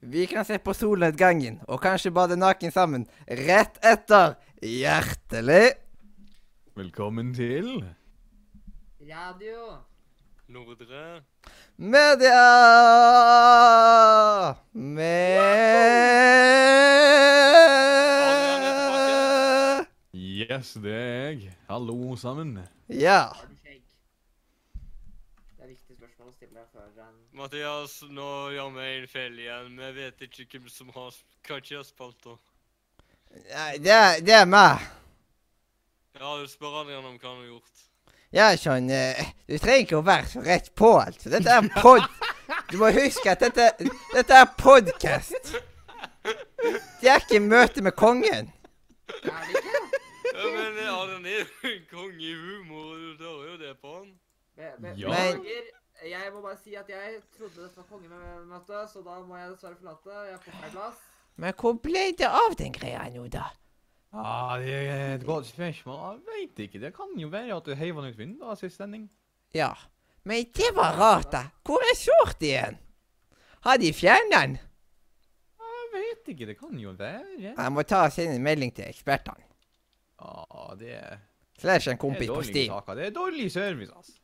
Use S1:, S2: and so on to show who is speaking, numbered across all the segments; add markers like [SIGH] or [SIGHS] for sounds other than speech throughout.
S1: Vi kan se på solnedgangen og kanskje bade naken sammen rett etter. Hjertelig
S2: Velkommen til
S3: Radio.
S4: Nordre
S1: media
S4: Adrian
S1: med
S2: Yes, det er jeg. Hallo sammen.
S1: Ja.
S3: Har du skjegg? Det er viktige spørsmål å stille før han
S4: Mathias, nå gjør vi en feil igjen. Vi vet ikke hvem som har sp- Kanskje har spalter.
S1: Nei, Det, er- det er meg.
S4: Ja, du spør Adrian om hva han har gjort.
S1: Ja, sånn eh, Du trenger ikke å være så rett på, altså. Dette er en pod... Du må huske at dette, dette er podkast. Det er ikke møte med kongen.
S3: Er det ikke?
S4: Ja, men eh, Adrian er jo en konge i humor, og du hører jo det på han.
S3: Be be
S2: Ja.
S3: Beklager. Jeg må bare si at jeg trodde dette var kongemøte, så da må jeg dessverre forlate. Jeg får feil plass.
S1: Men hvor ble det av den greia nå, da?
S2: Ah, det er et godt spørsmål. Jeg vet ikke. Det kan jo være at du heiv den ut vinduet sist sending.
S1: Ja. Men det var rart, da. Hvor er short igjen? Har de fjernet den?
S2: Jeg vet ikke. Det kan jo være.
S1: Jeg må ta og sende en melding til ekspertene.
S2: Ah, det er,
S1: Slash en
S2: det er
S1: kompis på
S2: dårlige
S1: Steam.
S2: saker. Det er dårlig service, altså.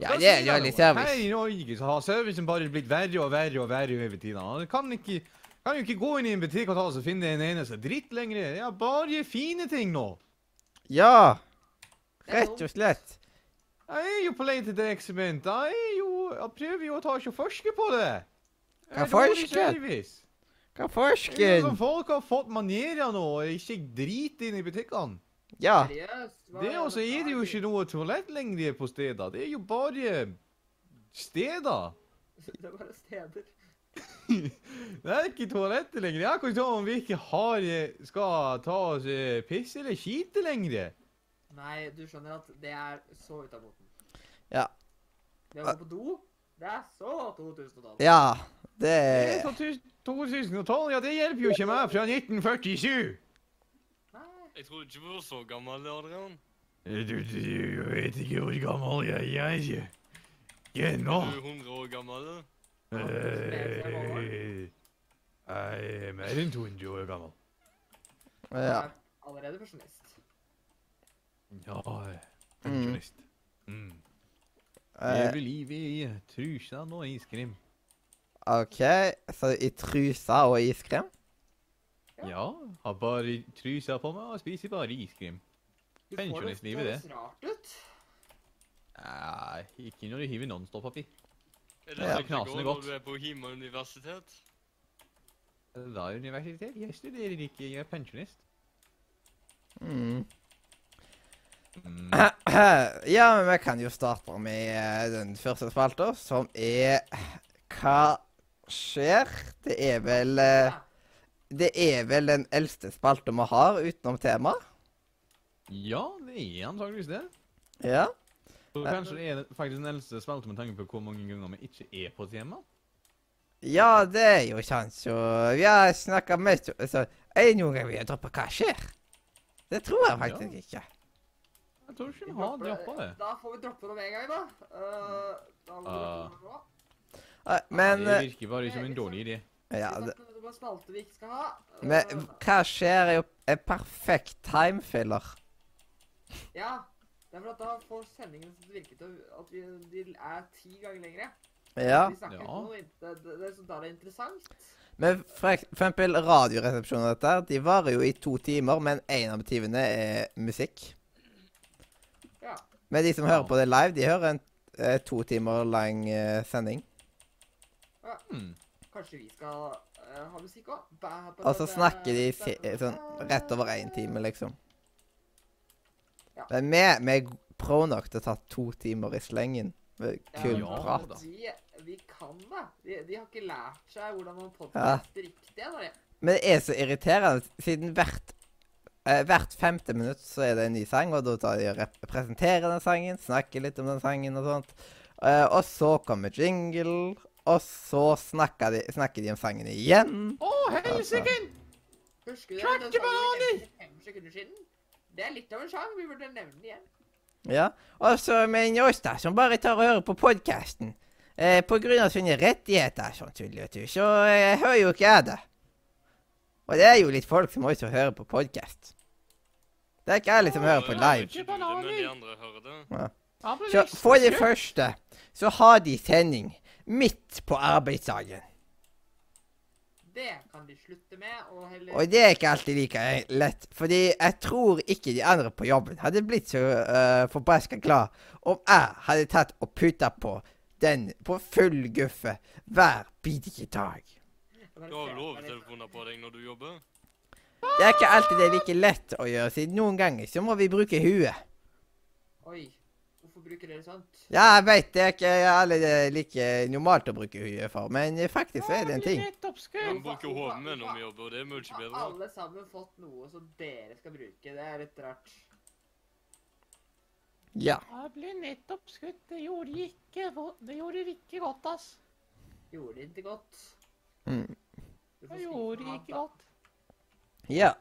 S1: Ja, det er dårlig service.
S2: Her i Norge så har servicen bare blitt verre og verre og verre over tida. Du kan ikke... Kan jo ikke gå inn i en butikk og ta oss og finne en eneste dritt lenger. Ja, bare fine ting nå.
S1: Ja.
S3: Det er
S1: Rett og slett.
S2: Jeg er jo på lei til det eksperimentet. Jeg er jo... Jeg prøver jo å ta ikke å forske på det. Det er
S1: Hva
S2: dårlig
S1: forsker?
S2: service.
S1: Hva
S2: Det er jo
S1: forsken?
S2: som folk har fått manerer nå og ikke driter inn i butikkene.
S1: Ja.
S3: Seriøst? Hva
S2: Det er også er det jo ikke noe toalett lenger på steder. Det er jo bare steder.
S3: [LAUGHS] Det er bare steder.
S2: Det er ikke toaletter lenger. Jeg kan ikke ta om vi ikke har, eh, skal ta oss eh, piss eller skite lenger.
S3: Nei, du skjønner at det er så ut av moten.
S1: Ja.
S3: Det å gå på do, det er så 2000-tallet.
S1: Ja. Det
S2: Det er fra tus- 2012, ja det hjelper jo ikke meg fra 1947.
S3: Nei,
S4: Jeg trodde ikke du var så gammel, Adrian.
S2: Du, Eh, du, du vet ikke hvor gammel jeg er. Jeg er nå.
S4: Du er 100 år gammel. du.
S2: Eh, Jeg er mer enn 200 år gammel.
S3: jeg
S1: Ja.
S3: er allerede pensjonist.
S2: Ja, pensjonist. Mm.
S1: eh,
S2: Lever livet i trusa og iskrim.
S1: OK, så i trusa og iskrem?
S2: Ja, har bare trusa på meg og spiser bare iskrim.
S3: Du får det-
S2: Pensjonistlivet,
S3: det.
S2: det.
S3: høres rart ut.
S2: Nei, ikke når du hiver Nonstop, pappi.
S4: Er
S1: Ja,
S4: det sånn
S2: knasende
S4: det går
S2: godt.
S4: når du er på Hima universitet?
S2: Da er universitet. Jeg studerer ikke, jeg er pensjonist.
S1: Mm.
S2: Mm.
S1: [CLEARS THROAT] Ja, men vi kan jo starte med eh, den første spalta, som er [CLEARS THROAT] Hva skjer? Det er vel eh,
S3: Ja.
S1: Det er vel den eldste spalta vi har utenom tema.
S2: Ja, det er antageligvis det.
S1: Ja.
S2: Og kanskje det er faktisk den eldste spalten med tanke på hvor mange ganger vi ikke er på tema.
S1: Ja, det er jo sant, så Vi har snakka mest altså, Er det noen gang vi har droppa 'hva skjer'? Det tror jeg faktisk ikke.
S2: Jeg tror ikke
S3: Vi
S2: vi har
S3: dropper
S2: droppa det.
S3: Da får vi droppe det med en gang, da. Eh, da må vi
S2: Ah.
S3: droppe det nå.
S1: Eh, Men
S2: det
S1: eh,
S2: virker bare som en dårlig idé.
S1: Ja.
S3: Vi
S1: Det,
S3: snakker om en spalte vi ikke skal ha. Eh,
S1: men hva skjer er jo en perfekt timefiller.
S3: ja. Det er for at da får sendingen til å virke til at vi, de er ti ganger lengre.
S1: Ja.
S3: Vi snakker
S2: Ja.
S3: ikke om noe int- det, det, det, som da er det interessant.
S1: Men for ek- for eksempel Radioresepsjonen og dette, her, de varer jo i to timer, men én av timene er musikk.
S3: Ja.
S1: Men de som
S2: Ja.
S1: hører på det live, de hører en eh, to timer lang eh, sending.
S2: Hmm.
S3: Kanskje vi skal eh, ha musikk òg?
S1: Og så snakker de si, eh, sånn rett over én time, liksom.
S3: Ja.
S1: Men vi, vi er pro nok til å ta to timer i slengen. Med kun
S2: Ja,
S1: prat.
S2: da.
S3: Vi, vi kan det. De, de har ikke lært seg hvordan man podkaster riktig ennå. de.
S1: Men det er så irriterende, siden hvert eh, Hvert femte minutt så er det en ny sang, og da tar de og rep- presenterer den sangen, snakker litt om den sangen og sånt. Eh, og så kommer jingle, og så snakker de, snakker de om sangen igjen.
S2: Å, helsike!
S3: Husker du den sangen vi
S2: Kvartebananer!
S3: nevnte for fem sekunder siden? Det er litt av en sang. Vi burde nevne den igjen.
S1: Ja. Og så mener oss da, som bare tar og hører på podkasten. Eh, på grunn av sine rettigheter, sånn tuller og tull, så eh, hører jo ikke jeg det. Og det er jo litt folk som også hører på podkast. Det er ikke jeg som hører på live.
S4: Ikke du det, men de andre hører det.
S2: Ja, men
S1: Så
S2: visst,
S1: for det
S2: sjø.
S1: første så har de sending midt på arbeidsdagen.
S3: Det kan de slutte med, og heller
S1: Og det er ikke alltid like lett, fordi jeg tror ikke de andre på jobben hadde blitt så uh, forbaska glad om jeg hadde tatt og putta på den på full guffe hver bidige dag.
S4: Du har
S3: sånn.
S4: lovtelefoner på deg når du jobber.
S1: Det er ikke alltid det er like lett å gjøre, siden noen ganger så må vi bruke huet.
S3: Oi, hvorfor bruker dere sånt?
S1: Ja, jeg veit det er ikke alle det er like normalt å bruke huet for, men faktisk så er det en ting.
S4: Man bruker hodet med når vi jobber, og det er mye
S3: Har
S4: bedre.
S3: alle sammen fått noe som dere skal bruke? Det er litt rart.
S1: Ja.
S5: Jeg ble nettopp skutt. Det gjorde ikke, vo- det gjorde ikke godt, ass.
S3: Gjorde de ikke godt?
S1: Mm.
S3: Du får
S5: Det
S3: skrive
S5: gjorde
S3: noe annet,
S5: ikke
S3: da.
S5: godt.
S1: Ja.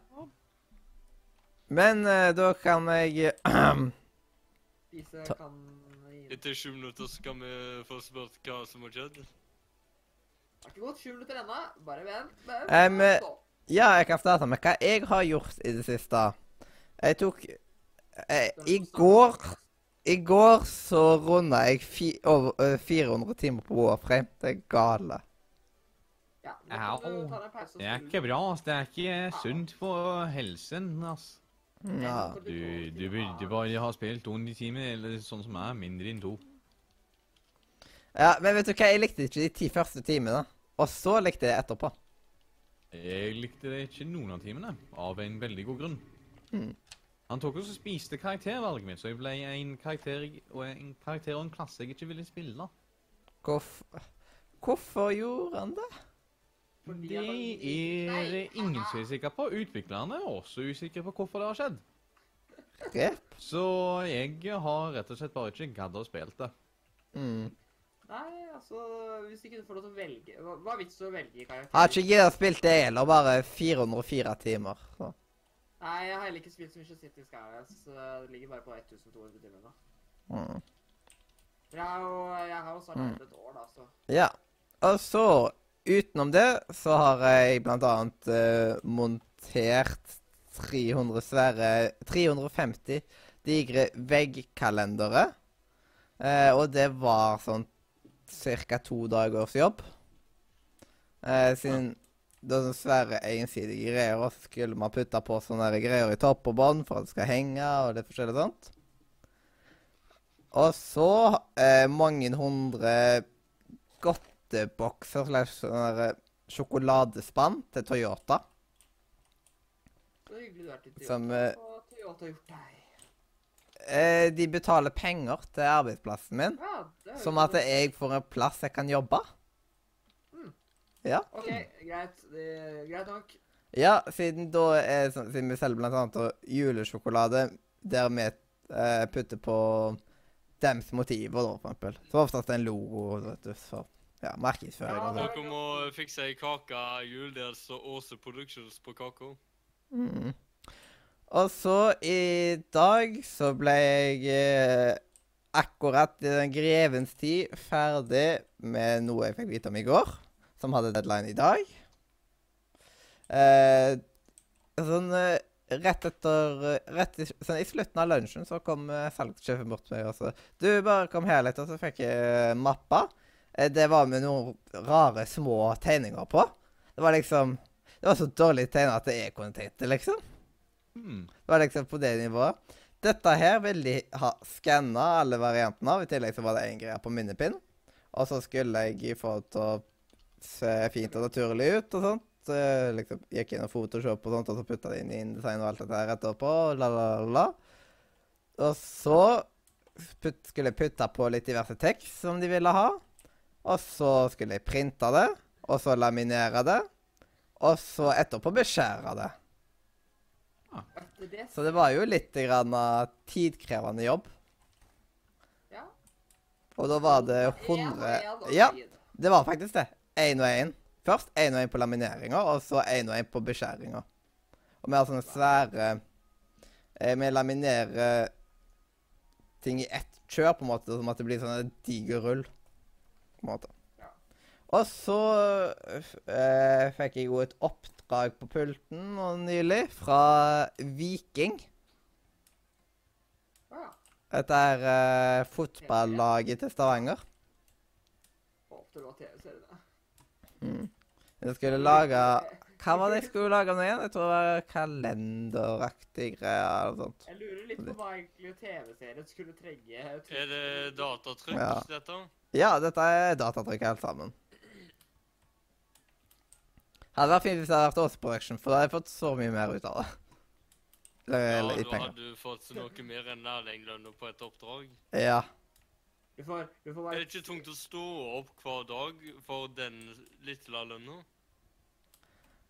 S1: Men eh, da kan jeg
S3: Spise
S1: Ta-
S3: kanin.
S4: Etter sju minutter skal vi få spurt hva som har skjedd.
S3: Har ikke gått sju minutter ennå. Bare vent. vent,
S1: Em,
S3: vent nå.
S1: Ja, jeg kan starte med hva jeg har gjort i det siste. Jeg tok eh, I går I går så runda jeg fi, over, eh, 400 timer på Warframe. Det er gale.
S3: Ja, nå kan du
S2: Au.
S3: ta deg en pause og
S2: Det er
S3: skru.
S2: ikke bra, ass. Det er ikke sunt for helsen, ass.
S1: Ja.
S3: Nå kan
S2: Du,
S3: gå
S2: du
S3: til
S2: burde
S3: A.
S2: bare ha spilt to i timen, eller sånn som jeg, mindre enn to.
S1: ja. Men vet du hva, jeg likte ikke de ti første timene. Og så likte jeg etterpå.
S2: Jeg likte det ikke noen av timene, av en veldig god grunn. Han tok også og spiste karaktervalget mitt, så jeg ble en karakter, og en karakter og en klasse jeg ikke ville spille.
S1: Hvorfor, hvorfor gjorde han det?
S3: Fordi
S2: Det
S3: at han liker-
S2: er
S3: Nei,
S2: ingen som er sikker på. Utviklerne er også usikre på hvorfor det har skjedd.
S1: Grep?
S2: Så jeg har rett og slett bare ikke gadd å spille det.
S1: Mm.
S3: Nei, altså, hvis de kunne få lov til å velge Hva hva er vitsen å velge karakter?
S1: Har ikke giddet å spille det heller. Bare 404 timer. Så.
S3: Nei, jeg har heller ikke spilt så mye City Skylines. så Det ligger bare på 1200 timer nå.
S1: Mm.
S3: Jeg har jo, jeg har jo snart
S1: Mm.
S3: hatt et år, da, så
S1: Ja. Og så, utenom det, så har jeg blant annet eh, montert 300 svære 350 digre veggkalendere. Eh, og det var sånn ca. to dagers jobb. Eh, siden det er sånne svære ensidige greier, og så skulle man putte på sånne der greier i topp og bånd for at det skal henge, og litt forskjellig sånt. Og så eh, mange hundre godtebokser slash sånne sånn der eh, sjokoladespann til Toyota.
S3: Så hyggelig du er til Toyota.
S1: Som, eh,
S3: og Toyota har gjort deg.
S1: Eh, de betaler penger til arbeidsplassen min,
S3: Ja, det er jo
S1: som
S3: ikke
S1: at
S3: noe-
S1: jeg får en plass jeg kan jobbe.
S3: OK, greit. Det, greit nok.
S1: Ja, siden da er sånn- siden vi selger blant annet da julesjokolade der vi eh, putter på dems motiver, da, for eksempel. Så oftest en logo, vet du, så ja, markedsføring og sånn.
S4: Dere må fikse ei kake jul der så Åse Productions på kaka.
S1: Mm. Og så i dag så ble jeg eh, akkurat i den grevens tid ferdig med noe jeg fikk vite om i går, som hadde deadline i dag. Eh, sånn eh, rett etter rett i, sånn, I slutten av lunsjen så kom eh, salgssjefen bort til meg og sa Du, bare kom her litt, og så fikk jeg eh, mappa. Eh, det var med noen rare små tegninger på. Det var liksom det var så dårlig tegna at jeg kunne tenkt det, liksom.
S2: Hmm.
S1: Det var liksom på det nivået. Dette her ville de ha skanna alle variantene av. I tillegg så var det én greie på minnepinn. Og så skulle jeg få det til å se fint og naturlig ut og sånt. Så jeg liksom gikk inn i Photoshop og sånt, og så putta det inn i InDesign og alt dette her etterpå. og La, la, la, la. Og så putt, skulle jeg putta på litt diverse tekst som de ville ha. Og så skulle jeg printe det, og så laminere det. Og så etterpå beskjære det.
S3: Etter det
S1: Så det var jo litt grann av tidkrevende jobb.
S3: Ja. E,
S1: Og da var det
S3: En og
S1: 100
S3: en, og
S1: Ja,
S3: fin.
S1: det var faktisk det. Én og én. Først én og én på lamineringa, og så én og én på beskjæringa. Og vi har sånne svære eh, Vi laminerer ting i ett kjør, på en måte, som at det blir sånn en diger rull. på en måte.
S3: Ja.
S1: Og så eh, fikk jeg jo et oppdrag på pulten nå nylig fra Viking.
S3: Å ja.
S1: Dette er eh, fotballaget til Stavanger.
S3: Håper du var TV-seriene.
S1: Jeg skulle lage Hva var det jeg skulle lage om det igjen? Jeg tror det var kalenderaktig greier eller noe sånt.
S3: [LAUGHS] Jeg lurer litt på hva egentlig TV-serien skulle trenge.
S4: Er det datatrykk,
S1: Ja.
S4: dette?
S1: Ja, dette er datatrykk alt sammen. Hadde vært fint hvis det hadde vært Åsproduction, for da hadde jeg fått så mye mer ut av det.
S4: Ja,
S1: Eller i
S4: da
S1: penger.
S4: hadde du fått noe mer enn lærlinglønna på et oppdrag.
S1: Ja.
S3: Du får, du får
S4: Er
S3: være
S4: det ikke tungt å stå opp hver dag for den lille lønna?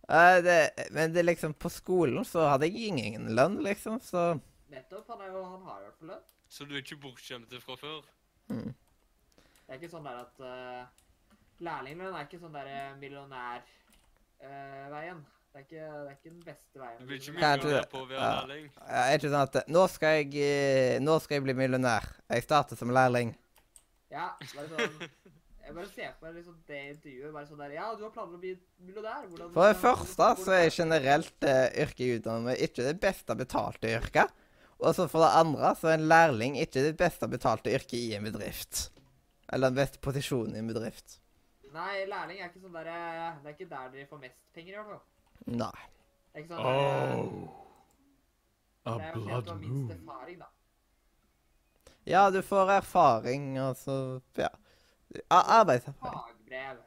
S1: Eh, det, men det er liksom på skolen så hadde jeg ingen lønn, liksom, så
S3: Nettopp. Han, er jo, han har i hvert fall lønn.
S4: Så du er ikke bortskjemt fra før?
S3: Det er ikke sånn der at uh, Lærlinglønn er ikke sånn der millionærveien. det, er ikke, det er ikke den beste veien.
S4: Du blir ikke
S1: Kanskje
S4: millionær
S1: det.
S4: på å være
S1: Ja.
S4: lærling?
S1: Jeg er ikke sånn at eh, nå skal, jeg, eh, nå skal jeg bli millionær. Jeg starter som lærling.
S3: Ja, bare sånn... Jeg bare ser for meg liksom det intervjuet, bare sånn der, ja, du har planer om å bli millionær, hvordan...
S1: For det første altså, så er generelt eh, yrket jeg utdanner meg ikke det beste betalte yrket. Og så for det andre så er en lærling ikke det beste betalte yrket i en bedrift. Eller den beste posisjonen i en bedrift.
S3: Nei, lærling er ikke sånn der, eh, det er ikke der dere får mest penger i hvert fall.
S1: Nei.
S3: Det er ikke sånn der, eh,
S2: Oh. A
S3: det er jo helt
S2: blood
S3: av minst
S2: moon.
S3: erfaring da.
S1: Ja, du får erfaring, altså Ja. A- Arbeidserfaring.
S3: Fagbrev.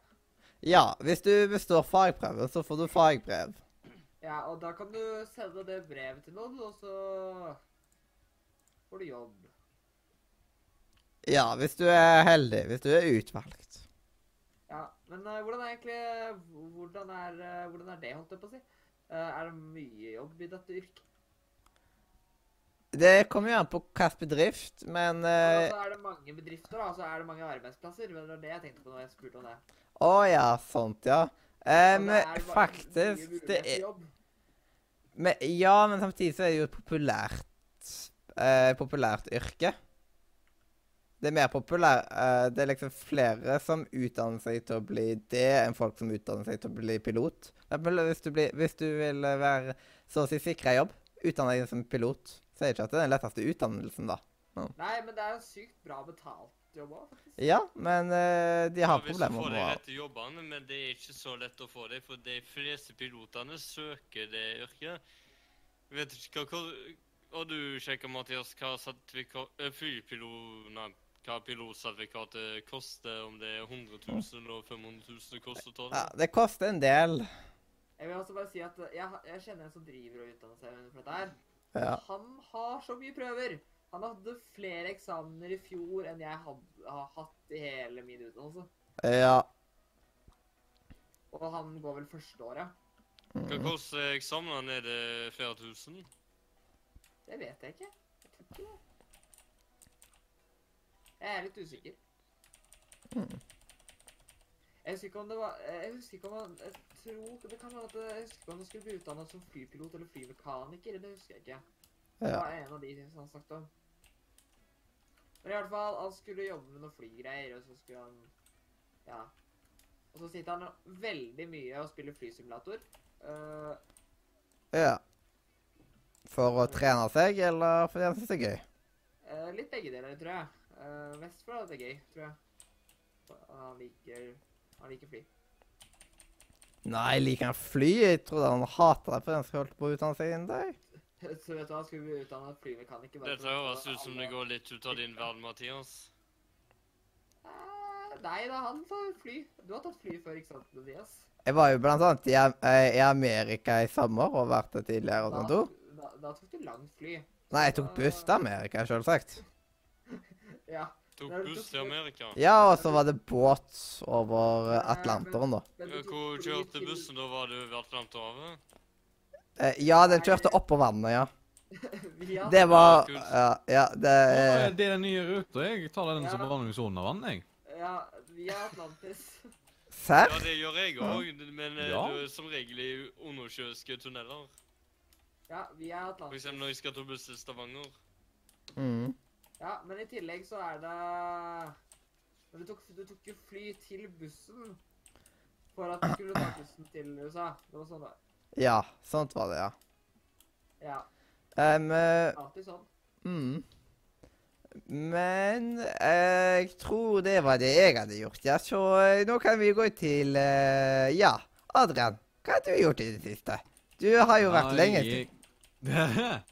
S1: Ja, hvis du består fagprøven, så får du fagbrev.
S3: Ja, og da kan du sende det brevet til noen, og så får du jobb.
S1: Ja, hvis du er heldig. Hvis du er utvalgt.
S3: Ja, men eh, hvordan er egentlig, hvordan er, eh, hvordan er det, holdt jeg på å si? Eh, er det mye jobb i dette yrket?
S1: Det kommer jo an på hvilken bedrift, men eh,
S3: Altså, er det mange bedrifter, da? Altså, er det mange arbeidsplasser? Men det var det jeg tenkte på når jeg spurte om det.
S1: Å ja, sånt, ja. Eh,
S3: Om det
S1: men
S3: er bare mye
S1: faktisk
S3: mulighet
S1: det
S3: til
S1: er,
S3: jobb.
S1: men, Ja, men samtidig så er det jo et populært eh, populært yrke. Det er mer populær eh, Det er liksom flere som utdanner seg til å bli det, enn folk som utdanner seg til å bli pilot. For eksempel Hvis du, blir, hvis du vil eh, være så å si sikra jobb, utdanne deg som pilot. Sier ikke at det er den letteste utdannelsen, da.
S3: Nei, men det er jo sykt bra betalt jobb òg, faktisk.
S1: Ja, men eh, de har
S4: hvis du
S1: problemer
S4: får
S1: med
S4: de
S1: å
S4: rette jobbene, men det er ikke så lett å få dem, for de fleste pilotene søker det yrket. Jeg vet ikke hva hva- Har du sjekka, Mathias, hva sertifika- eh, flypilot... Nei, hva pilotsertifikatet koster? Om det er 100 000 og 500 000 det koster å ta
S1: ja,
S4: det?
S1: Det koster en del.
S3: Jeg vil også bare si at eh, jeg, jeg kjenner en som driver og utdanner seg for dette her.
S1: Ja.
S3: Han har så mye prøver. Han hadde flere eksamener i fjor enn jeg had- har hatt i hele min utdannelse.
S1: ja.
S3: Og han går vel første året.
S4: Hva koster eksamenen? Er det flere tusen?
S3: Det vet jeg ikke. Jeg tror ikke det. Jeg er litt usikker. Jeg husker ikke om det var Jeg husker ikke om han Jeg tror det kan være at jeg husker ikke om han skulle bli utdannet som flypilot eller flymekaniker. Det husker jeg ikke. Det
S1: ja.
S3: var en av de som han snakket om. Men i hvert fall, han skulle jobbe med noen flygreier, og så skulle han Ja. Og så sitter han veldig mye og spiller flysimulator. Eh,
S1: Ja. For å trene seg, eller fordi han syns det er gøy?
S3: Eh, litt begge deler, tror jeg. Uh, mest fordi det er gøy, tror jeg. Og Han liker, han liker fly. [LAUGHS]
S1: Nei, liker han fly? Jeg trodde han hata det fordi han skulle holdt på å utdanne seg innen dag.
S3: Så vet du hva, skulle bli utdannet flymekaniker bare
S4: Dette høres ut som det går litt ut av din verden, Mathias.
S3: Eh, nei da, han tar fly. Du har tatt fly før, ikke sant, Mathias?
S1: Jeg var jo blant annet i, Am- eh, i Amerika i sommer og vært det tidligere og sånt.
S3: da,
S1: også.
S3: da, da tok du langt fly.
S1: Nei, jeg tok buss til Amerika, selvsagt.
S3: Ja.
S4: Tok
S3: Det er-
S4: buss til Amerika.
S1: Ja, og så var det båt over eh, Atlanteren, da.
S3: men du tok
S4: Hvor
S3: fly
S4: kjørte
S3: til-
S4: bussen? Da var du ved Atlanterhavet?
S1: Eh, Ja, den kjørte oppå vannet, ja.
S3: [LAUGHS] via-
S1: Det var Ja, ja det
S2: Å,
S1: eh,
S2: Det er den nye ruta. Jeg tar den som
S3: Ja.
S2: vanligvis under vann, jeg.
S3: Ja, via Atlantis.
S1: Serr?
S4: Ja, det gjør jeg òg, men eh,
S2: Ja.
S4: du er som regel i undersjøiske tunneler.
S3: Ja, via
S4: For
S3: Atlantis.
S4: eksempel når jeg skal ta buss til Stavanger.
S1: Mm.
S3: Ja, men i tillegg så er det Men du tok, du tok jo fly til bussen for at du skulle ta bussen til USA. Det var sånn det var.
S1: Ja, sånt var det, ja.
S3: Ja,
S1: Em, eh,
S3: alltid sånn.
S1: mm. Men eh, jeg tror det var det jeg hadde gjort, ja. Så eh, nå kan vi gå til eh, Ja, Adrian. Hva har du gjort i det siste? Du har jo vært lenge til.
S2: jeg- [LAUGHS]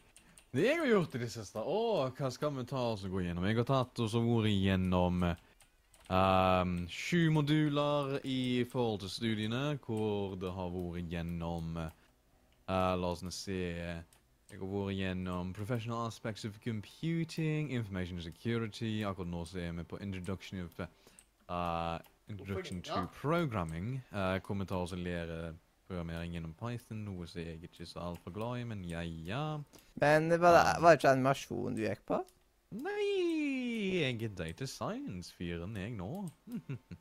S2: Det jeg har gjort i det siste Å, hva skal vi ta oss og gå gjennom? Jeg har tatt oss og vært igjennom ehm, sju moduler i forhold til studiene, hvor det har vært igjennom eh, La oss nå se Jeg har vært igjennom Professional Aspects of Computing, Information Security Akkurat nå så er vi på Introduction of eh, Introduction to
S3: Ja.
S2: Programming. Uh, hvor vi tar oss og lærer programmering gjennom Python, noe som jeg ikke er så altfor glad i, men ja, ja.
S1: Men var det, var det ikke animasjon du gikk på?
S2: Nei, jeg er data science-fyren jeg nå.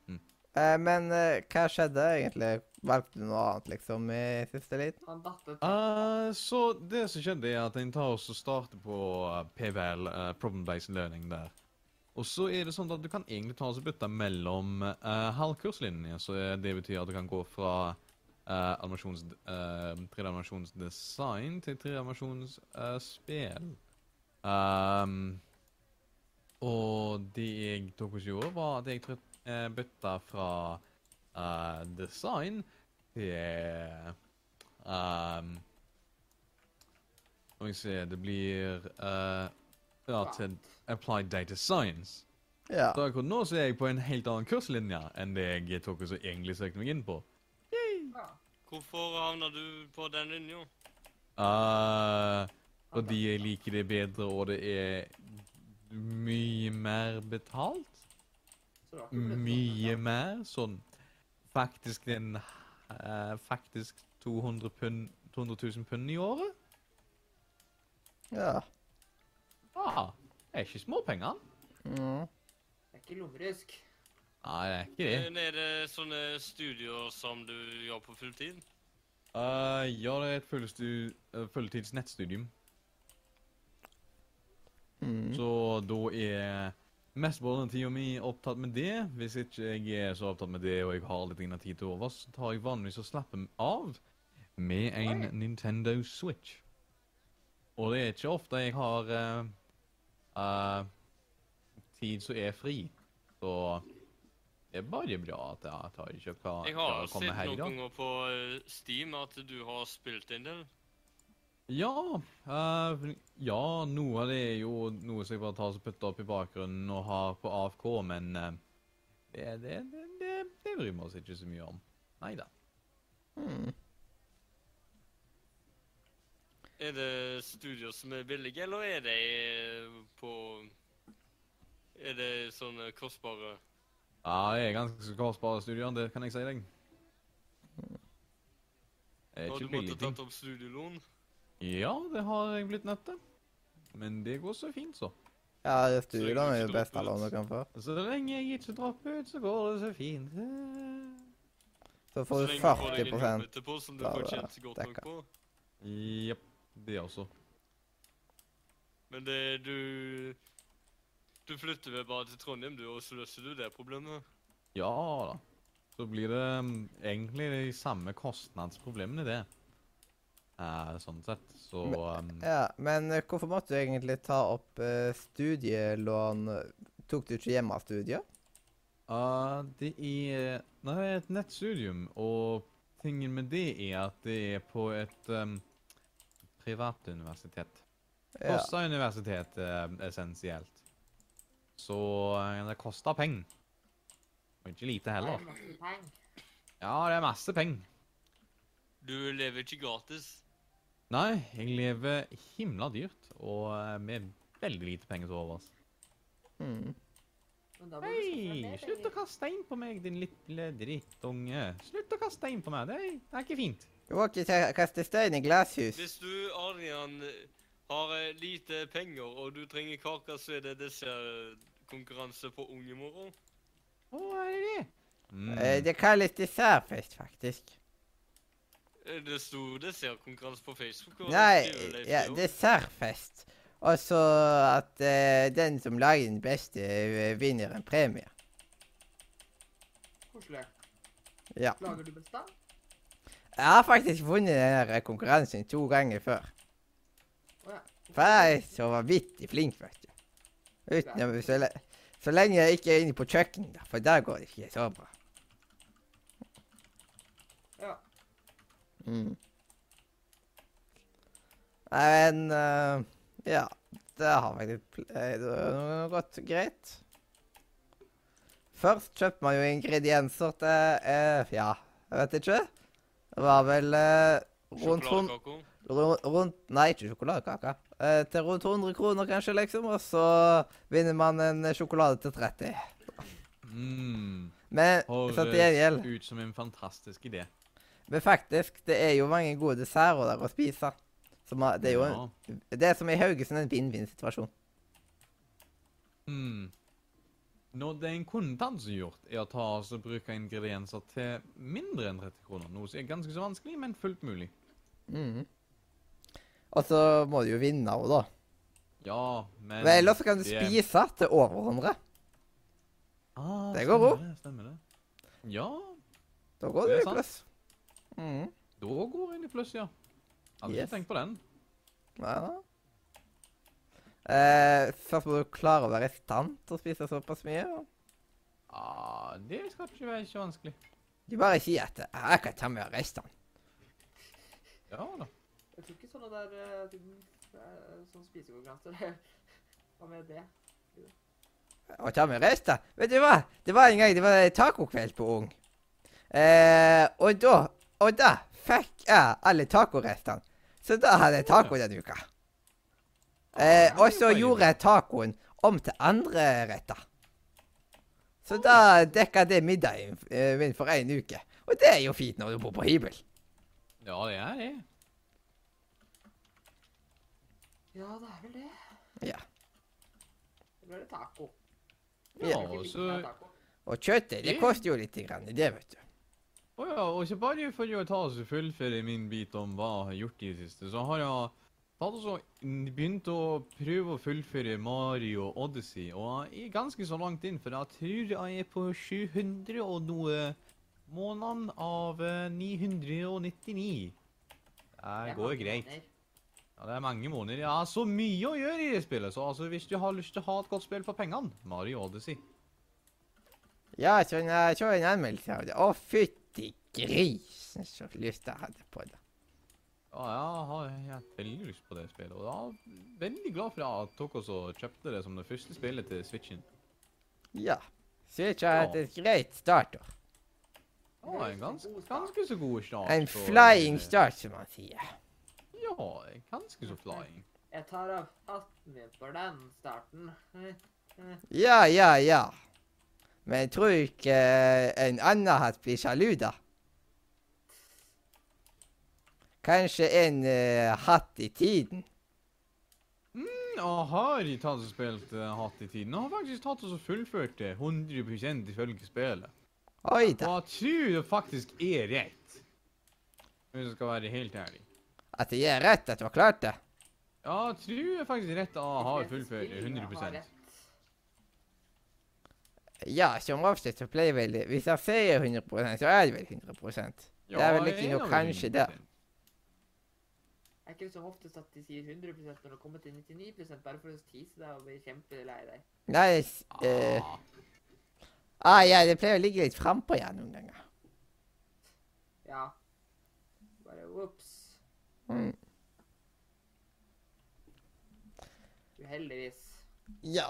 S1: Eh, men eh, hva skjedde egentlig? Valgte du noe annet, liksom, i siste liten?
S3: Han datt et
S2: Eh, så det som skjedde er at en tar oss og starter på eh, PVL, eh, Problem Based Learning der. Og så er det sånn at du kan egentlig ta oss og bytte mellom eh, halvkurslinjer, så eh, det betyr at du kan gå fra eh, animasjons, eh, 3D-animasjonsdesign til 3D-animasjonsspill. Um, og det jeg tok oss gjorde, var at jeg trøtt, eh, bytta fra eh, design til um, Skal vi se Det blir eh, ja, til Applied Data Science.
S1: Ja.
S2: Så akkurat nå så er jeg på en helt annen kurslinje enn det jeg tok og så egentlig søkte meg inn på.
S3: ja.
S4: Hvorfor havna du på den linja?
S2: Eh, fordi jeg liker det bedre, og det er mye mer betalt.
S3: Så det var ikke blitt
S2: Mye
S3: sånn,
S2: mer. Sånn faktisk en eh, Faktisk 200 pund 200 000 pund i året.
S1: ja.
S2: Ah, det er ikke småpenger.
S1: Mm.
S3: men Det er ikke lommerusk.
S2: Nei, det er ikke det.
S4: Eh, Men Er det sånne studier som du gjør på fulltid?
S2: Eh, ja, det er et fullstu- eh, fulltids nettstudium.
S1: Mm.
S2: Så da er mesteparten av tida mi opptatt med det. Hvis ikke jeg er så opptatt med det og jeg har litt grann tid til overs, så tar jeg vanligvis og slapper av med en
S3: Oi.
S2: Nintendo Switch. Og det er ikke ofte jeg har eh, eh, tid som er fri. Så det er bare bra at jeg tar ikke hva
S4: Jeg
S2: hva kommer
S4: har sett
S2: her i
S4: noen
S2: dag.
S4: ganger på eh, Steam at du har spilt en del.
S2: Ja. eh, vel, ja, noe av det er jo noe som jeg bare tar og putter opp i bakgrunnen og har på AFK, men eh, det, det, det, det, det bryr vi oss ikke så mye om. Nei da.
S1: Mm.
S4: Er det studier som er billige, eller er de eh, på Er det sånne kostbare?
S2: Ja, det er ganske så kostbare studier, det kan jeg si deg. Det er
S4: Har du
S2: ikke
S4: måttet
S2: billige ting.
S4: tatt opp studielån?
S2: Ja, det har jeg blitt nødt til. Men det går så fint, så.
S1: Ja, det studielån er jo det beste lånet du kan få.
S2: Så lenge jeg ikke dropper ut, så går det så fint. Eh,
S1: Så
S4: Så
S1: får du
S4: lenge får deg
S1: 40
S4: en jobb etterpå som du
S1: av
S4: får
S1: det
S4: tjent godt nok
S1: dekka.
S4: på.
S2: Jepp. Det også.
S4: Men det du Du flytter vel bare til Trondheim, du, og så løser du det problemet.
S2: Ja da. Så blir det mm, egentlig de samme kostnadsproblemene, det. Eh, sånn sett. Så um,
S1: Ja, men eh, hvorfor måtte du egentlig ta opp eh, studielån? Tok du ikke hjemmestudier?
S2: eh, Det er Nei, det er et nettstudium, og tingen med det er at det er på et um, privat universitet.
S1: Ja.
S2: Kosta universitet, eh, essensielt. Så eh, det koster penger. Og ikke lite
S3: Det
S2: heller.
S3: er masse penger.
S2: Ja, det er masse penger.
S4: Du lever ikke gratis.
S2: Nei, jeg lever himla dyrt, og eh, med veldig lite penger til overs.
S1: Mm.
S3: Men da må du skaffe deg
S2: Hei,
S3: mer
S2: slutt å
S3: penger.
S2: kaste stein på meg, din lille drittunge. Slutt å kaste stein på meg, det er, det er ikke fint.
S1: Du må ikke ta- kaste stein i glasshus.
S4: Hvis du, Adrian, har eh, lite penger og du trenger kake, så er det dessertkonkurranse på Ung i morgen.
S2: Å, er det det? Mm.
S1: Eh, Det kalles dessertfest, faktisk.
S4: Eh, Det sto dessertkonkurranse på Facebook. og
S1: Nei,
S4: det skriver Leif
S1: ja,
S4: det også.
S1: dessertfest. Og så at eh, den som lager den beste, eh, vinner en premie.
S3: koselig.
S1: Ja.
S3: Lager du bestand?
S1: Jeg har faktisk vunnet den her konkurransen to ganger før.
S3: Å ja.
S1: For jeg er så vanvittig flink, vet du. Utenom så, le så lenge jeg ikke er inne på kjøkkenet, da, for der går det ikke så bra.
S3: Ja.
S1: Mm. Nei, Men eh, ja. Det har faktisk pl- eh, det har gått greit. Først kjøpte man jo ingredienser til eh, Ja, jeg vet ikke. Det var vel eh, rundt hund-
S4: Sjokoladekako.
S1: Ru- Rundt Nei, ikke sjokoladekake. Eh, til rundt 100 kroner, kanskje, liksom. Og så vinner man en sjokolade til 30.
S2: Mm.
S1: Men så til gjengjeld
S2: Høres ut som en fantastisk idé.
S1: Men faktisk, det er jo mange gode desserter der å spise. Så ma- det er jo en,
S2: Ja.
S1: Det er som i Haugesund en vinn-vinn-situasjon.
S2: Mm. Nå, det en kontant som er gjort, er å ta oss og bruke ingredienser til mindre enn 30 kroner. Noe som er ganske så vanskelig, men fullt mulig.
S1: Mhm. Og så må du jo vinne òg, da.
S2: Ja, men
S1: Men ellers så kan du
S2: det-
S1: spise til over 100.
S2: Ah,
S1: Det går
S2: stemmer det, Stemmer det. Ja,
S1: Da går
S2: Det
S1: du
S2: er
S1: i
S2: sant.
S1: pluss. Mhm.
S2: da går en i pluss, ja. Hadde
S1: Yes.
S2: ikke tenkt på den.
S1: Ja. Eh, først må du klare å være i stand til å spise såpass mye. og
S2: Ah, det skal ikke være så vanskelig.
S1: Du bare sier at eh, 'jeg kan ta med restene'.
S2: Ja da.
S3: Jeg tror ikke sånne der eh, ting- eh, sånn spisekonkurranser [LAUGHS] Hva med det?
S1: Og ta med rester. Vet du hva? Det var en gang det var tacokveld på Ung. Eh, og da Og da fikk jeg alle tacorestene. Så da hadde jeg taco denne uka. Eh, og så gjorde jeg tacoen om til andre retter. Så da dekka det middagen eh, min for én uke. Og det er jo fint når du bor på hybel.
S2: Ja, det er det.
S3: Ja, det er vel det.
S1: Ja.
S3: Eller er det taco?
S2: Ja,
S1: Ja.
S3: Ikke
S2: og
S3: fikk
S2: så
S3: meg taco.
S1: Og kjøttet, det
S2: Ja.
S1: koster jo litt, grann, det, vet du.
S2: Å ja, og ikke bare for å ta oss fullføre min bit om hva jeg har gjort i det siste, så har jeg tatt og så inn- begynt å prøve å fullføre Mario Odyssey, og jeg er ganske så langt inn, for jeg tror jeg er på 700 og noe måneden av eh, 999.
S3: Jeg
S2: Det
S3: har
S2: går
S3: ikke
S2: greit.
S3: aner.
S2: Ja, det er mange måneder. Jeg har så mye å gjøre i det spillet, så altså, hvis du har lyst til å ha et godt spill for pengene, Mario Odyssey.
S1: Ja, sånn, jeg så en anmeldelse av det. Å, fytti grisen, så lyst jeg hadde på det.
S2: Ja, jeg har jeg har veldig lyst på det spillet, og jeg er veldig glad for at dere også kjøpte det som det første spillet til Switchen.
S1: Ja. Switch har hatt
S2: Ja.
S1: et greit startår.
S2: Det var en ganske, ganske så god start.
S1: En
S2: på-
S1: flying start, som man sier.
S2: Ja, ganske så flying.
S3: Jeg tar av hatten min for den starten.
S1: Ja, ja, ja. Men jeg tror ikke eh, en annen hatt blir sjalu, da. Kanskje en eh, hatt i tiden.
S2: Jeg har i tatt og spilt eh, hatt i tiden, og har faktisk tatt og så fullført det 100 ifølge spillet.
S1: Oi
S2: Og
S1: da.
S2: jeg tror det faktisk er rett. Hvis jeg skal være helt ærlig.
S1: At det gjør rett at du har klart det.
S2: Ja, jeg tror jeg faktisk rett at jeg har
S3: Hvis jeg
S2: fullført det
S3: spiller, jeg har
S2: 100
S3: rett.
S1: Ja, som oftest så pleier vel Hvis jeg sier 100 så er det vel 100 Det er vel
S2: Ja,
S1: ikke
S2: jeg
S1: noe
S2: er vel
S1: kanskje der.
S2: 100%.
S3: Det er ikke som oftest at de sier 100 når det kommer til 99 bare for å tease deg og bli kjempelei deg.
S1: Nei s- eh,
S2: Ah.
S1: ah, ja, Det pleier å ligge litt frampå ja, noen ganger.
S3: Ja. Bare ops.
S1: Mm.
S3: Uheldigvis.
S1: Ja.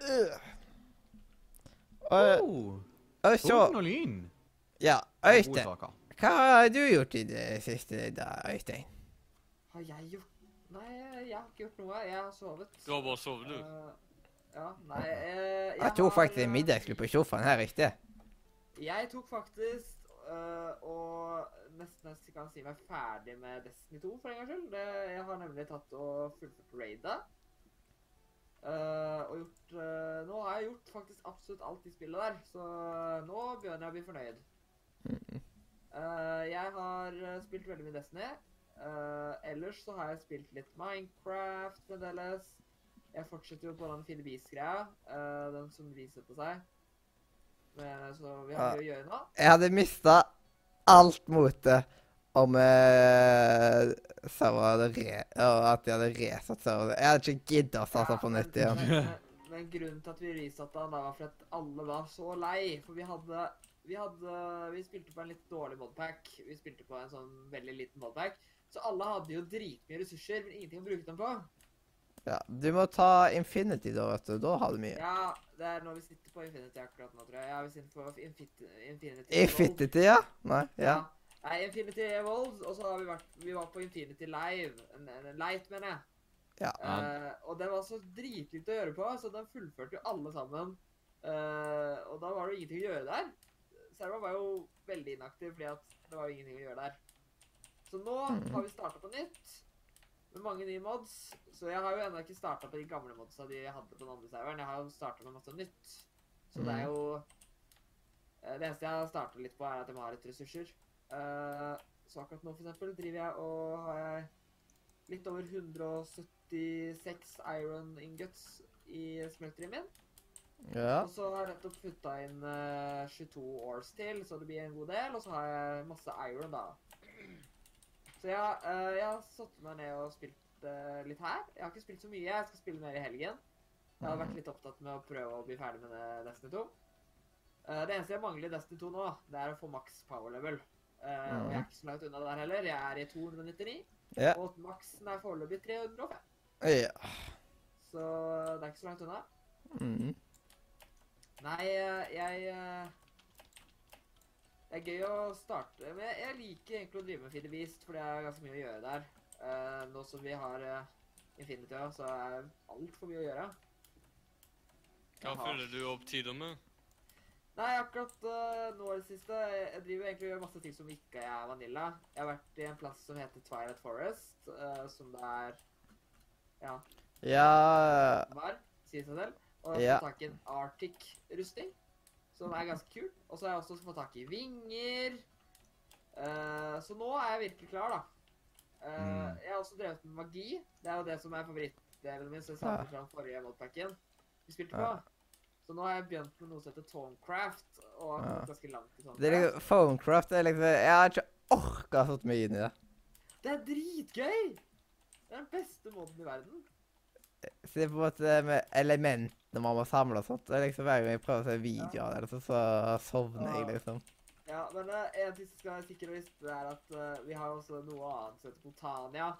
S1: Øh. Og,
S2: Oh,
S1: og eh, så
S2: Torden og lyn.
S1: Ja,
S2: er gode
S1: Øystein.
S2: saker.
S1: Hva har du gjort i det siste da, Øystein?
S3: Har jeg gjort Nei, jeg har ikke gjort noe. Jeg har sovet.
S4: Du har bare sovet, du.
S3: Eh, ja, nei eh,
S1: Jeg tok
S3: har,
S1: faktisk en
S3: eh,
S1: middagsklubb på sofaen her i sted.
S3: Jeg tok faktisk eh, og nesten jeg kan si meg ferdig med Destiny 2 for en gangs skyld. Det, jeg har nemlig tatt og fullført raida. Eh, og gjort eh, Nå har jeg gjort faktisk absolutt alt i spillet der, så eh, nå begynner jeg å bli fornøyd. Eh, jeg har eh, spilt veldig mye Destiny. Eh, ellers så har jeg spilt litt Minecraft fremdeles. Jeg fortsetter jo på den fine bis-greia. eh, den som resetter seg. Men, så vi har mye å gjøre nå.
S1: Jeg hadde mista alt motet om eh, serveren hadde re... og at de hadde resatt serveren. Jeg hadde ikke giddet å starte
S3: Ja,
S1: på
S3: men-
S1: nytt igjen.
S3: Men, men- men grunnen til at vi resatte han da, var for at alle var så lei. For vi hadde Vi, hadde, vi spilte på en litt dårlig modpack. Vi spilte på en sånn veldig liten modpack. Så alle hadde jo dritmye ressurser, men ingenting å bruke dem på.
S1: Ja, du må ta Infinity, da, vet du. Da har du mye.
S3: Ja, det er nå vi sitter på Infinity akkurat nå, tror jeg. Ja, vi sitter på Infinity, Infinity Evolved.
S1: Infinity, ja? Nei, ja.
S3: Nei, Infinity Evolved, og så har vi vært Vi var på Infinity Live. en- en- en Light, mener jeg.
S1: Ja.
S3: Eh, og den var så dritlite å gjøre på, så den fullførte jo alle sammen. Eh, og da var det jo ingenting å gjøre der. Serva var jo veldig inaktiv, fordi at det var jo ingenting å gjøre der. Så nå har vi starta på nytt med mange nye mods. Så jeg har jo ennå ikke starta på de gamle modsa de hadde på den andre serveren. Jeg har jo starta med masse nytt. Så det er jo Eh, Det eneste jeg har startet litt på, er at jeg må ha litt ressurser. Eh, så akkurat nå, for eksempel, driver jeg og har jeg litt over 176 iron ingots i smelteren min.
S1: ja.
S3: Og så har jeg nettopp putta inn eh, 22 års til, så det blir en god del. Og så har jeg masse iron, da. Så jeg, eh, jeg har satt meg ned og spilt eh, litt her. Jeg har ikke spilt så mye. Jeg skal spille mer i helgen. Jeg har vært litt opptatt med å prøve å bli ferdig med det Destiny 2. Eh, det eneste jeg mangler i Destiny 2 nå, det er å få maks power level. Eh, Og jeg er ikke så langt unna det der heller. Jeg er i 299,
S1: Mm. Ja.
S3: og maksen er foreløpig 305.
S1: ja.
S3: Så det er ikke så langt unna.
S1: Mm.
S3: Nei, eh, jeg eh, Det er gøy å starte Men jeg, jeg liker egentlig å drive med Feed the Beast, for det er ganske mye å gjøre der. Eh, nå som vi har eh, Infinity, også, så er det altfor mye å gjøre.
S4: Hva
S3: Jaha.
S4: følger du opp tida med?
S3: Nei, akkurat eh, nå i det siste Jeg jeg driver egentlig og gjør masse ting som ikke er vanilla. Jeg har vært i en plass som heter Twilight Forest, eh, som det er Ja,
S1: Ja
S3: var, sier seg selv. Og jeg
S1: Ja.
S3: har fått tak i en Arctic-rustning, som er ganske kul. Og så har jeg også fått tak i vinger. Eh, så nå er jeg virkelig klar, da. Eh,
S1: Mm.
S3: Jeg har også drevet med magi. Det er jo det som er favorittdelen min. som jeg
S1: Ja.
S3: samlet fra den forrige modpacken vi spilte på.
S1: Ja.
S3: Så nå har jeg begynt med noe som heter Tonecraft, og har
S1: Ja.
S3: kommet ganske langt i Tonecraft.
S1: det er liksom, Phonecraft er liksom Jeg har ikke orka så mye inn i det.
S3: det er dritgøy! Det er den beste måten i verden.
S1: Så det er på en måte det med elementene man må samle og sånt. Det er liksom Hver gang jeg prøver å se videoer av det, liksom, så sovner jeg, liksom.
S3: Ja, men eh, en ting som skal være sikker og visst, det er at eh, vi har også noe annet som heter Botania.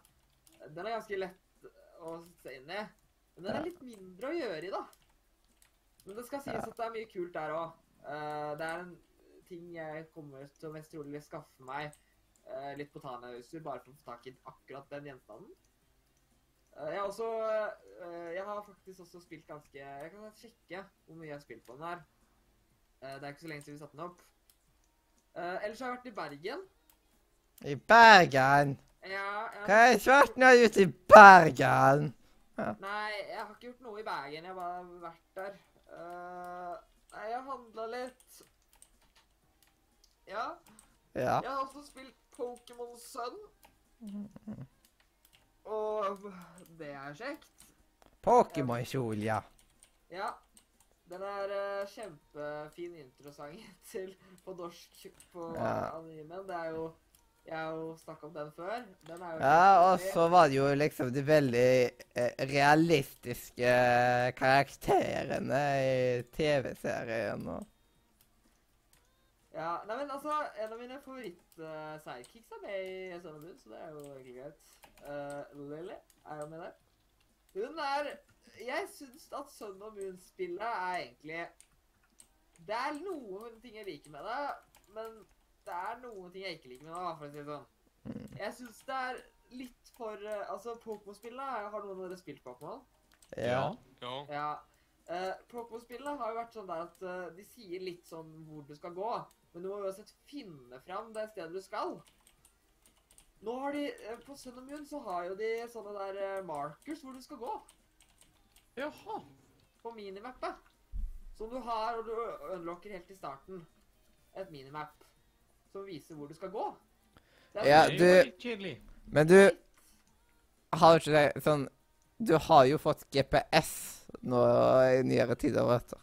S3: Den er ganske lett eh, å sette seg inn i. Men den
S1: Ja.
S3: er litt mindre å gjøre i, da. Men det skal sies
S1: Ja.
S3: at det er mye kult der òg. det er en ting jeg kommer til å mest trolig skaffe meg eh, litt Botania-utstyr bare for å få tak i akkurat den gjenstanden. Eh, jeg har også eh, Jeg har faktisk også spilt ganske Jeg kan sjekke hvor mye jeg har spilt på den her. Eh, det er ikke så lenge siden vi satte den opp. Eh, ellers har jeg vært i Bergen.
S1: I Bergen!
S3: Ja, jeg,
S1: Hva er svarten har gjort i Bergen?
S3: Nei, jeg har ikke gjort noe i Bergen. Jeg har bare vært der. Eh, nei, jeg handla litt. Ja.
S1: Ja.
S3: Jeg har også spilt Pokémon Sun.
S1: Mm.
S3: Og det er kjekt.
S1: Pokémon-kjol, ja.
S3: Ja. Den er eh, kjempefin introsang [LAUGHS] til på norsk på
S1: Ja.
S3: animen. Det er jo Jeg har jo snakka om den før. Den er jo
S1: Ja, og
S3: kjempefin.
S1: så var det jo liksom de veldig eh, realistiske eh, karakterene i TV-serien og
S3: Ja, nei, men altså, En av mine favoritt-sidekicks er med i Sun and Moon, så det er jo egentlig greit. Eh, Lily er jo med der. Hun er Jeg syns at Sun og Moon-spillet er egentlig Det er noen ting jeg liker med det, men det er noen ting jeg ikke liker med det, da, for å si det sånn. Jeg syns det er litt for eh, Altså, Pokémon-spillet Har noen av dere spilt Pokémon?
S1: Ja.
S4: Ja.
S3: Ja. Uh, Pokémon-spillene har jo vært sånn der at eh, de sier litt sånn hvor du skal gå, men du må uansett finne fram det stedet du skal. Nå har de, eh, På Sun and Moon så har jo de sånne der eh, markers hvor du skal gå,
S2: Jaha.
S3: på minimappet. Som du har, og du ø- unlocker helt i starten. Et minimap som viser hvor du skal gå. Det
S1: Ja,
S2: det er
S1: du-
S2: jo litt kjedelig.
S1: Men du har jo ikke det sånn Du har jo fått GPS nå i nyere tider, vet du.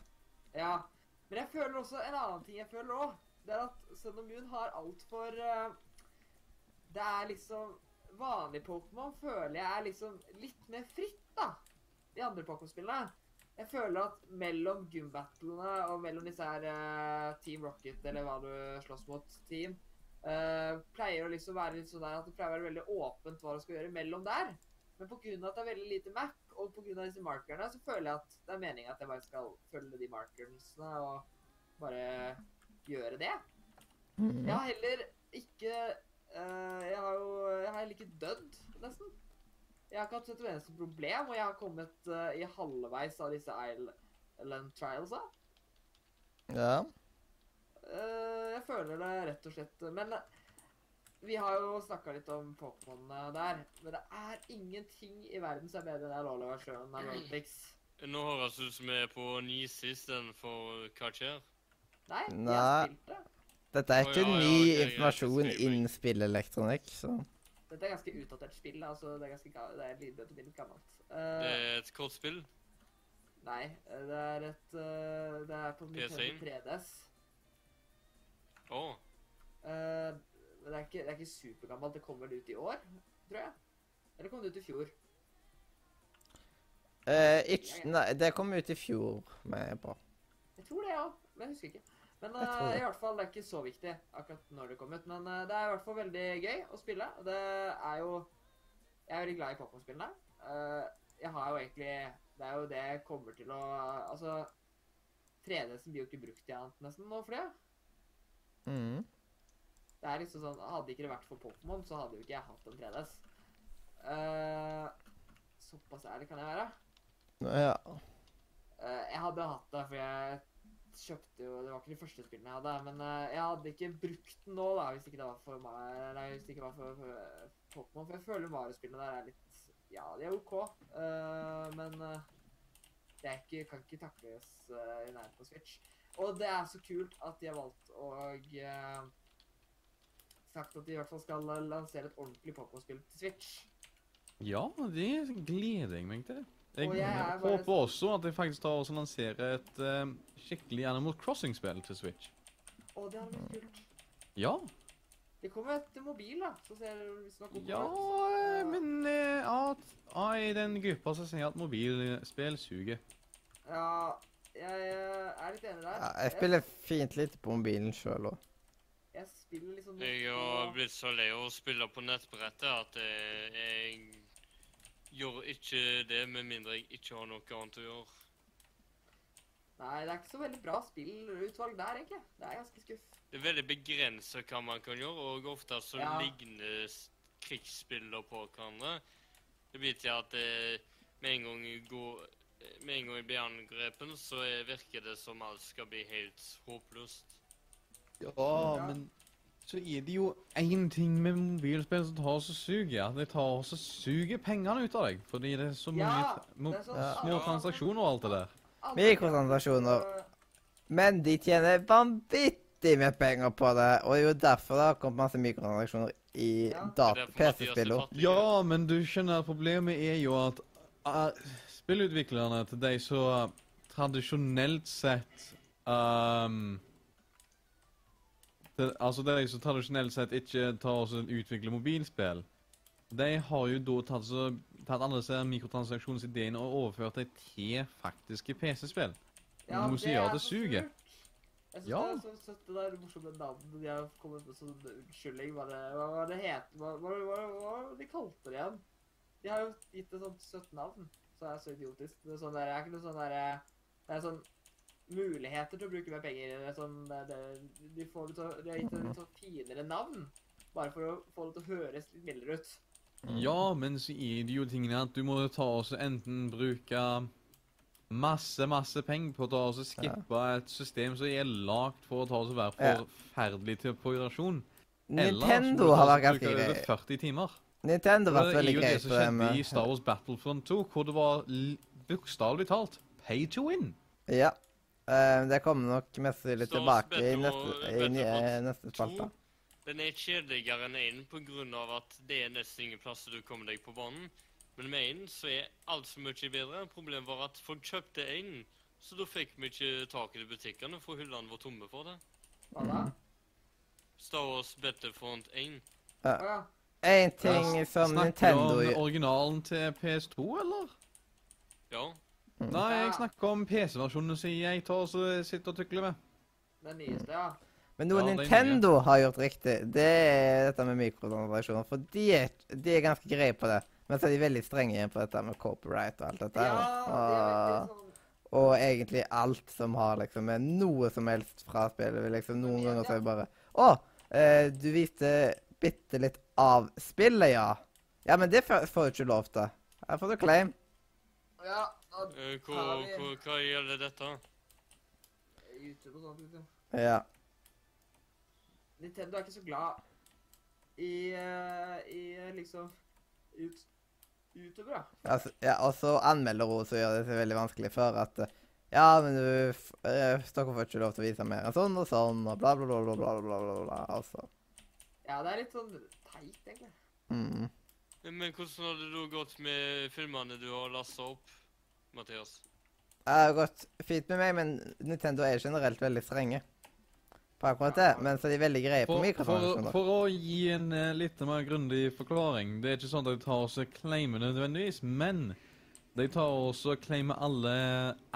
S3: Ja. Men jeg føler også en annen ting jeg føler òg. Det er at Sun og Moon har altfor uh, Det er liksom Vanlig Pokémon føler jeg er liksom litt mer fritt, da. De andre Pokémon-spillene. Jeg føler at mellom gym-battlene og mellom disse her eh, Team Rocket, eller hva du slåss mot, team, eh, pleier å liksom være litt sånn der at det pleier å være veldig åpent hva du skal gjøre mellom der. Men pga. at det er veldig lite map, og pga. disse markerne, så føler jeg at det er meningen at jeg bare skal følge de markerne og bare gjøre det. Jeg har heller ikke eh, Jeg har jo Jeg har heller ikke dødd, nesten. Jeg har ikke hatt et eneste problem, og jeg har kommet eh, i halvveis av disse Island Trialsa.
S1: Ja.
S3: Eh, jeg føler det rett og slett Men eh, vi har jo snakka litt om Pokémon eh, der. Men det er ingenting i verden som er bedre enn Alola Sjøen av Rolfix.
S4: Eh, Nå høres det ut som vi er på Nise istedenfor eh, Kacher.
S3: Nei, jeg
S1: Nei.
S3: har spilt det.
S1: Dette er
S4: Å,
S1: ikke
S4: ja, ja,
S1: ny
S4: ok, greit,
S1: informasjon
S4: jeg skriver.
S1: innen spillelektronikk, så
S3: Dette er ganske utdatert spill. da, Altså, det er ganske ga- det er litt gammelt. Eh,
S4: Det er et kortspill.
S3: Nei, eh, det er et eh, Det er på Nintendo
S4: PSN?
S3: 3DS.
S4: Å.
S3: Eh, men det er ikke, det er ikke supergammelt. Det kommer vel ut i år, tror jeg. Eller kom det ut i fjor?
S1: eh, ikke, Nei, det kom ut i fjor, men jeg bare
S3: Jeg tror det, ja. Men jeg husker ikke. Men
S1: Jeg tror
S3: eh,
S1: det.
S3: i hvert fall, det er ikke så viktig akkurat når det kom ut. Men eh, det er i hvert fall veldig gøy å spille. og Det er jo Jeg er veldig glad i Pokémon-spillene. Eh, jeg har jo egentlig Det er jo det jeg kommer til å Altså 3DS-en blir jo ikke brukt til annet nesten nå for det.
S1: mm.
S3: Det er liksom sånn, Hadde ikke det vært for Pokémon, så hadde jo ikke jeg hatt en 3DS. Eh, såpass ærlig kan jeg være.
S1: Ja.
S3: Eh, jeg hadde hatt det, for jeg kjøpte jo Det var ikke de første spillene jeg hadde, men eh, jeg hadde ikke brukt den nå, da, hvis ikke det var for meg, nei, hvis det ikke var for, for eh, Pokémon. For jeg føler Mario-spillene der er litt Ja, de er OK, eh, men eh, det er ikke, kan ikke takles eh, i nærheten på Switch. Og det er så kult at de har valgt å eh, Sagt at de i hvert fall skal eh, lansere et ordentlig Pokémon-spill til Switch.
S2: Ja, det gleder jeg meg til. Jeg,
S3: Og jeg er bare-
S2: håper også at jeg faktisk tar og så lanserer et eh, skikkelig Animal Crossing-spill til Switch.
S3: Og det hadde vært kult.
S2: Ja.
S3: Det kommer et mobil, da. Så ser du hvis det
S2: Ja, eh, men eh, at ah, i den gruppa som sier at mobilspill suger.
S3: Ja, jeg eh, er litt enig der.
S1: ja. Jeg spiller fint litt på mobilen sjøl òg.
S3: Jeg, jeg spiller liksom
S4: Jeg har blitt så lei av å spille på nettbrettet at eh, jeg gjør ikke det med mindre jeg ikke har noe annet å gjøre.
S3: Nei, det er ikke så veldig bra spillutvalg der, egentlig. Det er ganske skuff.
S4: Det er veldig begrenset hva man kan gjøre, og ofte så
S3: Ja.
S4: ligner s- krigsbilder på hverandre. Det blir til at eh, med, en gang jeg går, eh, med en gang jeg blir angrepen, så eh, virker det som alt skal bli helt håpløst.
S2: Ja, men så er det jo én ting med mobilspill som tar og så suger, at de tar og så suger pengene ut av deg. Fordi det er så mange
S3: Ja,
S2: t- mo-
S3: det er så-
S2: små transaksjoner og alt det der.
S3: Alle-
S1: Mikrotransaksjoner. Men de tjener vanvittig med penger på det, og det er jo derfor det har kommet masse mikrotransaksjoner i
S3: Ja.
S4: Det er
S1: data-
S4: derfor Mathias
S1: PC-spill
S4: er
S1: òg.
S4: fattig.
S2: Ja, men du skjønner at problemet er jo at eh, spillutviklerne til de som tradisjonelt sett ehm, det, Altså de som tradisjonelt sett ikke tar og så utvikler mobilspill, de har jo da tatt, så, tatt alle disse mikrotransaksjonsideene og overført dem til faktiske PC-spill.
S3: Ja,
S2: Nå
S3: det
S2: sier jeg
S3: er
S2: at det
S3: så
S2: suger.
S3: surt. Jeg syns
S2: Ja.
S3: det er så søtt det der morsomme navnet de har kommet med sånn unnskyldning. Hva det, hva, hva det heter hva, hva, hva, hva var det de kalte det igjen? De har jo gitt det sånt søtt navn. Så er det så idiotisk. Det er, sånn der, det er ikke noe sånn der, Det er sånn muligheter til å bruke mer penger. Det er sånn, det, det, de, får det til, å- de har gitt det et sånn finere navn. Bare for å få det til å høres litt mildere ut.
S2: Ja, men så er det jo tingene at du må jo ta og så enten bruke masse, masse penger på å ta og så skippe et system som er lagd for å ta og så være
S1: Ja.
S2: forferdelig til progresjon.
S1: Nintendo har vært ganske
S2: grei.
S1: grei.
S2: 40 timer.
S1: Nintendo har vært
S2: Det er
S1: veldig
S2: jo
S1: grei
S2: det som
S1: på det
S2: skjedde i Star
S1: med
S2: Wars Battlefront 2, hvor det var l- bokstavelig talt pay to win.
S1: Ja. Eh, det kommer nok mest sannsynlig
S4: Star Wars
S1: tilbake i
S4: Battle-
S1: neste, i,
S4: Battlefront
S1: nye- neste spalte.
S4: To, den er kjedeligere enn én pga. at det er nesten ingen plass du kommer deg på banen. Men med én så er alt så mye bedre. Problemet var at folk kjøpte én, Så da fikk vi ikke tak i de butikkene, for hyllene var tomme for det.
S3: Hva da?
S4: Star Wars Battlefront 1.
S3: Å ja.
S1: En ting
S2: Ja,
S1: som Nintendo
S2: Snakker du om
S1: gjør
S2: originalen til PS2, eller?
S4: Ja.
S1: Mm.
S2: Nei, jeg
S3: Ja.
S2: snakker om PC-versjonen som jeg tar og så sitter og tukler med.
S3: Den nyeste, ja.
S1: Men noe
S2: Ja, det er
S1: Nintendo har gjort riktig, det er dette med mikrotransaksjoner. For de er, de er ganske greie på det. Men så er de veldig strenge igjen på dette med copyright og alt
S3: Ja,
S1: dette. her.
S3: det er veldig sånn
S1: og, og egentlig alt som har liksom med noe som helst fra spillet. liksom Noen
S3: Ja,
S1: ganger så
S3: ja.
S1: er det bare Å, eh, du viste bitte litt av spillet, ja. Ja, men det får får du ikke lov til. Her får du claim.
S3: Ja, ja,
S4: Eh, Hva,
S3: Ja, vi-
S4: hva, hva gjelder dette?
S3: YouTube og sånt, vet du.
S1: Ja.
S3: Nintendo er ikke så glad i, eh, i eh, liksom ut, Utover, da.
S1: Altså, ja, og så anmelder hun, så gjør det seg veldig vanskelig for at eh, Ja, men du f- eh, Dere får ikke lov til å vise mer enn sånn og sånn, og bla, bla, bla, bla, bla, bla, bla, bla altså.
S3: Ja, det er litt sånn teit, egentlig.
S1: Mm.
S4: Men hvordan har det da gått med filmene du har lasta opp, Mathias?
S1: Det har gått fint med meg, men Nintendo er generelt veldig strenge på akkurat det. Men så er de veldig greie på
S2: For, for,
S1: mikrofoner.
S2: for å gi en eh, litt mer grundig forklaring Det er ikke sånn at de tar også claimer nødvendigvis, men de tar også claimer alle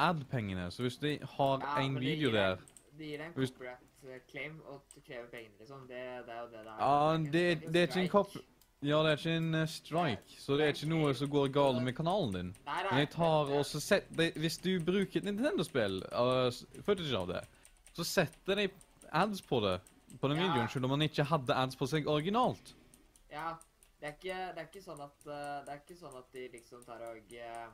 S2: ad-pengene. Så hvis de har
S3: Ja,
S2: Sånn en
S3: men det
S2: video
S3: gir
S2: der
S3: deg- Det gir deg en
S2: Hvis-
S3: corporate claim og t- krever penger, liksom. Det, det er jo det det er.
S2: Ja,
S3: en-
S2: det,
S3: en
S2: det er ikke en
S3: strike.
S2: kopp... Ja, det er ikke en eh, strike, så det er ikke noe som går galt med kanalen din.
S3: Nei, nei,
S2: Men jeg tar
S3: det-
S2: også set, de, Hvis du bruker et Nintendo-spill, uh, s- footage av det, så setter de ads på det. På den
S3: Ja.
S2: videoen, selv om man ikke hadde ads på seg originalt.
S3: Ja. Det er ikke, det er ikke sånn at eh, Det er ikke sånn at de liksom tar og eh,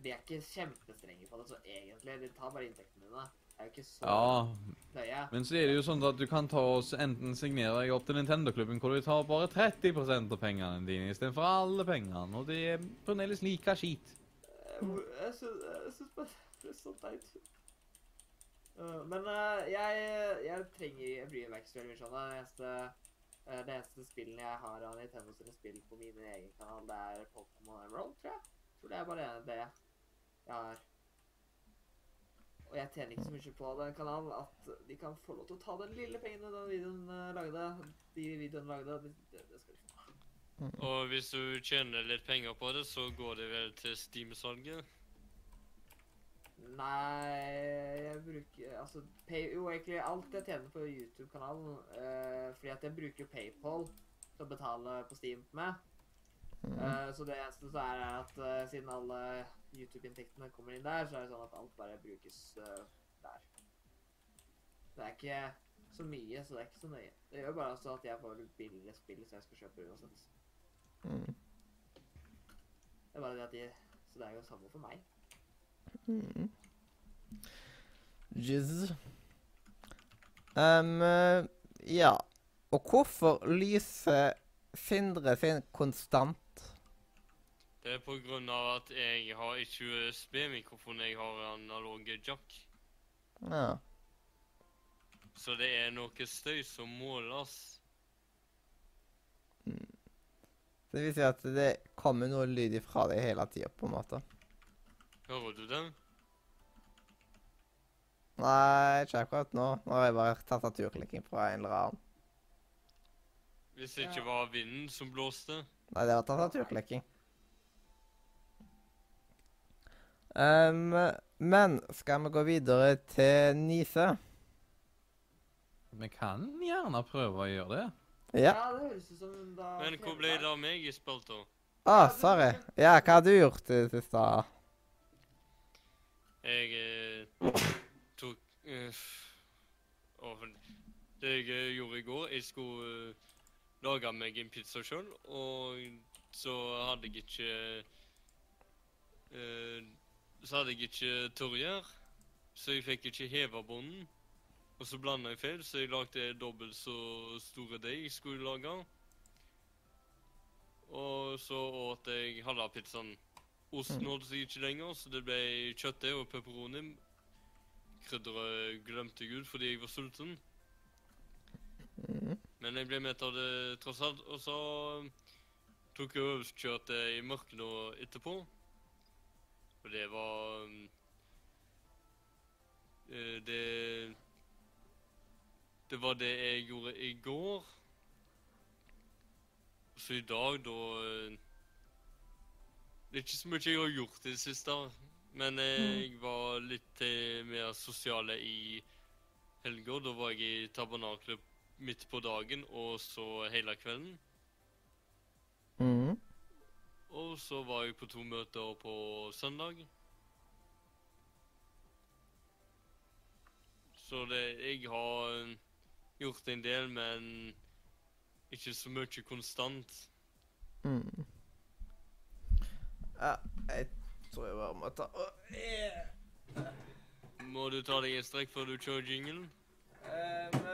S3: De er ikke kjempestrenge på det, så egentlig. De tar bare inntektene dine. Det er jo ikke så
S2: Ja,
S3: nøye.
S2: men så er det jo sånn at du kan ta og s- enten signere deg opp til Nintendo-klubben, hvor du tar bare 30 av pengene dine istedenfor alle pengene, og det er fremdeles like skit.
S3: Eh, hvor- Jeg syns, jeg syns bare det er så teit. Eh, Men eh, jeg, jeg trenger Jeg bryr meg ikke så veldig mye om det. Det eneste, eh, det eneste spillene jeg har av Nintendo sine spill på min egen kanal, det er Pokémon Emerald, tror jeg. Jeg tror det er bare det jeg har. Og jeg tjener ikke så mye på den kanalen at de kan få lov til å ta den lille pengene den videoen eh, lagde. De videoen lagde, de, det, det skal de få.
S4: Og hvis du tjener litt penger på det, så går det vel til Steam-salget?
S3: Nei, jeg bruker Altså, pay, jo, egentlig alt jeg tjener på YouTube-kanalen eh, Fordi at jeg bruker PayPal til å betale på Steam med. Eh, så det eneste så er at eh, siden alle YouTube-inntektene kommer inn der, så er det sånn at alt bare brukes eh, der. Det er ikke så mye, så det er ikke så nøye. Det gjør bare altså at jeg får billigere spill som jeg skal kjøpe uansett.
S1: Mm.
S3: Det er bare det at de Så det er jo samme for meg.
S1: Jizz. Um, eh, ja. Og hvorfor lyser Sindre sin konstant?
S4: Det er på grunn av at jeg har ikke USB-mikrofon, jeg har analoge jack.
S1: Ja.
S4: Så det er noe støy som måles.
S1: Så Det viser jo at det kommer noe lyd ifra deg hele tida, på en måte.
S4: Hører du det?
S1: Nei, ikke akkurat nå. Nå har jeg bare tastaturklikking fra en eller annen.
S4: Hvis det
S3: Ja.
S4: ikke var vinden som blåste.
S1: Nei, det var tastaturklikking. Um, men skal vi gå videre til Nise?
S2: Vi kan gjerne prøve å gjøre det.
S1: Ja.
S3: det høres ut som da
S4: Men hvor ble det av meg i spalta?
S1: Å, Ah, sorry. Ja, hva har du gjort i det siste?
S4: Jeg eh, tok eh, å, for- Det jeg eh, gjorde i går Jeg skulle eh, lage meg en pizza sjøl, og så hadde jeg ikke eh, Så hadde jeg ikke tørrgjær, så jeg fikk ikke heva bånden. Og så blanda jeg feil, så jeg lagde dobbelt så store deig jeg skulle lage. Og så åt jeg halve pizzaen. Osten holdt seg ikke lenger, så det ble kjøttdeig og pepperoni. Krydderet glemte jeg ut fordi jeg var sulten. Men jeg ble mett av det tross alt, og så um, tok jeg øvelseskjøttet i mørket nå etterpå. Og det var mm, um, eh, det Det var det jeg gjorde i går. Så i dag, da eh, Det er ikke så mye jeg har gjort i det siste, men eh, jeg var litt eh, mer sosiale i helga. Da var jeg i tabernaklet midt på dagen og så hele kvelden.
S1: Mm.
S4: Og så var jeg på to møter på søndag. Så det, jeg har eh, gjort en del, men ikke så mye konstant.
S1: Mm. Ja, jeg tror jeg bare må ta Å, eh,
S4: Må du ta deg en strekk før du kjører jinglen?
S1: ehm,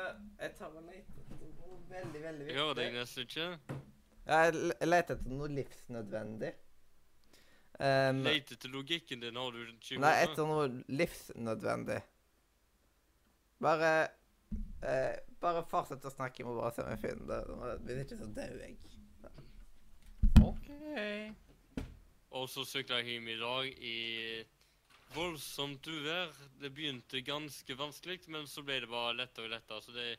S1: Jeg tar og leter etter noe veldig, veldig
S4: Jeg hører deg
S1: viktig.
S4: nesten ikke.
S1: Ja, jeg le- jeg leter etter noe livsnødvendig. Ehm,
S4: Lete etter logikken din, har du den ikke i
S1: nei,
S4: hodet?
S1: etter noe livsnødvendig. Bare eh, Bare fortsett å snakke, jeg må bare se om jeg finner det. Hvis ikke, så dauer jeg.
S5: OK.
S4: Og så sykla jeg hjem i dag i voldsomt uvær. Det begynte ganske vanskelig, men så ble det bare lettere og lettere. Så det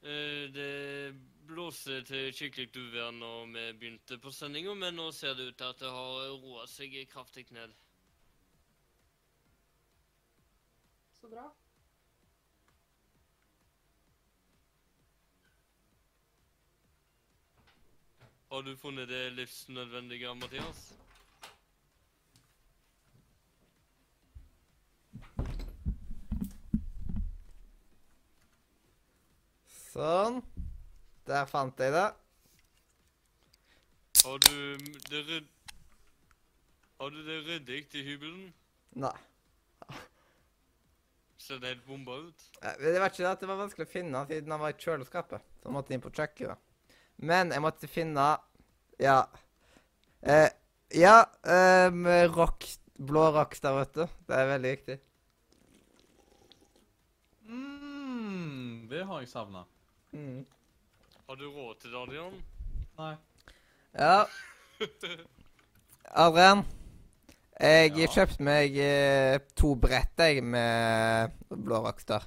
S4: Eh, Det blåste til skikkelig uvær når vi begynte på sendinga, men nå ser det ut til at det har roa seg kraftig ned.
S3: Så bra.
S4: Har du funnet det livsnødvendige, Mathias?
S1: Sånn. Der fant jeg det.
S4: Har du m- det rydd... Har du det ryddig i hybelen?
S1: Nei.
S4: Ser det helt bomba ut?
S1: Eh, Det var ikke det at det var vanskelig å finne han siden han var i kjøleskapet. Så han måtte inn på kjøkkenet. Men jeg måtte finne Ja. Eh, ja, eh, med rock, blå Rockstar, vet du. Det er veldig viktig.
S2: Mm, det har jeg savna.
S1: Mm.
S4: Har du råd til det, Adrian?
S2: Nei.
S1: Ja. Adrian. Jeg
S2: Ja.
S1: kjøpte meg eh, to brett, jeg, med blå Rockstar.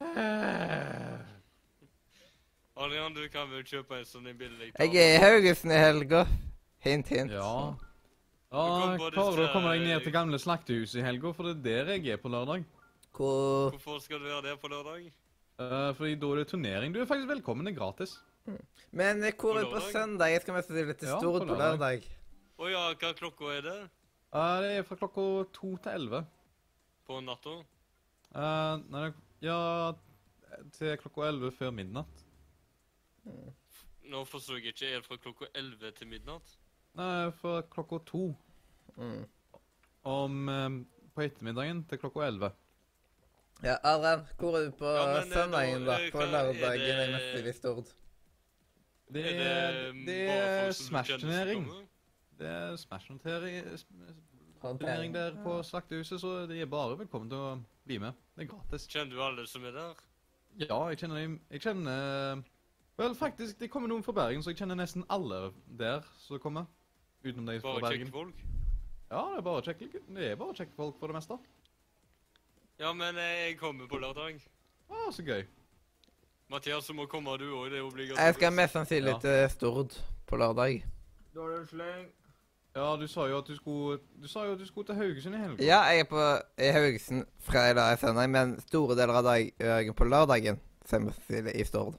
S3: Eh.
S4: Adrian, du kan vel kjøpe en sånn en billig
S1: Jeg er i Haugesund i helga. Hint, hint.
S2: Ja.
S4: kom
S2: Ja,
S4: på
S2: Klarer du å
S4: disse-
S2: komme deg ned til gamle slaktehuset i helga? For det er der jeg er på lørdag.
S1: Hvor
S4: Hvorfor skal du være der på lørdag?
S2: Uh, fordi da er det turnering. Du er faktisk velkommen. Det er gratis.
S1: Men eh, hvor
S4: På
S1: er det på
S4: lørdag?
S1: søndag? Jeg skal mest sannsynlig til
S2: Ja, på
S1: Stord på
S2: lørdag.
S1: lørdag.
S4: Å ja, hva klokka er det?
S2: Eh, det er fra klokka to til elleve.
S4: På natta?
S2: Eh, nei, ja Til klokka elleve før midnatt.
S4: Nå forstår jeg ikke. Er det fra klokka 11 til midnatt?
S2: Nei, fra klokka to
S1: Mm.
S2: om eh, på ettermiddagen til klokka elleve.
S1: Ja, Adrian, hvor er du på
S4: Ja, men, eh,
S1: søndagen,
S4: da,
S1: da?
S4: eh,
S1: På
S4: hva er
S1: lørdagen
S4: det-
S1: er mest i Stord.
S2: Det um,
S4: Er mm,
S2: er, det
S4: bare
S2: er
S4: folk som du kjenner som
S2: Smash-turnering.
S4: kommer?
S2: Det er Smash-turnering
S1: Håndtering.
S2: der på Slaktehuset, så de er bare velkommen til å bli med. Det er gratis.
S4: Kjenner du alle som er der?
S2: Ja, jeg kjenner dem Jeg kjenner eh, Vel, faktisk, det kommer noen fra Bergen, så jeg kjenner nesten alle der som kommer. Utenom de fra
S4: Bare
S2: Bergen.
S4: kjekke folk?
S2: Ja, det er bare kjekke Det er bare kjekke folk for det meste.
S4: Ja, men eh, jeg kommer på lørdag.
S2: Å, så gøy.
S4: Mathias, du må komme du òg. Det er obligatorisk.
S1: Jeg skal mest sannsynlig
S2: Ja.
S1: til Stord på lørdag.
S3: Dårlig sleng.
S2: Ja, du sa jo at du skulle Du sa jo at du skulle til Haugesund i helga.
S1: Ja, jeg er på i Haugesund fredag, lørdag, søndag, men store deler av dagen på lørdagen så jeg mest sannsynlig i Stord.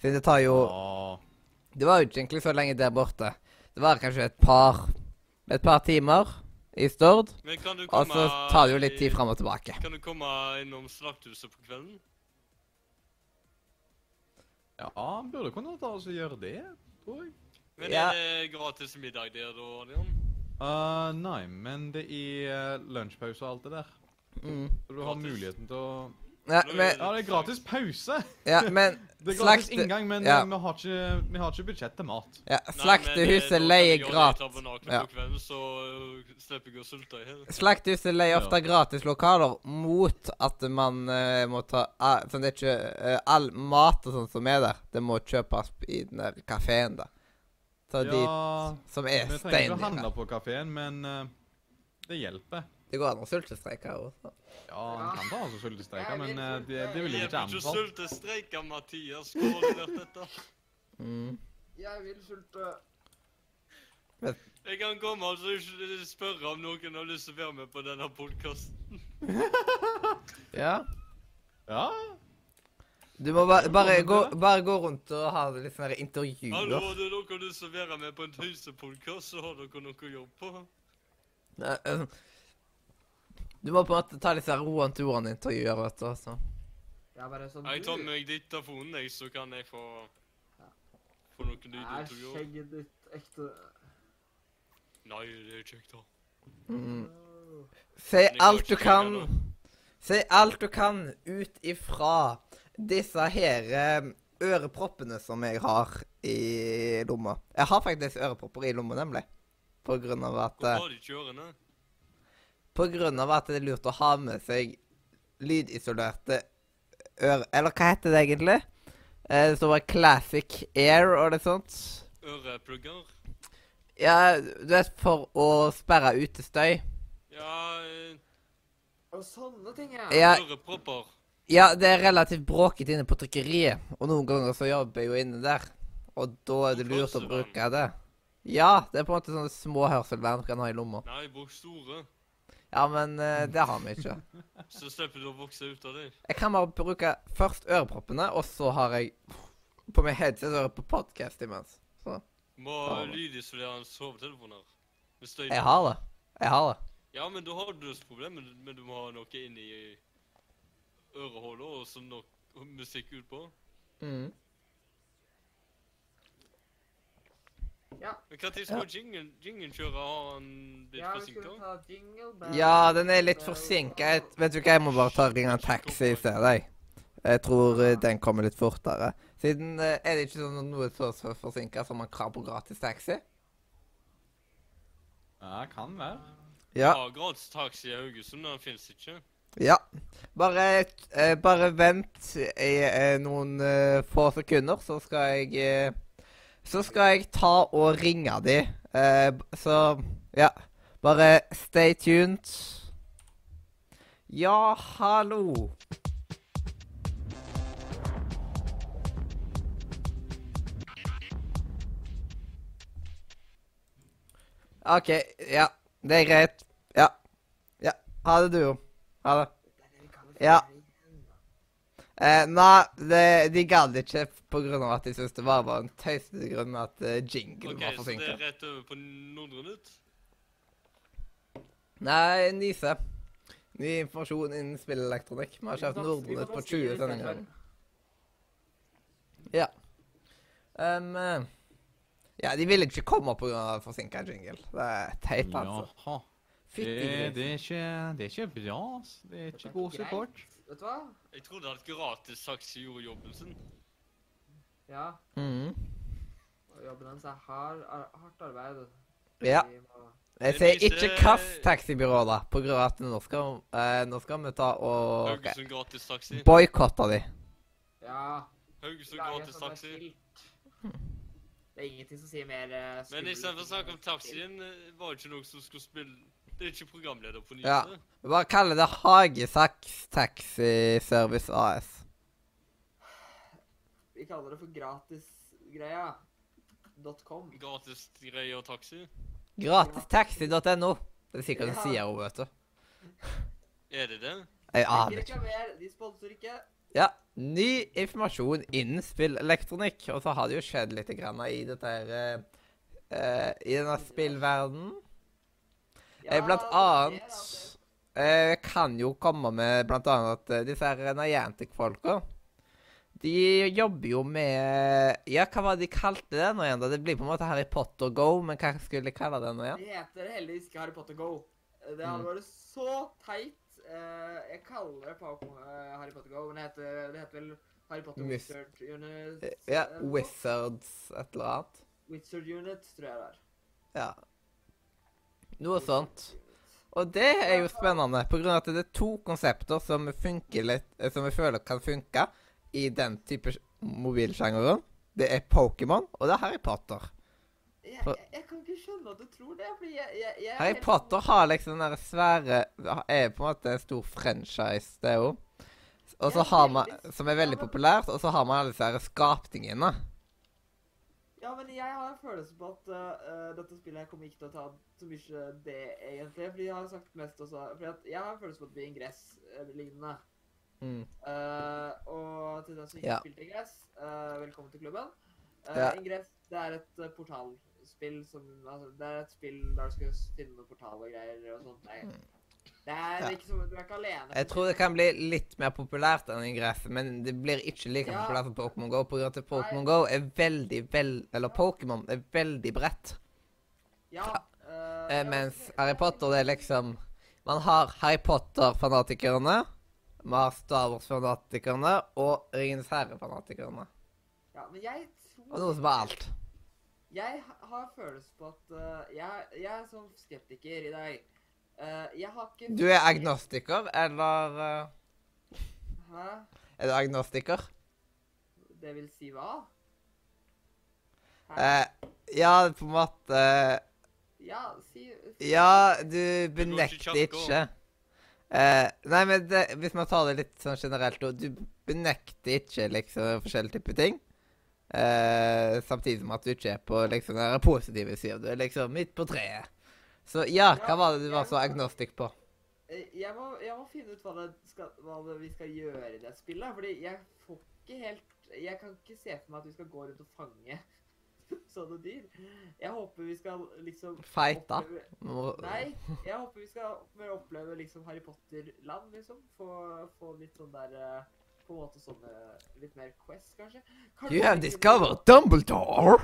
S1: Siden det tar jo
S2: Ja.
S1: Det var jo ikke egentlig så lenge der borte. Det var kanskje et par Et par timer i Stord,
S4: Men kan du komme
S1: og så tar det jo litt tid fram og tilbake.
S4: Kan du komme innom Slakthuset på kvelden?
S2: ja, han burde kunne ta oss og gjøre det, tror jeg.
S4: Men
S1: Ja.
S4: er det gratis middag der da, Adrian?
S2: Eh, nei, men det er eh, lunsjpause og alt det der.
S1: Mm.
S2: Så du har
S4: Gratis.
S2: muligheten til å
S1: Ja,
S4: Nå er
S1: men,
S2: Ja, det er gratis pause!
S1: ja, men
S2: Det er gratis
S1: Slakte-
S2: inngang, men
S1: ja.
S2: eh, vi, har ikke, vi har ikke budsjett til mat.
S1: ja,
S4: Nei,
S1: Slaktehuset
S4: men, eh,
S1: leier
S4: da kan vi gjøre det i
S1: gratis.
S4: tabernaklet
S1: Ja.
S4: På kvelden, så øh, slipper jeg å sulte i hjel.
S1: Slakthuset leier ofte gratis lokaler mot at man eh, må ta ah, Sånn det er ikke eh, All mat og sånt som er der, det må kjøpes i den der kafeen, da. Så
S2: Ja,
S1: de som er
S2: vi trenger ikke å handle
S1: steindyre.
S2: på kafeen, men eh, det hjelper.
S1: Det går an å sultestreike her også.
S2: Ja, han kan ta oss og sultestreike,
S3: Jeg
S2: men
S3: vil
S2: eh, det, det vil jeg
S4: Jeg
S2: ikke
S4: burde
S2: anbefale.
S4: sultestreika, Mathias. Hvor har du hørt dette?
S1: Mm.
S3: Jeg vil eh, sulte.
S4: Jeg kan komme og altså, spørre om noen har lyst til å være med på denne podkasten.
S1: Ja.
S2: Ja,
S1: Du må ba bare, gå, bare gå rundt og ha litt sånne
S4: Hallo,
S1: intervjuer.
S4: har du noen lyst til å være med på en tøysepodkast, så har dere noe å jobbe på.
S1: Nei, eh, Du må på en måte ta litt sånn roan-to-roan-intervjuer, vet du. Så.
S3: Jeg bare sånn
S4: Jeg tar
S3: du-
S4: med meg diktafonen, jeg, så kan jeg få Få noen
S3: Er
S4: lydintervjuer.
S3: skjegget ditt ekte
S4: Nei, det er kjekt, da.
S1: Mm.
S3: Åh.
S1: Si
S4: går
S1: alt du
S4: ikke lenger
S1: kan. Si alt du kan ut ifra disse her eh, øreproppene som jeg har i lomma. Jeg har faktisk ørepropper i lomma, nemlig. På grunn av at eh,
S4: Hvorfor har de ikke ørene?
S1: På grunn av at det er lurt å ha med seg lydisolerte øre... Eller hva heter det egentlig? Eh, Det står bare Classic Air og det sånt.
S4: Øreplugger?
S1: Ja, du vet, for å sperre ute støy.
S4: Ja, eh,
S3: Og sånne ting, ja.
S1: Ja,
S4: ørepropper.
S1: ja, det er relativt bråkete inne på trykkeriet, og noen ganger så jobber jeg jo inne der. Og da er det lurt å bruke det. Ja, det er på en måte sånne små hørselvern du kan ha i lomma.
S4: Nei, bruk store.
S1: Ja, men eh, det har vi ikke.
S4: Så slipper du å vokse ut av dem.
S1: Jeg kan bare bruke først øreproppene, og så har jeg på meg headset og hører på podkast imens. Så
S4: Må
S1: Ja.
S4: lydisolere sovetelefoner. Med støy.
S1: jeg har det. Jeg har det.
S4: Ja, men da har du et problem, men, men du må ha noe inni ørehullet og som nok musikk ut på.
S1: Mm.
S4: Men når skulle jingen, jingen kjøre? Har han blitt
S3: Ja, vi skulle
S4: forsinka?
S3: ta jingle bells.
S1: Ja, den er litt forsinka. Jeg- Vet du hva, jeg må bare ta og ringe en taxi i stedet. jeg. Jeg tror eh, den kommer litt fortere. Siden eh, er det ikke sånn noe så så forsinka som man krav på gratis taxi?
S2: ja kan være.
S1: Ja.
S4: Ja, gratis taxi i Haugesund, den fins ikke.
S1: ja. Bare, eh, bare vent i eh, noen eh, få sekunder, så skal jeg eh, Så skal jeg ta og ringe de. Eh, b- så ja. Bare stay tuned. Ja, hallo. OK. Ja. Det er greit. Ja. Ja. Ha det, du. Ha det.
S3: Det er det vi kaller
S1: Ja.
S3: fjerning.
S1: Eh, nei, det, de gadd ikke på grunn av at de syntes det bare var en tøysete grunn at eh, jingle
S4: Ok,
S1: var
S4: Så det
S1: forsinka.
S4: er rett over på Nordre Nytt?
S1: Nei, Nise. Ny informasjon innen spillelektronikk. Vi har ikke hatt
S3: Vi kan- vi kan
S1: Nordnytt på
S3: bare si
S1: 20
S3: det
S1: sendinger.
S3: istedenfor.
S1: Ja. Um, eh, ja, de ville ikke komme pga. forsinka jingle. Det er teit, altså.
S2: Jaha. Det,
S1: Fytti
S2: Eh, det,
S1: grisen.
S2: er ikke, det er ikke bra, ass. Det er
S3: Det
S2: ikke
S3: er
S2: god
S3: ikke greit.
S2: support.
S3: Vet du hva?
S4: Jeg trodde at gratis taxi gjorde jobben sin.
S3: Ja.
S1: Mhm.
S3: og Jobben hans er hard, ar hardt arbeid.
S1: Ja.
S3: Vi må-
S1: Jeg
S4: Det
S1: sier
S4: viser-
S1: ikke kast taxibyrået, da, på grunn av at nå skal, eh, nå skal vi ta og okay.
S4: Haugesund gratis taxi.
S1: boikotte de.
S3: Ja.
S4: Haugesund
S3: lage
S4: gratis
S3: sånne
S4: taxi.
S3: skilt. Det er ingenting som sier mer eh,
S4: Men
S3: skummelt
S4: istedenfor å
S3: enn
S4: snakke om
S3: skilt.
S4: taxien, eh, var det ikke noen som skulle spille Det er ikke programleder på
S1: Ja.
S4: nyhetene.
S1: Vi bare kaller det Hagesaks Taxi Service AS.
S3: Vi kaller det for gratisgreia. .com.
S4: Gratis greie og taxi.
S1: Gratistaxi.no. Det er sikkert det
S3: Ja.
S1: sier hun, vet du.
S4: Er det det?
S1: Jeg
S3: Ikke
S1: aner ikke.
S3: reklamer, de sponser ikke.
S1: Ja. Ny informasjon innen spillelektronikk. Og så har det jo skjedd litt grann i dette her eh, eh, I denne spillverdenen. Eh, blant
S3: Ja, det er
S1: annet
S3: alt det.
S1: eh, kan jo komme med blant annet at eh, disse her Niantic-folka De jobber jo med Ja, hva var det de kalte det nå igjen? da? Det blir på en måte Harry Potter Go, men hva skulle de kalle det nå igjen?
S3: Det heter heldigvis ikke Harry Potter Go. Eh, Det hadde
S1: Mm.
S3: vært så teit. Eh, jeg kaller det Pokémon eh, Harry Potter Go, men det heter, det heter vel Harry Potter
S1: Mis-
S3: Wizard Unit.
S1: Eh, Ja,
S3: eller noe sånt.
S1: Wizards et eller annet.
S3: Wizard Unit, tror jeg det er.
S1: Ja. Noe sånt. Og det er jo spennende, på grunn av at det er to konsepter som funker litt, eh, som jeg føler kan funke i den type sj- mobilsjangeren. Det er Pokémon, og det er Harry Potter.
S3: Jeg,
S1: Pro-
S3: jeg, jeg kan ikke skjønne at du tror det. fordi jeg, jeg, jeg er
S1: Harry
S3: helt-
S1: Potter har liksom den der svære Er på en måte en stor franchise, det òg. Og så
S3: Ja,
S1: har man,
S3: veldig.
S1: som er veldig populært, og så har man alle disse her skapningene.
S3: Ja, men jeg har en følelse på at eh, dette spillet her kommer ikke til å ta så mye det, egentlig. Fordi jeg har sagt mest også Fordi at jeg har en eh, følelse på at det blir ingress-lignende.
S1: Mm.
S3: Eh, og til den som ikke
S1: Ja.
S3: har spilt Ingress, eh, velkommen til klubben. Eh,
S1: Ja.
S3: Ingress det er et eh, portalspill som altså, Det er et spill der du skal finne noen portal og greier og sånt. Nei. Det er
S1: Mm. Ja.
S3: ikke som, du er ikke alene.
S1: Jeg tror det kan bli litt mer populært enn Ingress, men det blir ikke like
S3: Ja.
S1: populært som Pokémon GO pga. at Pokémon GO er veldig vel... Eller Pokémon er veldig bredt.
S3: ja, eh,
S1: Eh,
S3: ja,
S1: mens
S3: det-
S1: Harry Potter, det er liksom Man har Harry Potter-fanatikerne, man har Star Wars-fanatikerne og Ringenes herre-fanatikerne.
S3: ja, men jeg tror
S1: Og noe som er alt.
S3: Jeg ha- har følelse på at eh, jeg, jeg er sånn skeptiker i dag. Eh, jeg har ikke
S1: Du er agnostiker, eller eh,
S3: Hæ?
S1: Er du agnostiker?
S3: Det vil si hva? Hæ?
S1: Eh, ja, på en måte eh,
S3: ja, si
S1: Ja, du
S4: går
S1: benekter
S4: ikke kjapt
S1: ikke. Eh, nei, men det, hvis man tar det litt sånn generelt, og du benekter ikke liksom forskjellige typer ting. Eh, samtidig som at du ikke er på liksom den der positive sida. Du er liksom midt på treet. Så ja, hva
S3: Ja,
S1: var det du var
S3: jeg-
S1: så agnostisk på?
S3: Eh, jeg må, jeg må finne ut hva, det skal, hva det vi skal gjøre i det spillet. Fordi jeg får ikke helt Jeg kan ikke se for meg at vi skal gå rundt og fange [LAUGHS] sånne dyr. Jeg håper vi skal liksom
S1: Fighta?
S3: oppleve-
S1: Må-
S3: Nei, jeg håper vi skal mer oppleve liksom Harry Potter-land, liksom. Få, få litt sånn der eh, På en måte sånne litt mer Quest, kanskje. Kanskje
S1: You have
S3: vi kunne-
S1: discovered Dumbledore!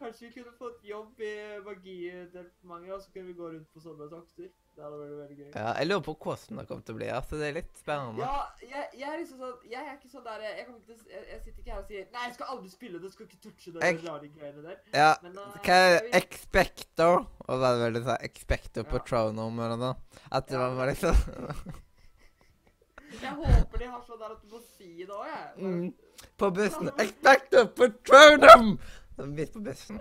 S3: Kanskje vi kunne fått jobb i magidepartementet, og så kunne vi gå rundt på sånne tokter. Det hadde vært veldig gøy.
S1: Ja, jeg lurer på hvordan det kommer til å bli. Altså, det er litt spennende.
S3: Ja, jeg, jeg er liksom sånn Jeg er ikke sånn der Jeg, kommer ikke til, jeg, jeg sitter ikke her og sier Nei, jeg skal aldri spille det, skal ikke touche det,
S1: Jeg-
S3: de rare greiene der.
S1: Ja,
S3: Men eh,
S1: Hva er
S3: jeg vil-
S1: Expector? Og hva er det sånn vel du sa? Expector
S3: Ja.
S1: Patronum eller noe? At det
S3: Ja,
S1: var
S3: men-
S1: bare liksom
S3: jeg håper de har sånn der at du må si det òg, jeg.
S1: Mm. På bussen. Expector Patronum! Midt på bussen.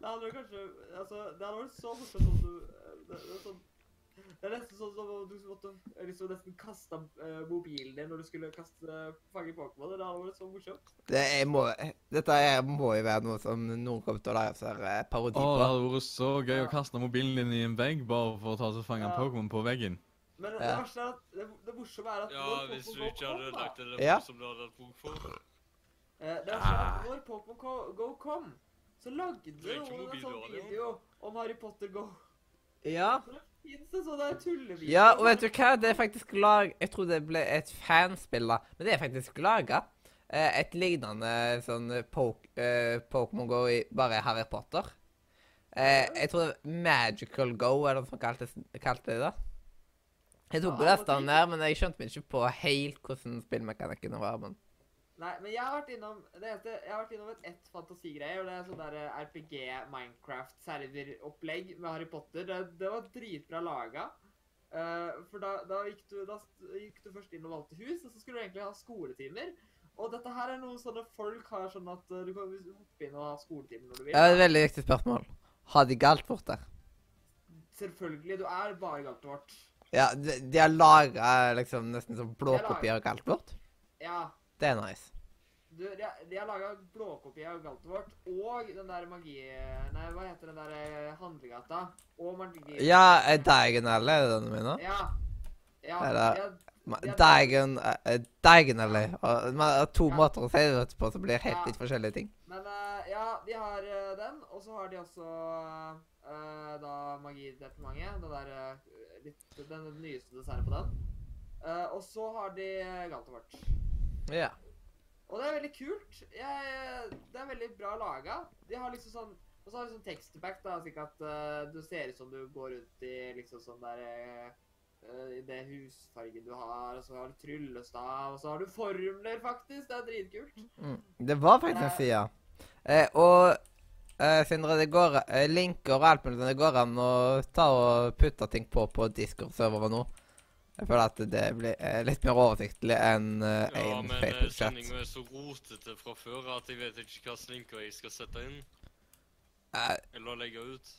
S3: Det hadde jo kanskje Altså, det hadde vært så morsomt om du eh, det, det, er sånn, det er nesten sånn som om du måtte eh, liksom nesten kaste eh, mobilen din når du skulle kaste eh, fange Pokémon. Det hadde vært så morsomt.
S1: Det er, må, dette er, må jo være noe som noen kommer til å lage seg eh, parodi
S2: Å, det
S1: på.
S2: hadde vært så gøy å kaste mobilen din i en vegg bare for å ta seg fange en
S3: Ja.
S2: Pokémon på veggen.
S3: Men det
S1: Ja.
S3: verste er at det, det morsomme er at
S4: Ja,
S3: når
S4: hvis du
S3: Pokémon
S4: ikke
S3: Go
S4: hadde
S3: kom, da,
S4: lagt det der
S1: Ja.
S4: bort som du hadde hatt bruk
S1: [LAUGHS]
S4: for.
S3: eh, Det verste er at når Pokémon Go- Go kom, så lagde
S4: Det er ikke
S3: noen en sånn
S4: mobilradio.
S3: video om Harry Potter Go. [LAUGHS]
S1: Ja.
S3: Fins det sånne tullevideoer?
S1: ja, og vet du hva? Det er faktisk lag... Jeg tror det ble et fanspill, da. Men det er faktisk laga. eh, Et lignende sånn Pok- eh, Pokémon Go i bare Harry Potter. Eh, jeg tror det var Magical Go eller noe som kalte, kalte det det. Jeg tok
S3: Ja,
S1: på lestene
S3: det-
S1: der, men jeg skjønte meg ikke på helt hvordan spillmekanikken var. men...
S3: Nei, men jeg har vært innom det eneste, jeg har vært innom et ett fantasigreie, og det er sånn der eh, RPG, Minecraft-serveropplegg med Harry Potter. Det, det var dritbra laga. Eh, for da, da, gikk du, da s- gikk du først inn og valgte hus, og så skulle du egentlig ha skoletimer. Og dette her er noe sånne folk har sånn at eh, du kan hoppe inn og ha skoletimer når du vil.
S1: Ja, det er et veldig viktig spørsmål. Har de galt bort der?
S3: Selvfølgelig, du er bare galt vårt.
S1: Ja, de, de har laga liksom nesten sånn blåkopi av galt bort.
S3: Ja,
S1: Det er nice.
S3: Du, de, har- de har laga blåkopi av Galtvort og den der magi... Nei, hva heter den der eh, handlegata? Og magi...
S1: Ja, eh, Diagonally er det den du mener?
S3: Ja. Ja,
S1: Er
S3: ja,
S1: det- Ma- Diagon... eh, Diagonally. Og Man har to
S3: Ja.
S1: måter å si det på som blir helt
S3: Ja.
S1: vidt forskjellige ting.
S3: men eh, ja, de har eh, den, og så har de også eh, da Magidepartementet. Den der eh, litt, den nyeste desserten på den. Eh, og så har de Galtvort.
S1: Ja.
S3: Og det er veldig kult. Jeg, det er veldig bra laga. De har liksom sånn Og så har de sånn tekstback, da, slik at eh, du ser ut som du går rundt i liksom sånn der eh, eh, I det husfargen du har, og så har du tryllestav, og så har du formler, faktisk. Det er dritkult.
S1: Mm. Det var faktisk en side. Eh, og eh, Sindre, det går eh, linker og alt mulig sånn, Det går an å ta og putte ting på på Discord-serveren nå. Jeg føler at det blir eh, litt mer oversiktlig enn eh,
S4: Ja,
S1: en
S4: men eh,
S1: Facebook-chat.
S4: sendingen er så rotete fra før at jeg vet ikke hva slinker jeg skal sette inn.
S1: Nei.
S4: Eller legge ut.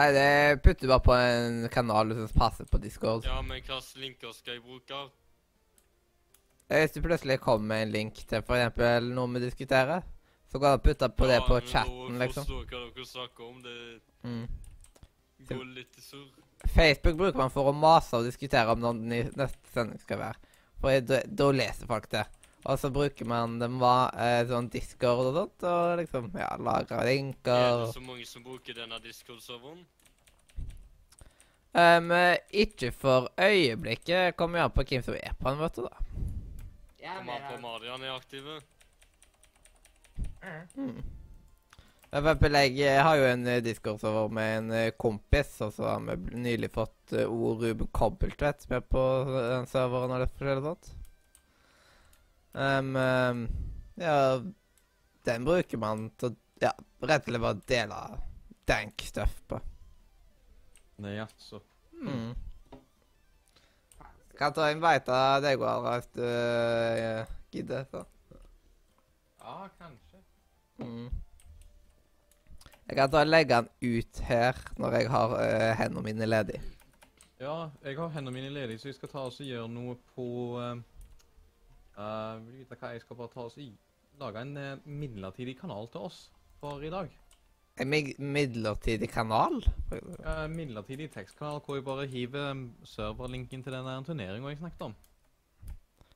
S1: Nei, det putter du bare på en kanal du syns passer på Discord.
S4: Ja, men hva slags linker skal jeg bruke?
S1: Eh, Hvis du plutselig kommer med en link til for eksempel noe vi diskuterer, så går det an å putte på det på chatten, liksom.
S4: Forstå hva dere snakker om. Det
S1: Mm.
S4: går litt i surr.
S1: Facebook bruker man for å mase og diskutere om når den i- neste sending skal være. For da- da leser folk det. Og så bruker man dem hva, eh, sånn Discord og sånt, og liksom ja, lagrer
S4: Er det
S1: linker.
S4: så mange som bruker denne Discord-serveren?
S1: Um, eh, ikke for øyeblikket. Kommer jo an på hvem som er på den, vet du, da.
S3: Jeg er
S4: Kommer
S3: mer
S4: an på
S3: av
S4: Marian er aktive.
S1: Mm. For eksempel, jeg eh, har jo en eh, Discord-server med en eh, kompis, og så har vi bl- nylig fått eh, O. Ruben Kobbeltvedt med på eh, den serveren og litt forskjellig sånt. Ehm, ehm, ja, den bruker man til å ja, rett og slett bare dele dank stuff på.
S2: Nei, ja, så.
S1: Mm. Kan ta en bite av deg, Alra, hvis du eh, gidder. sånn.
S2: Ja, kanskje.
S1: Mm. Jeg kan ta og legge den ut her når jeg har eh, hendene mine ledig.
S2: Ja, jeg har hendene mine ledige, så jeg skal ta oss og gjøre noe på eh, eh, Vil du vite hva jeg skal bare ta oss i? Lage en eh, midlertidig kanal til oss for i dag.
S1: En mig- midlertidig kanal.
S2: Eh, midlertidig tekstkanal hvor jeg bare hiver eh, serverlinken til den der turneringa jeg snakket om.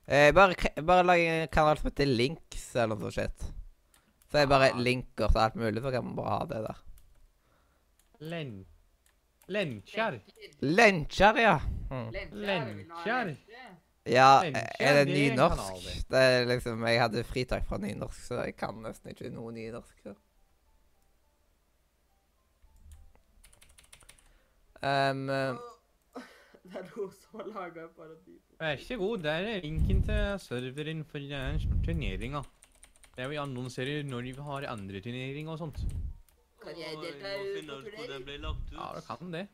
S1: Eh, bare, k- bare lag en kanal som heter Links eller noe sånt. shit. Så jeg
S2: Ah.
S1: bare linker til alt mulig, så kan man bare ha det der.
S2: Len... Lenkjær.
S1: Lencher, ja. Mm.
S3: Lenkjær. vi vil ha
S2: Lenkjær.
S3: lenkjær.
S1: Ja,
S2: Lencher,
S1: er det
S2: det er en kanal,
S1: nynorsk?
S2: det.
S1: Det er liksom, Jeg hadde fritak fra nynorsk, så jeg kan nesten ikke noe nynorsk. så. Um, eh,
S3: Det er noe som har laga en paradis.
S2: Vær så god, der er linken til serveren for eh, turneringa. Der vi annonserer når vi har andre turneringer og sånt.
S3: Kan jeg
S4: Oi,
S3: delta
S4: må
S3: i- på
S4: finne ut hvor
S3: turnering?
S4: den ble lagt ut.
S2: Ja, du kan det.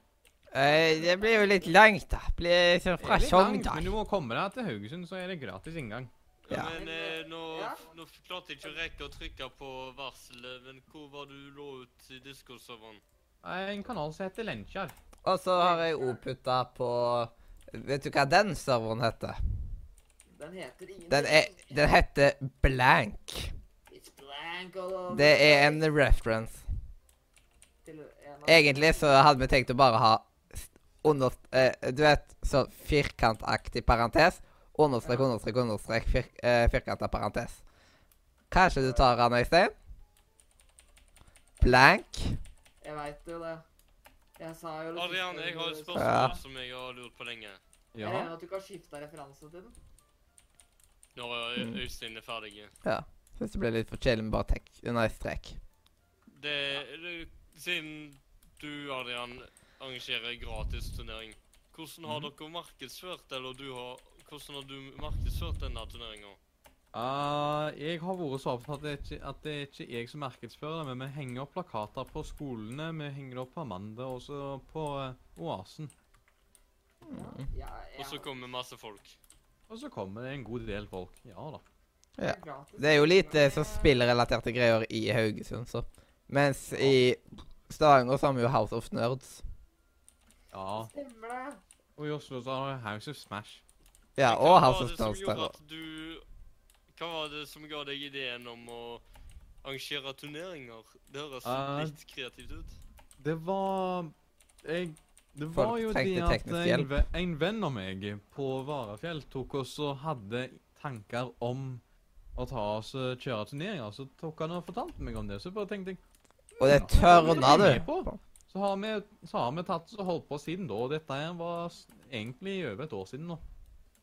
S1: Eh, det blir jo litt langt, da. Blir liksom
S2: Det er
S1: fra
S2: litt langt, Men du
S1: Sogndal.
S2: må komme deg til Haugesund, så er det gratis inngang.
S1: Ja.
S4: Men eh, nå,
S3: Ja.
S4: nå klarte jeg ikke å rekke å trykke på varselet, men hvor var du lå ut i Discord-serveren?
S2: Det er En kanal som heter Lenkjar.
S1: Og så har jeg òg putta på Vet du hva den serveren heter?
S3: Den heter ingenting.
S1: Den, er, den heter Blank.
S3: It's blank all over
S1: Det
S3: the
S1: er en
S3: place.
S1: reference.
S3: Til en av-
S1: Egentlig så hadde vi tenkt å bare ha s- under... eh, du vet, sånn firkantaktig parentes. Understrek, understrek, understrek, fir, eh, firkanta parentes. Kanskje du tar den, Øystein? Blank.
S3: Jeg veit jo det. Jeg sa jo det
S4: Adrian,
S3: siste
S4: jeg har et
S3: ordet.
S4: spørsmål
S1: Ja.
S4: som jeg har lurt på lenge.
S3: Jeg
S2: Ja.
S3: regner med at du ikke har skifta referanse til den.
S4: Når Øy-
S2: Mm.
S4: Øystein er ferdig.
S1: Syns det ble litt for kjedelig med bare tek, nei, strek.
S4: Det, det, siden du, Adrian, arrangerer gratis turnering, hvordan har
S2: Mm.
S4: dere markedsført, eller du har, hvordan har du markedsført denne turneringen?
S2: Ah, jeg har vært så opptatt at det, er ikke, at det er ikke jeg som markedsfører det, men vi henger opp plakater på skolene, vi henger det opp på Amanda og så på eh, Oasen.
S3: Ja, ja, ja.
S4: Og så kommer masse folk.
S2: Og så kommer det en god del folk. Ja da.
S1: Ja.
S3: er gratis.
S1: Det er jo lite
S3: Men,
S1: sånn spillrelaterte greier i Haugesund, så. Mens i Stavanger så har vi jo House of Nerds.
S2: Ja.
S3: eh, Stemmer det.
S2: Og i Oslo så har vi House of Smash.
S1: Ja,
S4: Men
S1: og
S4: hva
S1: House
S4: var
S1: of
S4: det som
S1: Nerds der
S4: gjorde
S1: òg.
S4: at du- Hva var det som ga deg ideen om å arrangere turneringer? Det høres
S1: Ah.
S2: Eh.
S4: litt kreativt ut.
S2: Det var jeg, Det
S1: Folk
S2: var jo det
S1: trengte
S2: at
S1: teknisk hjelp.
S2: en, ve- en venn av meg på Varafjell tok oss og hadde tanker om å ta oss og kjøre turneringer. Så tok han og fortalte meg om det, så bare tenkte jeg
S1: Og det tørna,
S2: Det er med
S1: du.
S2: på. Så har vi, så har vi tatt og holdt på siden da, og dette her var s- egentlig over et år siden nå.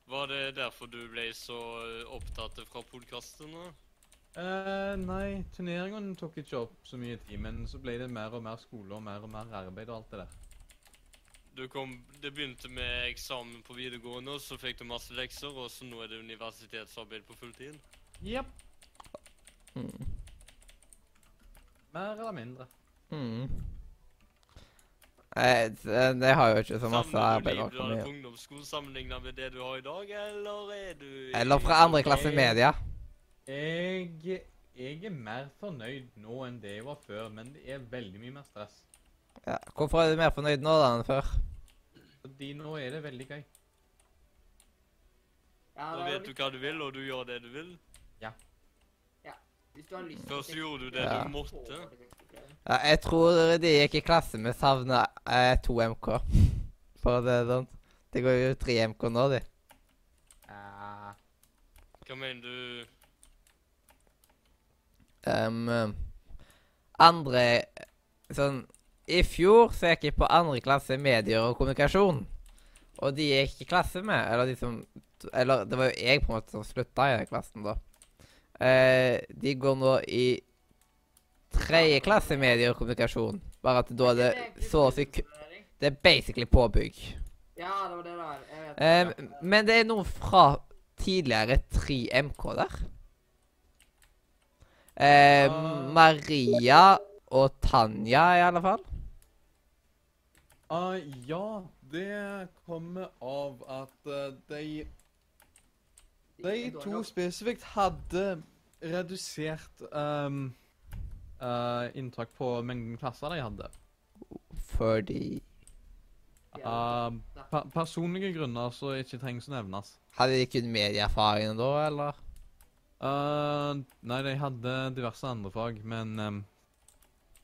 S4: Var det derfor du ble så eh, opptatt fra podkastene?
S2: Eh, nei, turneringen tok ikke opp så mye tid, men så ble det mer og mer skole og mer og mer arbeid og alt det der.
S4: Du kom, det begynte med eksamen på videregående, og så fikk du masse lekser, og så nå er det universitetsarbeid på fulltid.
S2: Jepp.
S1: Mm.
S2: Mer eller mindre.
S1: Mm. Eh, det- det har jo ikke så masse
S4: Savner du
S1: arbeid bak
S4: livet du hadde på
S1: meg.
S4: ungdomsskolen sammenlignet med det du har i dag, eller er du i-
S1: Eller fra andre klasse media.
S2: Jeg Jeg er mer fornøyd nå enn det jeg var før, men det er veldig mye mer stress.
S1: Ja. Hvorfor er du mer fornøyd nå da enn før?
S2: Fordi nå er det veldig gøy.
S3: Ja,
S4: Nå
S3: det er jo
S4: vet du
S3: litt,
S4: hva du vil, og du gjør det du vil.
S3: hvis du har lyst
S4: Først gjorde du det
S1: Ja.
S4: du måtte.
S1: Ja, jeg tror de gikk i klasse med savna eh, to MK. [LAUGHS] For å si det sånn. Det går jo tre MK nå, de.
S2: Eh,
S4: Hva mener du?
S1: Ehm, eh, andre Sånn I fjor så gikk jeg på andre klasse medier og kommunikasjon. Og de jeg gikk i klasse med, eller de som Eller det var jo jeg på en måte som slutta i den klassen, da. Eh, de går nå i tredje klasse medier og kommunikasjon. Bare at da er det så å si ku- Det er basically påbygg.
S3: Ja, det var det det var. Jeg vet
S1: Eh,
S3: det.
S1: men det er noen fra tidligere 3MK der. Eh,
S2: Ah.
S1: Maria og Tanja, i alle fall.
S2: ah, ja, det kommer av at eh, de De
S3: Det går
S2: to
S3: nok.
S2: spesifikt hadde redusert ehm, eh, inntak på mengden klasser de hadde.
S1: Fordi
S3: Ja.
S2: Av Eh, per personlige grunner som ikke trengs å nevnes.
S1: Hadde de kun medieerfaring da, eller?
S2: Eh, nei, de hadde diverse andre fag, men ehm,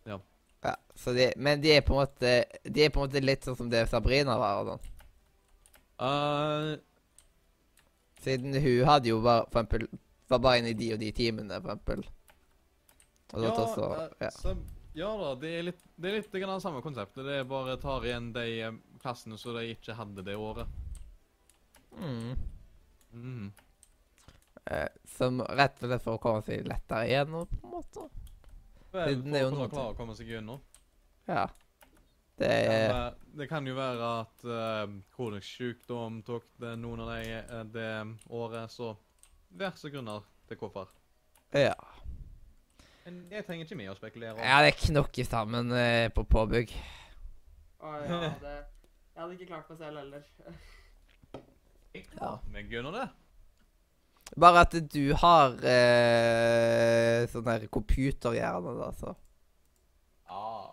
S1: Ja, så de, Men de er på en måte De er på en måte litt sånn som det Sabrina var. og sånn.
S2: eh,
S1: Siden hun hadde jo bare, for eksempel, var bare inne i de og de timene, for eksempel. Og da også,
S2: eh,
S1: ja.
S2: så- ja da, det er litt det er litt grann det samme konseptet. Det er bare tar igjen de eh, klassene som de ikke hadde det året.
S1: Mm.
S2: Mhm.
S1: Eh, som rett og slett for å komme seg lettere igjennom, på en måte.
S2: Vel,
S1: Det- det er jo
S2: for
S1: noe
S2: å klare å komme seg gjennom.
S1: Ja. Det er
S2: Ja, men eh, det kan jo være at uh, kronisk sykdom tok det noen av de eh, det året, så diverse grunner til hvorfor.
S1: Ja.
S2: Men jeg trenger ikke mer å spekulere om.
S1: ja, det knokker sammen eh, på påbygg. [LAUGHS]
S3: Å, ja, det, jeg hadde ikke klart meg selv heller. [LAUGHS]
S2: Jeg klarte meg gjennom det.
S1: Bare at du har eh, sånn her computerhjerne, da, så
S2: Ah.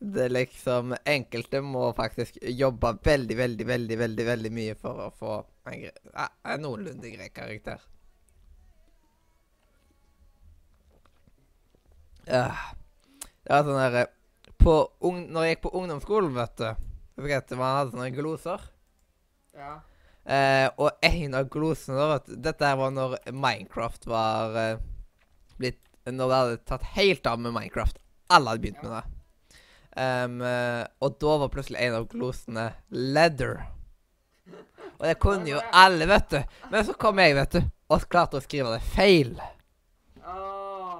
S1: Det er liksom Enkelte må faktisk jobbe veldig, veldig, veldig veldig, veldig mye for å få en, gre ja, en noenlunde grei karakter. Ja. Ah. Det var sånn herre På ung... Når jeg gikk på ungdomsskolen, vet du, så fikk jeg at man hadde sånne gloser.
S3: Ja.
S1: Eh, og en av glosene da, vet du, Dette her var når Minecraft var eh, blitt Når det hadde tatt helt av med Minecraft. Alle hadde begynt med det. Em, eh, og da var plutselig en av glosene leather. Og det kunne jo alle, vet du. Men så kom jeg, vet du, og klarte å skrive det feil.
S3: Åh,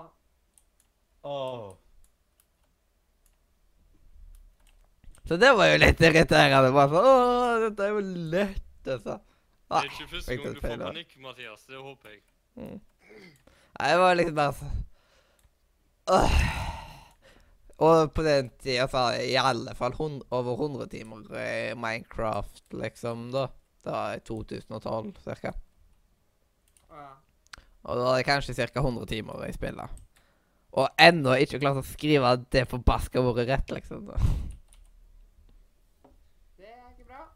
S1: Så det var jo litt irriterende. Bare sånn Å, dette er jo lett, altså.
S4: Det
S1: Ah,
S4: er ikke første
S1: fikk
S4: gang
S1: det
S4: du får
S1: feil, da.
S4: panikk, Mathias. Det håper jeg.
S1: Nei, det var liksom bare sånn Åh. Og på den tida så hadde jeg i alle fall hun- over 100 timer eh, Minecraft, liksom, da. Det var i 2012, cirka.
S3: Å, ja.
S1: Og da hadde jeg kanskje cirka 100 timer i spillet. Og ennå ikke klart å skrive det forbaska ordet rett, liksom. da.
S3: Det er ikke bra.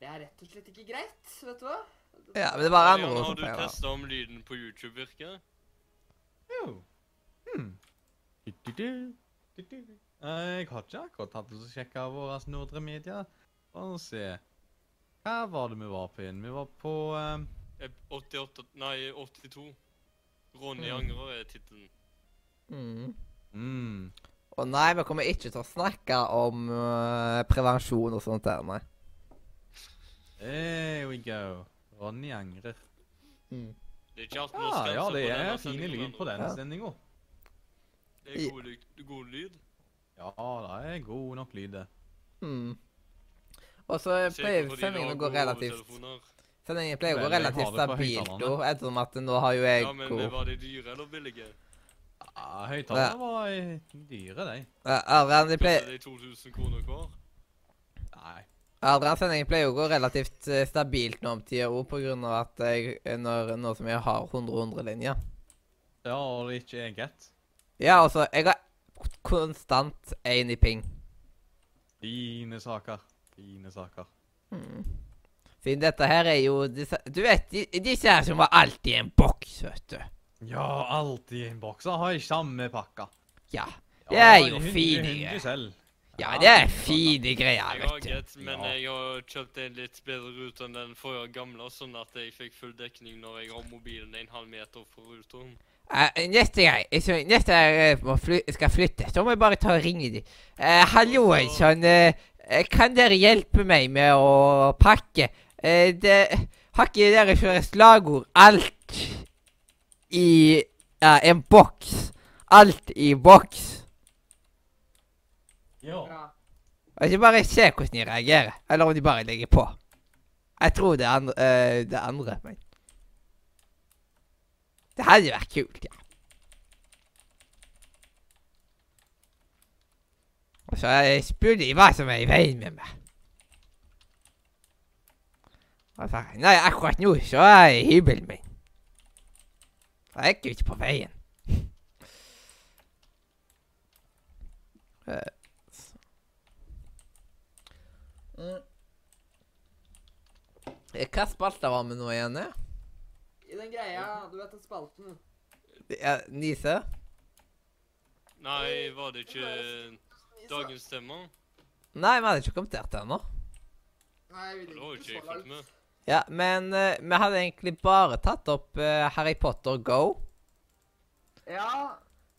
S3: Det er rett og slett ikke greit, vet du hva?
S1: Ja, men det var andre ord
S4: Marianne, har
S1: som
S4: du
S1: feila.
S4: testa om lyden på YouTube virker?
S2: Jo. Hmm. Du-du-du. Du-du-du. Eh, Jeg har ikke akkurat hatt å sjekke våre nordre medier. Bare se. Hva var det vi var på igjen? Vi var på eh,
S4: Eh, 88 Nei, 82. Ronny angrer er tittelen.
S1: Mm.
S2: mm,
S1: Og nei, vi kommer ikke til å snakke om eh, prevensjon og sånt der, nei.
S2: There we go. Ronny angrer.
S4: Mm. Det er ikke 18
S2: Ja, ja, det er
S4: denne
S2: fin
S4: sendingen,
S2: lyd på den
S1: Ja.
S2: sendinga.
S4: Det er god, lyd- god lyd.
S2: Ja, det er god nok lyd, det.
S1: Mm. Og så pleier
S4: Sikkert fordi du har
S1: sendingene å gå
S4: gode
S1: relativt
S4: hovedtelefoner.
S1: Sendingen pleier å gå
S2: Vel, jeg har
S1: relativt
S2: det på
S1: stabilt
S2: høyttalerne.
S1: nå, ettersom at nå har jo jeg
S4: Ja, men eh,
S1: god-
S4: var de dyre eller billige?
S2: Ja, Høyttalerne var eh, dyre, de.
S1: Ja, Adrian, de
S4: Koster
S1: pleier
S4: de 2000 kroner hver?
S2: Nei.
S1: Adrian-sendingen pleier jo å gå relativt eh, stabilt nå om tida òg, pga. at jeg, når, nå som jeg har 100-100-linja
S2: Ja, og det er ikke jeg ett.
S1: Ja, altså, jeg har konstant én i ping.
S2: Fine saker. Fine saker.
S1: Siden dette her er jo disse, Du vet, de, disse her som var alltid i en boks, vet du.
S2: Ja, alltid i en boks. Da har jeg samme pakka.
S1: Ja.
S2: Ja,
S1: Det er jo
S2: hun-
S1: fine
S2: hun- hun
S1: greier.
S2: selv.
S1: Ja, det er fine greier,
S4: Jeg har
S1: vet du.
S4: gett, men
S2: Ja.
S4: jeg har kjøpt en litt bedre rute enn den forrige gamle, sånn at jeg fikk full dekning når jeg har mobilen en halv meter fra ruteren.
S1: Eh, neste gang jeg, neste gang jeg må fly, skal flytte, så må jeg bare ta og ringe dem. hallo, sånn eh, eh, Kan dere hjelpe meg med å pakke? Eh, det Har ikke dere kjørt slagord 'alt i ja, en boks'? Alt i boks?
S2: Ja.
S3: Bra.
S1: Og ikke bare se hvordan de reagerer, eller om de bare legger på. Jeg tror det er andre, eh, det andre men Det hadde vært kult, ja. Og så eh, spør de hva som er i veien med meg. Og så, nei, akkurat nå så er jeg i hybelen min. Jeg er ikke ute på veien. Eh, Hva spalta var vi nå igjen?
S3: I den greia, du vet den spalten
S1: Nise?
S4: Nei, var det ikke dagens tema?
S1: Nei, vi hadde ikke kommentert det ennå.
S3: Nei, vi
S4: Det har jo
S3: driver
S4: ikke
S3: ikke
S4: jeg
S3: så
S4: fått
S3: langt.
S4: med. [LAUGHS]
S1: Ja, men eh, vi hadde egentlig bare tatt opp eh, Harry Potter Go.
S3: Ja,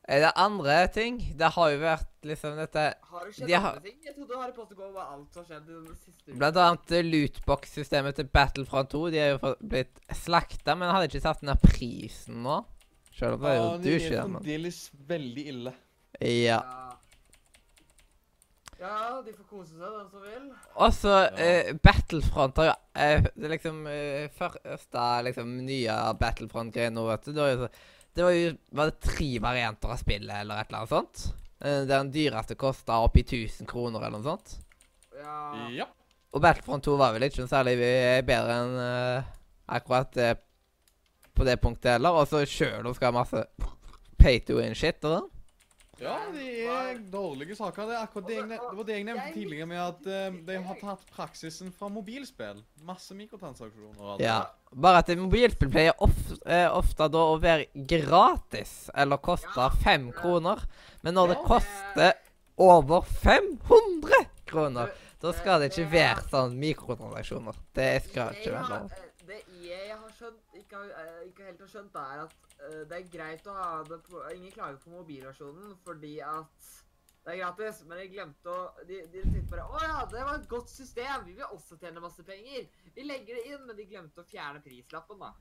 S1: Eh, Det andre ting, det har jo vært liksom dette
S3: har det skjedd
S1: De har-
S3: andre ting? Jeg trodde Harry Potter Go var alt som har skjedd i den siste uka.
S1: Blant annet eh, lootbox-systemet til Battlefront 2. De er jo fått- blitt slakta, men hadde ikke tatt den der prisen nå. Selv om det er jo
S2: det
S1: douche,
S2: er sånn
S1: den, men
S2: fremdeles veldig ille.
S1: Ja.
S3: Ja, de får kose seg, den som vil.
S1: Og så
S2: Ja.
S1: eh, Battlefront har jo eh, Det er liksom eh, første liksom, nye Battlefront-greia nå, vet du. Det var jo, så- det var jo var det tre varianter av spillet eller et eller annet sånt. Eh, Den dyreste kosta oppi 1000 kroner eller noe sånt.
S3: Ja.
S2: Ja.
S1: Og Battlefront 2 var vel ikke noe særlig eh, bedre enn eh, akkurat det på det punktet heller. Og så sjøl om skal ha masse pay to win-shit og sånn.
S2: Ja, det er dårlige saker. Det er akkurat det jeg, nev- det var det jeg nevnte tidligere, med at eh, de har tatt praksisen fra mobilspill. Masse mikrotransaksjoner og alt.
S1: Ja. Bare at mobilspill pleier ofte, ofte da å være gratis, eller koste fem kroner. Men når det
S3: Ja.
S1: koster over 500 kroner, da skal det ikke være sånn mikrotransaksjoner. Det skal ikke
S3: EA
S1: være
S3: har-
S1: lov.
S3: eh, Det EA har skjønt, ikke, har- eh, ikke helt har skjønt, det er at eh, det er greit å ha det på Ingen klager på mobilversjonen fordi at det er gratis, men de glemte å De, de tenkte bare Å ja, det var et godt system! Vi vil også tjene masse penger! Vi legger det inn, men de glemte å fjerne prislappen, da.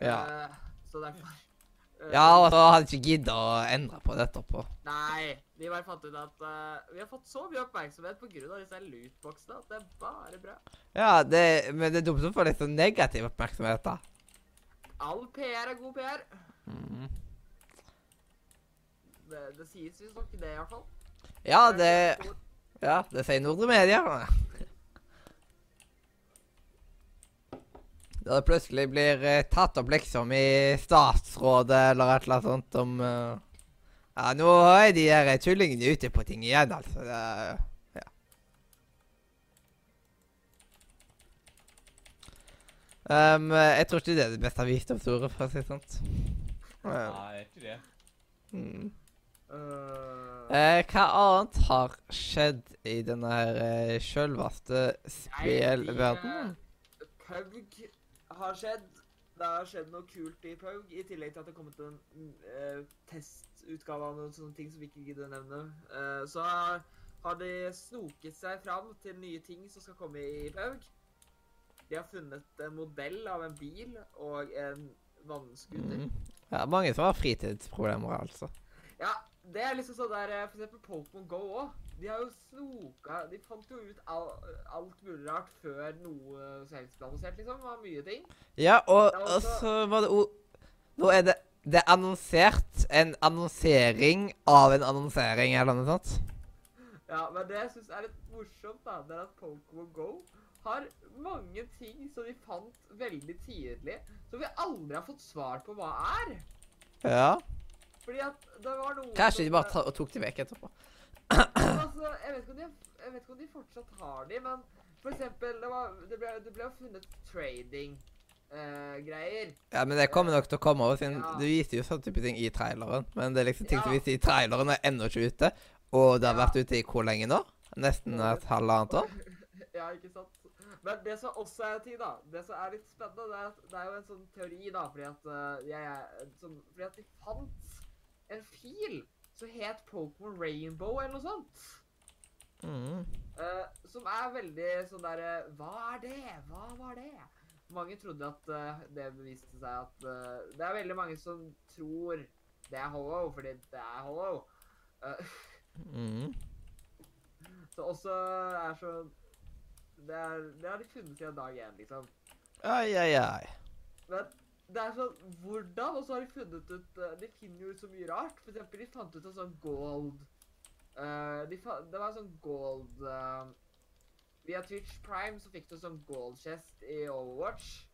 S1: Ja.
S3: Eh, så derfor eh,
S1: ja, og så hadde jeg ikke giddet å endre på det etterpå.
S3: Nei. De bare fant ut at eh, vi har fått så mye oppmerksomhet pga. disse lootboxene at det er bare bra.
S1: Ja, det, men det er dumt å få litt sånn negativ oppmerksomhet, da.
S3: All PR er god PR.
S1: Mm.
S3: Det, det sies visstnok det, i hvert fall.
S1: Ja, det Ja, det sier Nordre Media. Da det plutselig blir eh, tatt opp liksom i statsrådet eller et eller annet sånt om eh, Ja, nå er de der tullingene ute på ting igjen, altså. Det er, ja. Ehm, jeg tror ikke det er det beste visdomsordet, for å si det sånn. Eh,
S2: Nei, ikke det.
S1: mm.
S3: Øh,
S1: Eh, hva annet har skjedd i denne her eh, sjølveste spillverdenen?
S3: eh, Pøvg har skjedd. Det har skjedd noe kult i Pøvg, i tillegg til at det har kommet en mm, eh, testutgave av noen sånne ting som vi ikke gidder å nevne. Eh, så har- har de snoket seg fram til nye ting som skal komme i Pøvg. De har funnet en modell av en bil og en vannskuter.
S1: Mm. Ja, mange som har fritidsproblemer, altså.
S3: Ja, det er liksom sånn der eh, For eksempel Pokémon Go òg. De har jo snoka De fant jo ut all, alt mulig rart før noe selvplassert, liksom. Av mye ting.
S1: Ja, og,
S3: Ja, altså- og
S1: og
S3: så-
S1: så var det o... Nå er det, det er annonsert en annonsering av en annonsering, eller noe sånt.
S3: Ja, men det jeg syns er litt morsomt, da, det er at Pokémon GO har mange ting som de fant veldig tidlig, som vi aldri har fått svar på hva er.
S1: Ja.
S3: Fordi at det var noe
S1: Kanskje de
S3: som-
S1: bare ta, og tok de vekk etterpå.
S3: Men altså, jeg vet, ikke om de, jeg vet ikke om de fortsatt har de, men for eksempel, det, var, det, ble, det ble jo funnet eh, trading-greier.
S1: Ja, men det kommer nok til å komme over, siden
S3: Ja.
S1: du viser jo sånn type ting i traileren. Men det er liksom ting som
S3: Ja.
S1: viser i traileren, er ennå ikke ute. Og det har
S3: Ja.
S1: vært ute i hvor lenge nå? Nesten et halvannet år?
S3: ja, ikke sant? Men det som også er en ting, da, det som er litt spennende, det er at det er jo en sånn teori, da, fordi at, eh, jeg, er- som, fordi at de fant en fil som het Pokémon Rainbow eller noe sånt.
S1: Mm.
S3: Eh, som er veldig sånn derre Hva er det? Hva var det? Mange trodde at eh, det beviste seg at eh, Det er veldig mange som tror det er hollow, fordi det er hollow. Eh, [LAUGHS]
S1: Mm.
S3: så også er så Det, er, det har de funnet siden dag én, liksom.
S1: Ai, ai, ai.
S3: Men det er sånn Hvordan? Og så har de funnet ut eh, De finner jo ut så mye rart. For eksempel, de fant ut en sånn gold eh, de fa Det var en sånn gold eh, Via Twitch Prime så fikk du en sånn gold chest i Overwatch.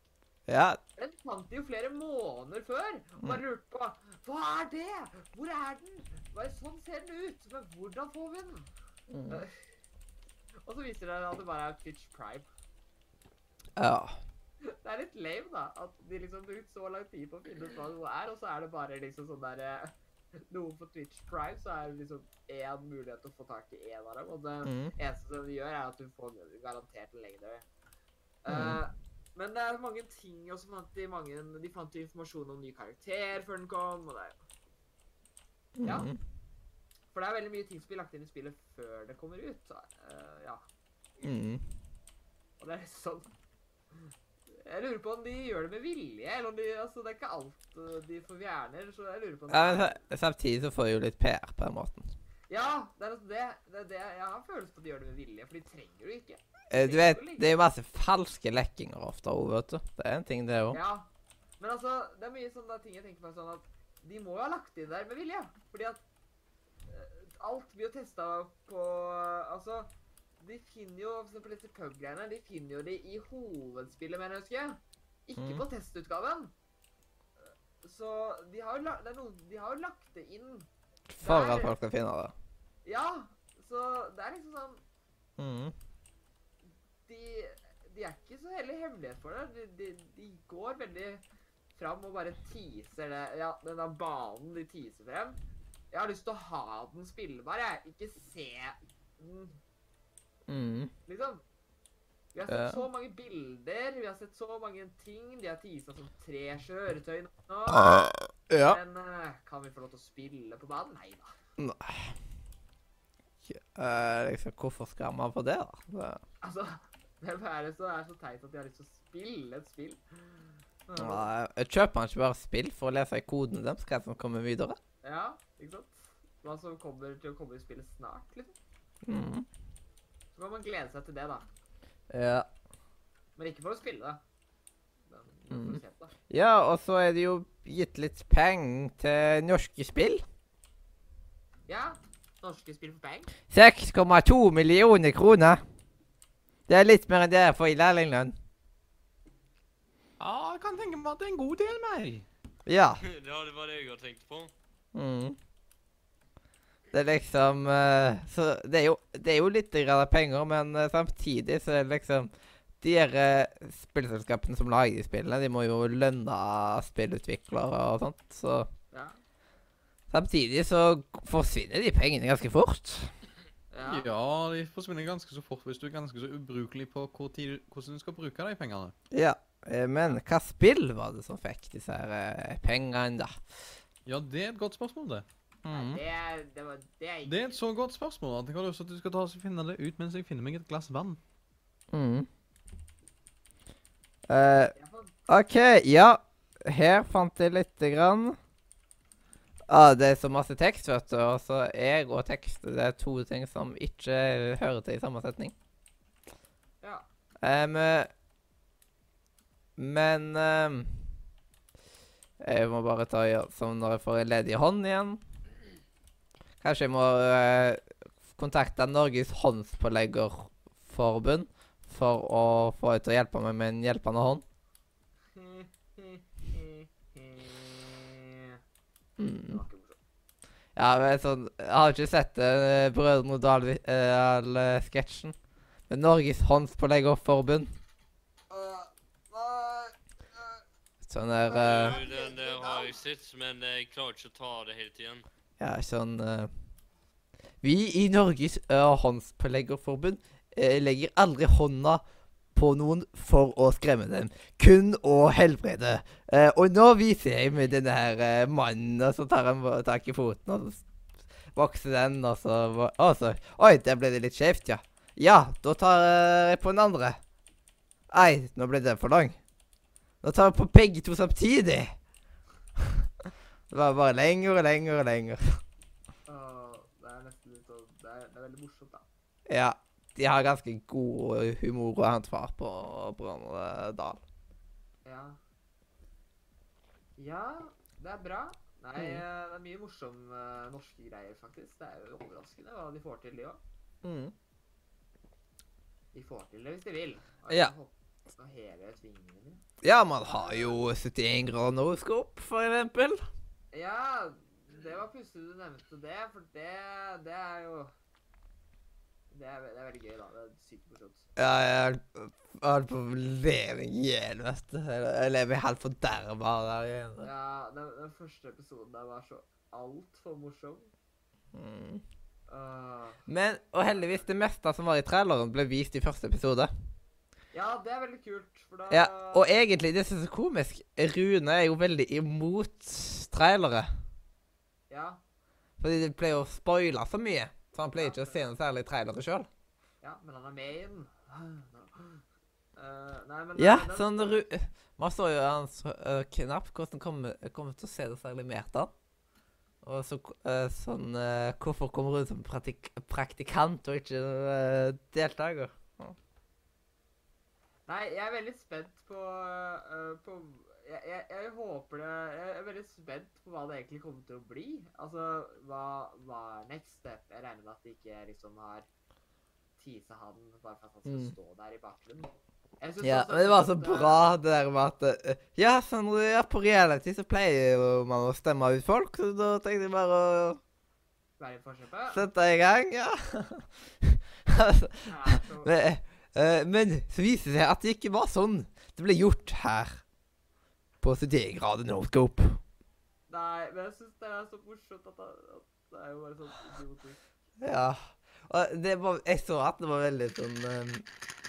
S1: Ja,
S3: Den fant de jo flere måneder før. Og bare lurte på Hva er det? Hvor er den? Bare sånn ser den ut. Men hvordan får vi den?
S1: Mm.
S3: Eh, [LAUGHS] og så viser det seg at det bare er Twitch Prime.
S1: ja.
S3: Det er litt lame, da. At de liksom har brukt så lang tid på å finne ut hva noe er, og så er det bare liksom sånn der eh, Noe på Twitch Prime, så er det liksom én mulighet til å få tak i én av dem. Og det
S1: Mm.
S3: eneste som de gjør, er at du får garantert en lengre.
S1: Mm.
S3: Eh, men det er mange ting og så fant de mange De fant jo informasjon om ny karakter før den kom. og det er- Ja.
S1: Mm.
S3: For det er veldig mye ting som blir lagt inn i spillet før det kommer ut. da. Eh, ja.
S1: Mm.
S3: Og det er litt sånn Jeg lurer på om de gjør det med vilje, eller om de Altså, det er ikke alt eh, de forvjerner, så jeg lurer på om
S1: ja, men sa- samtidig så får jeg jo litt PR på den måten.
S3: Ja, det er liksom det. det, er det. Jeg har følelsen på at de gjør det med vilje, for de trenger jo ikke.
S1: Eh, Du vet, det er jo masse falske lekkinger ofte òg, vet du. Det er en ting, det òg.
S3: Ja. Men altså, det er mye sånne ting jeg tenker på sånn at de må jo ha lagt inn der med vilje. Fordi at eh, alt blir jo testa på Altså, de finner jo for eksempel disse pub-greiene. De finner jo de i hovedspillet, mener jeg å huske. Ikke
S1: Mhm.
S3: på testutgaven. Så de har jo, la det er noen, de har jo lagt det inn.
S1: For at folk skal finne det.
S3: Ja, så det er liksom sånn
S1: Mm.
S3: de, de er ikke så heldig hemmelighet for det. De, de, de går veldig fram og bare teaser det. Ja, den der banen de teaser frem. Jeg har lyst til å ha den spillbar, jeg. Ikke se den,
S1: Mm.
S3: liksom. Vi har
S1: Ja.
S3: sett så mange bilder, vi har sett så mange ting. De har teasa som tre kjøretøy nå.
S1: Ja.
S3: Men eh, kan vi få lov til å spille på banen? Nei da.
S1: Nei. Eh, liksom, hvorfor skal man på det, da? Det,
S3: Altså, [LAUGHS] hvem er det som er så teit at de har lyst til å spille et spill?
S1: nei, jeg kjøper man ikke bare spill for å lese i kodene deres hva som kommer videre?
S3: Ja, ikke sant? Hva som kommer til å komme i spillet snart, liksom.
S1: Mm.
S3: Så kan man glede seg til det, da.
S1: Ja.
S3: Men ikke for å spille det. Men men for å se på det.
S1: ja, og så er det jo gitt litt penger til norske spill.
S3: Ja, norske spill for penger.
S1: 6,2 millioner kroner. Det er litt mer enn det jeg får i lærlinglønn.
S2: Ja, jeg kan tenke meg at det er en god del mer.
S1: Ja.
S4: Ja, det var det jeg har tenkt på.
S1: Mm. Det er liksom eh, Så det er jo, det er jo litt grann penger, men eh, samtidig så er det liksom De her eh, spillselskapene som lager de spillene, de må jo lønne spillutviklere og sånt. Så
S3: Ja.
S1: samtidig så forsvinner de pengene ganske fort.
S3: Ja.
S2: Ja, de forsvinner ganske så fort hvis du er ganske så ubrukelig på hvor tid, hvordan du skal bruke de pengene.
S1: Ja. Eh, Men hva spill var det som fikk disse her eh, pengene, da?
S2: Ja, det er et godt spørsmål, det.
S3: Nei,
S1: Mm.
S3: det, er- det var det er
S2: Det er et så godt spørsmål at jeg har lyst til at du skal ta oss og finne det ut mens jeg finner meg et glass vann.
S1: Mm. Eh,
S3: [LAUGHS] Jeg får-
S1: OK, ja. Her fant jeg lite grann. Ah, det er så masse tekst, vet du. Og så jeg og tekst det er to ting som ikke hører til i samme setning.
S3: Ja.
S1: Em, eh, men em, Jeg må bare ta og gjøre som når jeg får en ledig hånd igjen. Kanskje jeg må eh, kontakta Norges håndspåleggerforbund for å få ut å hjelpe meg med en hjelpende hånd.
S3: Det
S1: Mm.
S3: var ikke morsomt.
S1: Ja, men sånn, Jeg har ikke sett uh, Brødrene Dal-sketsjen. men Norges håndspåleggerforbund.
S3: Øh, nei, øh,
S1: Sånn der eh,
S4: Du, den der har jeg sett, men jeg klarer ikke å ta det helt igjen.
S1: Ja, sånn eh, Vi i Norges uh, håndspåleggerforbund eh, legger aldri hånda på noen for å skremme dem. Kun å helbrede. Eh, og nå viser jeg med denne her eh, mannen, og så tar han ba- tak i foten, og så s- vokser den, og så, va- og så Oi, der ble det litt skjevt, ja. Ja, da tar eh, jeg på den andre. Nei, nå ble den for lang. Nå tar jeg på begge to samtidig. [LAUGHS] Det var bare lenger og lenger og lenger.
S3: øh, det er nesten litt sånn det, er- det er veldig morsomt, da.
S1: Ja. De har ganske god humor og hans far på Brønnøy Dal.
S3: Ja. ja, det er bra. Nei,
S1: Mm.
S3: øh, det er mye morsomme norske greier, faktisk. Det er jo overraskende hva de får til, de òg. De får til det hvis de vil. Og jeg
S1: Ja.
S3: håper å heve tvingene mine.
S1: Ja, man har jo 71 grader nordskop, for eksempel.
S3: Ja, det var pussig du nevnte det, for det, det er jo det er, ve- det er veldig gøy, da. Det er sykt morsomt.
S1: Ja, jeg holdt på å leve i hjel, vet du. Jeg lever helt forderva der igjen.
S3: Ja, den, den første episoden der var så altfor morsom.
S1: Mm.
S3: Øh,
S1: Men, og heldigvis, det meste som var i traileren, ble vist i første episode.
S3: ja, det er veldig kult, for da
S1: Ja, Og egentlig, det som er så komisk, Rune er jo veldig imot trailere.
S3: ja,
S1: Fordi det ble jo spoila så mye. Så han pleier ikke å se noe særlig trailere sjøl.
S3: ja, men han er med i den. Øh, nei, men
S1: Ja,
S3: den-
S1: sånn ru... Man så jo hans øh, knapp, hvordan kommer kom til å se det særlig mer til han. Og så, k- øh, sånn øh, Hvorfor kommer hun som praktik praktikant og ikke øh, deltaker?
S3: Nei, jeg er veldig spent på, øh, på jeg, jeg, jeg håper det Jeg er veldig spent på hva det egentlig kommer til å bli. Altså, hva, hva er next step? Jeg regner med at de ikke liksom har teasa han bare for at han skal
S1: Mm.
S3: stå der i bakgrunnen. Jeg synes
S1: Ja,
S3: også
S1: men Det var så
S3: at, øh,
S1: bra, det der med at øh, Ja, sånn, ja, på reality så pleier jo man å stemme ut folk, så da tenkte jeg bare å
S3: Være i forkjøpet.
S1: sette i gang, ja. altså,
S3: Ja, så-
S1: [LAUGHS] men, eh, men så viser det seg at det ikke var sånn. Det ble gjort her. På 71 grader Northcope.
S3: Nei, men jeg syns det er så morsomt at, han- at det er jo bare sånn idiotisk.
S1: Ja. Og det var, jeg så at det var veldig sånn eh,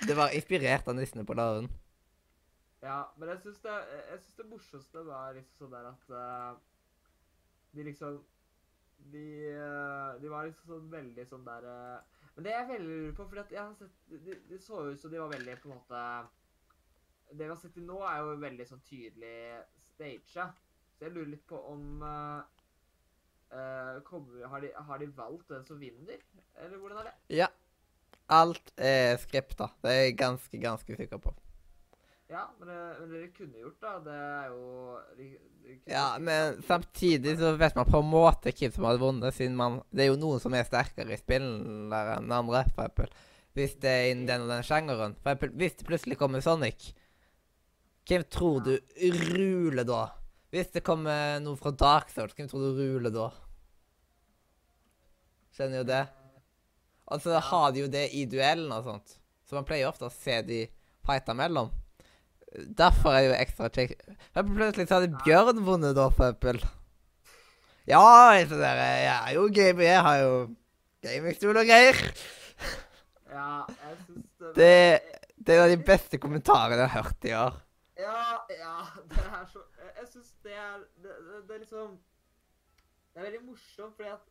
S1: Det var inspirert av Nissene på Larven.
S3: Ja, men jeg syns det, jeg synes det morsomste var liksom sånn der at eh, De liksom De, eh, de var liksom sånn veldig sånn der eh, Men det er jeg veldig lurer på, for jeg har sett de- de, de så ut som de var veldig på en måte Det vi har sett til nå, er jo veldig sånn tydelig staged. Så jeg lurer litt på om eh, eh, kommer, har, de, har de valgt den som vinner, eller hvordan er det?
S1: Ja. Alt er skripta. Det er jeg ganske, ganske sikker på.
S3: Ja, men, det- men dere kunne gjort da, det er jo de, de kunne
S1: Ja,
S3: gjort
S1: Men
S3: det.
S1: samtidig så vet man på en måte hvem som hadde vunnet, siden man Det er jo noen som er sterkere i spillet enn andre, for eksempel. Hvis det er innen den og den sjangeren. For eksempel, hvis det plutselig kommer Sonic, hvem tror du ruler da? Hvis det kommer noe fra Dark Souls, hvem tror du ruler da? Skjønner jo det. Og så har de jo det i duellen og sånt. Så man pleier ofte å se de fighte mellom. Derfor er det jo ekstra kjekt. Men Plutselig så hadde Bjørn vunnet, da, for eksempel. Ja, så der, jeg er jo gamer. Jeg har jo gamingstol og greier.
S3: Ja, jeg syns det, var-
S1: Det- Det er en av de beste kommentarene jeg har hørt i år.
S3: Ja, ja, det er så Jeg, jeg syns det er det, det, det er liksom Det er veldig morsomt fordi at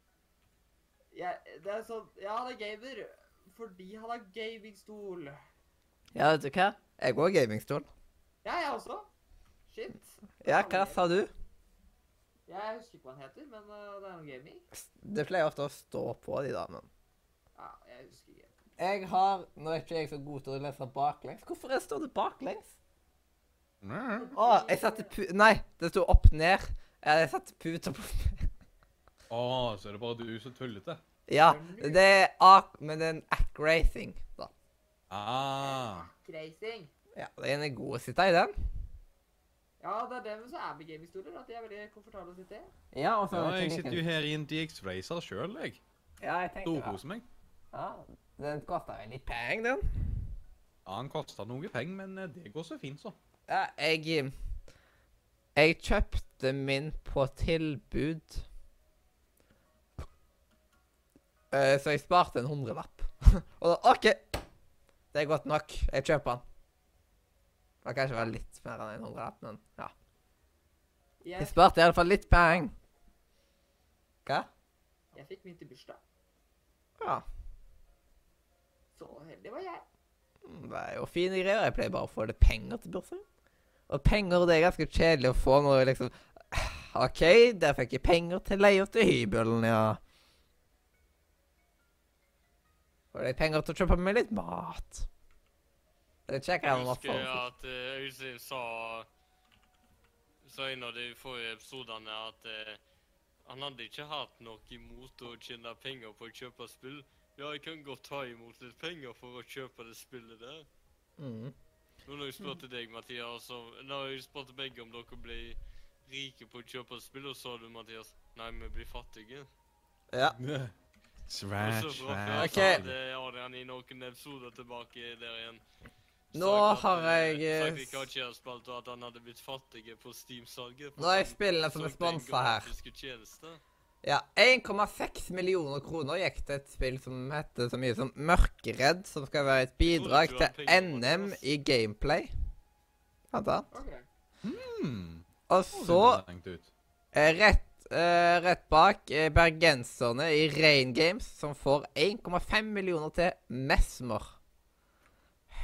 S3: jeg, Det er sånn Ja, han er gamer fordi han har gamingstol.
S1: Ja, vet du hva? Jeg går gamingstol.
S3: Ja, jeg også. Shit.
S1: Ja, hva sa du?
S3: Jeg husker ikke hva han heter, men øh, det er noe gaming.
S1: Det pleier ofte å stå på de damene.
S3: Ja, jeg husker ikke.
S1: Jeg har Nå er ikke jeg så god til å lese baklengs. Hvorfor er- står det baklengs?
S2: Mæ.
S1: Å, jeg satte pu... Nei, det sto opp ned. Eh, Jeg satte puta på [LAUGHS]
S2: Å, så er det bare du som er tullete.
S1: Ja, det er ak men det er en ac-racing, da.
S2: Ah.
S3: Racing.
S1: Ja, Den er god å sitte i, den.
S3: Ja, det er dem som er med gamingstoler. At de er veldig komfortable å sitte i.
S1: Ja, og
S2: Ja, jeg sitter jo her i en DX Racer sjøl, jeg.
S1: Ja, jeg tenker det.
S2: Storkoser meg.
S1: Ja, den kosta vel litt penger, den.
S2: Ja, han kosta noe penger, men eh, det går så fint,
S4: [LAUGHS]
S2: så.
S1: Ja, jeg eh, Jeg kjøpte min på tilbud. Eh, Så jeg sparte en hundrelapp. [LAUGHS] Og da OK! Det er godt nok. Jeg kjøper den. Det var kanskje bare litt mer enn en hundrelapp, men ja. Jeg
S3: Jeg,
S1: sparte iallfall litt penger. Hva?
S3: jeg fikk min til bursdag.
S1: Ja.
S3: Så heldig var jeg.
S1: Mm, Det er jo fine greier. Jeg pleier bare å få det penger til bursdagen. Og penger det er ganske kjedelig å få når jeg liksom [SIGHS] OK, der fikk jeg penger til leie til hybelen, ja. Og det er penger til å kjøpe meg litt mat. Det er kjekkere enn å få
S4: husker at eh, Øystein sa Sa i en av de forrige episodene at eh, han hadde ikke hatt noe imot å tjene penger på å kjøpe spill. Ja, jeg kan godt ta imot litt penger for å kjøpe det spillet der.
S1: Mm.
S4: Nå når jeg
S3: Mm.
S4: spurte deg, Mathias, og når jeg spurte begge om dere ble rike på å kjøpe spill, og sa du, Mathias, nei, vi blir fattige.
S1: Ja.
S2: Svært,
S4: Og så bra, for jeg
S2: svært.
S1: Ok.
S4: sa det Adrian i noen episoder tilbake der igjen.
S1: Nå
S4: Sagt at,
S1: har
S4: eh,
S1: jeg, eh,
S4: Sagt ikke at Kjell spilte, og at han hadde blitt fattige på Steam-salget. Sånn
S1: Nå er jeg spillene som er sponsa her.
S4: Tjenester.
S1: Ja, 1,6 millioner kroner gikk til et spill som heter så mye som Mørkeredd, som skal være et bidrag
S4: Tror du ikke
S1: til
S4: du har penger på det,
S1: NM
S4: ass?
S1: i gameplay. Blant annet.
S3: Ok.
S2: Hmm.
S1: Og
S2: det
S1: så
S2: ser langt ut.
S1: Eh, Rett, eh, rett bak eh, bergenserne i Rain Games, som får 1,5 millioner til Mesmer.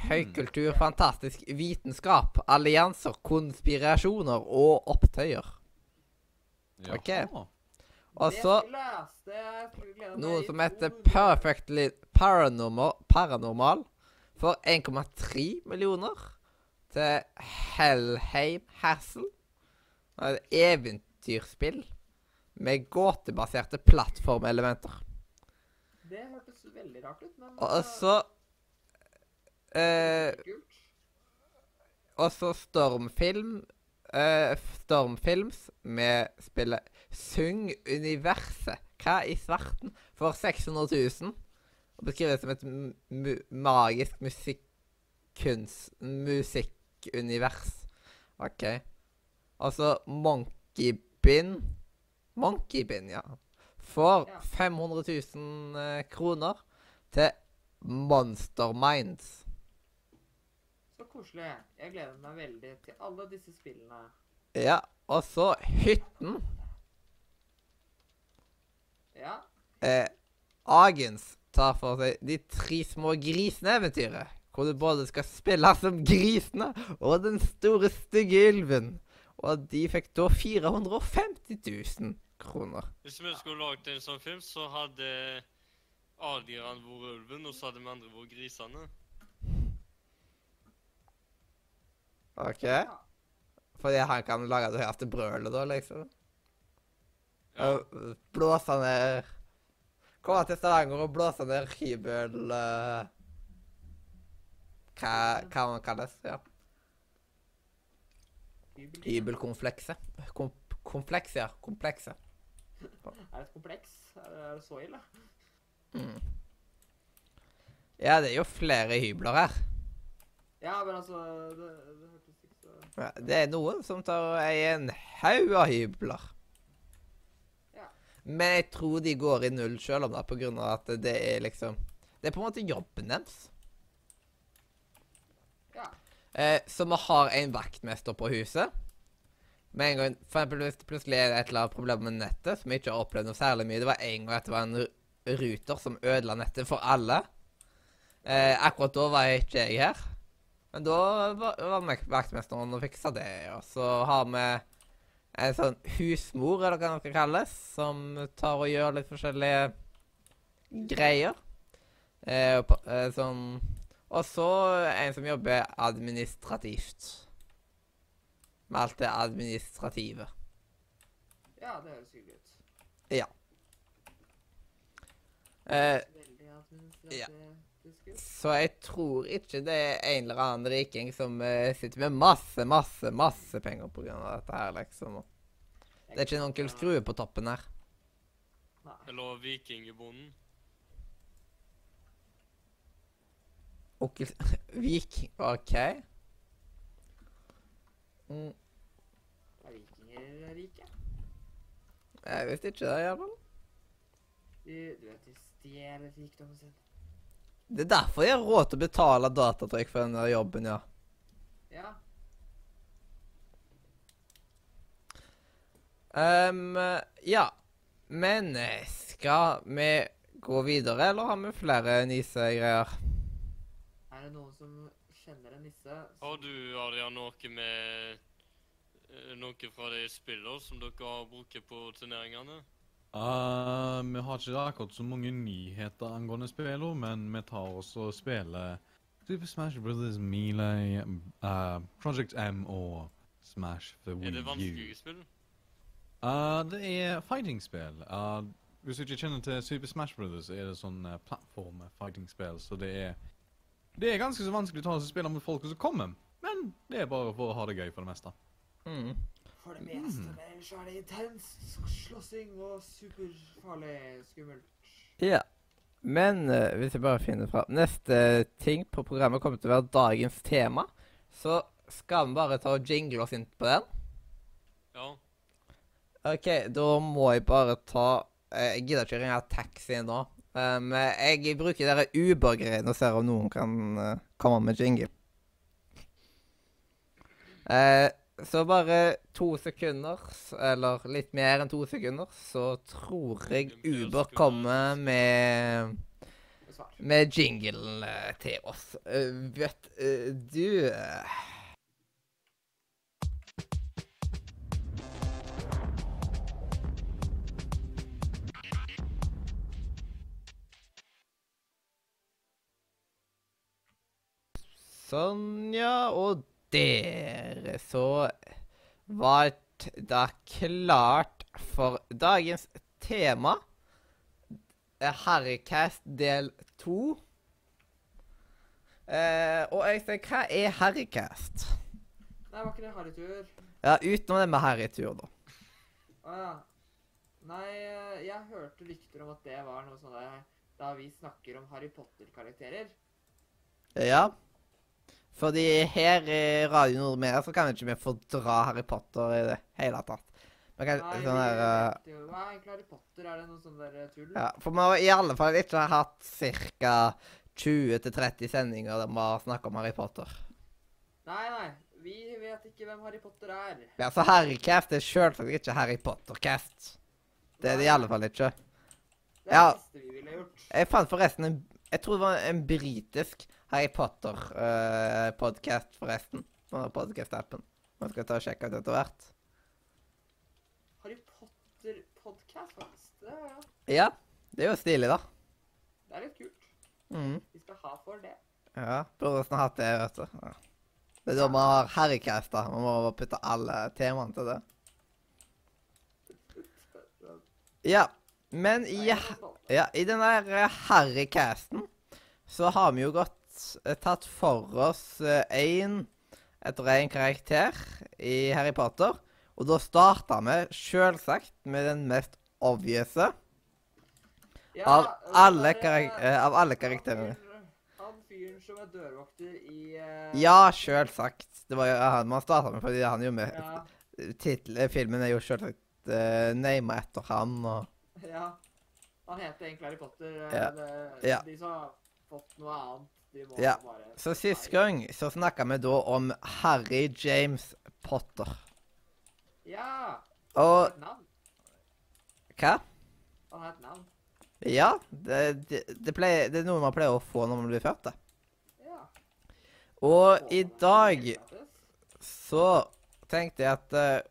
S1: Høykultur, fantastisk vitenskap, allianser, konspirasjoner og opptøyer. Ok.
S2: Jaha.
S1: Og
S3: Det
S1: så
S3: leste jeg skulle glede meg
S1: noe
S3: i
S1: som heter
S3: 200 år.
S1: Perfectly Paranormal, Paranormal for 1,3 millioner til Hellheim Hassel. Et eventyrspill med gåtebaserte plattformelementer.
S3: Det hørtes veldig rart ut, men
S1: Og så eh,
S3: kult.
S1: Og så Stormfilm eh, Stormfilms med spillet Syng universet. Hva i svarten? For 600 000. Og beskrives som et m- mu magisk musikkunst... Musikkunivers. OK. Og så Monkey Bin. Monkey Bin, ja. For
S3: Ja.
S1: 500 000 eh, kroner til Monster Minds.
S3: Så koselig. Jeg gleder meg veldig til alle disse spillene.
S1: Ja, og så hytten.
S3: Ja.
S1: Eh, Agens tar for seg de tre små grisene-eventyret. Hvor du både skal spille som grisene og den store, stygge ulven. Og de fikk da 450 000 kroner.
S4: Hvis vi skulle lagd en sånn film, så hadde Adrian vært ulven, og så hadde vi andre vært grisene.
S1: OK? Fordi han kan lage det høyeste brølet, da, liksom.
S4: Ja.
S1: Og Blåse ned Komme til Stavanger og blåse ned hybel eh, Hva, hva man kalles. Ja.
S3: hybel.
S1: Hybelkomplekset. Kom komplekset, ja. Komplekset.
S3: Er det et kompleks? Er det- er det så ille?
S1: Mm. Ja, det er jo flere hybler her.
S3: Ja, men altså Det, det hørtes ikke så
S1: Ja, Det er noen som tar ei en haug av hybler.
S3: Ja.
S1: Men jeg tror de går i null sjøl om det, på grunn av at det er liksom Det er på en måte jobben deres.
S3: Ja.
S1: Eh, så vi har en vaktmester på huset. Med en gang, for eksempel hvis det plutselig er et eller annet problem med nettet, som vi ikke har opplevd noe særlig mye Det var en gang at det var en ru- ruter som ødela nettet for alle. Eh, akkurat da var jeg ikke jeg her. Men da var, var mek- vaktmesteren og fiksa det. Og så har vi en sånn husmor, eller hva det skal kalles, som tar og gjør litt forskjellige greier. Eh, og pa- eh, sånn Og så en som jobber administrativt. Med alt det administrative.
S3: Ja, det høres hyggelig ut.
S1: Eh,
S3: Veldig at hun
S1: ja.
S3: det skulle.
S1: så jeg tror ikke det er en eller annen riking som eh, sitter med masse, masse, masse penger på grunn av dette her, liksom. Det er ikke en onkel Skrue på toppen her.
S3: Nei.
S4: Eller Vikingebonden.
S1: [LAUGHS] Onkel Viking OK. Mm,
S3: Er vikinger rike?
S1: jeg visste ikke det, iallfall.
S3: De, du vet, de stjeler rikdommen sin.
S1: Det er derfor jeg har råd til å betale datatrykk for den der jobben, ja.
S3: Ja.
S1: Ehm, ja. Men eh, skal vi gå videre, eller har vi flere nisegreier?
S3: Er det noen som kjenner en nisse?
S4: Har du, Adrian, noe med eh, noe fra de spillene som dere har brukt på turneringene?
S2: Eh, vi har ikke akkurat så mange nyheter angående spillet, men vi tar oss og spiller Super Smash Brothers, Melee, eh, Project M og Smash the Wii U.
S4: Er det vanskelige spill?
S2: Eh, det er fighting-spill. Eh, hvis du ikke kjenner til Super Smash Brothers, så er det sånn eh, plattform-fighting-spill, så det er Det er ganske så vanskelig å ta seg spille mot folk som kommer, men det er bare for å ha det gøy for det meste.
S1: Mm.
S3: For det meste, men ellers så er det intenst slåssing og superfarlig skummelt.
S1: Ja. Men eh, hvis jeg bare finner fram Neste ting på programmet kommer til å være dagens tema. Så skal vi bare ta og jingle oss inn på den.
S4: Ja.
S1: OK, da må jeg bare ta eh, Jeg gidder ikke ringe taxi nå. Um, jeg bruker dere Uber-greiene og ser om noen kan eh, komme med jingle. Eh, så bare to sekunder, s- eller litt mer enn to sekunder, så tror jeg Uber kommer med
S3: Det er svar.
S1: med jinglen eh, til oss. Eh, vet eh, du eh, Sånn, ja. Og dere, så var t- da klart for dagens tema. Eh, Harrycast del to. Eh, og Øystein, hva er Harrycast?
S3: Nei, var ikke det harrytur?
S1: Ja, utenom det med harrytur, da.
S3: Å ja. Nei, eh, jeg hørte rykter om at det var noe sånn der da vi snakker om Harry Potter-karakterer.
S1: Ja. Fordi her i Radio Nordmedia så kan vi ikke vi fordra Harry Potter i det hele tatt. Men kan,
S3: Nei,
S1: sånn der, eh,
S3: vi vet jo- Hva er egentlig Harry Potter? Er det noe sånn der eh, tull?
S1: Ja, for vi har i alle fall ikke hatt ca. 20-30 sendinger der vi har snakka om Harry Potter.
S3: Nei, nei. Vi vet ikke hvem Harry Potter er.
S1: Ja, så Harrycast er selvsagt ikke Harry Potter-cast. Det er det i alle fall ikke.
S3: Det er
S1: Ja.
S3: det siste vi ville gjort.
S1: Jeg fant forresten en Jeg tror det var en britisk Harry Potter-podkast, forresten. På podkast-appen. Man skal ta og sjekke ut etter hvert.
S3: Harry Potter-podkast, faktisk. Det, er- ja.
S1: Ja. Det er jo stilig, da.
S3: det er litt kult.
S1: Mm.
S3: Vi skal ha for det.
S1: Ja. Burde nesten hatt det, vet du. Ja. Det er da vi har Harrycast, da. Vi må bare putte alle temaene til det. Ja. Men i
S3: Nei, det er sånn.
S1: Ja, i den der eh, harrycasten så har vi jo gått eh, tatt for oss eh, én etter én karakter i Harry Potter. Og da starta vi sjølsagt med den mest obviouse
S3: Ja,
S1: av,
S3: det
S1: alle
S3: er, eh,
S1: karak eh, av alle karakterene.
S3: Han fyren- Han fyren som er dørvokter i eh,
S1: Ja, sjølsagt. Det var jo han man starta med, fordi han er jo med
S3: Ja.
S1: titel, eh, Filmen er jo sjølsagt uh, nama etter han, og
S3: [LAUGHS] ja. Han heter egentlig Harry Potter. eh,
S1: Ja.
S3: Det,
S1: Ja.
S3: De som har fått noe annet, de må
S1: Ja.
S3: bare
S1: Så sist gang så snakka vi da om Harry James Potter.
S3: Ja! Han har
S1: Og
S3: et navn.
S1: hva?
S3: Han har et navn.
S1: Ja, det, det, det, pleier, det er noe man pleier å få når man blir født. da.
S3: Ja.
S1: Og i
S3: Å,
S1: dag
S3: det er helt gratis.
S1: så tenkte jeg at eh,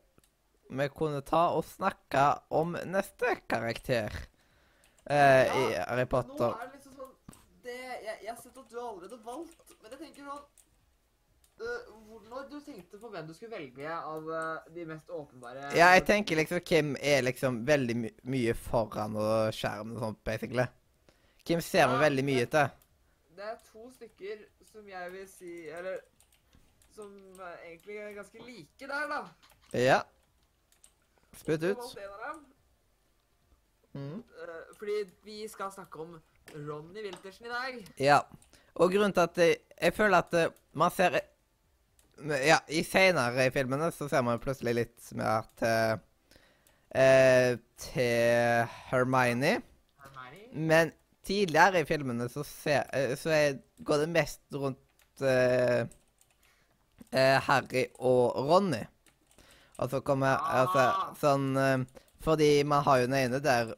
S1: vi kunne ta og snakke om neste karakter eh, i
S3: Ja,
S1: Harry
S3: Nå
S1: Potter.
S3: er det liksom sånn det, jeg, jeg har sett at du har allerede valgt, men jeg tenker sånn øh, hvor- Når du tenkte på hvem du skulle velge av øh, de mest åpenbare
S1: Ja, jeg tenker liksom hvem er liksom veldig my mye foran og skjermen og sånt, basically. Kim ser meg veldig mye til.
S3: Det er to stykker som jeg vil si Eller som eh, egentlig er ganske like der, da.
S1: Ja. Spytt
S3: Jeg
S1: ut.
S3: valgte en av dem.
S1: Mm.
S3: Eh, Fordi vi skal snakke om Ronny Wiltersen i dag.
S1: Ja. Og grunnen til at jeg, jeg føler at eh, man ser eh, Ja, i senere i filmene så ser man plutselig litt mer til eh, Til Hermione.
S3: Hermione.
S1: Men tidligere i filmene så, ser, eh, så er, går det mest rundt eh, eh, Harry og Ronny. Og så kommer
S3: Ah.
S1: altså, sånn eh, Fordi man har jo den ene der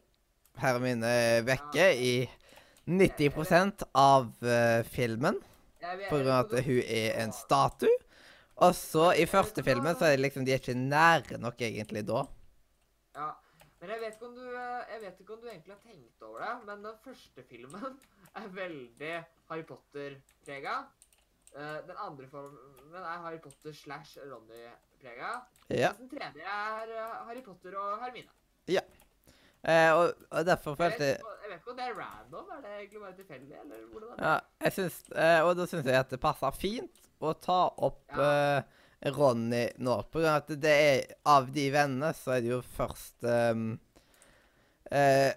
S1: Hermine er vekke i 90 av eh, filmen
S3: Jeg vet-
S1: på grunn av at hun er en statue. Og så i første filmen så er det liksom de er ikke nære nok egentlig da.
S3: Ja. Men jeg vet, ikke om du, eh, jeg vet ikke om du egentlig har tenkt over det, men den første filmen [LAUGHS] er veldig Harry Potter-prega. Eh, Den andre filmen er Harry Potter slash Ronny-prega.
S1: Ja.
S3: Mens den tredje er eh, Harry Potter og Hermine.
S1: Eh, og, og derfor
S3: Jeg
S1: følte jeg
S3: vet, ikke om- jeg vet ikke om det er random, er det egentlig bare tilfeldig, eller hvordan er det?
S1: Ja, jeg syns, eh, og da syns jeg at det passer fint å ta opp
S3: Ja.
S1: eh, Ronny nå. På grunn av at det er Av de vennene så er det jo først ehm, eh,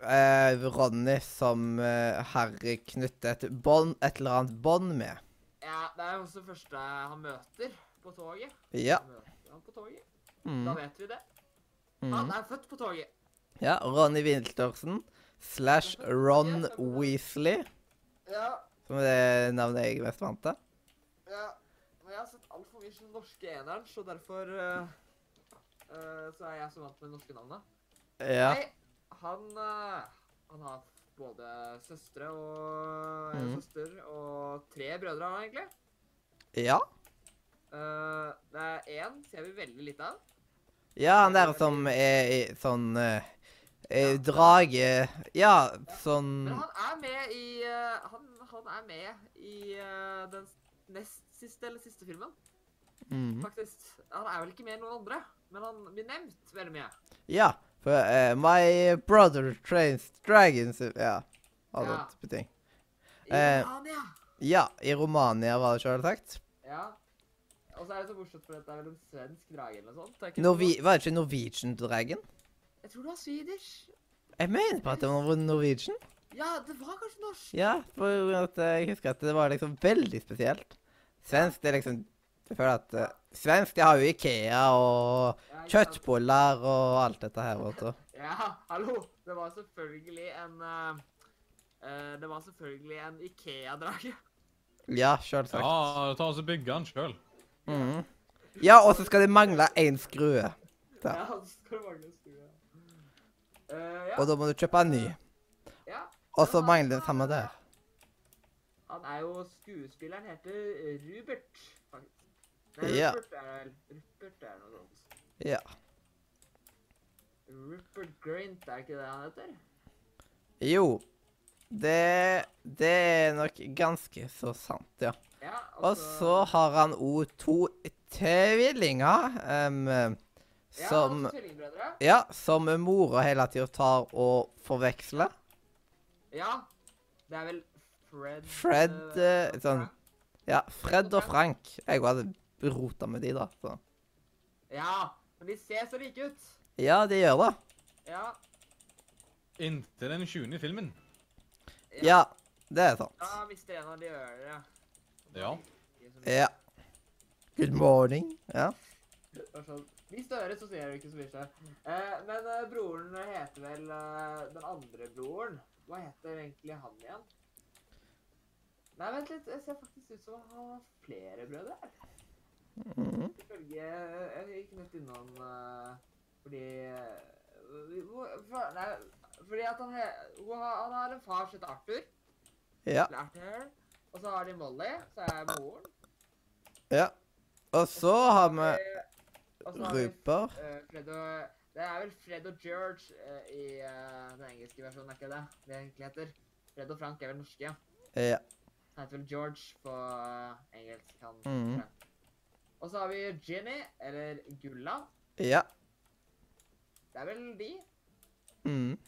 S1: eh, Ronny som eh, Harry knytter et bånd Et eller annet bånd med.
S3: Ja, det er jo også det første han møter på toget.
S1: Ja.
S3: Møter han på toget? Da
S1: Mm,
S3: vet vi det. Han
S1: mm.
S3: er født på toget.
S1: ja. Ronny Wiltersen slash Ron Weasley,
S3: Ja,
S1: som er det navnet jeg er mest vant til.
S3: Ja, men jeg har sett altfor mye som norske eneren, så derfor eh, eh, Så er jeg så vant med det norske navnet.
S1: Ja.
S3: Nei, han eh, Han har både søstre og en
S1: Mhm.
S3: søster og tre brødre, har han egentlig.
S1: ja.
S3: Eh, det er én ser vi veldig lite av.
S1: Ja, han der som er i sånn eh, eh, Drage Ja, sånn
S3: Men han er med i eh, han, han er med i eh, den s- nest siste eller siste filmen,
S1: mm.
S3: faktisk. Han er vel ikke med i noen andre, men han blir nevnt veldig mye.
S1: Ja. For eh, My brother trains dragons Ja. Alle
S3: Ja.
S1: type ting.
S3: I
S1: Eh,
S3: Romania.
S1: Ja, i Romania, var det selvsagt.
S3: Ja. Og så er det så morsomt, for dette er vel en svensk drage eller noe sånt? er ikke det
S1: Norvi
S3: noe?
S1: var det ikke Norwegian Dragon?
S3: Jeg tror det var swedish.
S1: Jeg mener på at det var Norwegian.
S3: Ja, det var kanskje norsk.
S1: Ja, for at eh, jeg husker at det var liksom veldig spesielt. Svensk, det er liksom Jeg føler at eh, Svensk, de har jo Ikea og
S3: Ja, ikke sant?
S1: kjøttboller og alt dette her. vet du.
S3: Ja, hallo. Det var selvfølgelig en eh, eh, Det var selvfølgelig en Ikea-drage.
S1: Ja, selvsagt.
S2: Ja, ta oss og bygge den sjøl.
S1: Mhm. Ja, og så skal det mangle én skrue. Ja.
S3: Ja, så skal det mangle en stue. Eh, ja.
S1: Og da må du kjøpe en ny.
S3: ja.
S1: Og så mangler det samme der.
S3: Han er jo Skuespilleren heter Rupert, faktisk. Nei,
S1: Ja.
S3: Rupert er det vel. Rupert er noe sånt.
S1: Ja.
S3: Rupert Grint, er ikke det han heter?
S1: Jo. Det Det er nok ganske så sant, ja.
S3: Ja, altså-
S1: Og så har han òg to tvillinger em, som
S3: Ja, altså tvillingbrødre.
S1: Ja, som mora hele tida tar og forveksler.
S3: Ja. Det er vel Fred
S1: Fred,
S3: eh,
S1: eh, sånn-
S3: Frank?
S1: Ja, Fred og Frank. Jeg hadde rota med de, da. Så.
S3: Ja, men de ser så like ut.
S1: Ja, de gjør det.
S3: Ja.
S2: Inntil den 20. i filmen.
S1: Ja, det er sant.
S3: Da mister en av de ørene.
S2: Ja.
S3: Ikke så mye.
S1: Ja. Good morning. Ja.
S3: Det er sånn, Hvis du hører, så ser du ikke så mye. selv. Eh, men eh, broren heter vel eh, Den andre broren. Hva heter egentlig han igjen? Nei, vent litt. Jeg ser faktisk ut som han har flere brødre.
S1: Mhm.
S3: Ifølge Jeg gikk nett innom eh, fordi eh, hvor- for, Nei, fordi at han, he, hun har- han har en far som heter Arthur.
S1: Ja.
S3: eller Arthur. Og så har de Molly, så er moren.
S1: Og så har vi
S3: Og Eh, så har vi
S1: Ruper.
S3: eh, Fred og Det er vel Fred og George eh, i eh, den engelske versjonen, er ikke det det egentlig heter? Fred og Frank er vel norske, ja.
S1: Ja.
S3: Han heter vel George på eh, engelsk. Han,
S1: Mhm.
S3: Frank. Og så har vi Ginny, eller Gulla.
S1: ja.
S3: Det er vel de?
S1: Mm.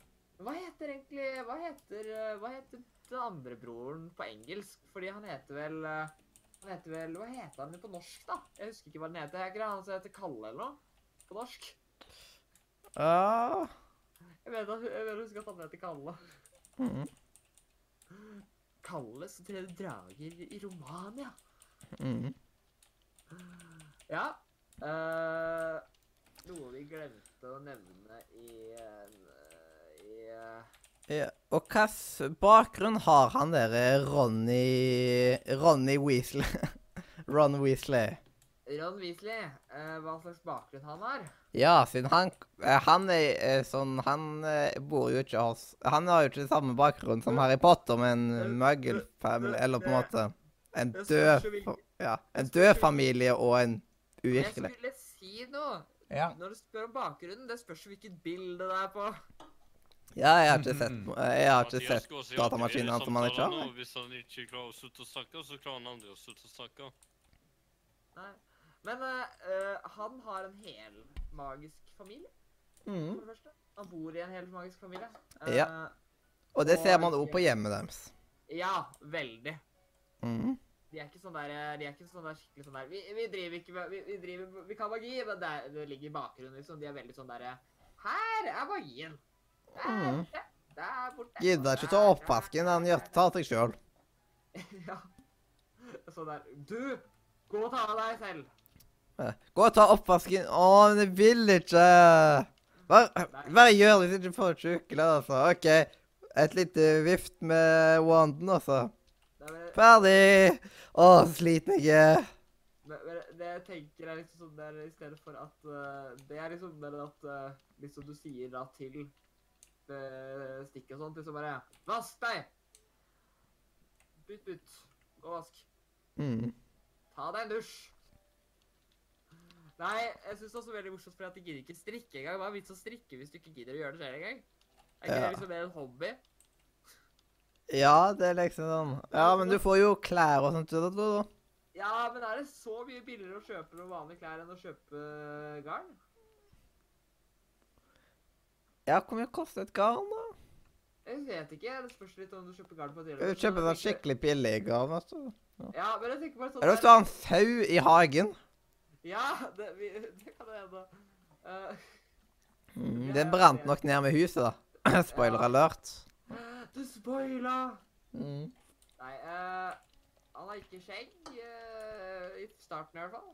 S3: Hva heter egentlig Hva heter, eh, hva heter den andre broren på engelsk? Fordi han heter vel eh, Han heter vel Hva heter han på norsk, da? Jeg husker ikke hva den heter. Er ikke det han som heter Kalle eller noe? På norsk?
S1: Ah.
S3: Jeg vet at jeg vet å huske at han heter Kalle.
S1: Mm.
S3: Kalle som drev drager i Romania.
S1: Mm.
S3: Ja. eh, noe vi glemte å nevne i eh, i eh,
S1: Ja. Og hvilken bakgrunn har han der eh, Ronny Ronny Weasley? [LAUGHS] Ron Weasley.
S3: Ron Weasley, eh, hva slags bakgrunn han har.
S1: Ja, siden han eh, Han er eh, sånn Han eh, bor jo ikke hos Han har jo ikke samme bakgrunn som Harry Potter, men møggelfamilie Eller på en måte En død
S3: Jeg spørs jo hvilken-
S1: fa- Ja. En død familie og en
S3: Jeg
S1: uvirkelig.
S3: skulle si noe.
S1: Ja.
S3: Når du spør om bakgrunnen, det spørs jo hvilket bilde det er på.
S1: ja, jeg har ikke sett Jeg har ikke
S4: Mathias
S1: sett
S4: går seg
S1: datamaskinen
S4: alltid
S1: som han ikke
S4: videre i
S1: har.
S4: samtalen, og liksom, Hvis han ikke klarer å slutte å snakke, så klarer han aldri å slutte å snakke.
S3: Nei. Men eh, eh, han har en hel magisk familie,
S1: Mm.
S3: for det første. Han bor i en hel magisk familie.
S1: Ja.
S3: Eh,
S1: Og det ser man også på hjemmet deres.
S3: ja, veldig.
S1: Mm.
S3: De er ikke sånn der, eh, de er ikke sånn der skikkelig sånn der Vi, vi driver ikke med vi, vi, driver, vi kan magi, men det, er- det ligger i bakgrunnen, liksom. De er veldig sånn derre Her er magien. Der
S1: Mm.
S3: borte. Der borte.
S1: Gidder ikke ta
S3: Der,
S1: oppvasken. Han
S3: der,
S1: gjør tar seg sjøl.
S3: der. Ja. Sånn der Du! Gå og ta av deg selv.
S1: Eh, Gå og ta oppvasken. Å, men jeg vil ikke. Bare, bare gjør det hvis ikke du får tjukle, altså. OK. Et lite vift med wanden, altså.
S3: Det er vel-
S1: Ferdig. Å, så sliten jeg er.
S3: Men, men det jeg tenker er liksom sånn der i stedet for at eh, Det er liksom der at eh, liksom du sier da til eh, stikk og sånt, liksom bare Vask deg! Bytt, bytt. Gå og vask.
S1: Mm.
S3: Ta deg en dusj. Nei, jeg syns det er også veldig morsomt fordi at de gidder ikke strikke engang. Hva er vits å strikke hvis du ikke gidder å gjøre det selv engang? Er ikke
S1: Ja.
S3: det liksom mer en hobby?
S1: Ja, det er liksom sånn. Ja, men du får jo klær og sånt, da, da.
S3: Ja, men er det så mye billigere å kjøpe noen vanlige klær enn å kjøpe garn?
S1: Ja, hvor mye koster et garn, da?
S3: Jeg vet ikke. Det spørs litt om du kjøper garn på
S1: Du kjøper sånn skikkelig billig garn, altså.
S3: Ja, men jeg tenker bare sånn
S1: Eller hvis du har en sau i hagen.
S3: Ja, det, vi, det kan det hende. Eh,
S1: Mm. Den brant nok ned med huset, da. [CLEARS THROAT] Spoiler alert.
S3: du spoila!
S1: Mm.
S3: Nei, eh, han har ikke skjegg. eh, I starten i hvert fall.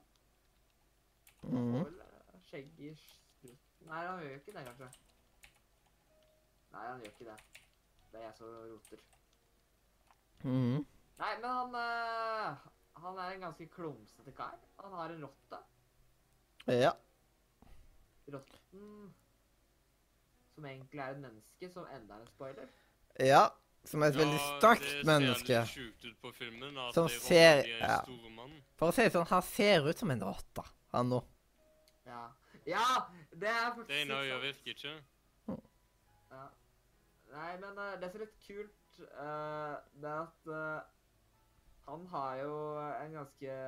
S3: Han
S1: Mm.
S3: får vel, eh, Skjegg i slutten Nei, han gjør jo ikke det, kanskje. Nei, han gjør ikke det. Det er jeg som roter.
S1: Mm.
S3: Nei, men han eh, Han er en ganske klumsete kar. Han har en rotte.
S1: Ja.
S3: Rotten Som egentlig er et menneske, som enda er en spoiler.
S1: Ja. Som er et veldig stygt
S4: Det
S1: menneske.
S4: ser litt sjukt ut på filmen. At
S1: Som
S4: det er
S1: ser-
S4: Ronny er
S1: ja.
S4: store mann.
S1: For å si det sånn, han ser ut som en rotte, han nå.
S3: Ja, ja det er faktisk
S4: Det ene
S3: litt
S4: øyet
S3: sant.
S4: virker ikke.
S3: Ja. Nei, men eh, det som er litt kult, eh, det er at eh, han har jo en ganske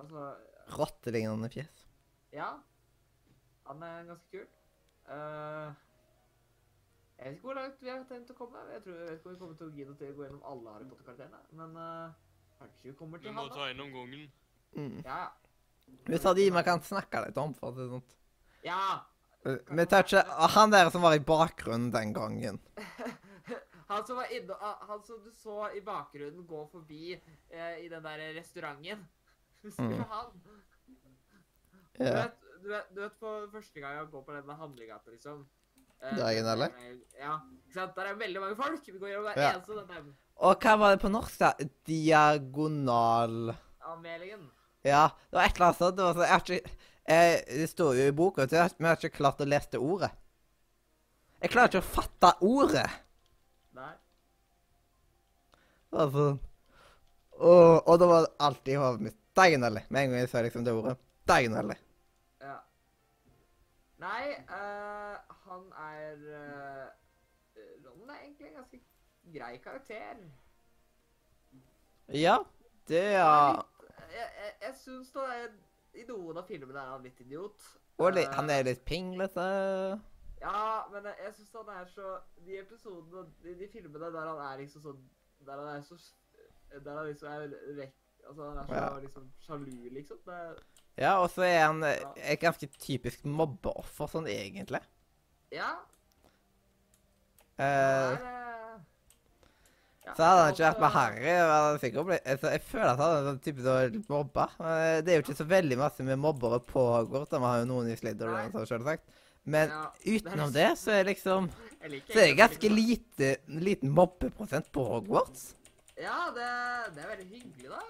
S3: Altså,
S1: Rottelignende fjes.
S3: ja. Han er ganske kul. Eh, jeg vet ikke hvor langt vi har tenkt å komme. Jeg, tror, jeg vet ikke om vi kommer til å gidde til å gå gjennom alle Harry Potter-karakterene. Men eh, kanskje vi kommer
S4: Vi
S3: til
S4: må
S3: han, da.
S4: ta gjennom gangen.
S1: Mm.
S3: Ja,
S1: Hvis de vi kan snakke litt om, for å si det sånn. Eh,
S3: ja.
S1: Vi tar ikke ah, han der som var i bakgrunnen den gangen.
S3: Han som, var inne, ah, han som du så i bakgrunnen gå forbi eh, i den der restauranten. [LAUGHS] Husker du
S1: Mm.
S3: han? Du
S1: Ja.
S3: vet, du vet, du vet på første gang jeg går på denne handlegata, liksom. Eh,
S1: Dagen,
S3: der-
S1: eller?
S3: Ja. ikke sant? Der er veldig mange folk. Vi går gjennom hver
S1: Ja.
S3: eneste denne
S1: Og hva var det på norsk, da? Diagonal
S3: anmeldingen.
S1: Ja, det var et eller annet sånt. Det, var sånn, jeg har ikke, eh, det står jo i boka, så jeg, har- vi har ikke klart å lese det ordet. Jeg klarer ikke å fatte ordet.
S3: Nei.
S1: Det var sånn. Og, og da var det alltid i hodet mitt. Deignally. Med en gang jeg sa liksom det ordet. Deignally.
S3: Ja. Nei, eh, han er eh, Ron er egentlig en ganske grei karakter.
S1: Ja. Det er
S3: Jeg, jeg, jeg syns da er- I noen av filmene er han litt idiot.
S1: Og li,
S3: Eh,
S1: han er litt pinglete.
S3: Ja, men jeg, jeg syns han er så De episodene, de, de filmene der han er liksom sånn Der han er så Der han liksom er rekk... Altså, han er så
S1: Ja.
S3: liksom sjalu, liksom. Det,
S1: Ja, og så er han eh, et ganske typisk mobbeoffer sånn egentlig.
S3: ja.
S1: Eh,
S3: det er, eh, ja.
S1: så hadde han ikke
S3: Altså,
S1: vært med Harry. hadde han sikkert blitt- altså, Jeg føler at han er sånn type som er litt mobba. men eh, Det er jo ikke så veldig masse med mobbere på Hogwarts. da. Vi har jo noen i Slidderen, selvsagt. Men
S3: Ja,
S1: utenom det, så er liksom
S3: jeg liker
S1: Så er det
S3: egentlig
S1: ganske
S3: veldig godt.
S1: lite, liten mobbeprosent på Hogwarts.
S3: Ja, det, det er veldig hyggelig, da.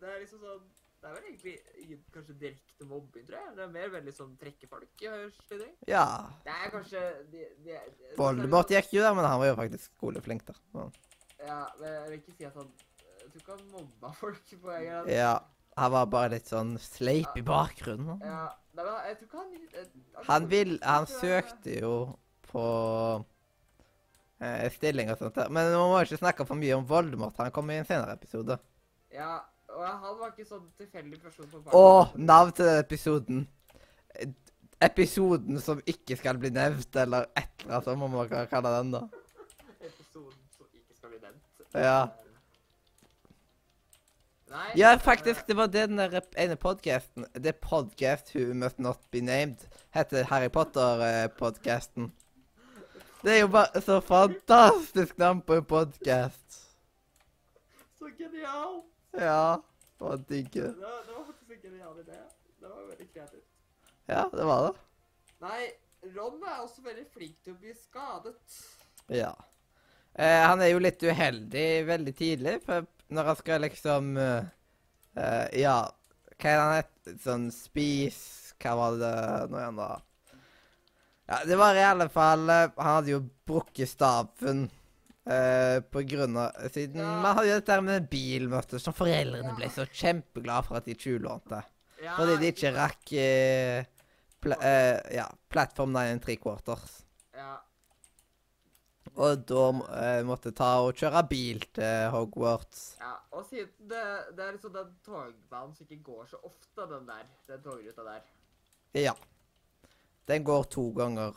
S3: Det er liksom sånn Det er vel egentlig ingen kanskje direkte mobbing, tror jeg. Det er mer veldig sånn trekke folk i hørselig.
S1: Ja.
S3: Det er kanskje de, de, de,
S1: Voldemort gikk jo der, men han var jo faktisk skoleflink, da. Så,
S3: Ja, men jeg vil ikke si at han Jeg tror ikke han mobba folk. på en gang.
S1: ja. Han var bare litt sånn sleip i bakgrunnen.
S3: Ja, nei, men jeg tror ikke han eh,
S1: Han vil Han
S3: tror jeg-
S1: søkte jo på eh, stilling og sånt, der. men man må ikke snakke for mye om Voldemort. Han kommer i en senere episode.
S3: Ja, og han var ikke sånn tilfeldig person på
S1: Å, navn til den episoden. Eh, Episoden som ikke skal bli nevnt, eller et eller annet sånt, må man kan kalle den, da.
S3: Episoden som ikke skal bli nevnt.
S1: Ja.
S3: Nei,
S1: Ja, faktisk, det var det den der rep- ene podcasten. Det er podcast Who Must Not Be Named heter Harry Potter-podcasten. Det er jo bare så fantastisk navn på en podcast.
S3: Så genial!
S1: Ja, for digge.
S3: Det, det var faktisk en genial idé. Det var veldig kreativt.
S1: Ja, det var det.
S3: Nei, Ron er også veldig flink til å bli skadet.
S1: Ja. Eh, han er jo litt uheldig veldig tidlig, for når han skal liksom eh, eh, Ja, hva er det han het? Sånn spis Hva var det nå igjen, da? Ja, det var i alle fall eh, Han hadde jo brukket staven eh, på grunn av Siden
S3: Ja.
S1: man hadde jo dette her med en bil, vet du, som foreldrene
S3: Ja.
S1: ble så kjempeglade for at de tjuvlånte.
S3: Ja,
S1: Fordi de ikke rakk eh, pla eh, Ja, plattform 9 and 3 quarters.
S3: Ja,
S1: Og da eh, måtte ta og kjøre bil til Hogwarts.
S3: ja. Og siden det, det er liksom den togbanen som ikke går så ofte, den der. Den togruta der.
S1: Ja. Den går to ganger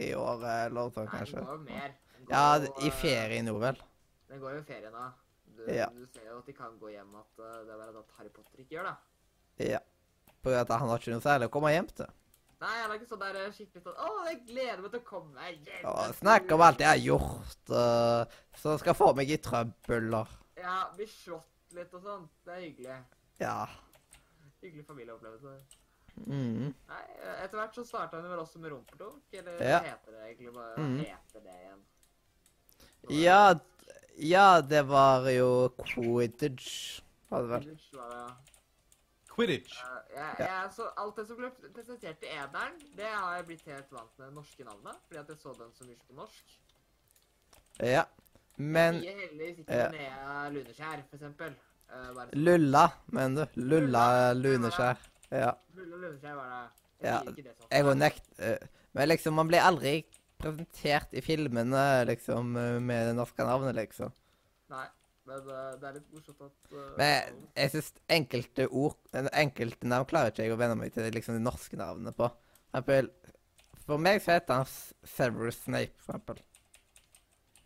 S1: i året, eller sånn,
S3: Nei, den
S1: kanskje.
S3: går jo mer. Den går
S1: Ja,
S3: jo,
S1: i
S3: eh,
S1: ferien nå, vel.
S3: Den går jo i ferien, da. Du,
S1: Ja.
S3: du ser jo at de kan gå hjem at eh, det er bare at Harry Potter ikke gjør det.
S1: Ja. På grunn av at han har ikke noe særlig å komme hjem til.
S3: Nei, han er ikke sånn der eh, skikkelig sånn Å, jeg gleder meg til å komme meg hjem!
S1: Og
S3: jeg
S1: snakk om
S3: tror-
S1: alt jeg har gjort, uh, som skal få meg i trøbbeler.
S3: Ja, bli slått litt og sånn. Det er hyggelig.
S1: Ja.
S3: Hyggelig familieopplevelse.
S1: Mm.
S3: Nei, eh, etter hvert så starta han vel også med rumpeldunk, eller
S1: Ja.
S3: hva heter det egentlig bare
S1: Mhm.
S3: Hva heter det igjen?
S1: Ja, d- ja, det var jo Quidditch, var det vel.
S3: Quidditch var det, ja.
S2: Quidditch.
S3: Eh, Jeg, jeg, så alt det som ble presentert i Ederen, det har jeg blitt helt vant med det norske navnet, fordi at jeg så den så mye på norsk.
S1: Ja. Men
S3: Mye heldigvis ikke
S1: ja.
S3: ja. Linnea Luneskjær, for eksempel. Eh, bare sånn.
S1: Lulla, mener du? Lulla Luneskjær. Ja.
S3: Lulla "Hm, Luneskjær var det.
S1: Ja,
S3: sier ikke det så ofte.
S1: Jeg òg nekt... eh, Men liksom, man blir aldri presentert i filmene liksom, eh, med det norske navnet, liksom.
S3: Nei, men eh, det er litt morsomt at eh,
S1: Men jeg syns enkelte ord en- Enkelte navn klarer ikke jeg å venne meg til liksom, de norske navnene på. For eksempel, for meg så heter han S- Severus Snape, for eksempel.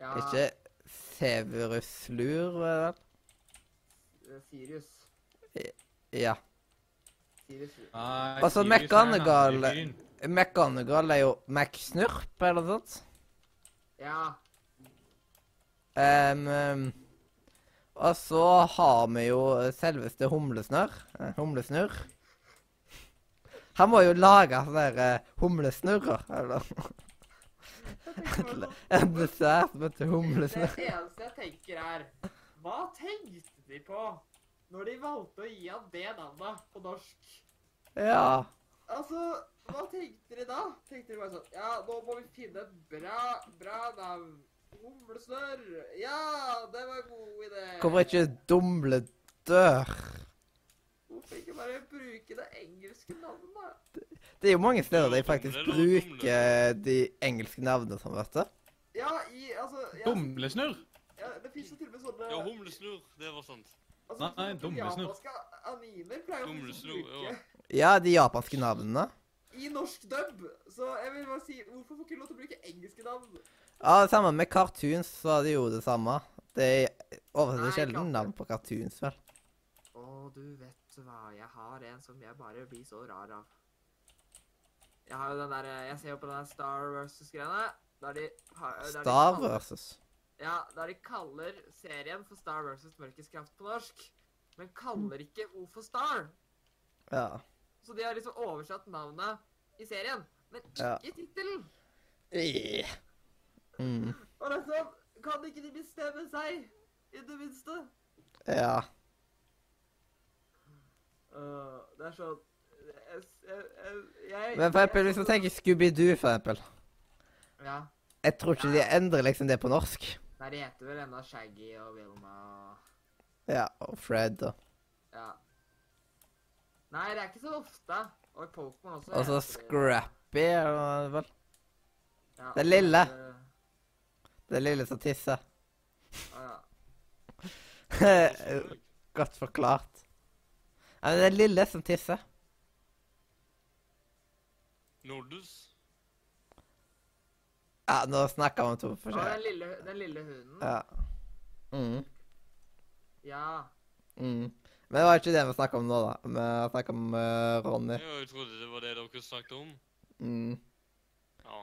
S3: ja,
S1: Ikke Severus Lur, vel?
S3: eh, Sirius.
S1: Ja.
S3: Sirius.
S2: Nei,
S1: Og så
S2: Sirius Altså, er en annen
S1: McGonagall.
S2: byen.
S1: McGonagall er jo McSnurp, eller noe sånt.
S3: Ja,
S1: Ehm, ehm, og så har vi jo selveste humlesnørr. eh, Humlesnurr. Han må jo lage sånne der, eh, humlesnurrer, eller
S3: jeg tenker bare sånn,
S1: [LAUGHS] en dessert som heter
S3: Det
S1: [LAUGHS] humlesnurr.
S3: eneste jeg tenker er, hva tenkte de på når de valgte å gi han det navnet på norsk?
S1: Ja.
S3: Altså, hva tenkte de da? Tenkte de bare sånn, ja, nå må vi finne et bra, bra navn. Humlesnør. Ja, det var en god idé.
S1: Hvorfor ikke Dumledør?
S3: Hvorfor ikke bare bruke det engelske navnet da?
S1: Det er jo mange steder de faktisk bruker eh, de engelske navnene som, vet du.
S3: Ja, i, altså, ja,
S2: Dumlesnurr.
S3: ja, det finnes jo til og med sånne...
S4: Ja, humlesnurr. Det var sant.
S3: altså,
S2: Nei, nei,
S3: sånne
S2: dumlesnurr.
S3: japanske Animer pleier jo faktisk å
S4: Dumlesnurr,
S3: bruke.
S4: ja.
S1: Ja, de japanske navnene.
S3: I i norsk dub. Så jeg vil bare si, hvorfor får ikke lov til å bruke engelske navn?
S1: Ja, det samme med cartoons, så de gjorde det samme. De
S3: Nei,
S1: oversetter sjelden
S3: klart.
S1: navn på cartoons, vel.
S3: Å, du vet hva, jeg har en som jeg bare blir så rar av. Jeg har jo den der, eh, jeg ser jo på den der Star Wars-greiene. Der de har... der de
S1: Star
S3: kaller-
S1: versus.
S3: Ja, der de kaller serien for Star versus Mørkets kraft på norsk. Men kaller ikke O for Star.
S1: Ja.
S3: Så de har liksom oversatt navnet i serien, men ikke
S1: Ja.
S3: tittelen.
S1: Yeah. Mm.
S3: Og det er sånn, kan ikke de bestemme seg, i det minste?
S1: Ja.
S3: Øh, det er sånn jeg, jeg, jeg, jeg,
S1: Men for eksempel, hvis du tenker Scooby-Doo, for eksempel.
S3: Ja.
S1: Jeg tror ikke de endrer liksom det på norsk.
S3: Nei, de heter vel ennå Shaggy og Wilma og
S1: Ja, og Fred og
S3: Ja. Nei, det er ikke så ofte. Og i Pokémon også.
S1: Og så
S3: heter de-
S1: Scrappy, er det vel.
S3: Ja,
S1: Det er lille.
S3: øh,
S1: Det lille som tisser. [LAUGHS]
S3: ja.
S1: Eh, Godt forklart. Ja, men det er lille som tisser.
S4: Nordus?
S1: Ja, nå snakker vi om to
S3: Og den
S1: forskjellige
S3: lille, den lille hunden.
S1: Ja. Mm.
S3: Ja.
S1: Mm. Men det var ikke det vi snakka om nå, da. Vi snakka om eh, Ronny.
S4: Ja, jeg trodde det var det dere snakket om.
S1: Mm.
S4: Ja.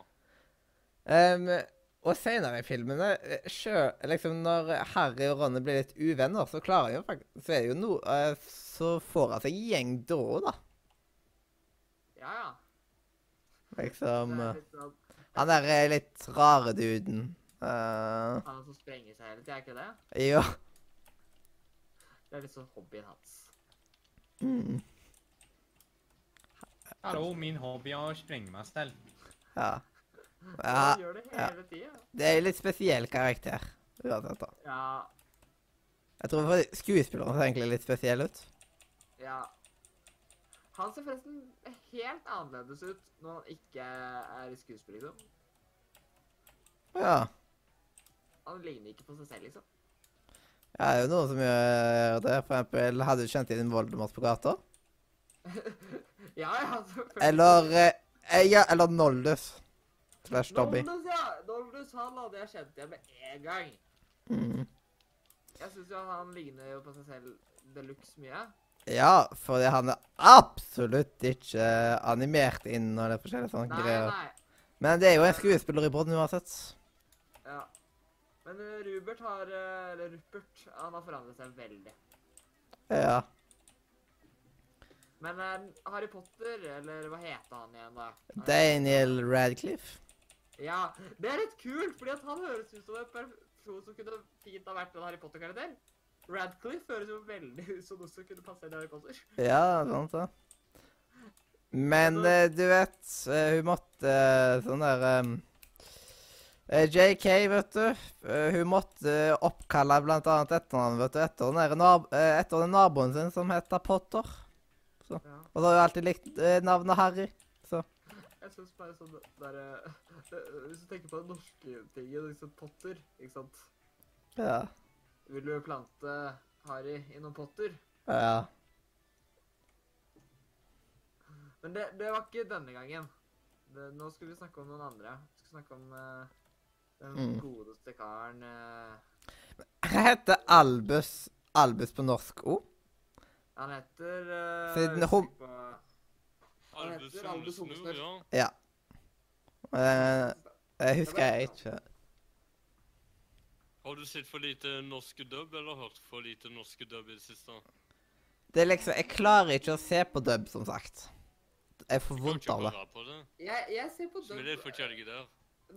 S1: Em, Ehm, og senere i filmene, eh, sjø, liksom når Harry og Ronny blir litt uvenner, så klarer jo faktisk Så er det jo noe eh, Så får han seg gjengdårer, da.
S3: Ja, ja. Det
S1: Liksom
S3: er
S1: eh,
S3: litt sånn,
S1: Han der er litt rare duden. Eh,
S3: han som sprenger seg hele tida, er ikke det?
S1: jo.
S3: Det er litt sånn hobbyen hans.
S1: Mm.
S2: Hallo, min hobby er å sprenge meg selv.
S1: Ja. ja.
S3: Han gjør det hele tida.
S1: Det er en litt spesiell karakter. Uansett, da.
S3: Ja.
S1: Jeg tror for skuespilleren ser egentlig litt spesiell ut.
S3: Ja. Han ser forresten helt annerledes ut når han ikke er i skuespill, liksom.
S1: Ja.
S3: Han ligner ikke på seg selv, liksom.
S1: Ja, det er jo noen som gjør det. For eksempel, hadde du kjent igjen Voldemort på gata?
S3: Ja, ja, selvfølgelig.
S1: Eller eh, eh, Ja, eller Noldus. Slash Dobby.
S3: Doldus, ja. Doldus, han hadde jeg kjent igjen med en gang.
S1: Mm.
S3: Jeg syns jo han ligner jo på seg selv de luxe mye.
S1: Ja, fordi han er absolutt ikke eh, animert inn og det forskjellige sånne
S3: Nei,
S1: greier.
S3: nei.
S1: Men det er jo en skuespiller i båten uansett.
S3: Ja. Men eh, Rupert har eh, Eller Rupert, han har forandret seg veldig.
S1: Ja.
S3: Men eh, Harry Potter, eller hva heter han igjen, da?
S1: Daniel Radcliffe.
S3: Ja, Det er litt kult, fordi at han høres ut som en person som kunne fint ha vært en Harry Potter-karakter. Radcliffe høres jo veldig ut som noe som kunne passe inn i Harry Potter.
S1: Ja, sant det. Men
S3: Altså
S1: eh, du vet, eh, hun måtte eh, sånn der eh, eh, JK, vet du. eh, hun måtte eh, oppkalle blant annet etternavnet vet du, etter den, der nab eh, etter den naboen sin som heter Potter.
S3: Ja.
S1: Og så har hun alltid likt eh, navnet Harry.
S3: Jeg synes bare sånn der, eh, [LAUGHS] Hvis du tenker på det norske tinget, liksom potter, ikke sant?
S1: Ja.
S3: Vil du plante Harry i noen potter?
S1: ja.
S3: Men det, det var ikke denne gangen. Det, nå skal vi snakke om noen andre. Vi skal snakke om eh, den
S1: Mm.
S3: godeste karen eh,
S1: Hva heter Albus Albus på norsk ord?
S3: Han heter eh,
S1: Siden
S3: jeg
S1: hom-
S3: husker på- Han heter
S4: Albus
S3: Albus
S4: Hundesnurr,
S3: Hundesnurr.
S4: ja.
S1: Eh, jeg husker jeg ikke.
S4: Har du sett for lite norske dub, eller hørt for lite norske dub i det siste?
S1: Det er liksom, Jeg klarer ikke å se på dub, som sagt. Jeg får vondt av det.
S4: det. På det.
S3: Jeg, jeg ser på
S4: Som er litt
S3: dub.
S4: forskjellige der.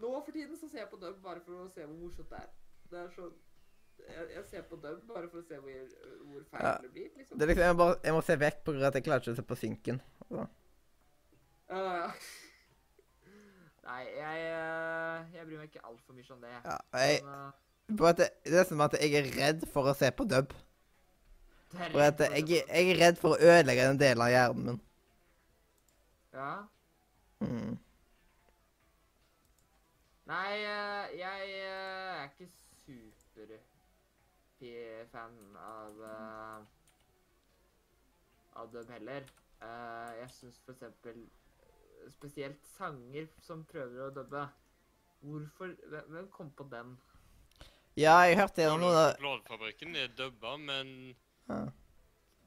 S3: Nå for tiden så ser jeg på dub bare for å se hvor morsomt det er. Det er sånn jeg, jeg ser på dub bare for å se hvor, hvor feil
S1: Ja.
S3: det blir, liksom.
S1: Det er liksom, jeg, må bare, jeg må se vekk på grunn av at jeg klarer ikke å se på synken.
S3: Ja, [LAUGHS] ja. Nei, jeg, eh, jeg bryr meg ikke altfor mye om det.
S1: Ja, jeg,
S3: Men, eh,
S1: på at det, det er som at jeg er redd for å se på dub.
S3: det er
S1: For at
S3: rett og
S1: jeg,
S3: slett-
S1: jeg er redd for å ødelegge den delen av hjernen min.
S3: Ja.
S1: Mm.
S3: Nei, eh, jeg eh, er ikke super-fan av eh, Av dem heller. Eh, Jeg syns for eksempel spesielt sanger som prøver å dubbe. Hvorfor Hvem hvem kom på den?
S1: Ja, jeg hørte gjennom noen av
S4: Bladfabrikken er dubba, men
S1: Ja.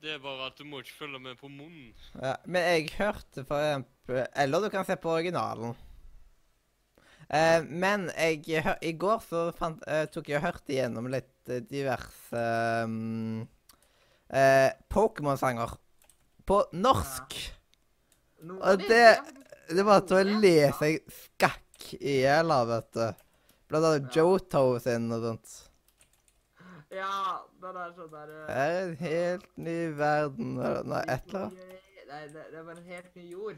S4: det er bare at du må ikke følge med på munnen.
S1: Ja, men jeg hørte for eksempel Eller du kan se på originalen. Eh, men jeg, hø- i går så fant, eh, tok jeg og hørte igjennom litt eh, diverse ehm, eh, Pokémon-sanger på norsk.
S3: Noen
S1: Og
S3: av de-
S1: det-
S3: ja,
S1: Det var til å
S3: Ole?
S1: le seg skakk i hjel av, vet du. Blant annet
S3: Ja.
S1: Joto sin og sånt.
S3: Ja, den er sånn der
S1: Det er en helt ny verden eller noe Eh, et eller annet.
S3: Nei, det, det er bare en helt ny jord.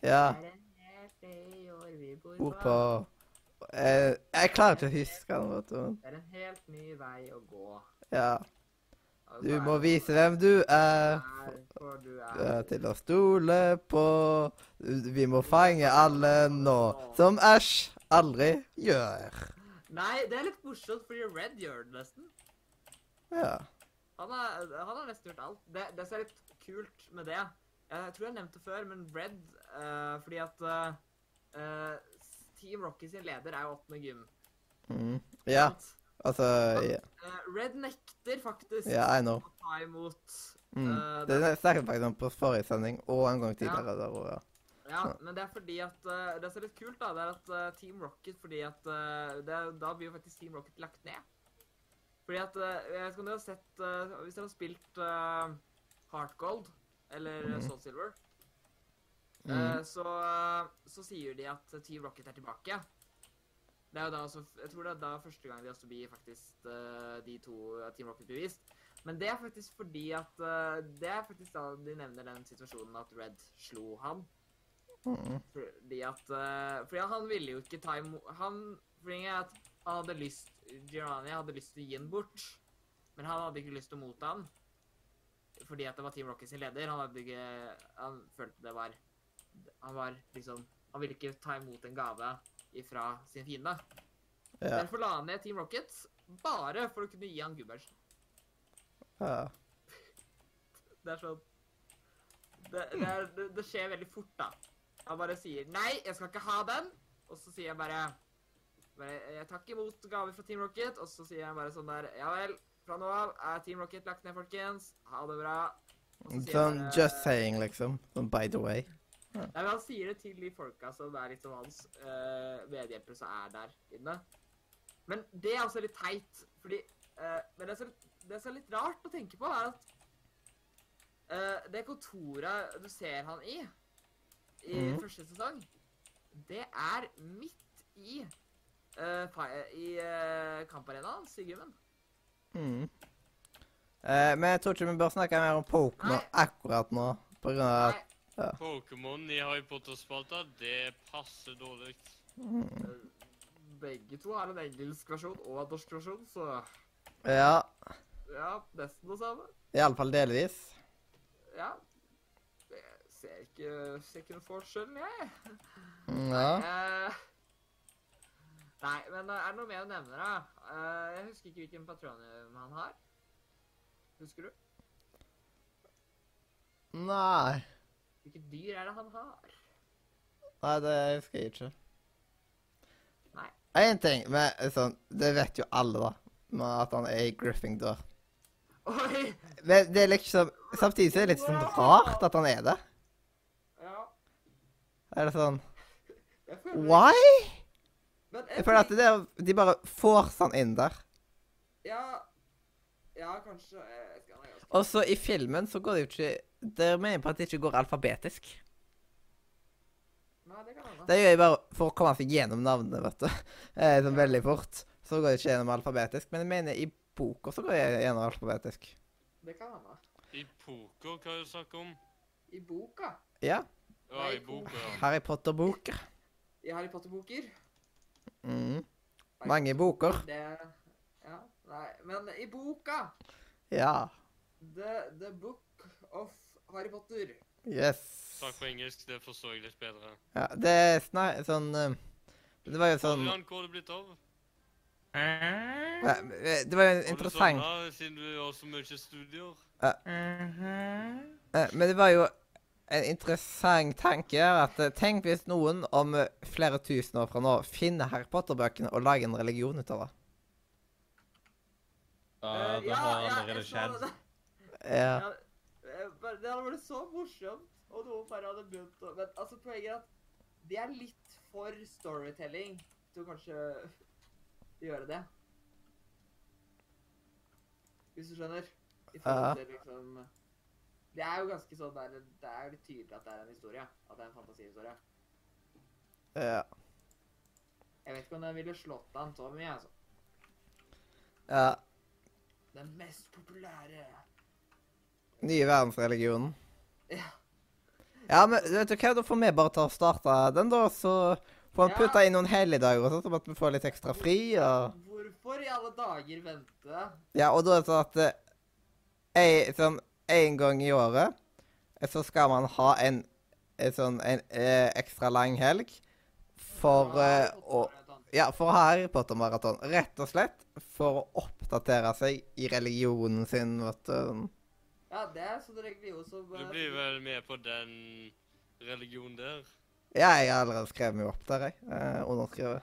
S1: Ja.
S3: Det er en helt ny jord vi bor
S1: Bor
S3: på.
S1: på eh, Jeg klarer ikke å huske den, vet du.
S3: Det er en helt ny vei å gå.
S1: Ja.
S3: Og
S1: Du
S3: så er
S1: må
S3: det-
S1: vise hvem du er,
S3: er, for du
S1: du er
S3: er
S1: til å stole på. Vi må fange alle nå, som æsj aldri gjør.
S3: Nei, det er litt morsomt, fordi Red gjør det nesten.
S1: Ja.
S3: Han har, han har nesten gjort alt. Det, det som er litt kult med det Jeg tror jeg nevnte det før, men Red eh, Fordi at eh, eh, Team Rocky sin leder er jo åttende gym.
S1: Mm. Ja,
S3: sant?
S1: altså ja.
S3: Eh, Red nekter faktisk
S1: ja, I know.
S3: å ta imot
S1: Mm.
S3: eh,
S1: Det snakket vi faktisk om på forrige sending og en gang tidligere. Der, også, ja.
S3: Ja, men det er fordi at eh, Det som er litt kult, da, det er at eh, Team Rocket fordi at eh, det, er- Da blir jo faktisk Team Rocket lagt ned. Fordi at eh, Jeg vet ikke om dere har sett eh, Hvis dere har spilt eh, Heart Gold eller
S1: Mhm.
S3: Soul Silver, eh,
S1: Mhm.
S3: så, eh, så sier de at Team Rocket er tilbake. Det er jo da også, Jeg tror det er da første gang de også blir faktisk eh, de to eh, Team Rocket blir vist. Men det er faktisk fordi at eh, Det er faktisk da de nevner den situasjonen at Red slo han.
S1: Mm.
S3: Fordi at eh, Fordi at han ville jo ikke ta imot Han fordi at han hadde lyst Giovanni hadde lyst til å gi han bort, men han hadde ikke lyst til å motta han. Fordi at det var Team Rocket sin leder. Han hadde ikke Han følte det var Han var liksom Han ville ikke ta imot en gave ifra sin fiende.
S1: Ja.
S3: Derfor la han ned Team Rocket bare for å kunne gi han Gubbertsen.
S1: ja.
S3: Det er sånn det, det, er, det, det skjer veldig fort, da. Han bare sier 'nei, jeg skal ikke ha den', og så sier jeg bare, bare 'Jeg tar ikke imot gaver fra Team Rocket', og så sier jeg bare sånn der 'ja vel, fra nå av er Team Rocket lagt ned, folkens. Ha det bra'. Og så sier jeg
S1: Sånn
S3: bare-
S1: just saying, liksom. Sånn by the way.
S3: Nei, men Han sier det til de folka som er liksom hans eh, medhjelpere som er der inne. Men det er også litt teit, fordi eh, Men det som, det som er litt rart å tenke på, er at eh, det kontoret du ser han i i
S1: Mhm.
S3: første sesong, det er midt i eh, fi- i eh, kamparenaen hans i gymmen.
S1: Mm. Eh, men jeg tror ikke vi bør snakke mer om Pokémon
S3: Nei.
S1: akkurat nå. På grunn av
S3: Nei,
S1: at
S4: Pokémon i Harry Potter-spalta, det passer dårlig.
S1: mm.
S3: begge to har en engelsk versjon og en norsk versjon, så
S1: Ja.
S3: ja, nesten det samme.
S1: Iallfall delvis.
S3: Ja. Jeg ser ikke, ser ikke noen forskjell, jeg.
S1: Mm, Ja.
S3: Eh, nei, men eh, er det noe mer å nevne, da? Eh, jeg husker ikke hvilken patronium han har. Husker du?
S1: Nei.
S3: Hvilket dyr er det han har? [LAUGHS]
S1: Nei, det husker jeg ikke.
S3: Nei.
S1: Én ting men sånn, Det vet jo alle, da. Med at han er i Gryffindor.
S3: Oi!
S1: Men det er liksom Samtidig så er det litt sånn rart at han er det.
S3: Ja.
S1: Er det sånn
S3: Jeg føler,
S1: Why?
S3: Men
S1: Jeg føler at det er, de bare får sånn inn der.
S3: Ja, ja kanskje. eh, Jeg vet ikke. han er ganske-
S1: Og så i filmen så går det jo ikke Det mener jeg på at det ikke går alfabetisk.
S3: Nei, det kan hende.
S1: Det gjør jeg bare for å komme seg gjennom navnet, vet du. Eh, sånn veldig fort. Så går jeg ikke gjennom alfabetisk. Men jeg mener i boka så går jeg gjennom alfabetisk.
S3: Det kan hende.
S4: I poker, hva er det du snakker om?
S3: I boka.
S1: Ja.
S4: Ja, i boka, ja.
S1: Harry Potter-boker.
S3: I Harry Potter-boker.
S1: Mm. Mange boker.
S3: Det Ja. Nei, men i boka!
S1: Ja.
S3: The, the Book of Harry Potter.
S1: Yes.
S4: Takk på engelsk, det forstår jeg litt bedre.
S1: Ja, det er snak, sånn eh, Det var jo sånn
S4: Adrian, hvor har du blitt av?
S1: Ja, eh, Det var jo en
S4: Har du
S1: interessant
S4: sovnet siden du har så mye studier?
S1: Eh, Men det var jo en interessant tanke er at eh, tenk hvis noen om eh, flere tusen år fra nå finner Harry Potter-bøkene og lager en religion ut av det.
S2: Ja,
S3: Eh,
S2: det har
S3: ja,
S2: allerede
S3: jeg så
S2: skjedd.
S3: det.
S1: Ja.
S3: Ja, eh, bare- det hadde vært så morsomt om noen bare hadde begynt å Men altså, poenget er at det er litt for storytelling til å kanskje gjøre det. Hvis du skjønner?
S1: Ja.
S3: I forhold til liksom Det er jo ganske sånn der Det er jo litt tydelig at det er en historie. At det er en fantasihistorie.
S1: ja.
S3: Jeg vet ikke om jeg ville slått an så mye, altså.
S1: ja.
S3: Den mest populære
S1: Nye verdensreligionen.
S3: Ja.
S1: Ja, men vet du hva, da får vi bare ta og starte den, da. Så får vi
S3: Ja.
S1: putta inn noen helligdager og sånn, sånn at vi får litt ekstra fri. Og,
S3: Hvorfor i alle dager vente?
S1: ja, og da er det sånn at eh, ei- sånn en gang i året eh, så skal man ha en, en sånn en, eh, ekstra lang helg for eh, å ja, for Harry Potter-maraton. Rett og slett for å oppdatere seg i religionen sin, vet du.
S3: Ja, det er sånn religion som
S4: Du
S3: eh,
S4: blir vel med på den religionen der?
S1: Ja, jeg har allerede skrevet meg opp der, jeg. Eh, underskrevet.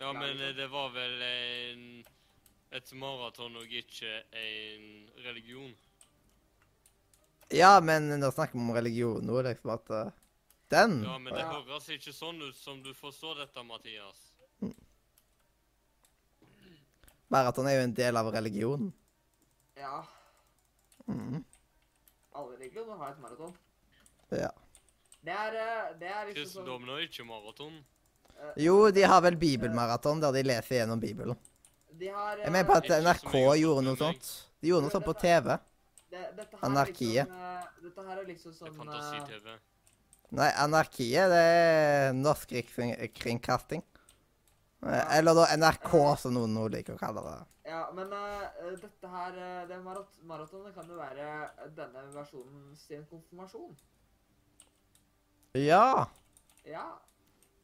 S4: Ja, men
S3: liksom.
S4: eh, det var vel en et maraton og ikke en religion.
S1: Ja, men nå snakker vi om religion nå, liksom at eh, Den?
S4: Ja, men det
S3: Ja.
S4: høres ikke sånn ut som du forstår dette, Mathias.
S1: Maraton er jo en del av religionen.
S3: Ja,
S1: Mhm.
S3: alle religioner har et maraton.
S1: Ja.
S3: Det er, eh, det er liksom sånn
S4: Kristendommen er ikke maraton.
S1: Jo, de har vel bibelmaraton, der de leser gjennom Bibelen.
S3: De har eh,
S1: Jeg mener på at
S4: Ikke så
S1: NRK
S4: mye å
S1: gjorde
S4: ta
S1: noe
S4: med meg.
S1: sånt. De gjorde noe sånt på TV.
S3: det, dette her er
S1: anarkiet.
S3: Liksom, eh, dette her er liksom
S4: Det er
S3: sånn eh,
S4: fantasi-TV.
S1: Nei, anarkiet, det er norsk rikskringkasting. Eh, Eller da NRK, som noen nå liker å kalle det.
S3: Ja, men eh, dette her eh, Det marat maratonet kan jo være eh, denne versjonen sin konfirmasjon.
S1: Ja.
S3: Ja.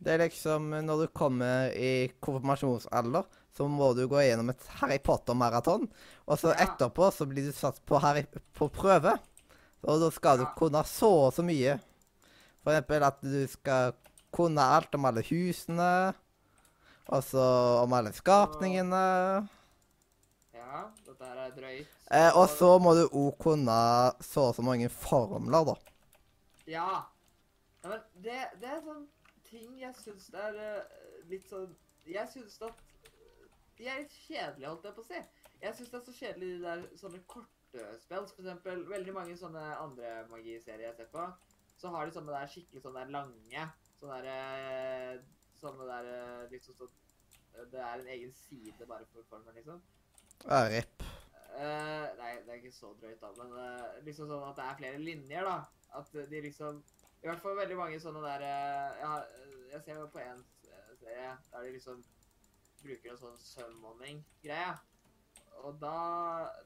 S1: Det er liksom eh, når du kommer i konfirmasjonsalder, så må du gå gjennom et Harry Potter-maraton. Og så
S3: Ja.
S1: etterpå så blir du satt på, Harry, på prøve. Og da skal du
S3: Ja.
S1: kunne så og så mye. For eksempel at du skal kunne alt om alle husene. Og så om alle skapningene.
S3: ja, dette her er drøyt.
S1: Eh, og så må du òg kunne så og så mange formler, da.
S3: Ja. ja men det, det er sånn ting jeg syns det er eh, litt sånn Jeg syns at de er litt kjedelige, holdt jeg på å si. Jeg syns det er så kjedelig de der sånne korte spill. For eksempel veldig mange sånne andre magiserier jeg ser på, så har de sånne der skikkelig sånne der lange Sånne der, eh, sånne der eh, liksom sånn eh, Det er en egen side bare for formen, liksom.
S1: Ja, RIP.
S3: Eh, nei, det er ikke så drøyt, da, men eh, liksom sånn at det er flere linjer, da. At eh, de liksom I hvert fall veldig mange sånne der eh, ja, eh, Jeg ser jo på en eh, serie der de liksom bruker en sånn summoning-greie. Og da,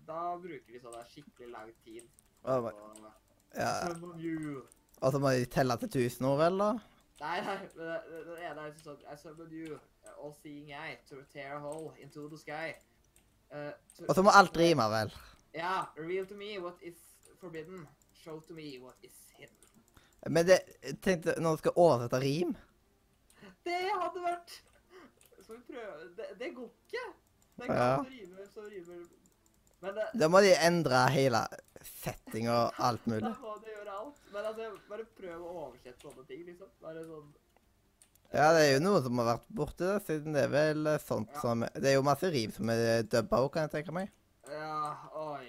S3: da bruker de sånn der skikkelig lang tid
S1: Oh
S3: på Eh,
S1: my- ja.
S3: Summon you.
S1: Og så må de telle til tusen ord, eller?
S3: Nei, nei, men det, det, det ene er liksom sånn I summon you, all seeing eye, to tear a hole into the sky. Eh, to-
S1: Og så må alt rime, vel.
S3: Ja, reveal to me what is forbidden. Show to me what is hidden.
S1: Men det, jeg tenkte, når du skal oversette rim
S3: Det hadde vært Skal vi prøve Det, det går ikke. Det er ikke
S1: Ja.
S3: alt som rimer, som rimer. Men det,
S1: Da må de endre hele settinga og alt
S3: da
S1: mulig.
S3: må du gjøre alt. Men altså, bare prøv å oversette sånne ting, liksom. Bare sånn
S1: Ja, det er jo noen som har vært borti det, siden det er vel sånt
S3: Ja.
S1: som Det er jo masse rim som er dubba òg, kan jeg tenke meg.
S3: Ja, oi.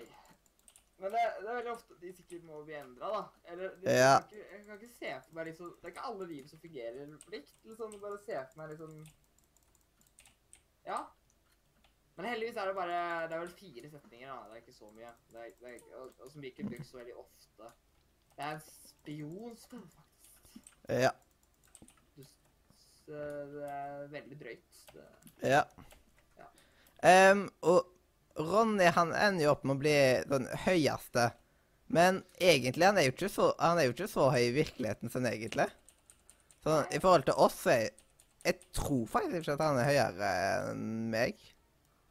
S3: Men det, det er veldig ofte de sikkert må bli endra, da. Eller de,
S1: Ja.
S3: jeg, kan ikke, jeg kan ikke se for meg liksom Det er ikke alle liv som fungerer likt. Liksom, bare se for meg liksom Ja. Men heldigvis er det bare Det er vel fire setninger, da. Det er ikke så mye. Det er, det er, og, og som ikke brukes så veldig ofte. Det er en spionspill, faktisk.
S1: Ja.
S3: Du, s- det er veldig drøyt. Det,
S1: ja.
S3: Ja.
S1: Em, og Ronny han ender jo opp med å bli den høyeste. Men egentlig han er jo ikke så, han er jo ikke så høy i virkeligheten sin, egentlig. Sånn, I forhold til oss så er Jeg tror faktisk ikke at han er høyere enn meg.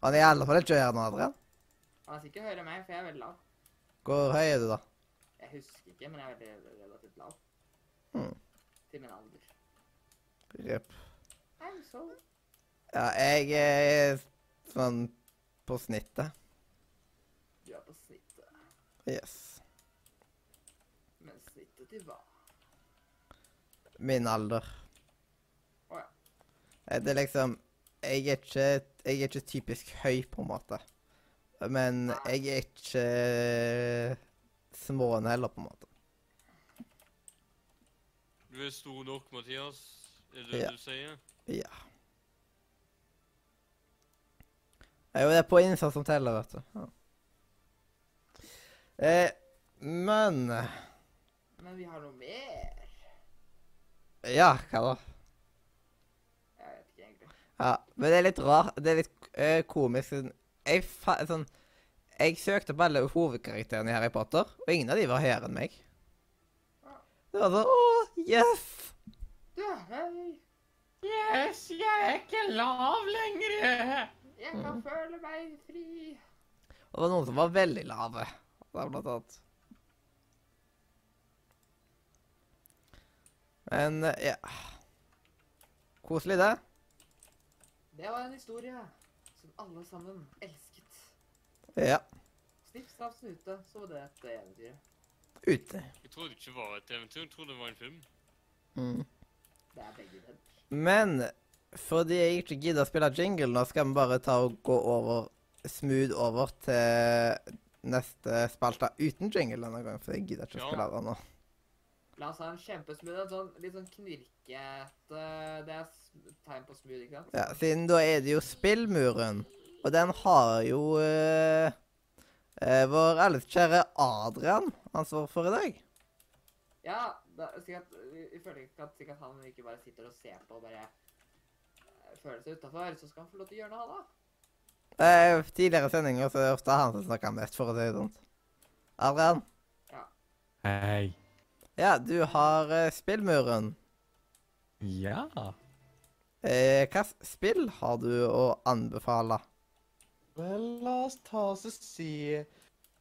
S1: Han er i alle fall ikke høyere enn Adrian.
S3: han er sikkert høyere enn meg, for jeg er veldig lav.
S1: Hvor høy er du, da?
S3: Jeg husker. ikke, men jeg er veldig relativt lav.
S1: Hmm.
S3: Til min alder.
S1: Jepp.
S3: I'm so
S1: Ja, jeg er sånn på snittet.
S3: Du er på snittet.
S1: Yes.
S3: Men snittet til hva?
S1: Min alder.
S3: Å ja.
S1: Eh, Det er liksom Jeg er ikke, jeg er ikke typisk høy, på en måte. Men jeg er ikke småen heller, på en måte.
S4: Du er stor nok, Mathias. Er det det
S1: Ja.
S4: du sier?
S1: Ja. Det er jo det på innsats som teller, vet du. Ja. Eh, men
S3: Men vi har noe mer.
S1: Ja, hva da?
S3: Jeg vet ikke egentlig.
S1: Ja, men det er litt rart. Det er litt eh, komisk. siden Jeg fa... Sånn Jeg søkte på alle hovedkarakterene i Harry Potter, og ingen av de var høyere enn meg. Det var sånn Å, yes!
S3: Du er høy.
S5: Yes, jeg er ikke lav lenger.
S3: Jeg kan føle meg fri.
S1: Og det var noen som var veldig lave. Da, blant annet. Men eh, ja Koselig, det.
S3: Det var en historie som alle sammen elsket.
S1: Ja.
S3: Snipp, snapp, snute, så var det dette eventyret.
S1: Ute.
S4: Jeg trodde ikke det var et eventyr, jeg trodde det var en film.
S1: Mm.
S3: Det er begge deler.
S1: Men fordi jeg ikke gidder å spille jingle nå, skal vi bare ta og gå over smooth over til neste spalte uten jingle denne gangen, for jeg gidder ikke å
S4: Ja.
S1: spille den nå.
S3: La oss ha en kjempesmooth, en sånn litt sånn knirkete Det er sm- tegn på smooth, ikke sant?
S1: Ja, siden da er det jo spillmuren, og den har jo eh, eh, vår alles kjære Adrian ansvar for i dag.
S3: Ja, da, sikkert, jeg føler ikke at sikkert han ikke bare sitter og ser på og bare eh, føler seg utafor, så skal han få lov til å gjøre noe, han da.
S1: Eh, tidligere sendinger så er det ofte han som snakker mest, for å si det sånn. Adrian,
S2: Hei.
S1: ja, du har eh, spillmuren.
S2: Ja.
S1: Eh, hva s- spill har du å anbefale?
S2: Vel, la oss ta oss og se.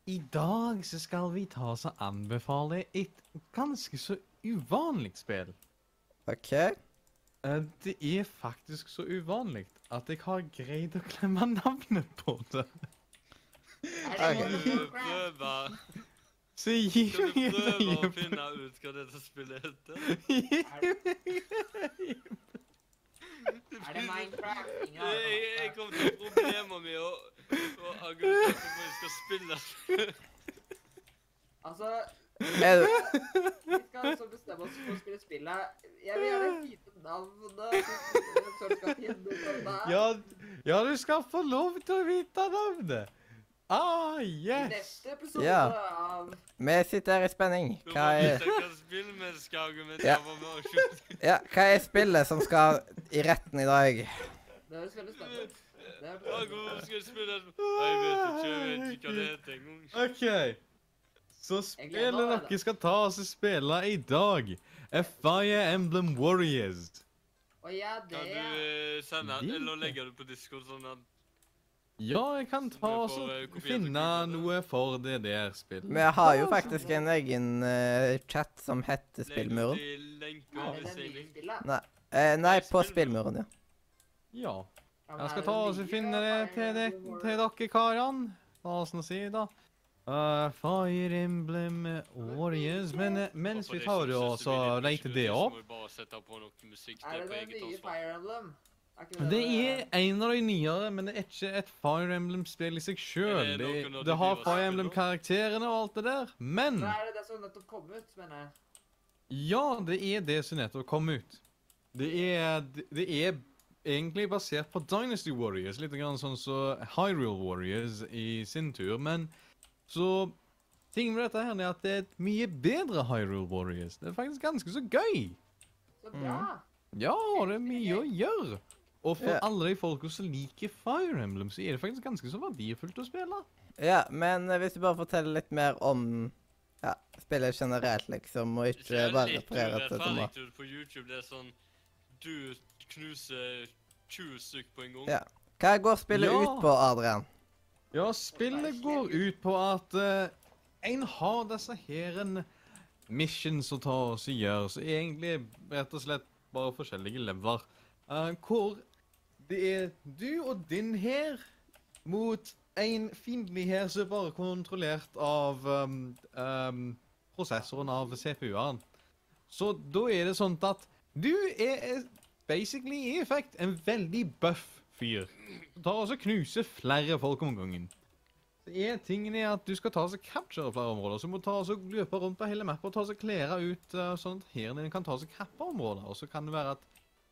S2: I dag så skal vi ta oss og anbefale et ganske så uvanlig spill.
S1: OK.
S2: Eh, Det er faktisk så uvanlig at jeg har greid å glemme navnet på det.
S1: Ok.
S3: Er det
S4: Skal
S3: noe
S4: du
S3: Minecraft?
S4: prøve,
S2: Så gi
S4: skal
S3: [LAUGHS]
S4: du
S2: meg et
S4: prøve å
S2: øyeblikk.
S4: finne ut hva dette spillet heter?
S3: Er det Minecraft? Ingen
S4: Jeg,
S3: aner.
S4: jeg- jeg kom til problemer med å, å argumentere for hvorfor jeg skal spille.
S3: Altså,
S1: Er du
S3: vi skal altså bestemme oss for å spille spillet. Jeg vil gjerne vite navnet. Så vi skal finne ut hvem det er.
S2: Ja, ja, du skal få lov til å vite navnet. Ah,
S3: I
S2: yes.
S3: neste episode
S1: Ja.
S3: av
S1: Vi sitter her i spenning.
S4: Du
S1: Hva
S4: må
S1: er,
S4: vite hva spill vi skal
S1: Ja.
S4: argumentere for med å skjønne.
S1: ja, hva er spillet som skal i retten i dag?
S3: Det høres veldig spennende ut. Det er
S4: Ja,
S3: bra.
S4: Hvorfor skal jeg spille det? Nei, Jeg vet ikke, jeg vet ikke hva det heter
S2: OK.
S4: engang.
S2: Så
S3: Jeg gleder meg,
S2: spillet
S3: da.
S2: dere skal ta oss og spille i dag, er Fire Emblem Warriors.
S3: Og ja, det
S4: Kan du eh, sende
S2: Det-
S4: eller legge det på Discord sånn at
S2: Ja, jeg kan
S4: Så
S2: ta
S4: vi
S2: oss
S4: får, eh,
S2: og
S4: kopiert og
S2: finne
S4: klippet det.
S2: noe for det der spillet.
S1: Vi har jo faktisk en egen eh, chat som heter Spillmuren.
S4: legger du til lenker
S3: er
S4: ved
S3: det det nye
S4: siden.
S3: spillet?
S1: Eh, nei, på Spillmuren, ja.
S2: Ja.
S3: Ja, men
S2: Jeg
S3: er
S2: skal
S3: det
S2: ta og
S3: nye,
S2: finne det
S3: eller
S2: til,
S3: er
S2: det,
S3: det noe-
S2: til dere karene. La oss nå si, da. Eh, Fire Emblem Warriors. Men eh, mens vi tar og så leter det opp
S4: Så må vi bare sette på noe musikk
S3: Er
S4: der
S3: det
S4: på
S3: det
S4: eget
S3: nye
S4: ansvar.
S3: Fire Emblem? Er ikke
S2: Det er en av de nyere, men det er ikke et Fire Emblem-spill i seg sjøl.
S4: Er det
S2: Det,
S4: noen av de
S2: det har Fire
S4: nyere spillene?
S2: Emblem-karakterene og alt det der. Men
S3: Nei, er det det som nettopp kom ut, mener jeg.
S2: ja, det er det som nettopp kom ut. Det er, det er egentlig basert på Dynasty Warriors, litt grann sånn som Hyrule Warriors i sin tur. Men så Ting med dette her er at det er et mye bedre Hyrule Warriors. Det er faktisk ganske så gøy.
S3: Så
S2: Mm.
S3: bra.
S2: Ja, det er mye å gjøre. Og for
S1: Ja.
S2: alle de folka som liker Fire Emblem, så er det faktisk ganske så verdifullt å spille.
S1: Ja, men eh, hvis du bare forteller litt mer om ja, spillet generelt, liksom, og sånn,
S4: Det
S1: ikke
S4: er
S1: bare
S4: litt
S1: referere til det
S4: urettferdig
S1: nå.
S4: ut på YouTube. Det er sånn Du knuser 20 stykk på en gang.
S1: Ja. Hva går spillet
S2: Ja.
S1: ut på, Adrian?
S2: Ja, spillet går ut på at eh, en har disse her en missions å ta og gjøre, så egentlig rett og slett bare forskjellige lever. Eh, hvor det er du og din hær mot en fiendtlig hær som er bare kontrollert av ehm, ehm, prosessoren av CPU-en. Så da er det sånn at du er eh, basically i effekt en veldig buff fyr. Du tar også knuser flere folk om gangen. Så er tingen er at du skal ta og capture flere områder, så du må ta og løpe rundt på hele mappet og ta og klære ut eh, sånn at hæren din kan ta og kappe områder. Og så kan det være at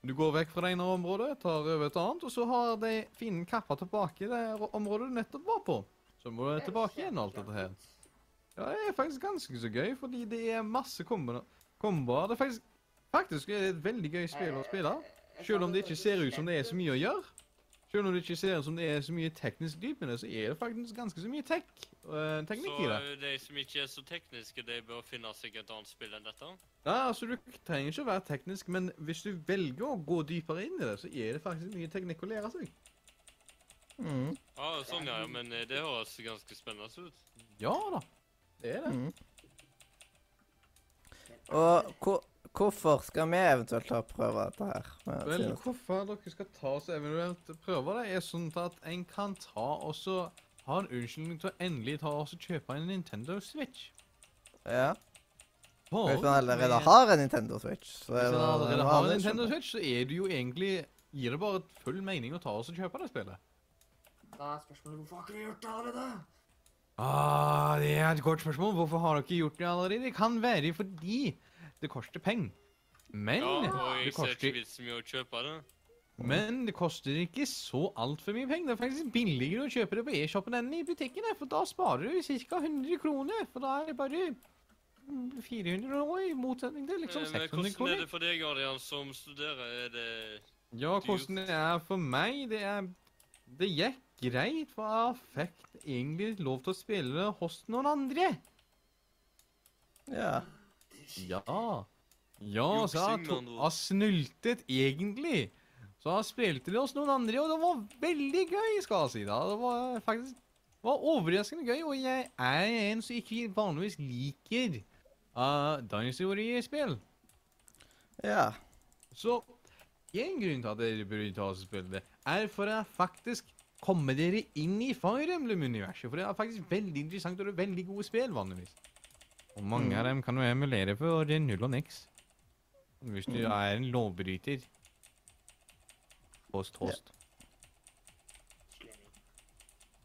S2: du går vekk fra det ene området, tar over et annet, og så har de fienden kappa tilbake det området du nettopp var på. Så må du tilbake igjen og alt dette her. Ja, det er faktisk ganske så gøy, fordi det er masse komboer. komboer. Det er faktisk, faktisk er det et veldig gøy spill å
S3: Eh,
S2: spille. Selv om det ikke ser ut som det er så mye å gjøre. Selv om det ikke ser ut som det er så mye teknisk dyp i det, så er det faktisk ganske så mye tek eh, teknikk i
S4: så
S2: det.
S4: eh, de som ikke er så tekniske, de bør finne seg et annet spill enn dette.
S2: Ja, altså Du trenger ikke å være teknisk, men hvis du velger å gå dypere inn i det, så er det faktisk mye teknikk å lære seg.
S1: Mm.
S4: Ja, sånn ja, ja, men eh, det høres ganske spennende ut.
S2: Ja da. Det er det.
S1: Mm. Og hvor, hvorfor skal vi eventuelt ta og prøve dette her? med
S2: Vel,
S1: Sinus?
S2: hvorfor dere skal ta oss eventuelt prøver det, er sånn at en kan ta og så ha en unnskyldning til å endelig ta og så kjøpe en Nintendo Switch.
S1: Ja.
S2: For
S1: Hvis man allerede
S2: med-
S1: har en Nintendo Switch, så er
S2: Hvis
S1: det
S2: man allerede har en
S1: vanlig.
S2: Nintendo Switch, så er det jo egentlig Gir det bare full mening å ta oss og kjøpe det spillet.
S3: Da er spørsmålet hvorfor har ikke du gjort det allerede?
S2: Ah, det er et godt spørsmål. Hvorfor har dere ikke gjort det allerede? Det kan være fordi det koster penger. Men,
S4: Ja, og
S2: det
S4: jeg ser
S2: koster,
S4: ikke vitsen med å kjøpe det.
S2: men det koster ikke så altfor mye penger. Det er faktisk billigere å kjøpe det på e-shoppen enn i butikkene, for da sparer du ca. 100 kroner. For da er det bare mm, 400 år i motsetning til liksom
S4: Eh,
S2: 600
S4: Men hvordan er
S2: kroner.
S4: det for deg, Adrian, som studerer? Er det
S2: Ja, hvordan det er for meg, det er Det gikk greit, for jeg fikk egentlig lov til å spille det hos noen andre.
S1: Ja.
S2: Ja. Ja, så
S4: Juksing,
S2: jeg, to,
S4: med andre ord.
S2: jeg snultet egentlig. Så jeg spilte det hos noen andre, og det var veldig gøy, skal jeg si. da. Det var faktisk det var overraskende gøy, og jeg er en som ikke vanligvis liker uh, dinosaurspill.
S1: ja.
S2: Så en grunn til at dere burde ta og spille det, er for å faktisk komme dere inn i Fire Emblem-universet. For det er faktisk veldig interessant, og det er veldig gode spill vanligvis. Mm. Og mange av dem kan du emulere for null og niks. Hvis du er en lovbryter. Host, host.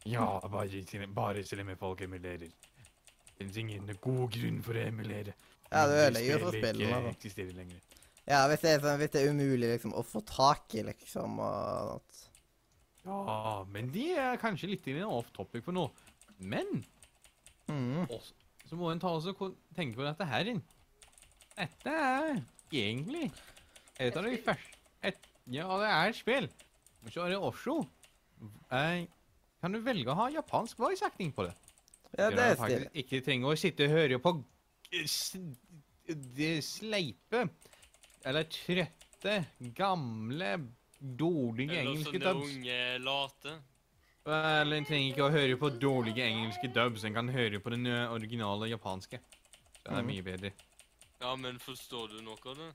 S2: Ja, bare, slem- bare slemme folk emulerer. Det finnes ingen god grunn for å emulere.
S1: Ja, det
S2: Andre
S1: ødelegger jo for
S2: spill
S1: spillene,
S2: ikke
S1: da.
S2: eksisterer lenger.
S1: ja hvis, det er sånn, hvis det er umulig liksom, å få tak i, liksom, og at
S2: Ja, men det er kanskje litt grann off topic for nå. Men
S1: mm.
S2: også, så må en ta også kon- tenke på dette her inn. Dette er egentlig et av de
S3: Et spill.
S2: første et, Ja, det er et spill. Men så er det også eh, Kan du velge å ha japansk voice acting på det?
S1: Ja,
S2: Gjør
S1: det
S2: at
S1: er
S2: du
S1: stilig.
S2: faktisk Ikke trenger å sitte og høre på g- s- det sleipe eller trøtte, gamle, dårlige
S4: Eller
S2: engelske
S4: sånne
S2: dubs.
S4: unge late?
S2: Vel, en trenger ikke å høre på dårlige engelske dubs. En kan høre på den ø, originale japanske. Det er
S1: Mhm.
S2: mye bedre.
S4: Ja, men forstår du noe av det?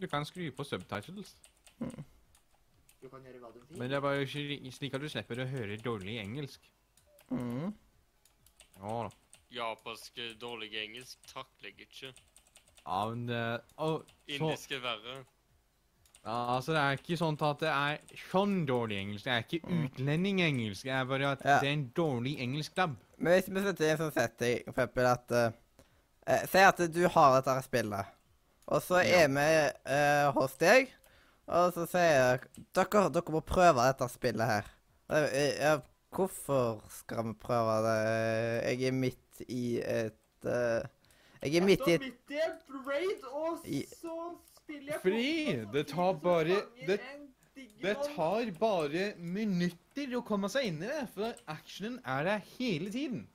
S2: Du kan skru på subtitles,
S3: Du kan gjøre hva du vil.
S2: men det er bare sli- slik at du slipper å høre dårlig engelsk.
S1: Mm.
S2: Ja da.
S4: Japansk eh, dårlig engelsk takler jeg ikke.
S2: Ja, men det eh, Å, så
S4: Indisk er verre.
S2: Ja, Altså, det er ikke sånn at det er sånn dårlig engelsk. Det er ikke
S1: Mm.
S2: utlending-engelsk. Det er bare at
S1: Ja.
S2: det er en dårlig engelsk dub.
S1: Men hvis vi setter inn en sånn setting, for eksempel at uh, Si at du har dette her spillet, og så
S2: Ja.
S1: er vi eh, hos deg, og så sier jeg dere, dere må prøve dette spillet her. Eh, eh, ja, hvorfor skal vi prøve det? Jeg er midt i et eh, Jeg er midt i et
S3: Jeg står midt i et raid, og
S1: I-
S3: så spiller jeg
S2: Fordi
S3: Fortnite, og så
S2: det
S3: sitter
S2: tar
S3: du og
S2: bare-
S3: fanger
S2: det-
S3: en digger
S2: Det
S3: mann.
S2: tar bare minutter å komme seg inn i det, for actionen er der hele tiden.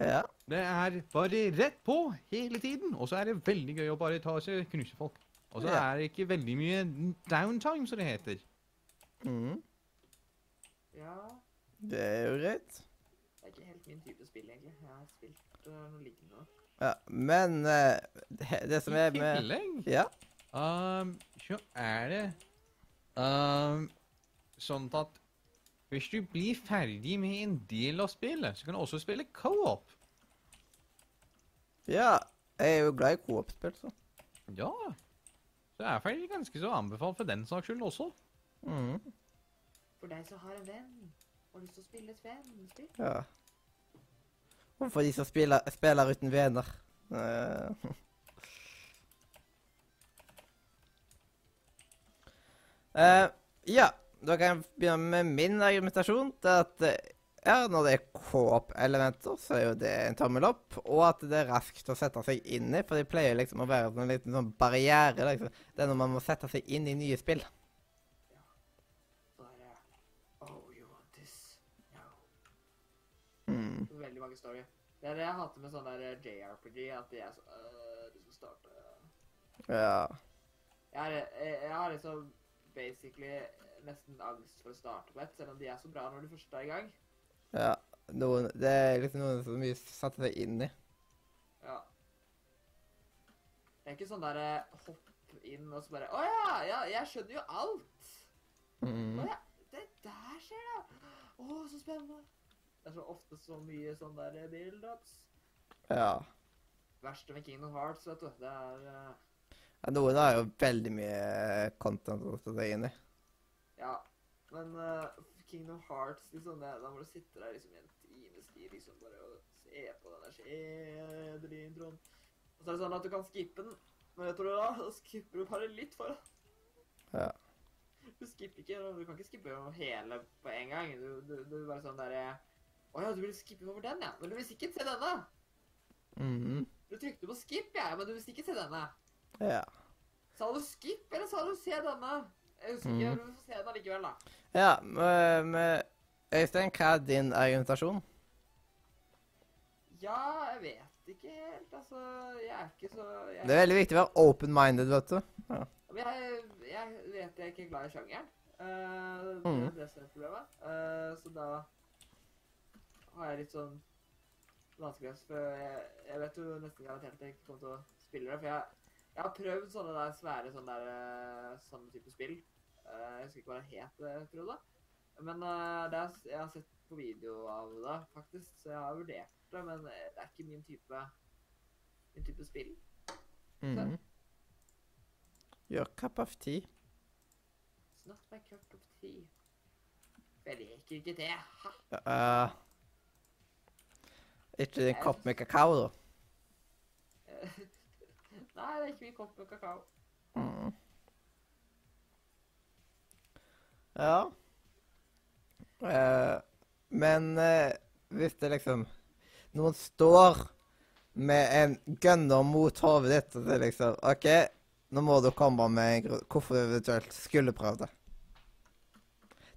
S1: Ja.
S2: Det er bare rett på hele tiden, og så er det veldig gøy å bare ta og så knuse folk. Og så
S1: Ja.
S2: er det ikke veldig mye downtime, som det heter.
S1: Mm,
S3: Ja,
S1: det er jo greit.
S3: det er ikke helt min type spill, egentlig. Jeg har spilt eh, noe lignende.
S1: Ja, men eh, det, det som er
S2: I
S1: med
S2: tillegg
S1: Ja.
S2: um, så er det um, sånn at hvis du blir ferdig med en del av spillet, så kan du også spille co-op.
S1: ja. Jeg er jo glad i co-op-spill, så.
S2: Ja. Så det er faktisk ganske så anbefalt for den saks skyld også.
S1: Mm,
S3: For deg som har en venn og har lyst til å spille et vennspill.
S1: ja. Hvorfor de som spiller, spiller uten venner? Eh, Eh, ja, da kan jeg begynne med min argumentasjon. Det er at eh, ja, når det er co-op-elementer, så er jo det en tommel opp. Og at det er raskt å sette seg inn i, for det pleier liksom å være en liten sånn barriere. liksom. Det er når man må sette seg inn i nye spill.
S3: Så er det Oh, you want this? No.
S1: Mm.
S3: Veldig mange story. Det er det jeg hater med sånn der eh, JRPG, at de er så øh, Du skal starte
S1: Ja.
S3: Jeg har, jeg, jeg har liksom basically nesten angst for å starte på et, selv om de er så bra når du først er i gang.
S1: ja. Noen, det er liksom noen som mye satte seg inn i.
S3: Ja. Det er ikke sånn der eh, hopp inn og så bare Å ja, ja, jeg skjønner jo alt!
S1: Mm.
S3: Å ja, det der skjer, da! Å, så spennende! Det er så ofte så mye sånn der eh, build-ups.
S1: Ja.
S3: Verste med Kingdom Hearts, vet du. Det er eh,
S1: Ja, Noen har jo veldig mye content å sette seg inn i.
S3: Ja. Men eh, Kingdom Hearts, liksom, det, da må du sitte der liksom i en times tid liksom bare og se på den der kjedelige introen. Og så er det sånn at du kan skippe den, men vet du hva, da skipper du bare litt foran.
S1: Ja.
S3: Du skipper ikke, du kan ikke skippe gjennom hele på en gang. Du, du, du er bare sånn derre Å ja, du vil skippe over den, ja. Men du vil sikkert se denne.
S1: Mm.
S3: Du trykte på skip, jeg, men du vil sikkert se denne.
S1: Ja.
S3: Sa du skip, eller sa du se denne? Jeg husker ikke, men du får se den allikevel, da.
S1: Ja, med, Øystein, hva er din argumentasjon?
S3: Ja, jeg vet ikke helt. Altså, jeg er ikke så jeg,
S1: Det er veldig viktig å være open-minded, vet du.
S3: Men jeg, jeg vet jeg er ikke glad i sjangeren. Eh, det er
S1: Mhm.
S3: det som er problemet. Eh, så da har jeg litt sånn vanskelig for jeg, jeg vet jo nesten garantert at jeg ikke kommer til å spille det. For jeg, jeg har prøvd sånne der svære sånne der eh, samme type spill. Eh, jeg husker ikke hva det het, eh, tror jeg. da. Men eh, det er, s- jeg har sett på video av det, faktisk, så jeg har vurdert det. Men eh, det er ikke min type, min type spill.
S1: Mm. Gjør cup of tea.
S3: It's not my cup of tea. For jeg liker ikke det. Ha.
S1: Eh, ikke en kopp med kakao, da.
S3: Nei, det er ikke min kopp med kakao.
S1: Mm. Ja. Eh, men eh, hvis det liksom Noen står med en gunner mot hodet ditt, og det er liksom OK, nå må du komme med en grunn hvorfor du eventuelt skulle prøvd det.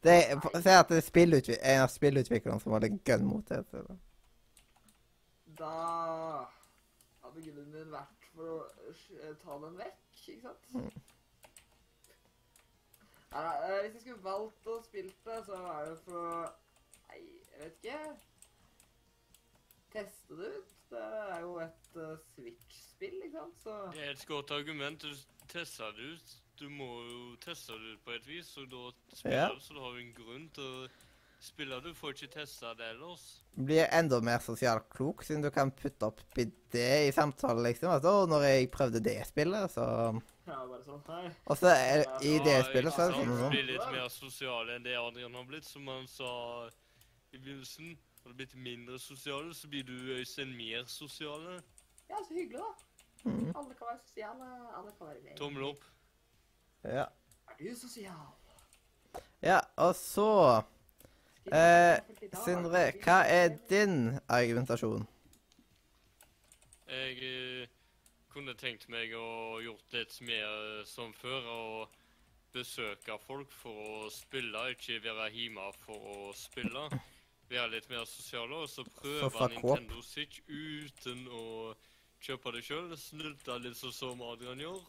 S1: Det er, Se at det er spillutvi en av spillutviklerne som holder gun mot deg. så-
S3: Da hadde grunnen min vært for å eh, ta den vekk, ikke sant? Nei, nei, eh, hvis jeg skulle valgt å spille det, så er det for å Nei, jeg vet ikke. Teste det ut. Det er jo et eh, Switch-spill, ikke sant? Så
S4: Det er et godt argument. Du tester det ut. Du må jo teste det ut på et vis, og da
S1: Ja.
S4: spiller du, så du har jo en grunn til å spille. Du får ikke testa det ellers.
S1: blir enda mer sosialt klok, siden du kan putte opp i det i samtalen, liksom. At, å, når jeg prøvde det spillet, så
S3: jeg er bare sånn Nei.
S1: Og så er, i det
S4: Ja,
S1: spillet, så er det
S4: ikke sant?
S1: sånn sånn.
S4: Blir litt mer sosiale enn det Adrian har blitt, som han sa i begynnelsen. Har du blitt mindre sosial, så blir du Øystein mer sosial.
S3: Ja, så hyggelig, da.
S1: Mhm.
S3: Alle kan være sosiale. Alle kan være med.
S4: Tommel opp.
S1: Ja.
S3: Er du sosial?
S1: ja, og så
S3: Skriv
S1: Eh,
S3: det offentlig, da er
S1: Sindre,
S3: du
S1: hva er
S3: sosial.
S1: din argumentasjon?
S4: Jeg eh, kunne tenkt meg å gjort litt mer eh, som før, og besøke folk for å spille, ikke være hjemme for å spille. Være litt mer sosial, og så prøve
S1: Sofa Coop.
S4: Nintendo Switch uten å kjøpe det sjøl. Snulte litt sånn som Adrian gjør.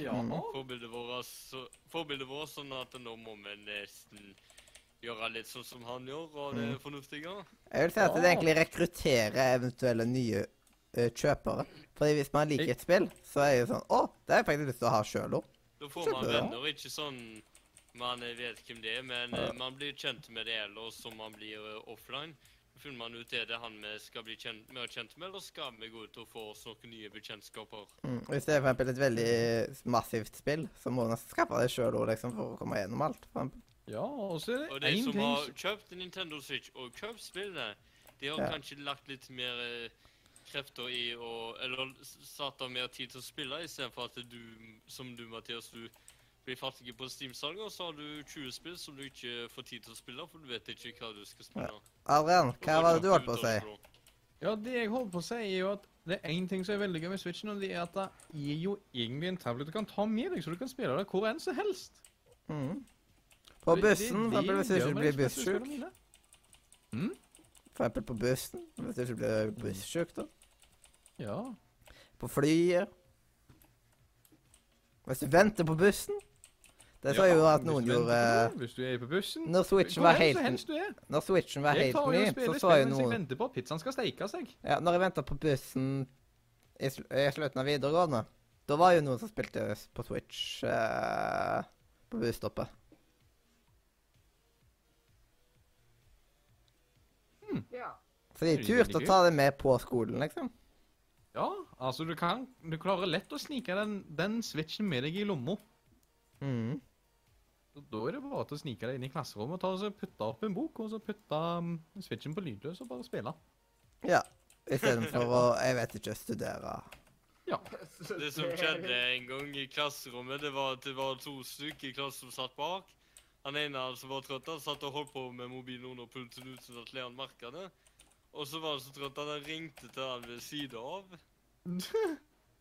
S2: Ja.
S1: Mhm.
S4: Forbildet vårt, så- forbildet vårt sånn at nå må vi nesten gjøre litt sånn som han gjør, og det er fornuftig. ja.
S1: Jeg vil si at det
S5: Ja.
S1: egentlig rekrutterer eventuelle nye eh, kjøpere. Fordi hvis man liker et spill, så er det jo sånn Å, det har jeg faktisk lyst til å ha sjøl òg.
S4: Da får man
S1: Kjempebra.
S4: venner, ikke sånn man vet hvem det er, men eh, man blir kjent med det ellers som man blir eh, offline. Da finner man ut er det han vi skal bli kjent, mer kjent med, eller skal vi gå ut og få oss noen nye bekjentskaper?
S1: Mm. Hvis det er for eksempel et veldig massivt spill, så må man skaffe det sjøl òg, liksom, for å komme gjennom alt. for eksempel.
S2: Ja, og så er
S4: Og
S2: det
S4: de
S2: én
S4: som
S2: Eh, ting
S4: har
S2: s-
S4: kjøpt en Nintendo Switch og kjøpt spillene, de har
S1: Ja.
S4: kanskje lagt litt mer eh, krefter i å Eller s- satt av mer tid til å spille, istedenfor at du, som du, Mathias, du blir fattig på Steam-salget, og så har du 20 spill som du ikke får tid til å spille, for du vet ikke hva du skal spille.
S1: Adrian, hva var det du holdt på å si?
S2: Ja, det jeg holder på å si, er jo at det er én ting som er veldig gøy med Switchen, og det er at det er jo egentlig en tablet du kan ta med deg, så du kan spille det hvor enn som helst.
S1: Mm. På
S2: Det- det-
S1: bussen, for
S2: det
S1: eksempel hvis du
S2: gjør
S1: ikke
S2: meg
S1: blir
S2: litt spesiell
S1: bussjuk.
S2: skole, Mine.
S1: For eksempel på bussen, hvis du ikke blir bussjuk, da.
S2: Ja.
S1: På flyet. Hvis du venter på bussen. Det så
S2: Ja,
S1: jo at
S2: hvis
S1: noen
S2: du venter
S1: gjorde eh,
S2: på noen, Hvis du er på bussen
S1: Når Switchen
S2: hvor
S1: var
S2: enn
S1: helt,
S2: som helst du er.
S1: når switchen var
S2: Jeg
S1: helt
S2: tar jo og
S1: ny, så
S2: spiller
S1: så
S2: spill
S1: jo
S2: mens jeg
S1: noen
S2: venter på at pizzaen skal steike seg.
S1: Ja, når jeg venta på bussen i, sl i slutten av videregående, da var jo noen som spilte s- på Switch eh, på busstoppet.
S3: Ja.
S1: Så de
S2: Det er jo
S1: turte å
S2: veldig
S1: ta det med på skolen, liksom.
S2: Ja, altså du kan Du klarer lett å snike den, den switchen med deg i lomma. Mm.
S1: Mhm.
S2: Og Da er det bare til å snike deg inn i klasserommet og ta og så putte opp en bok og så putte um, switchen på lydløs og bare spille.
S1: Ja. Istedenfor
S2: [LAUGHS]
S1: å Jeg vet ikke studere.
S4: Det som skjedde en gang i klasserommet, det var at det var to stykker i klassen som satt bak. Han ene han som var trøtt, han satt og holdt på med mobilen under pulten uten at læreren merka det. Og så var han så trøtt at han ringte til han ved siden
S1: [LAUGHS]
S4: av.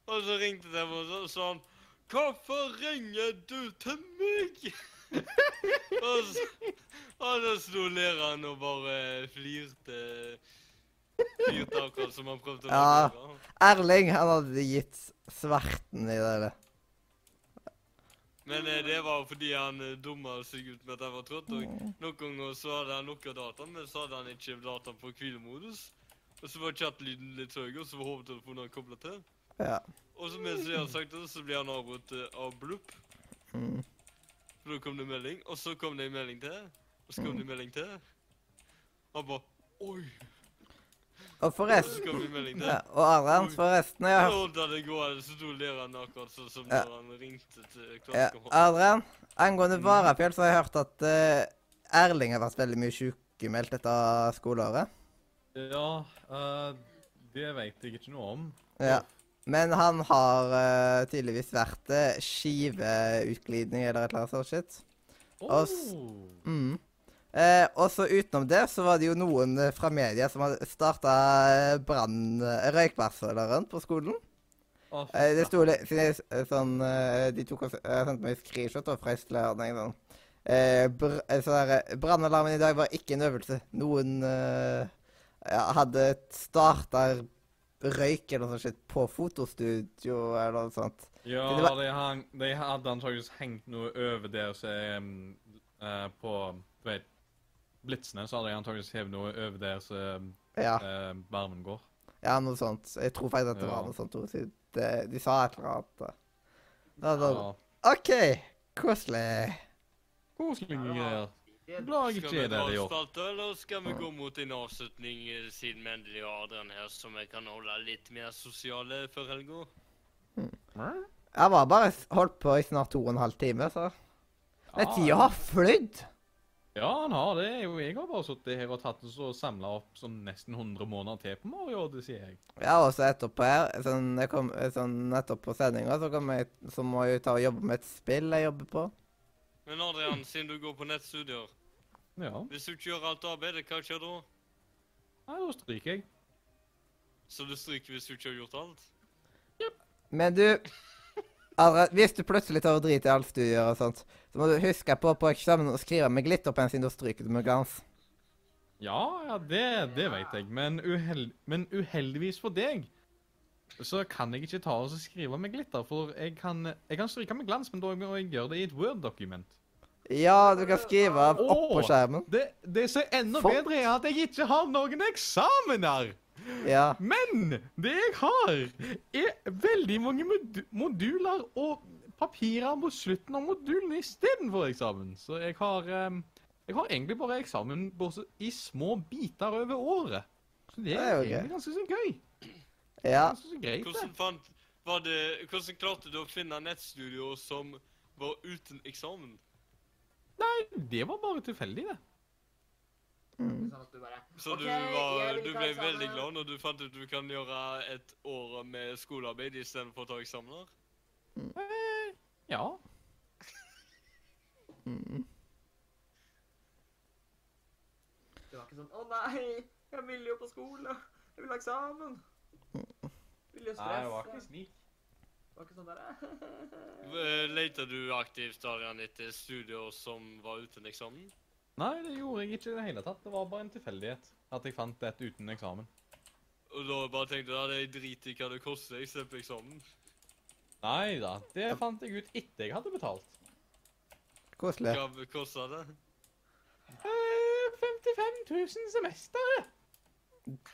S4: Og så ringte de og så sa han Hvorfor ringer du til
S1: [LAUGHS]
S4: meg? og så, og så sto læreren og bare flirte. Flirte akkurat som han prøvde å
S1: Ja.
S4: gjøre.
S1: Erling, han hadde gitt sverten i det. der.
S4: Men eh, det var fordi han eh, dumma seg ut med at han var trøtt. Og noen ganger så hadde han lukka dataen, men så hadde han ikke dataen på hvilemodus. Og så var chat-lyden litt høy, og så var hovedtelefonen kobla til.
S1: Ja.
S4: Og så mens jeg har sagt det, så blir han avbrutt eh, av blupp.
S1: Mm.
S4: For da kom det melding, og så kom det en melding til. Og så kom det en melding til. Han bare Oi!
S1: Og
S4: Og så
S1: forresten
S4: kom det en melding til.
S1: ja, Og Adrian, forresten jeg
S4: Så
S1: har,
S4: holdt han det gående, så sto læreren akkurat sånn som
S1: Ja.
S4: når han ringte til
S1: ja,
S4: klassekameraten.
S1: Adrian, angående Varafjell, så har jeg hørt at eh, Erling har vært veldig mye sykemeldt dette skoleåret.
S2: Ja, eh, det veit jeg ikke noe om.
S1: Ja. Men han har eh, tydeligvis vært eh, skiveutglidning eller et eller annet sånt shit. Og s- Mm. Eh, og så utenom det så var det jo noen eh, fra media som hadde starta eh, brann... eh, røykvarsleren på skolen. Eh, det sto litt siden jeg s- eh, sånn eh, De tok og s- eh, sendte meg screenshot da fra lørdag sånn. Eh, br eh, så der, eh, brannalarmen i dag var ikke en øvelse. Noen eh, ja, hadde starta røyk eller noe sånt shit på fotostudio eller noe sånt.
S2: Ja,
S1: Det var-
S2: de, hang, de hadde antakeligvis hengt noe over der som er um, eh, på du vet, blitsene. Så hadde de antakeligvis hevet noe over der som
S1: Ja,
S2: eh, varmen går.
S1: ja noe sånt. Jeg tror faktisk at det
S2: Ja.
S1: var noe sånt. også, siden det- De sa et eller annet. da. Da, da,
S2: Ja,
S1: OK, koselig.
S2: Koselige greier.
S3: Det var-
S2: Glad jeg
S4: Skal
S2: ikke
S4: vi
S2: er der i år.
S4: avstarte, eller skal vi gå mot en avslutning eh, siden vi endelig har Adrian her, så vi kan holde litt mer sosiale før helga?
S1: Jeg var bare s- holdt på i snart to og en halv time, så Men tida har flydd.
S2: Ja, han har det. Jo, jeg har bare sittet her og tatt oss og samla opp sånn nesten 100 måneder til på Mario, det sier jeg.
S1: Ja, og så etterpå her, sånn, jeg kom, sånn nettopp på sendinga, så, kom jeg- så må jeg jo ta og jobbe med et spill jeg jobber på.
S4: Men Adrian, siden du går på nettstudier,
S2: Ja,
S4: hvis du ikke gjør alt arbeidet, hva skjer da?
S2: Nei, da stryker jeg.
S4: Så du stryker hvis du ikke har gjort alt?
S1: Men du Adrian, Hvis du plutselig tar og driter i alle studier og sånt, så må du huske på på eksamen å skrive med glitterpenn siden du stryker med glans.
S2: Ja, ja, det, det vet jeg. Men, uheld, men uheldigvis for deg så kan jeg ikke ta og så skrive med glitter, for jeg kan, jeg kan stryke med glans, men da må jeg gjøre det i et Word-dokument.
S1: Ja, du kan skrive av oppå
S2: Åh!
S1: skjermen.
S2: Det, det som er enda
S1: Fuck.
S2: bedre, er at jeg ikke har noen eksamener.
S1: Ja.
S2: Men det jeg har, er veldig mange mod- moduler og papirer på slutten av modulene istedenfor eksamen. Så jeg har, em, jeg har egentlig bare eksamen bortsett i små biter over året. Så det
S1: Det er
S2: er
S1: jo
S2: egentlig ganske så gøy.
S1: ja.
S2: Ganske så greit, det.
S4: Hvordan fant var det, Hvordan klarte du å finne nettstudioer som var uten eksamen?
S2: Nei, det var bare tilfeldig, det.
S1: Mm.
S3: Sånn at du bare
S4: Så
S3: «Ok,
S4: du, var,
S3: jeg vil
S4: du
S3: ikke ha
S4: ble
S3: eksamen».
S4: veldig glad når du fant ut du kan gjøre et år med skolearbeid istedenfor å ta eksamener?
S2: Eh, ja.
S1: Mm.
S3: Det var ikke sånn 'Å nei, jeg vil jo på skole. Jeg vil ha eksamen.' Vil jo stresse.
S2: snik.
S3: Det var ikke sånn derre
S4: Eh, Leter du aktivt Adrian, etter studioer som var uten eksamen?
S2: Nei, det gjorde jeg ikke i det hele tatt. Det var bare en tilfeldighet at jeg fant et uten eksamen.
S4: Og da bare tenkte du at jeg driter i hva det koster, jeg slipper eksamen.
S2: Nei da, det fant jeg ut etter jeg hadde betalt.
S1: Koselig.
S4: Hva kosta det?
S2: Eh, 55 000 semesteret!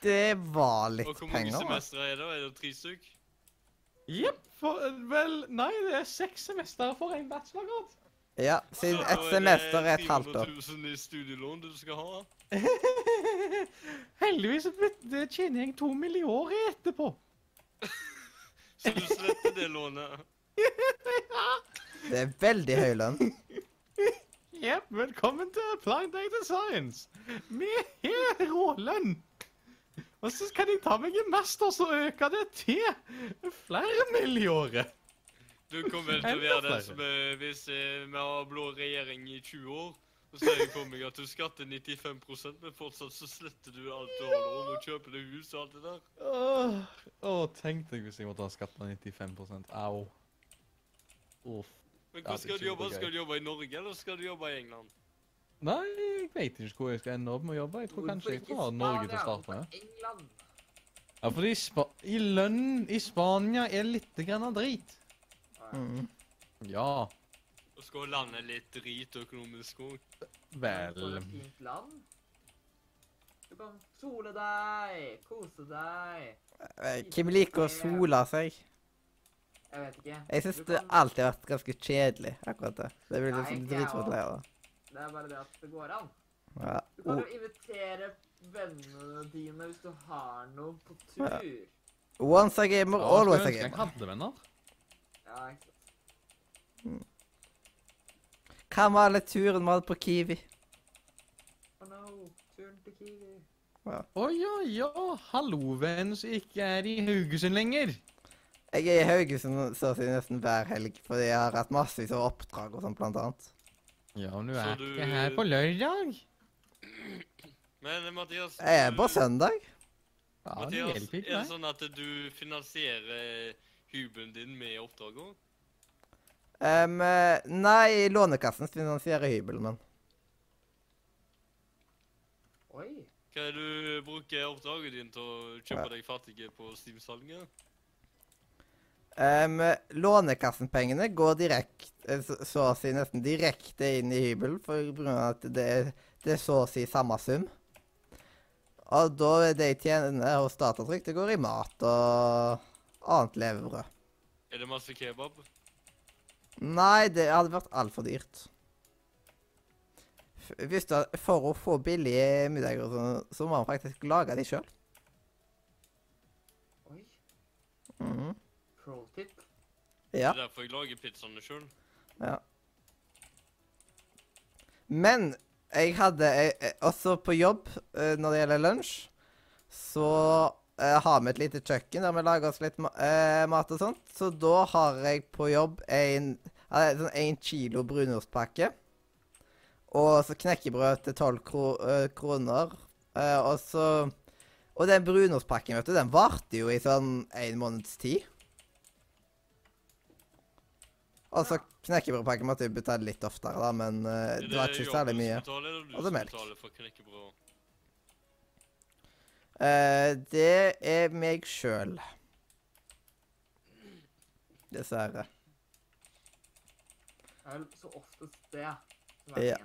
S1: Det var
S4: Og
S1: litt
S4: hvor mange
S1: penger. da.
S4: semestre er det? Er det tre stykk?
S2: Jepp. For eh, vel Nei, det er seks semestre for en bachelorgrad.
S1: Ja, siden et
S4: eh,
S1: semester er et halvt år.
S4: 300 000 i studielån du skal ha.
S2: Heldigvis bet- det tjener jeg to millioner i etterpå.
S4: Så du sletter det lånet.
S1: Det er veldig høy lønn.
S2: Jepp. Velkommen til Applied Data Science. Med helt rålønn. Og så kan jeg ta meg en master, så øker det til flere millioner.
S4: Du kommer vel til å
S2: Enda
S4: være den
S2: flere.
S4: som eh, Hvis eh, vi har blå regjering i 20 år, så sier jeg for meg at du skatter 95 men fortsatt så sletter du alt du har lån, og kjøper deg hus og alt det der.
S2: Åh, åh, tenk deg hvis jeg måtte ha skatta 95 Au. Uff.
S4: Men
S2: Ja,
S4: hvor
S2: det
S4: skal du
S2: tror jeg
S4: jobbe?
S2: er
S4: Skal du jobbe i Norge, eller skal du jobbe i England?
S2: Nei, jeg vet ikke hvor jeg skal ende opp med å jobbe. Jeg tror kanskje jeg får Norge til å starte med.
S3: England.
S2: Ja, fordi spa i lønnen i Spania er litt grann av drit.
S1: Mm.
S2: Ja,
S4: Og skal landet litt drit økonomisk òg?
S3: For
S2: vel
S3: et fint land. Du kan sole deg, kose deg.
S1: Eh, Hvem liker å sole seg?
S3: Jeg vet ikke.
S1: Jeg syns
S3: Du
S1: det
S3: kan-
S1: alltid har vært ganske kjedelig, akkurat det. Det blir
S3: Nei,
S1: liksom
S3: ikke jeg
S1: dritvanskelig. da.
S3: Det er bare det at det går an.
S1: Ja.
S3: Du kan
S1: O-
S3: jo invitere vennene dine hvis du har noe på tur.
S1: Once a gamer, always a
S2: Skulle ønske jeg
S1: gamer.
S2: hadde venner.
S3: Ja, ikke sant.
S1: Hva med alle turen vi hadde på Kiwi?
S3: Oh no, turen til Kiwi.
S2: Å ja, ja. Hallo, venn som ikke er i Haugesund lenger.
S1: Jeg er i Haugesund så å si nesten hver helg, fordi jeg har hatt massevis av oppdrag og sånn, blant annet.
S2: Ja, men du
S4: Så
S2: er
S4: du-
S2: ikke her på lørdag.
S4: Men eh, Mathias
S1: Jeg er
S4: du-
S1: på søndag.
S2: Ja, det
S4: Mathias,
S2: hjelper
S4: er
S2: ikke
S4: det
S2: meg.
S4: sånn at du finansierer hybelen din med oppdrag òg?
S1: Em, eh, nei, Lånekassen finansierer hybelen min.
S3: Oi.
S4: Hva er det du bruker oppdraget din til å kjøpe deg fattige på Steam-salget?
S1: Em, lånekassenpengene går direkte, så å si nesten direkte inn i hybelen, for på grunn av at det er, det er så å si samme sum. Og da er det jeg tjener hos Datatrykk, det går i mat og annet levebrød.
S4: Er det masse kebab?
S1: Nei, det hadde vært altfor dyrt. F- Hvis du, har- for å få billige middager, og sånn, så må man faktisk lage de sjøl.
S3: Oi. Pro tip.
S1: Mhm. Ja.
S4: Det er derfor jeg lager pizzaene sjøl.
S1: Men jeg hadde jeg, jeg- også på jobb eh, når det gjelder lunsj, så eh, har vi et lite kjøkken der vi lager oss litt ma eh, mat og sånt. Så da har jeg på jobb en, eh, sånn en kilo brunostpakke. Og så knekkebrød til tolv kro eh, kroner. Eh, og så Og den brunostpakken, vet du, den varte jo i sånn en måneds tid. Og så knekkebrødpakken måtte jeg betale litt oftere, da, men eh, det var ikke særlig mye. Og
S4: Og
S1: det
S4: det
S1: er melk.
S4: melk. For knekkebrød?
S1: Eh, det er meg sjøl. Dessverre.
S3: Det er vel så oftest det hver
S1: Ja.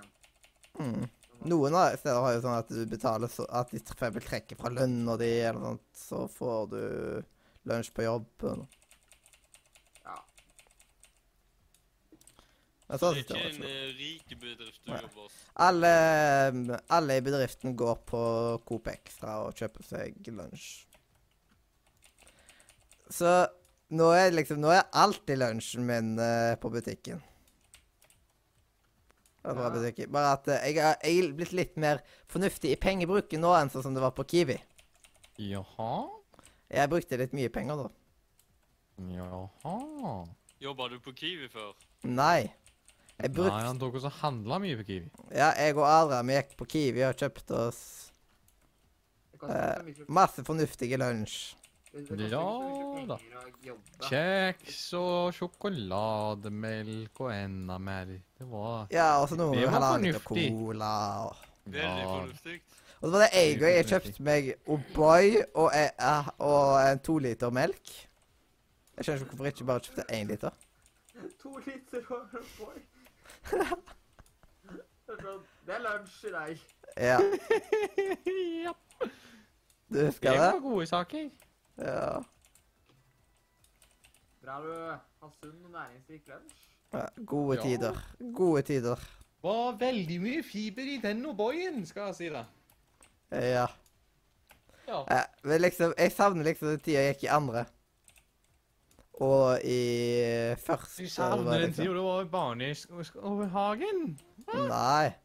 S3: en.
S1: Mm. Noen av steder har jo sånn at du betaler så At de for eksempel trekker fra lønna di, eller noe sånt, så får du lunsj på jobben.
S3: Ja.
S1: Men
S4: Så
S1: sånn
S4: det er
S1: står det
S4: ikke
S1: ikke.
S4: en eh, rik bedrift du
S1: Nei.
S4: jobber hos.
S1: Alle, alle i bedriften går på Coop Extra og kjøper seg lunsj. Så nå er liksom Nå er alltid lunsjen min eh, på butikken. Det er bra
S3: Ja.
S1: butikken. Bare at eh, jeg har- jeg er blitt litt mer fornuftig i pengebruken nå enn sånn som det var på Kiwi.
S2: Jaha?
S1: Jeg brukte litt mye penger da.
S2: Jaha.
S4: Jobba du på Kiwi før?
S1: Nei. Jeg
S2: Nei,
S1: brukte
S2: han tok også handla mye på Kiwi.
S1: Ja, jeg og Adrian vi gikk på Kiwi og kjøpte oss
S3: Det koster ikke så
S1: Eh,
S3: mye for-
S1: masse fornuftige lunsj.
S3: det koster ikke så mye
S2: Ja da.
S3: penger å jobbe.
S2: Kjeks og sjokolademelk og enda mer. Det var
S1: Ja, og så noe
S2: Det
S1: med
S2: var
S1: halvannen liter
S2: fornuftig.
S1: cola og
S4: Veldig fornuftig.
S1: Og det var det jeg og jeg kjøpte meg O'boy og, eh, eh, og en to liter melk. Jeg skjønner ikke hvorfor jeg ikke bare kjøpte én liter.
S3: [LAUGHS] To liter og en boy. Det er sånn, Det er lunsj i dag.
S1: Ja,
S2: [LAUGHS] ja.
S1: du
S2: Det
S1: husker
S2: var
S1: det?
S2: gode saker.
S1: Ja.
S3: Bra du har sunn og næringsrik lunsj.
S1: ja. Gode
S2: Ja.
S1: tider. Gode tider.
S2: Var veldig mye fiber i den O'boyen, skal jeg si det.
S1: Ja.
S2: Ja.
S1: Eh, Men liksom, jeg savner liksom den tida jeg gikk i andre. Og i første
S2: Du
S1: det var
S2: savner den
S1: liksom-
S2: tida du var barn i sk- sk- over hagen.
S1: Nei.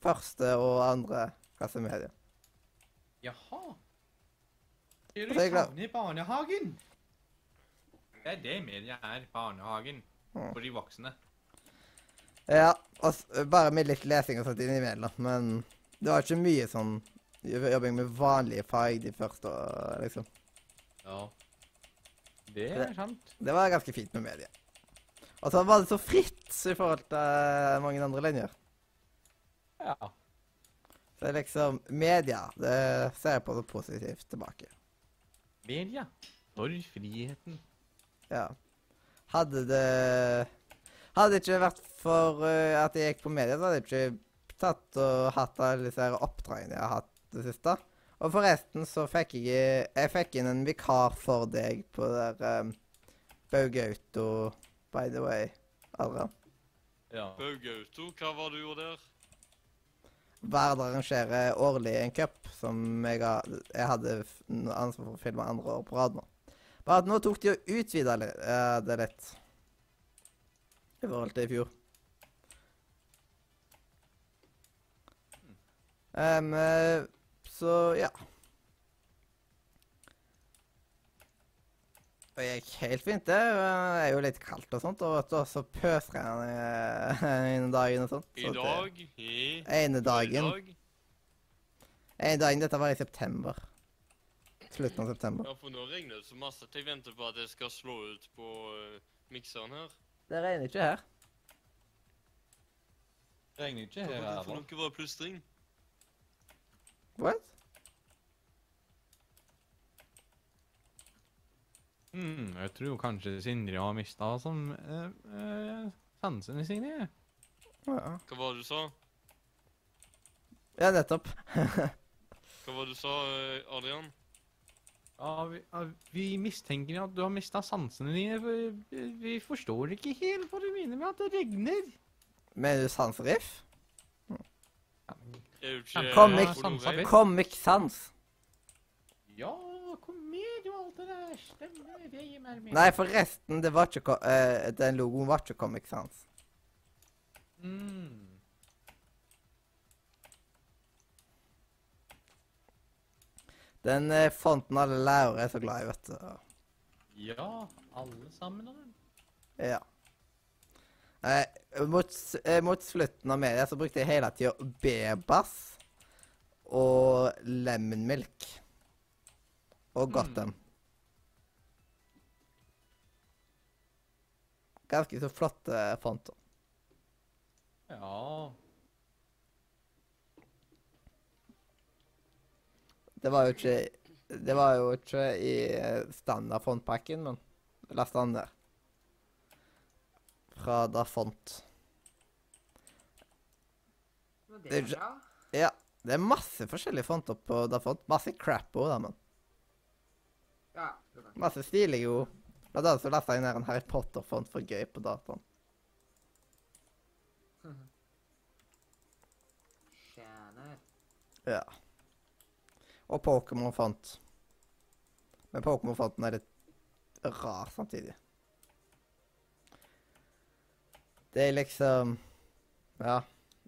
S1: Første og andre klasse medie.
S2: Jaha. Det
S1: Og
S2: du
S1: så er jeg glad-
S2: savner i barnehagen. Det er det media er, barnehagen. For de voksne.
S1: Ja, og s- eh, bare med litt lesing og sånt innimellom, men det var ikke mye sånn jobb- jobbing med vanlige fag de første åra, liksom.
S2: Ja. Det
S1: er
S2: er sant.
S1: Det var ganske fint med media. Og så var det så fritt i forhold til eh, mange andre linjer.
S2: Ja.
S1: Så liksom Media, det ser jeg på som positivt tilbake.
S2: Media. For friheten.
S1: Ja. Hadde det Hadde det ikke vært for eh, at jeg gikk på media, så hadde jeg ikke tatt og hatt alle disse her oppdragene jeg har hatt det siste. Og forresten så fikk jeg Jeg fikk inn en vikar for deg på der um, Bauge Auto, by the way. Adrian.
S2: Ja.
S4: Baug Auto, hva var det du gjorde der?
S1: Vard arrangerer årlig en cup som jeg, har, jeg hadde f- n- ansvar for å filme andre år på rad nå. Bare at nå tok de og utvida li- eh, det litt. I forhold til i fjor. Em, eh, så ja. Det gikk helt fint, det. Det er jo litt kaldt og sånt. Og vet du, så pøsregner det [LAUGHS] ene dagen og sånt.
S4: I
S1: så det-
S4: dag? I
S1: Ene dagen.
S4: dag?
S1: Ene dagen, dette var i september. Slutten av september.
S4: Ja, for nå regner det så masse at jeg venter på at jeg skal slå ut på eh, mikseren her.
S1: Det regner ikke her.
S2: Regner ikke
S4: Hva
S2: her,
S4: var det for
S2: eller?
S4: noe var plystring?
S1: What?
S2: Mm, jeg tror kanskje Sindre har mista som eh, eh, sansene sine.
S1: Ja,
S4: Hva var det du sa?
S1: ja nettopp.
S4: Hva var det du sa, eh, Adrian?
S2: Ja, vi, ja, vi mistenker at du har mista sansene dine. For eh, vi forstår ikke helt hva du mener med at det regner.
S1: Mener du sans og riff?
S4: Er du ikke
S1: Kom,
S4: eh,
S1: Mix.
S4: på noe
S2: Sansa
S4: rett?
S2: litt.
S1: Comic sans.
S5: Ja, kom med, du, alt det der. Stemmer, det gir mer mening.
S1: Nei, forresten, det var ikke ko- eh, den logoen var ikke Comic sans.
S2: Mm.
S1: Den eh, fonten alle lærere er så glad i, vet du.
S2: Ja, alle sammen. har den.
S1: Ja. Eh, mot, s- eh, mot slutten av media så brukte jeg hele tida Bebas og Lemon Milk. Og Gotham. Ganske så flotte fonter.
S2: Ja.
S1: Det var jo ikke Det var jo ikke i eh, standard fontpakken, men lasta den der. Fra da font. Det er
S3: Wikipedia.
S1: Ja. Det er masse forskjellige fonter på Dafont. Masse crap òg, da, men.
S3: Ja, det er det.
S1: Masse stilige ord. Og da så lasta jeg ned en Harry Potter-font for gøy på dataen.
S3: Skjæner.
S1: Ja. Og Pokémon-font. Men Pokémon-fonten er litt rar samtidig. Det er liksom Ja.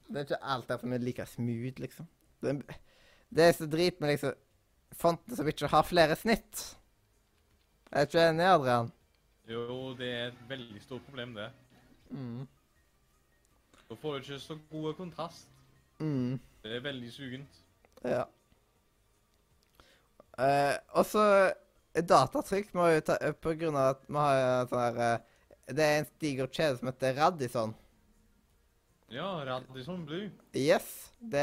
S1: Det er ikke alt derfor vi liker smooth, liksom. Det, det er så drit med liksom fonten som ikke har flere snitt. Er du ikke enig, Adrian?
S2: Jo, det er et veldig stort problem, det.
S1: Mm.
S2: Da får du ikke så god kontrast.
S1: Mm.
S2: Det er veldig sugent.
S1: Ja. Eh, og så datatrykk må jo ta opp på grunn av at vi har eh, sånn her eh, Det er en diger kjede som heter Radisson.
S2: Ja, Radisson Blue.
S1: Yes. Det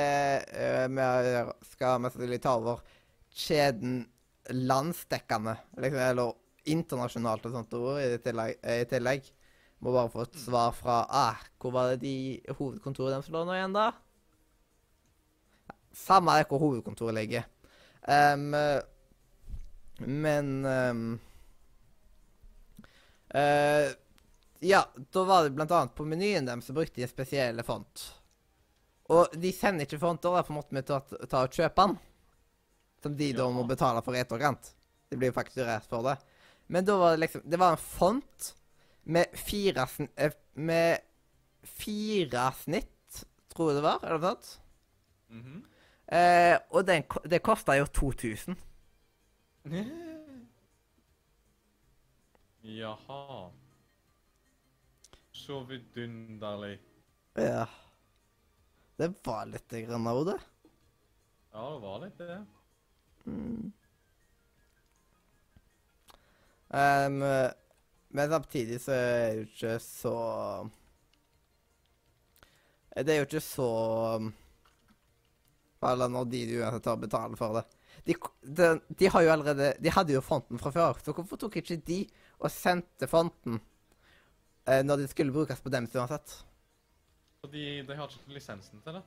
S1: eh, vi har- skal mest sannsynlig ta over kjeden landsdekkende. Liksom, eller internasjonalt og sånt ord i tillegg. eh, I tillegg. Må bare få et svar fra ah, Hvor var det de hovedkontoret deres lå nå igjen, da? Samme er hvor hovedkontoret ligger. Ehm, eh, men ehm, eh, Ja, da var det blant annet på menyen dem så brukte de en spesiell font. Og de sender ikke fonter, derfor måtte vi ta, ta og kjøpe den. Som de da
S2: Ja.
S1: må betale for i etterkant. De blir jo fakturert for det. Men da var det liksom Det var en font med fire sn- eh, Med fire snitt, tror jeg det var, eller noe sånt.
S2: Mhm.
S1: Eh, og den, ko- det kosta jo 2000.
S2: Jaha. Så vidunderlig.
S1: Ja. Det var litt grann av det.
S2: Ja, det var litt det.
S1: Em, men samtidig så er det jo ikke så Det er jo ikke så Eller når de uansett har betalt for det. De, k- de, de har jo allerede De hadde jo fonten fra før, så hvorfor tok ikke de og sendte fonten eh, når de skulle brukes på dems uansett?
S2: Fordi de har ikke lisensen til det.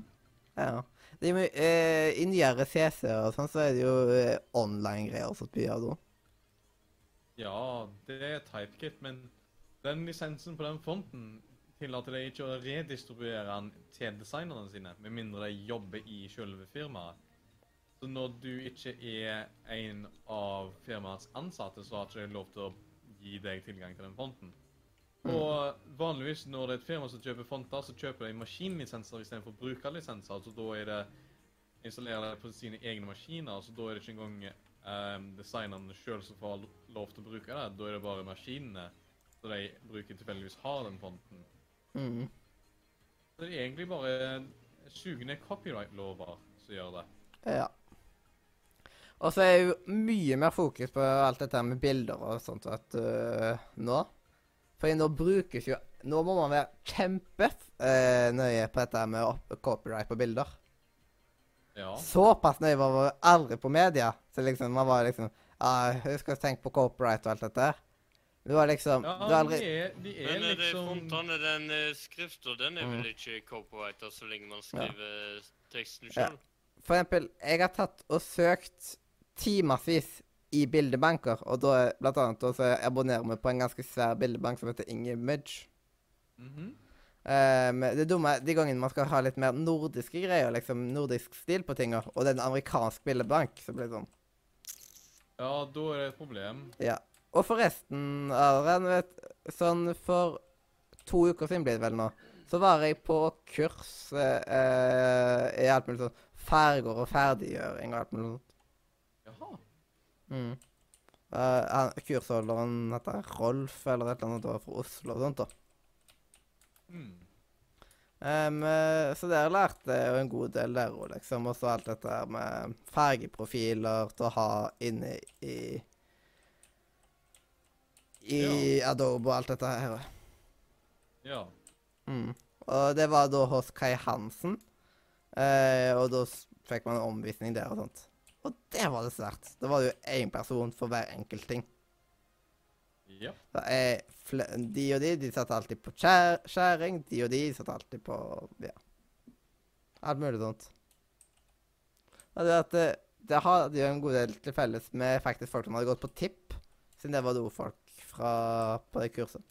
S1: Ja. De, må- eh, I nyere CC-er og sånn, så er det jo eh, online-greier som altså. blir av da.
S2: Ja, det er typekit, men den lisensen på den fonten tillater deg ikke å redistribuere den til designerne sine, med mindre de jobber i selve firmaet. Så når du ikke er en av firmaets ansatte, så har ikke de lov til å gi deg tilgang til den fonten. Og vanligvis når det er et firma som kjøper fonter, så kjøper de maskinlisenser istedenfor brukerlisenser. Så da er det installere det på sine egne maskiner, så da er det ikke engang um, designerne sjøl som får lov til å bruke det. Da er det bare maskinene som de bruker tilfeldigvis har den fonten.
S1: Mm.
S2: Så det er egentlig bare sugne copyright-lover som gjør det.
S1: Ja. Og så er jo mye mer fokus på alt dette her med bilder og sånt at, øh, nå. Fordi nå brukes jo Nå må man være kjempenøye på dette her med opp- copyright på bilder.
S2: Ja.
S1: Såpass nøye var man aldri på media. Så liksom, man var liksom ah, Husk å tenke på copyright og alt dette her. Det var liksom
S2: ja
S1: det var aldri,
S2: de er, de er
S4: Men eh, det er
S2: liksom
S4: fontene, den eh, skriften, den er
S1: Mm.
S4: vel ikke copyrighta så lenge man skriver eh, teksten sjøl?
S1: For eksempel, jeg har tatt og søkt timevis i bildebanker, og da er- blant annet da så abonnerer vi på en ganske svær bildebank som heter Ingemidge.
S2: Mhm.
S1: Eh, men det dumme er de gangene man skal ha litt mer nordiske greier, liksom nordisk stil på tinga, og det er en amerikansk bildebank, så blir det sånn.
S2: Ja, da er det et problem.
S1: Ja. Og forresten, Adrian, vet Sånn for to uker siden blir det vel nå, så var jeg på kurs eh, eh, i alt mulig sånn farger og ferdiggjøring og alt mulig sånn.
S2: Jaha.
S1: Mm. Eh, han, kursholderen heter Rolf eller et eller annet da, fra Oslo og sånt. da.
S2: Mm.
S1: Em, eh, så der lærte jeg jo en god del der òg, liksom. Og så alt dette her med fargeprofiler til å ha inne i I Adobe og alt dette her.
S2: Ja.
S1: Mm. Og det var da hos Kai Hansen. Eh, og da s- fikk man en omvisning der og sånt. Og det var det svært. Da var det jo én person for hver enkelt ting.
S2: Ja.
S1: Da er fl de og de, de satt alltid på skjær skjæring. De og de satt alltid på Ja. Alt mulig sånt. Og det at det, det hadde jo en god del til felles med faktisk folk som hadde gått på tipp, siden det var det ordfolk fra, på det kurset.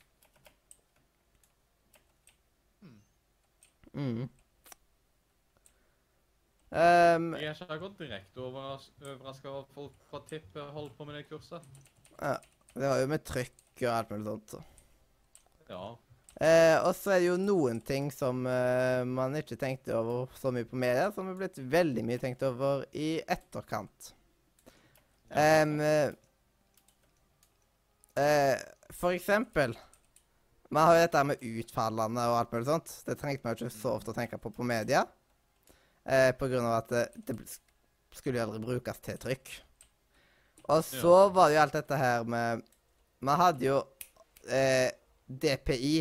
S1: Mm. Um,
S2: Jeg er ikke akkurat direkte overraska over at folk fra Tipp eh, holder på med det kurset.
S1: det var jo med trykk og alt mulig sånt. Så.
S2: Ja.
S1: Eh, og så er det jo noen ting som eh, man ikke tenkte over så mye på media, som er blitt veldig mye tenkt over i etterkant. Em, eh, eh, for eksempel Man har jo dette her med utfallene og alt mulig sånt. Det trengte man jo ikke så ofte å tenke på på media. Eh, på grunn av at det, det bl- skulle jo aldri brukes til trykk. Og så var det jo alt dette her med Man hadde jo eh, DPI.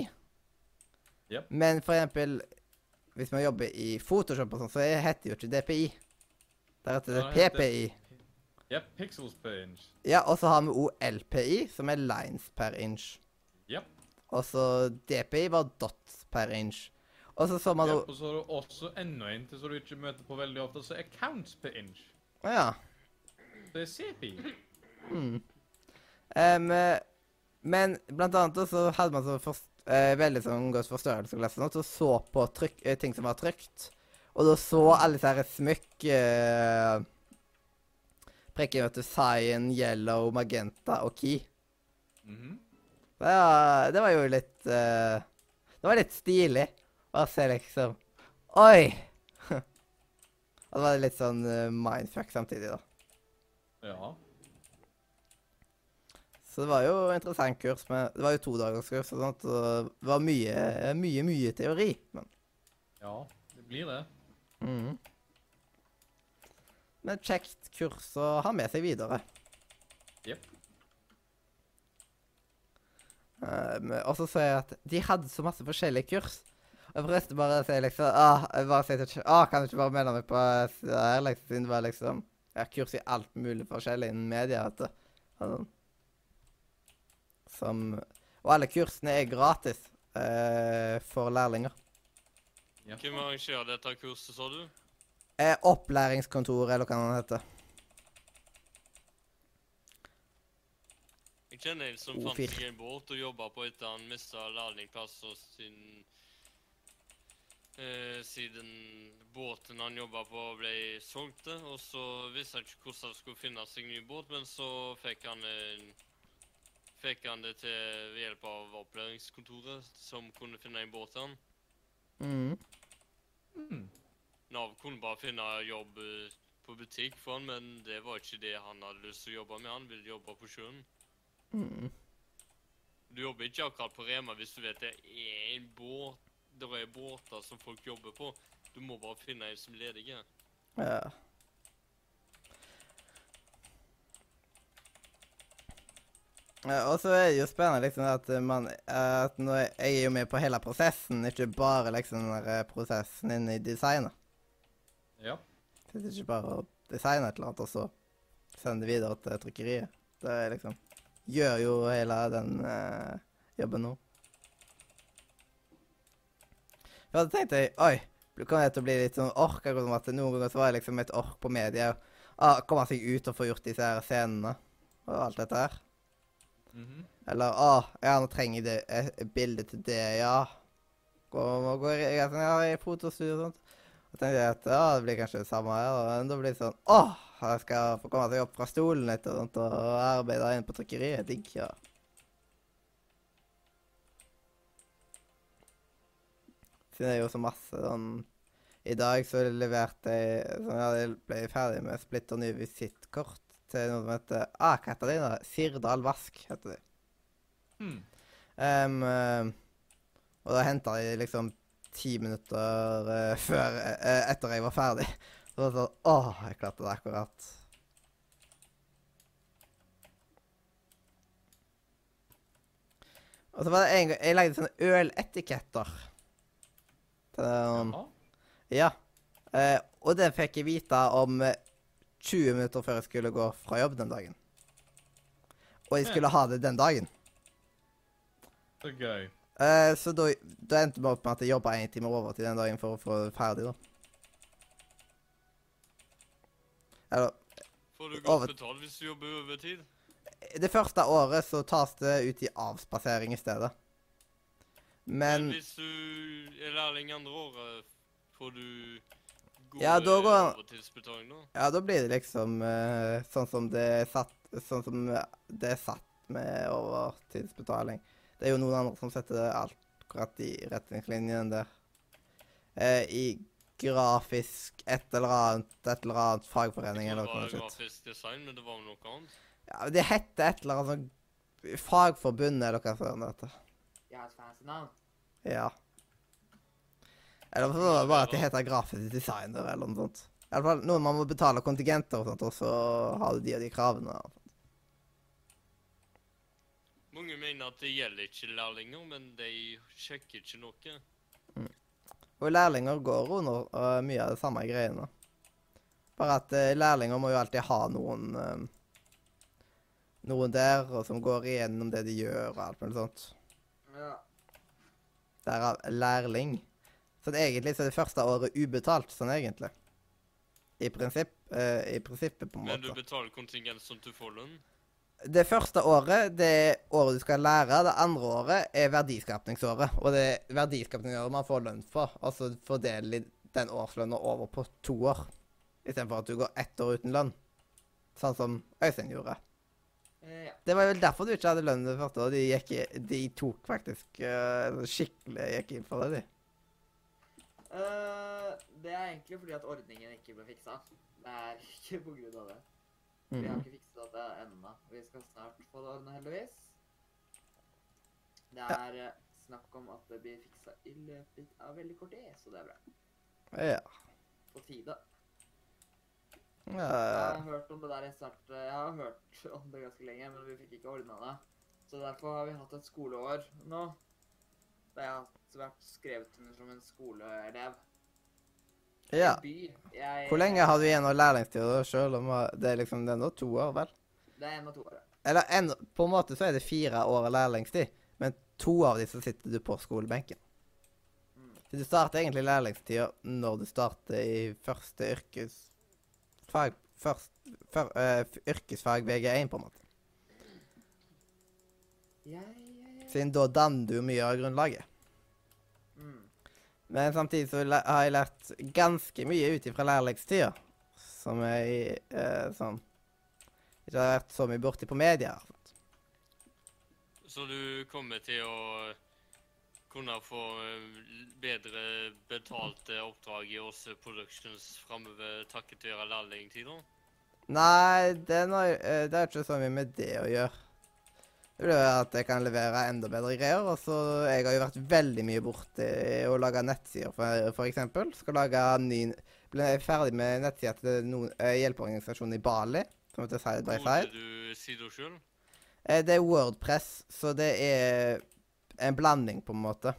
S2: Japp.
S1: Men for eksempel hvis man jobber i Photoshop og sånn, så heter jo ikke DPI. Der heter det
S2: Ja, det heter-
S1: PPI.
S2: Jepp, pixels per inch.
S1: Ja, og så har vi OLPI, som er lines per inch.
S2: Japp.
S1: Og så DPI var dots per inch. Og så så man
S2: Jepp,
S1: jo
S2: og så har du også enda en til som du ikke møter på veldig ofte, så er counts per inch.
S1: Å ja.
S2: Det er CPI.
S1: Mm. Em, eh, men blant annet også så hadde man så forst, eh, veldig sånn godt forstørrelsesglass og sånt, og så på trykk, eh, ting som var trykt. Og da så alle disse her smykk eh, Prikker vet du, cyan, yellow, magenta og key.
S2: Mhm.
S1: Det var, det var jo litt eh, Det var litt stilig å se liksom Oi! [LAUGHS] Og det var litt sånn eh, mindfuck samtidig, da.
S2: Ja.
S1: Så det var jo interessant kurs, men det var jo todagerskurs og sånt, og det var mye, mye, mye teori. Men,
S2: Ja, det blir det.
S1: men Mm. kjekt kurs å ha med seg videre.
S2: Jepp.
S1: Um, og så så jeg at de hadde så masse forskjellige kurs. Og forresten bare sier liksom ah, jeg bare sier til Kjell, ah, Kan du ikke bare melde meg på det her, liksom, siden det var liksom Jeg har kurs i alt mulig forskjellig innen media, vet du. Og sånn. Som Og alle kursene er gratis eh, for lærlinger.
S2: Jepp.
S4: Hvem arrangerer dette kurset, sa du?
S1: Eh, opplæringskontoret, eller hva det heter.
S4: Jeg kjenner en som
S1: O
S4: fant
S1: fire.
S4: seg en båt og jobba på etter han mista lærlingplasser sin eh, Siden båten han jobba på, ble solgt. eh, Og så visste han ikke hvordan han skulle finne seg ny båt, men så fikk han en Fikk han det til ved hjelp av opplæringskontoret, som kunne finne en båt til han.
S1: Mm.
S2: Mm.
S4: Nav kunne bare finne jobb eh, på butikk for han, men det var ikke det han hadde lyst til å jobbe med. Han ville jobbe på sjøen.
S1: Mm.
S4: Du jobber ikke akkurat på Rema hvis du vet det er en båt Det er båter som folk jobber på. Du må bare finne en som er ledig. ja.
S1: Ja. Ja, Og så er det jo spennende liksom at eh, man at nå er Jeg er jo med på hele prosessen, ikke bare liksom den der eh, prosessen inne i designet.
S2: Ja.
S1: Det er ikke bare å designe et eller annet og så sende det videre til trykkeriet. Det er liksom Gjør jo hele den eh, jobben nå. Ja, så tenkte jeg Oi, det kommer jeg til å bli litt sånn ork. akkurat som at Noen ganger så var jeg liksom et ork på media. Ah, Komme seg ut og få gjort disse her scenene og alt dette her.
S2: Mhm.
S1: Eller å, ja, nå trenger jeg det, et et bilde til det, ja. Går, går jeg er sånn, ja, i fotostudio og sånt. Og tenkte jeg at ja, det blir kanskje det samme her. da. Men da blir det sånn å, jeg skal få komme seg opp fra stolen litt og sånt, og arbeide inn på trykkeriet. Digg. ja. Siden det er jo så masse sånn I dag så leverte jeg sånn, ja, Jeg ble ferdig med splitter nye visittkort til noe som heter ah, Hva heter det? da? Sirdal Vask heter det.
S2: Mm.
S1: Ehm, eh, og da henta de liksom ti minutter eh, før eh, Etter jeg var ferdig. Så var det sånn Åh, jeg klarte det akkurat. Og så var det en gang Jeg lagde sånne øletiketter. Til den,
S2: Ja.
S1: ja. Eh, og den fikk jeg vite om eh, 20 minutter før jeg skulle gå fra jobb den dagen. Og jeg skulle ha det den dagen.
S2: Så gøy.
S1: Eh, så da, da endte det bare opp med at jeg jobba én time over til den dagen for å få det ferdig, da. Eller
S4: Får du
S1: Over-
S4: godt betalt hvis du jobber overtid?
S1: Det første året så tas det ut i avspasering i stedet. Men
S4: Hvis du er lærling andre året, får du gode
S1: Ja, da går-
S4: overtidsbetaling da?
S1: ja, da blir det liksom eh, sånn som det er satt Sånn som det er satt med overtidsbetaling. Det er jo noen andre som setter alt akkurat i retningslinjene der. Eh, I grafisk et eller annet, et eller annet fagforening
S4: Jeg
S1: eller
S4: tror
S1: noe
S4: Det var
S1: sånt.
S4: grafisk design, men det var noe annet.
S1: Ja, det heter et eller annet sånn Fagforbundet eller hva sånt. heter.
S3: Jeg har et fancy navn.
S1: Ja. Eller så var det bare at de heter grafisk designer eller noe sånt. I alle fall noen man må betale kontingenter og sånt, og så har du de og de kravene.
S4: Mange mener at det gjelder ikke lærlinger, men de sjekker ikke noe.
S1: Og lærlinger går under øh, mye av de samme greiene. Bare at eh, lærlinger må jo alltid ha noen eh, Noen der og som går igjennom det de gjør og alt mulig sånt.
S3: Ja.
S1: Derav lærling. Sånn egentlig så er det første året ubetalt, sånn egentlig. I prinsipp. eh, I prinsippet, på en måte.
S4: Men du betaler kontingent som du får lønn.
S1: Det første året det er året du skal lære. Det andre året er verdiskapningsåret. Og det er verdiskapningsåret man får lønn for. Og så fordeler de den årslønna over på to år. Istedenfor at du går ett år uten lønn. Sånn som Øystein gjorde.
S3: Eh, ja.
S1: Det var vel derfor du ikke hadde lønn det første året. De, gikk, i- de tok faktisk øh, skikkelig gikk inn for det, de.
S3: Eh, det er egentlig fordi at ordningen ikke ble fiksa. Det er ikke på grunn av det. Vi har
S1: Mhm.
S3: ikke fikset det ennå. Vi skal snart få det ordna, heldigvis. Det er eh, snakk om at det blir fiksa i løpet av veldig kort tid, så det er bra.
S1: Ja.
S3: På tide. Jeg
S1: Ja,
S3: har hørt om det der i start... eh, Jeg har hørt om det ganske lenge, men vi fikk ikke ordna det. Så derfor har vi hatt et skoleår nå. Da jeg har vært skrevet under som en skoleelev. I
S1: ja.
S3: By. Jeg,
S1: Hvor lenge har du igjen av lærlingstida sjøl? Det er liksom det er nå to år, vel?
S3: Det er en av to år. ja.
S1: Eller en, på en måte så er det fire år lærlingstid, men to av de så sitter du på skolebenken.
S3: Mm.
S1: Så du starter egentlig lærlingstida når du starter i første yrkesfag først, før- eh, f- Yrkesfag VG1, på en måte.
S3: Jeg, jeg, jeg.
S1: Siden da danner du mye av grunnlaget.
S3: Mm.
S1: Men samtidig så læ- har jeg lært ganske mye ut ifra lærlingstida, som jeg eh, som ikke har vært så mye borti på media. altså.
S4: Så du kommer til å kunne få eh, bedre betalte oppdrag i Åse Productions framover takket være lærlingtider?
S1: Nei, det er noe- eh, det har ikke så mye med det å gjøre. Det blir jo at jeg kan levere enda bedre greier. Og så Jeg har jo vært veldig mye borti å lage nettsider, for, for eksempel. Skal lage ny Ble ferdig med nettsida til noen eh, hjelpeorganisasjon i Bali, som heter Side by Side.
S4: Koder du sider sjøl?
S1: Eh, Det er Wordpress, så det er en blanding, på en måte.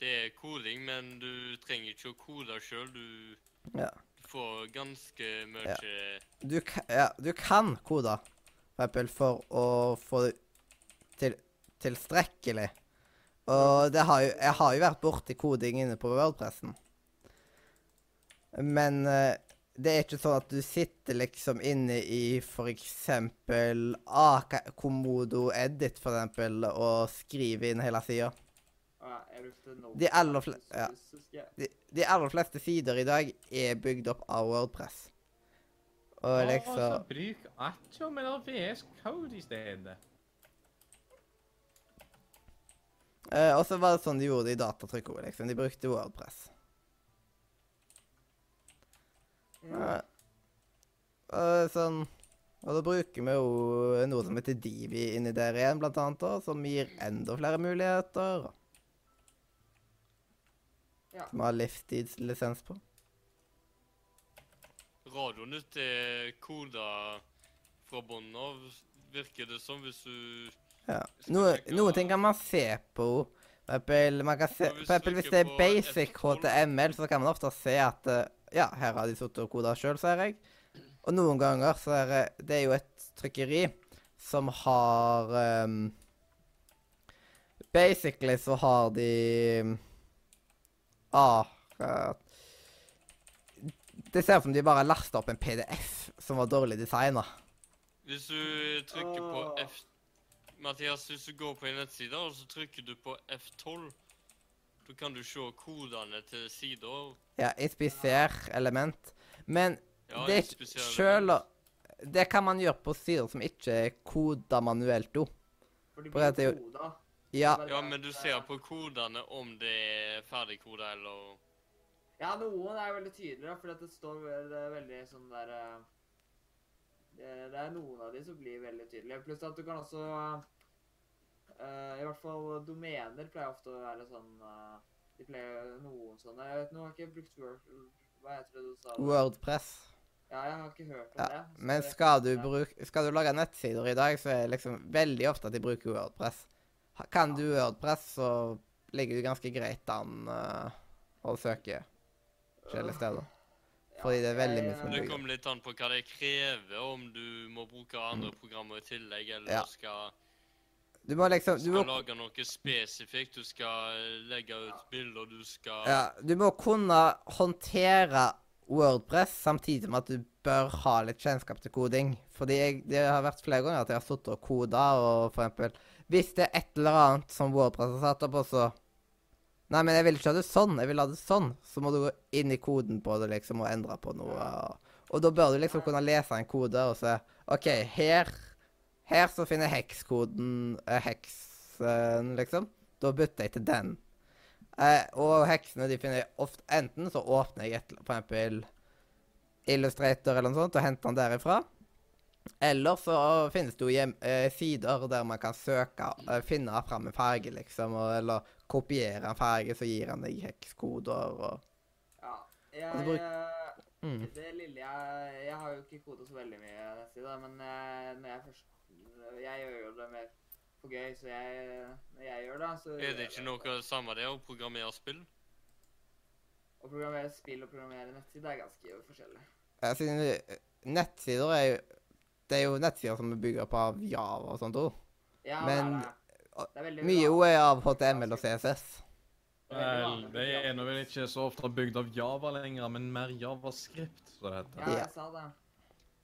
S4: Det er koding, men du trenger ikke å kode sjøl. Du
S1: Ja.
S4: får ganske mye
S1: Du, ka- ja, du kan koder, for eksempel, for å få det til, tilstrekkelig. Og det har jo, jeg har jo vært borti koding inne på Wordpressen. Men eh, det er ikke sånn at du sitter liksom inne i for eksempel Komodo Edit, for eksempel, og skriver inn hele sida.
S3: Ja, jeg brukte Node.
S1: De aller fle- ja.
S3: husker jeg.
S1: De, de aller fleste sider i dag er bygd opp av Wordpress. Og liksom
S5: så bruk Atom eller VS Code i stedet.
S1: Eh, og så var det sånn de gjorde det i datatrykk også, liksom. De brukte Wordpress. Eh, og sånn Og da bruker vi jo noe som heter Divi inni der igjen, blant annet, da, som gir enda flere muligheter.
S3: Ja.
S1: Som har livstidslisens på.
S4: Radioen ditt er koda fra bånn av, virker det som, hvis du
S1: Ja.
S4: Skal
S1: Noe,
S4: sjekke-
S1: noen ting kan man se på. For eksempel, man kan se,
S4: Og hvis
S1: for eksempel
S4: du
S1: hvis det er
S4: trykker på
S1: basic
S4: F12.
S1: HTML, så kan man ofte se at eh, Ja, her har de sittet og koda sjøl, ser jeg. Og noen ganger så er det Det er jo et trykkeri som har ehm, Basically så har de ehm, ah, eh, Det ser ut som de bare har lasta opp en PDF som var dårlig designa.
S4: Hvis du trykker på
S3: Åh.
S4: F... Mathias, hvis du går på en nettside og så trykker du på F12, da kan du se kodene til sider.
S1: Ja, inspiser element. Men
S4: Ja,
S1: det er
S4: en
S1: ikke
S4: spesiell
S1: sjøl
S4: element.
S1: Det kan man gjøre på sider som ikke er koda manuelt òg.
S3: For de
S1: Bare at
S3: blir
S1: det-
S3: koda.
S1: Ja,
S4: Ja, men du ser på kodene om det er ferdigkoda eller
S3: Ja, noen er veldig tydeligere, for det står ve- det er veldig sånn der eh, det, det er noen av de som blir veldig tydelige. Pluss at du kan også eh, I hvert fall domener pleier ofte å være sånn eh, De pleier noen sånne Jeg vet nå har jeg ikke brukt Word Hva heter det du sa?
S1: Wordpress.
S3: Ja, jeg har ikke hørt om
S1: Ja.
S3: det. så
S1: Men
S3: det-
S1: skal du, bruke, skal du lage nettsider i dag, så er det liksom veldig ofte at de bruker Wordpress. Ha- Kan du Wordpress, så ligger du ganske greit an eh, å søke forskjellige steder.
S3: Ja,
S1: fordi det er veldig
S3: jeg-
S1: mye som
S4: Det
S1: bygger.
S4: kommer litt an på hva det krever, om du må bruke andre programmer i tillegg, eller
S1: Mm. Ja.
S4: skal,
S1: Du må liksom du
S4: skal
S1: må,
S4: lage noe spesifikt. Du skal legge ut bilder, du skal
S1: ja, du må kunne håndtere Wordpress samtidig med at du bør ha litt kjennskap til koding. Fordi jeg, det har vært flere ganger at jeg har sittet og koda, og for eksempel Hvis det er et eller annet som Wordpress har satt opp, og så Nei, men jeg vil ikke ha det sånn, jeg vil ha det sånn. Så må du gå inn i koden på det liksom og endre på noe. Og, og da bør du liksom kunne lese en kode og se OK, her Her så finner jeg hekskoden eh, Heksen, liksom. Da bytter jeg til den. Eh, og heksene de finner jeg ofte Enten så åpner jeg et, for eksempel Illustrator eller noe sånt og henter den derifra. Eller så finnes det jo hjem, eh, sider der man kan søke, eh, finne fram en farge, liksom, og, eller kopiere en farge, så gir han deg hekskoder og
S3: Ja.
S1: Altså,
S3: Jeg,
S1: bruk-
S3: eh,
S1: mm.
S3: Det lille jeg Jeg har jo ikke koda så veldig mye, si det, men eh, når jeg først Jeg gjør jo det mer for gøy, så jeg Når jeg gjør det, så
S4: Er det ikke noe samme det å programmere spill?
S3: Å programmere spill og programmere nettside er ganske forskjellig.
S1: Ja, siden eh, nettsider er jo Det er jo nettsider som er bygd opp av Java og sånt òg.
S3: Ja,
S1: Men, eh,
S3: det er det. Det er veldig
S1: Mye
S3: bra.
S1: òg er av HTML og CSS.
S2: Vel, det er nå vel ikke så ofte bygd av Java lenger, men mer Javascript, som det heter.
S3: Ja, jeg sa det.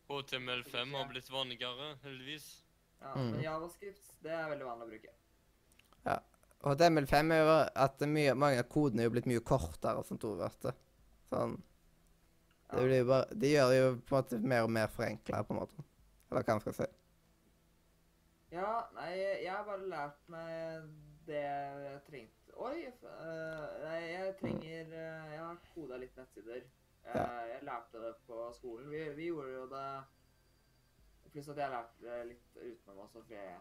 S4: HTML5 har blitt vanligere, heldigvis.
S3: Ja,
S1: Mm.
S3: Men javascript, det er veldig vanlig å bruke.
S1: HTML5 er jo at det er mye, mange av kodene er jo blitt mye kortere og sånt òg, vet du. Sånn. Det, blir jo bare, det gjør det jo på en måte mer og mer forenkla, på en måte. Eller hva man skal si.
S3: Ja, nei, jeg har bare lært meg det jeg trengte Oi! f- eh, nei, jeg trenger eh, Jeg har koda litt nettsider. Eh, jeg lærte det på skolen. Vi, vi gjorde jo det Pluss at jeg lærte det litt utenom også, for jeg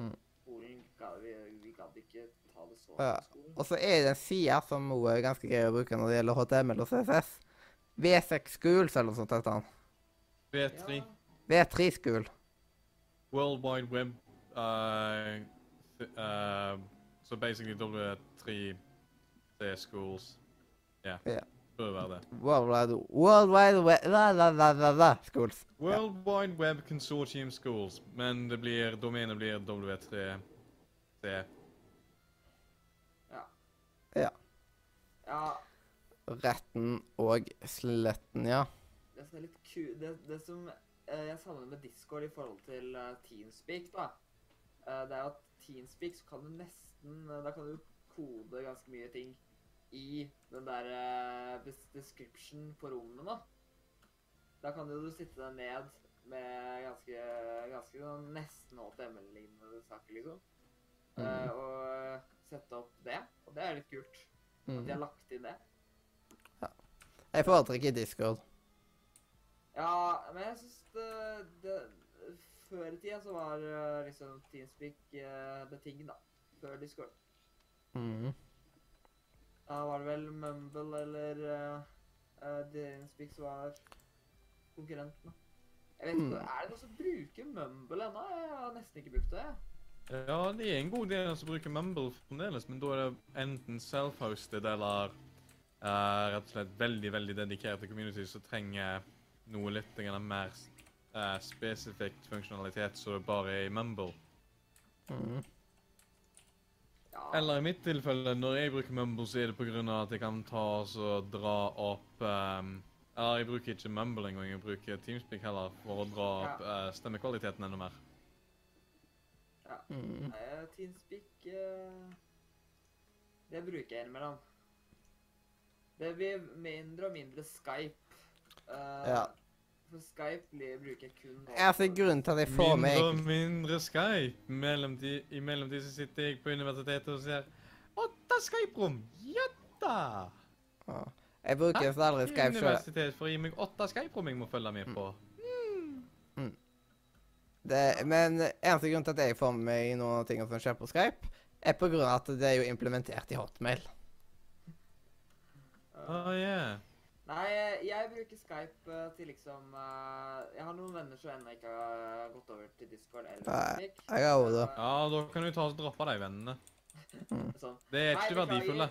S1: Mm.
S3: skolen ga, vi, vi gadd ikke ta det så
S1: Ja.
S3: på skolen.
S1: Og så er det en side som også er ganske grei å bruke når det gjelder HTML og CSS. V6 Schools eller noe sånt heter den.
S2: V3,
S3: Ja.
S1: V3 School.
S2: World Wide Web eh, th- eh, Så basically W3 Det er schools. Ja.
S1: Ja.
S2: Bør være det.
S1: World Wide, World Wide Web la, la, la, la, la, Schools.
S2: World Wide Web Consortium Schools, men det blir, domenet blir W3C.
S3: ja,
S1: Retten og sletten, ja.
S3: det som er litt ku... Det, det som eh, jeg savner med Discord i forhold til eh, Teamspeak, da, eh, det er at Teamspeak så kan du nesten eh, Da kan du kode ganske mye ting i den der eh, bes- description på rommene. Da kan jo du sitte deg ned med ganske, ganske sånn nesten HTML-lignende saker, liksom. Eh,
S1: Mm.
S3: og sette opp det. Og det er litt kult. At de
S1: Mm.
S3: har lagt inn det.
S1: Jeg foretrekker Discord.
S3: Ja, men jeg syns det, det Før i tida så var eh, liksom Teamspeak eh, the thing, da. Før Discord.
S1: Mm.
S3: Da var det vel Mumble eller eh, eh, Teamspeak som var konkurrenten, da. Jeg vet ikke,
S1: Mm.
S3: Er det noen som bruker Mumble ennå? Jeg har nesten ikke brukt det. jeg.
S2: Ja, det er en god del som bruker Mumble fremdeles, men da er det enten self-hosted eller eh, rett og slett veldig, veldig dedikerte communities som trenger noe litt grann mer eh, spesifikt funksjonalitet, så det bare er i Mumble.
S1: Mm.
S3: Ja.
S2: Eller i mitt tilfelle, når jeg bruker Mumble, så er det på grunn av at jeg kan ta og så dra opp ehm, Ja, jeg bruker ikke mumbling, og jeg bruker Teamspeak heller for å dra opp eh, stemmekvaliteten enda mer.
S1: Mm.
S3: Eh, Teamspeak eh, Det bruker jeg innimellom. Det blir mindre og mindre Skype. Eh,
S1: Ja.
S3: For Skype blir, bruker jeg kun nå.
S1: Altså, grunnen til at jeg får med
S2: Mindre og mindre Skype. Mellomtid, I mellomtid så sitter jeg på universitetet og ser åtte Skype-rom! Ja da!
S1: Å, Jeg Mm. bruker så
S2: Mm,
S1: aldri Skype sjøl.
S2: Universitet for å gi meg åtte Skype-rom jeg må følge med på.
S1: Det, men eneste grunn til at jeg får med meg noen ting som skjer på Skype, er på grunn av at det er jo implementert i hotmail.
S3: Eh,
S2: Å, Ah, yeah.
S3: Nei, jeg- jeg bruker Skype eh, til liksom eh, Jeg har noen venner som ennå ikke har gått over til Discord eller
S1: Nei,
S3: Teamspeak.
S1: jeg har også det.
S3: Eh,
S2: Ja, da kan du ta og droppe de vennene.
S3: Sånn.
S2: Det er ikke
S3: Nei, beklager.
S2: verdifulle.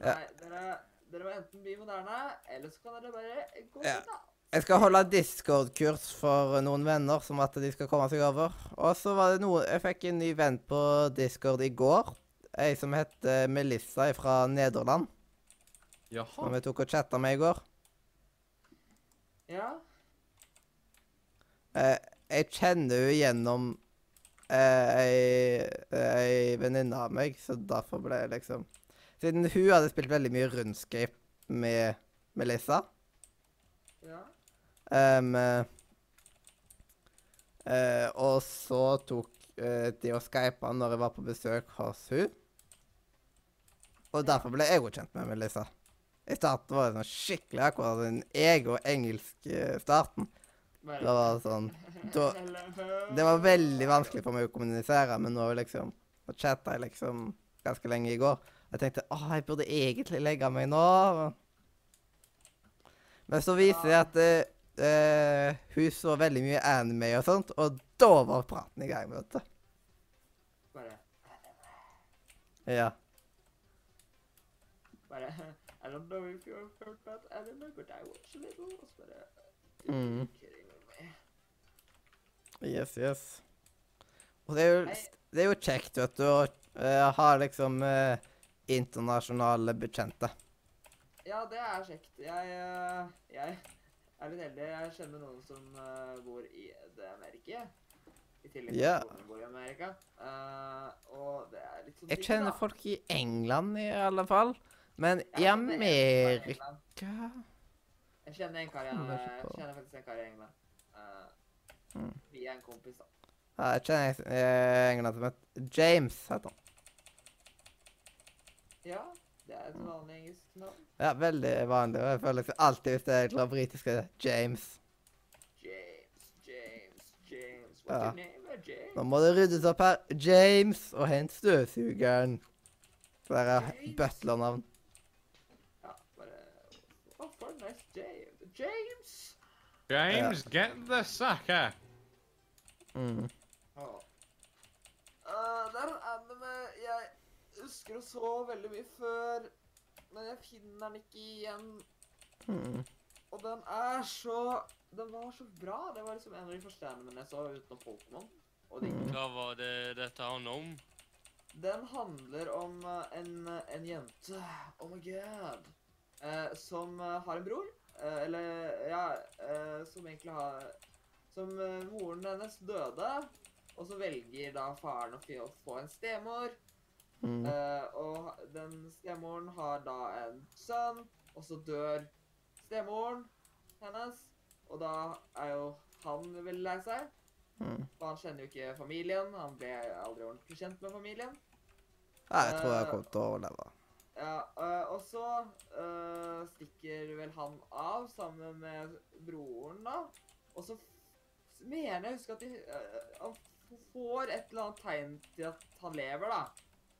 S1: Ja.
S3: Nei, dere, dere må enten bli moderne, eller så kan dere bare gå
S1: Ja.
S3: ut, da.
S1: Jeg skal holde Discord-kurs for noen venner, som at de skal komme seg over. Og så var det noe Jeg fikk en ny venn på Discord i går. Ei som heter Melissa fra Nederland. Som
S2: Jaha.
S1: jeg tok og chatta med i går.
S3: Ja.
S1: Eh, jeg kjenner henne gjennom eh, ei, ei venninne av meg, så derfor ble jeg liksom Siden hun hadde spilt veldig mye rundscape med Melissa
S3: ja.
S1: um, eh, eh, Og så tok eh, de og skypa når jeg var på besøk hos hun. Og derfor ble jeg òg kjent med Melissa. I starten var det sånn skikkelig akkurat en jeg og engelsk eh, starten. Det
S3: Bare
S1: var sånn da- Det var veldig vanskelig for meg å kommunisere, men nå liksom Nå chatta jeg liksom ganske lenge i går. Jeg tenkte åh, jeg burde egentlig legge meg nå. men- Men så viser det at eh, eh, hun så veldig mye anime og sånt, og da var praten i gang, vet du.
S3: Bare,
S1: Ja.
S3: bare [LAUGHS] I don't know if you're heard about anime, but I watch a little. Og så bare uh,
S1: Mm.
S3: kidding with me.
S1: Yes, yes. Og det er jo, det er jo kjekt, vet du, å eh, ha liksom eh, internasjonale bekjente.
S3: Ja, det er kjekt. Jeg, eh, jeg er litt heldig. Jeg kjenner noen som eh, bor i det Amerika. I tillegg til
S1: Ja.
S3: at noen bor i Amerika. Eh, og det er litt sånn
S1: Jeg
S3: digg,
S1: kjenner
S3: da.
S1: folk i England i alle fall, men i
S3: Jeg kjenner en kar
S1: Amerika
S3: i England. Jeg kjenner en kar i
S1: Kommer
S3: eh,
S1: ikke på.
S3: Jeg kjenner faktisk en kar i England. Eh,
S1: Mm.
S3: Vi er en kompis, da.
S1: Ja, jeg kjenner en eh, England som heter James, heter han.
S3: Ja, det er et vanlig engelsk navn.
S1: Ja, veldig vanlig, og jeg føler liksom alltid hvis det er klart britiske James.
S3: James, James, James.
S1: Ja.
S3: What's your name? eh, James?
S1: Nå må det ryddes opp her. James, og hent støvsugeren. Så der er
S3: James?
S1: butlernavn.
S3: Ja, bare Ah, Oh, for a nice day. James!
S2: James, get the sucker!
S1: Mm.
S3: Oh. Ah, det er en anime jeg husker og så veldig mye før, men jeg finner den ikke igjen.
S1: Mm.
S3: Og den er så Den var så bra. Det var liksom en av de første animene jeg så utenom Pokémon. Og de
S4: Hva var det dette handla om?
S3: Den handler om eh, en, en jente Oh my god eh, Som eh, har en bror eh, Eller, ja eh, Som egentlig har Som eh, moren hennes døde Og så velger da faren å fi- å få en stemor
S1: Mm.
S3: eh, Og ha- den stemoren har da en sønn Og så dør stemoren hennes Og da er jo han veldig lei seg
S1: Mm.
S3: For han kjenner jo ikke familien Han ble aldri ordentlig kjent med familien
S1: Ja, jeg tror jeg kommer til å overleve.
S3: Ja, øh, og så øh, stikker vel han av sammen med broren, da. Og så f- mener jeg å huske at de, øh, han f- får et eller annet tegn til at han lever, da.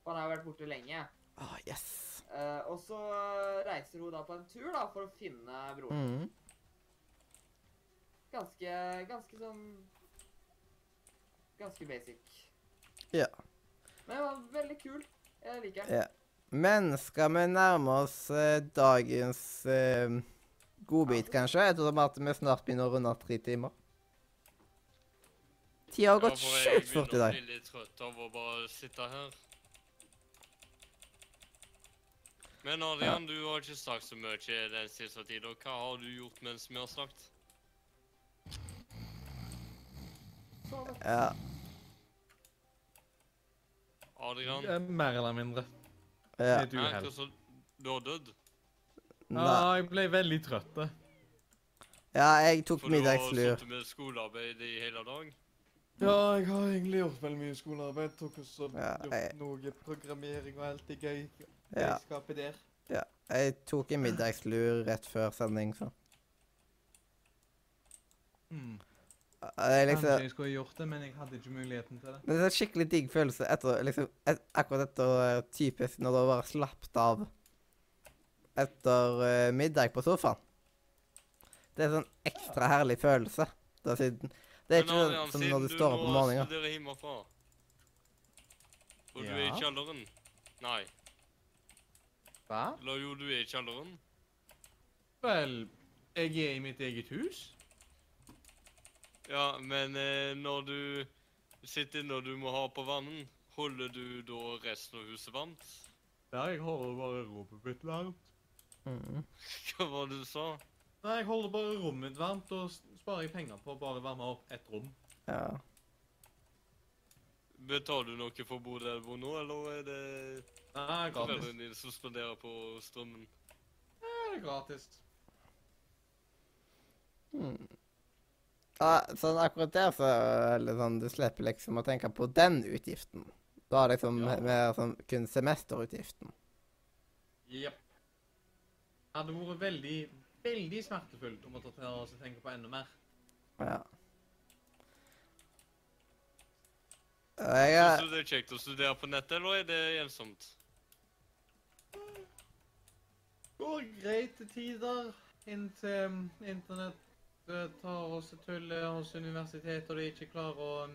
S3: For han har jo vært borte lenge.
S1: Å, Ah, yes.
S3: Eh, og så øh, reiser hun da på en tur da, for å finne broren.
S1: Mm.
S3: Ganske, ganske sånn Ganske basic.
S1: Ja.
S3: Men det var veldig kult. Jeg liker den.
S1: Ja. Men skal vi nærme oss eh, dagens eh, godbit, kanskje? Ettersom at vi snart begynner å runde av tre timer. Tida har gått sjukt fort i dag.
S4: Jeg begynner å bli litt trøtt av å bare sitte her. Men Adrian, du har ikke sagt så mye den siste tida. Hva har du gjort mens vi har snakket?
S5: Sovet.
S1: Ja.
S4: Adrian?
S2: Eh, Mer eller mindre.
S1: ja.
S2: Helt
S4: Nei,
S2: uhell.
S4: hvordan du har dødd?
S1: Nei.
S2: Ah, jeg ble veldig trøtt. da.
S1: Ja, jeg tok
S4: For du har
S1: middagslur.
S4: sittet med skolearbeid i hele dag?
S2: Ja, jeg har egentlig gjort veldig mye skolearbeid. Tok også
S1: Ja, jeg-
S2: noe programmering og alt det gøy.
S1: Ja.
S2: Skape der.
S1: Jeg tok en middagslur rett før sending, så.
S2: Mm.
S1: Jeg liksom
S2: Kanskje jeg skulle gjort det, men jeg hadde ikke muligheten til det.
S1: Det er en skikkelig digg følelse etter, liksom, et, akkurat etter eh, typisk når du har bare slappet av etter eh, middag på sofaen. Det er sånn ekstra herlig følelse. Da, siden, det er
S4: Men
S1: ikke
S4: Adrian,
S1: sånn som når
S4: siden
S1: du står opp om morgenen.
S4: Du nå studerer hjemmefra. Og du er i
S2: Ja.
S4: kjelleren. Nei,
S2: Hva?
S4: eller jo, du er i kjelleren.
S2: Vel, jeg er i mitt eget hus.
S4: Ja, men eh, når du sitter inne og du må ha på vann, holder du da resten av huset varmt? [LAUGHS]
S2: Ja, jeg holder bare rommet mitt varmt.
S1: Mhm.
S4: Hva var det du sa?
S2: Nei, jeg holder bare rommet mitt varmt, og s- sparer jeg penger på å bare varme opp ett rom.
S1: Ja.
S4: Betaler du noe for å bo der du bor nå, eller er det
S2: Nei, gratis.
S4: foreldrene dine som spenderer på strømmen?
S2: Nei, det er gratis.
S1: Ja, sånn akkurat der så eller sånn, Du slipper liksom å tenke på den utgiften. Du har liksom
S2: Ja.
S1: mer sånn kun semesterutgiften.
S2: Jepp. Det hadde vært veldig, veldig smertefullt å måtte ta og så tenke på enda mer.
S1: Ja. Jeg, er-
S4: Syns du det er kjekt å studere på nettet, eller er det ensomt?
S2: Går greit til tider, inntil um, internett eh, tar oss til tullet hos universitetet, og de ikke klarer å um,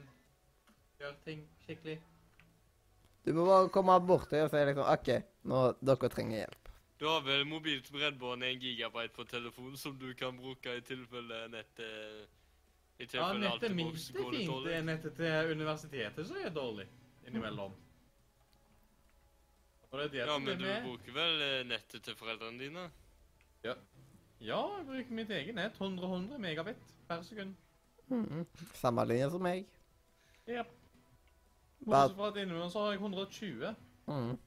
S2: gjøre ting skikkelig.
S1: Du må bare komme bort til og si liksom OK, nå dere trenger hjelp.
S4: Du har vel mobilt bredbånd 1 gigabyte på telefon som du kan bruke i tilfelle nettet I
S2: Ja,
S4: tilfelle
S2: nettet
S4: alt
S2: mitt
S4: boks
S2: er
S4: går litt
S2: fint. Det
S4: dårlig.
S2: er nettet til universitetet som er dårlig innimellom. Og det er det
S4: Ja,
S2: som
S4: men
S2: er
S4: du
S2: med.
S4: bruker vel eh, nettet til foreldrene dine?
S2: Ja, jeg bruker mitt eget nett. 100-100 megabit per sekund.
S1: Samme linje som meg.
S2: Yep.
S1: Bare-
S2: Bortsett fra at innimellom så har jeg 120.
S1: Mhm.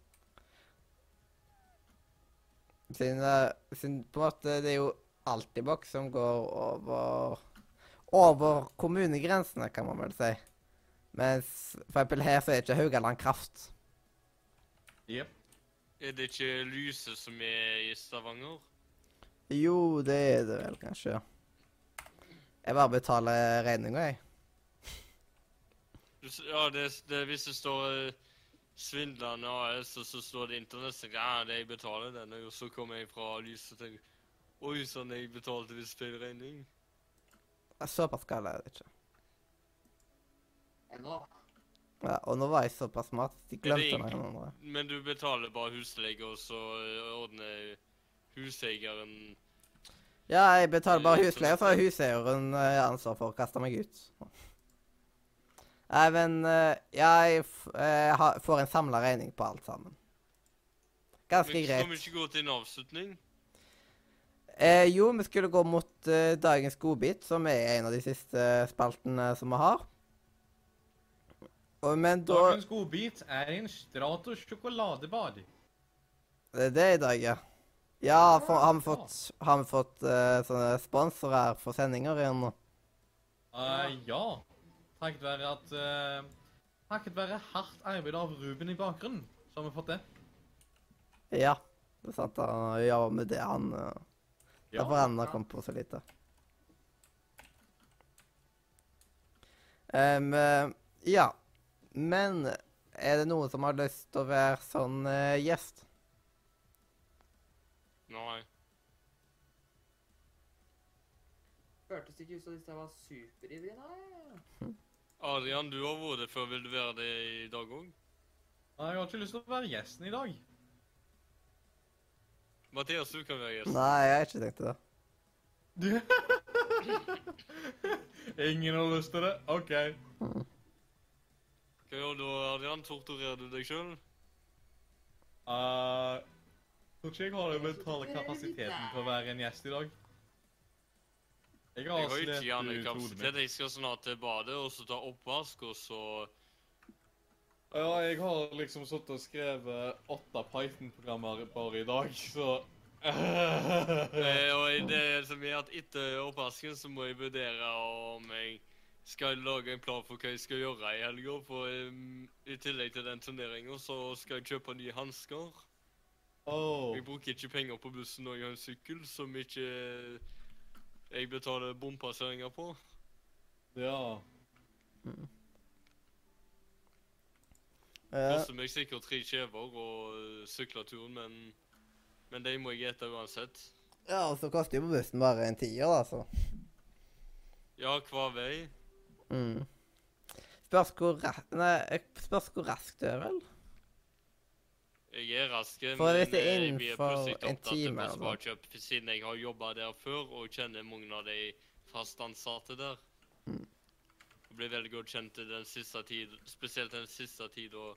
S1: Siden, eh, siden på en måte det er jo alltid boks som går over Over kommunegrensene, kan man vel si. Mens for eksempel her så er ikke Haugaland Kraft.
S2: Yep.
S4: Er det ikke lyset som er i Stavanger?
S1: Jo, det er det vel kanskje. Jeg bare betaler regninga, jeg.
S4: Du, s- ja, det, det, hvis det står eh, Svindlerne AS, og så står det internett, så tenker jeg, ja, det jeg betaler den, og så kommer jeg fra lyset og tenker Oi sann, jeg betalte visst feil regning.
S1: Såpass gal er det ikke.
S3: Ennå.
S1: Ja, og nå var jeg såpass smart at de
S4: Er det
S1: glemte
S4: egentlig-
S1: noen andre.
S4: Men du betaler bare husleie, og så eh, ordner huseieren
S1: Ja, jeg betaler bare
S4: Eh, så-
S1: husleie, så har huseieren eh, ansvar for å kaste meg ut. Nei, men eh, ja, jeg f eh, ha- får en samla regning på alt sammen. Ganske
S4: Men Skal vi
S1: greit.
S4: ikke gå til en avslutning?
S1: Eh, jo, vi skulle gå mot eh, dagens godbit, som er en av de siste spaltene som vi har. Og, men da
S2: Dagens godbit er en Strato sjokoladebar.
S1: eh, Det er det i dag, ja. Ja, for, har vi fått, har vi fått eh, sånne sponsorer for sendinger igjen nå?
S2: Eh, ja. Takket være at eh, Takket være hardt arbeid av Ruben i bakgrunnen, så har vi fått det.
S1: Ja. Det er sant, han jobber med det han eh,
S2: Ja.
S1: Derfor han har kommet på så lite. Em, eh, ja. Men er det noen som har lyst til å være sånn eh, gjest?
S4: Nei.
S3: Hørtes ikke ut som hvis jeg var superivrig, nei.
S4: Adrian, du har vært det før. Vil du være det i dag òg?
S2: Nei, Jeg har ikke lyst til å være gjesten i dag. [LAUGHS]
S4: Mathias, du kan være gjest.
S1: Nei, jeg har ikke tenkt det.
S2: Ingen har lyst til det? OK.
S4: Hva gjør du, Adrian? Torturerer du deg sjøl?
S2: Eh, Tror ikke jeg har den mentale kapasiteten til å være en gjest i dag. Jeg har
S4: Jeg
S2: slet
S4: har ikke
S2: ut hodet mitt.
S4: hjernekapasitet. Jeg skal snart til badet og så ta oppvask, og så
S2: Ja, jeg har liksom sittet og skrevet åtte Python-programmer bare i dag, så
S4: Eh, Og det som er at etter oppvasken så må jeg vurdere om jeg skal lage en plan for hva jeg skal gjøre i helga. For em, i tillegg til den turneringa så skal jeg kjøpe nye hansker.
S2: Åh,
S4: Jeg bruker ikke penger på bussen når jeg har en sykkel som ikke eh, jeg betaler bompasseringer på.
S2: ja.
S4: Det
S1: Eh,
S4: koster meg sikkert tre kjever og eh, syklaturen, men, men de må jeg ete uansett.
S1: ja, og så koster jo bussen bare en tier, da, så.
S4: Ja, hver vei.
S1: Mm. Spørs hvor, ra nei, spørs hvor raskt du er, vel?
S4: Jeg er rask, men
S1: For dette er
S4: eh, jeg blir
S1: innenfor
S4: plutselig
S1: en
S4: opptatt
S1: time
S4: med
S1: eller noe.
S4: sparekjøp siden jeg har jobba der før og kjenner mange av de fast ansatte der.
S1: Mm.
S4: Jeg blir veldig godt kjent i den siste tid, spesielt den siste tida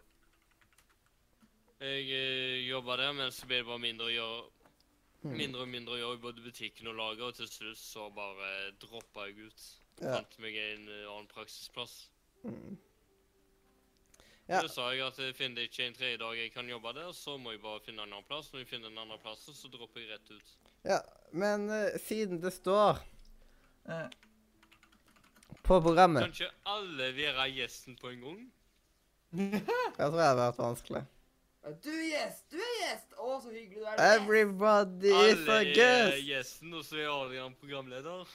S4: jeg eh, jobba der, men så ble det bare mindre å gjøre.
S1: Mm.
S4: Mindre og mindre å gjøre i både butikken og lager, og til slutt så bare droppa jeg ut.
S1: Ja.
S4: Fant meg en eh, annen praksisplass.
S1: Mm. Ja.
S4: Ja. Så sa jeg at eh, finner jeg ikke en tredje dag jeg kan jobbe der, så må jeg bare finne en annen plass. Når jeg finner en annen plass, så dropper jeg rett ut.
S1: Ja, men eh, siden det står eh, på programmet
S4: Kan ikke alle være gjesten på en gang?
S1: Jeg tror det hadde vært vanskelig.
S3: Du er gjest! Du er gjest! Å, så hyggelig du er. du er gjest!
S1: Everybody is
S4: Alle
S1: a
S4: er
S1: guest!
S4: gjesten, og så er Adrian programleder.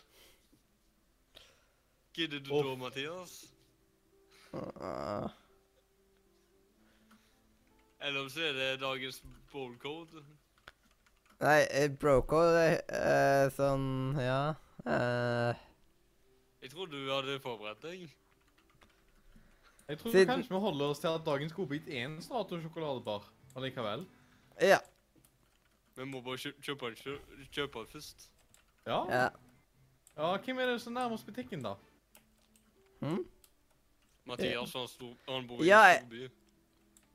S4: Gidder du
S2: Uff.
S4: da, Mathias?
S1: Ah,
S4: Eller så er det dagens bowlcode.
S1: Nei, eh, Broco det er eh, sånn Ja. eh,
S4: Jeg tror du hadde forberedt deg.
S2: Jeg tror
S1: Siden-
S2: kanskje vi holder oss til at dagens godbit er en Strato-sjokoladebar allikevel.
S1: ja.
S4: Vi må bare kjø- kjøpe den, kjø- kjøpe den først.
S2: Ja. ja.
S1: ja.
S2: hvem er det som nærmer oss butikken, da?
S1: Hm?
S4: Mathias, han, stor, han bor i
S1: Ja,
S4: en
S1: jeg-
S4: storby.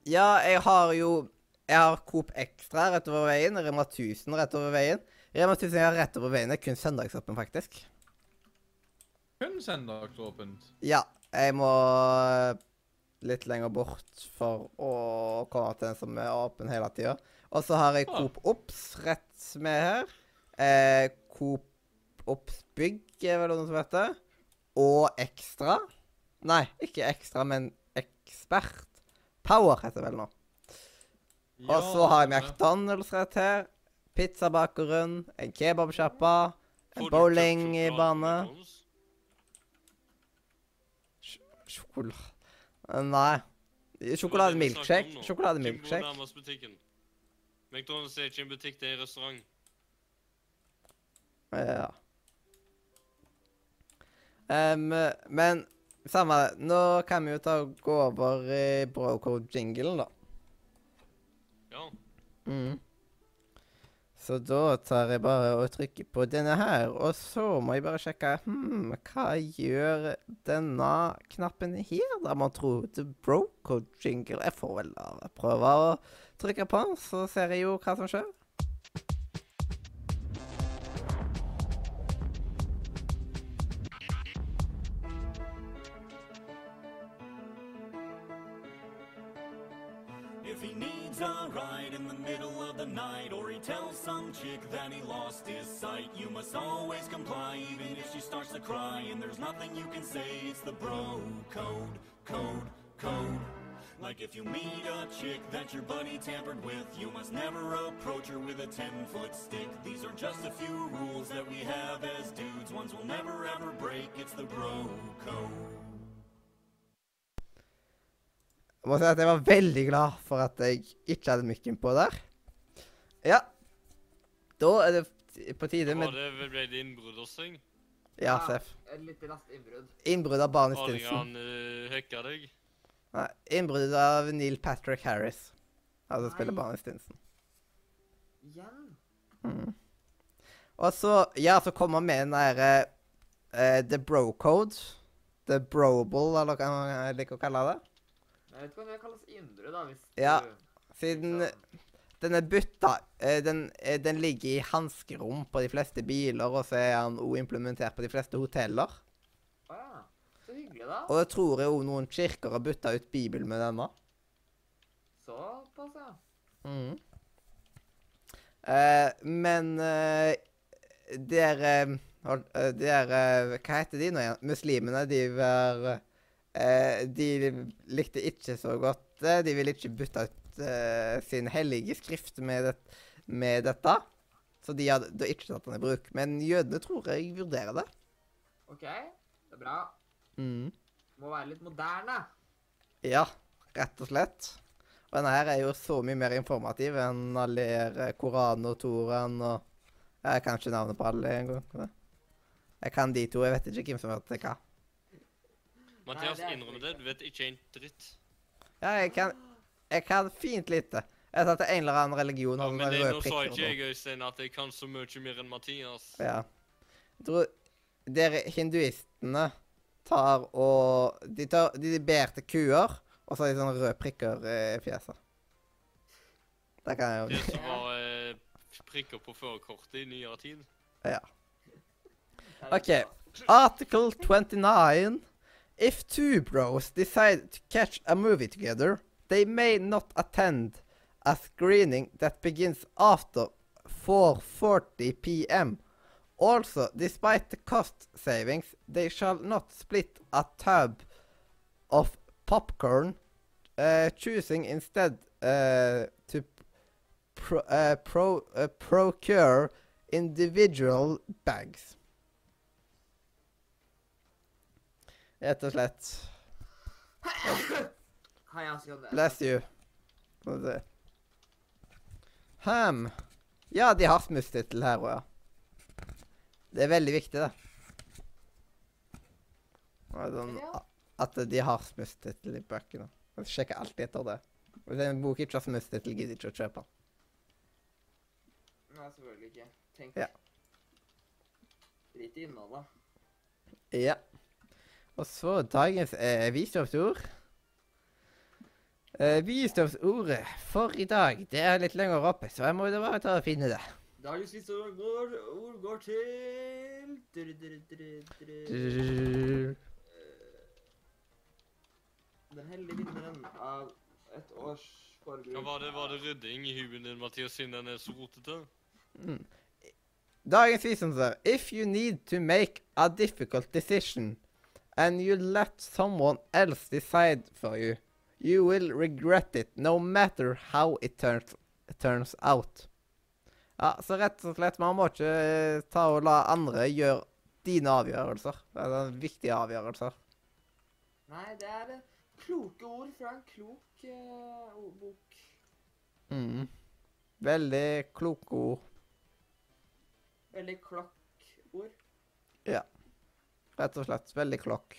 S1: Ja, jeg har jo Jeg har Coop Extra rett over veien. Rema 1000 rett over veien. Rema 1000 jeg har rett over veien. Det er kun søndagsåpen, faktisk.
S2: Kun søndagsåpent.
S1: Ja. Jeg må eh, litt lenger bort for å komme til den som er åpen hele tida. Og så har jeg
S2: Ah.
S1: Coop Ops rett med her. Eh, Coop Ops Bygg er vel noe som heter. Og Ekstra. Nei, ikke Ekstra, men Ekspert. Power heter det vel nå. Og så har jeg McDonald's rett her. Pizzabakeren, en kebabsjappa, en
S4: Får du kjøpt sjokolade på
S1: bowlingbane
S4: McDonald's?
S1: Sjokolade Nei. Sjokolademilkshake.
S4: Hvem bor
S1: Sjokolademilkshake.
S4: nærmest butikken? McDonald's er ikke en butikk, det er en restaurant.
S1: Ja. Em, men samme det. Nå kan vi jo ta og gå over i Brocode-jinglen, da.
S4: Ja.
S1: Mm. Så da tar jeg bare og trykker på denne her, og så må jeg bare sjekke hmm, Hva gjør denne knappen her, da, man tror? The Brocode jingle. Jeg får vel da prøve å trykke på den, så ser jeg jo hva som skjer.
S6: If he needs a ride in the middle of the night, or he tells some chick that he lost his sight, you must always comply, even if she starts to cry. And there's nothing you can say, it's the bro code, code, code. Like if you meet a chick that your buddy tampered with, you must never approach her with a 10 foot stick. These are just a few rules that we have as dudes, ones we'll never ever break. It's the bro code.
S1: Jeg må si at jeg var veldig glad for at jeg ikke hadde mikken på der. Ja. Da er det t- på tide
S4: Var
S1: med
S4: det ble det innbrudd hos deg?
S1: Ja, Seff.
S3: Et lite lastinnbrudd.
S1: Innbrudd av Barney Stinson.
S4: Adrian uh, hacka deg?
S1: Nei, innbrudd av Neil Patrick Harris. Altså spiller
S3: Nei.
S1: Barney Stinson.
S3: Igjen?
S1: Og så, ja, så kommer han med den derre eh, The Bro Code. The Brobel, eller hva jeg liker å kalle det.
S3: Jeg vet ikke om det kalles innbrudd, da. hvis
S1: Ja.
S3: du-
S1: Siden
S3: Ja.
S1: Denne butta, eh, den, eh, den ligger i hanskerom på de fleste biler, og så er han også implementert på de fleste hoteller.
S3: Å ja. Så hyggelig, da.
S1: Og jeg tror jeg også noen kirker har bytta ut Bibelen med denne.
S3: Såpass, ja.
S1: Mhm. Eh, men eh, der, eh, hold- eh, der eh, Hva heter de nå igjen? Muslimene, de var eh, De likte ikke så godt eh, De ville ikke bytte ut eh, sin hellige skrift med, det, med dette. Så de hadde da ikke tatt den i bruk. Men jødene tror jeg vurderer det.
S3: OK. Det er bra.
S1: Mhm.
S3: Må være litt moderne.
S1: Ja, rett og slett. Og denne her er jo så mye mer informativ enn alle her, eh, Koranen og Toraen og Jeg kan ikke navnet på alle engang. Jeg kan de to, jeg vet ikke hvem som hørte hva.
S4: Mathias,
S3: det er
S4: innrømmer
S3: ikke
S4: det. Du vet ikke en dritt.
S1: Ja, jeg kan, jeg kan fint lite. Jeg satte en eller annen religion
S4: Ja,
S1: og
S4: men
S1: noen
S4: det,
S1: røde
S4: nå sa
S1: prikker.
S4: ikke
S1: på.
S4: jeg, Øystein, at jeg kan så mye mer enn Mathias.
S1: Ja. Jeg tror Dere hinduistene tar og De, tar, de ber til kuer, og så har de sånne røde prikker eh, i fjeset. Det kan jeg jo
S4: Det som var eh, prikker på førerkortet i nyere tid.
S3: Det er litt
S1: Ok.
S3: bra.
S1: Article 29. If two bros decide to catch a movie together, they may not attend a screening that begins after 4:40 p.m. Also, despite the cost savings, they shall not split a tub of popcorn, uh, choosing instead uh, to pro- uh, pro- uh, procure individual bags. Rett og slett.
S3: Hei, Asgeir.
S1: Bless you. Skal vi se. Hm. Ja, de har smusstittel her òg, ja. Det er veldig viktig, det. Det er Sånn,
S3: Ja.
S1: at de har smusstittel i bøkene. Jeg sjekker alltid etter det. Hvis en bok ikke har smusstittel, gidder jeg ikke å kjøpe den.
S3: Nei, selvfølgelig ikke. Tenk.
S1: Ja.
S3: Drit i innholdet.
S1: Ja. Og så dagens eh, visdomsord. Eh, visdomsordet for i dag, det er litt lenger oppe, så jeg må da bare ta og finne det.
S3: Dagens siste ord går, ord går til dru, dru, dru, dru.
S1: Ja,
S3: Den heldige vinneren av et års forbruk.
S4: Ja, var, det, var det rydding i huet din, Mathias, siden den er så rotete?
S1: Dagens visdomsord. If you need to make a difficult decision and you let someone else decide for you, you will regret it no matter how it turns, turns out. Ja, så rett og slett, man må ikke eh, ta og la andre gjøre dine avgjørelser. Eller viktige avgjørelser.
S3: Nei, det er eh, kloke ord fra en klok eh, o- bok.
S1: Mm. Veldig kloke ord,
S3: Eller klokkord.
S1: rett og slett. Veldig klokk.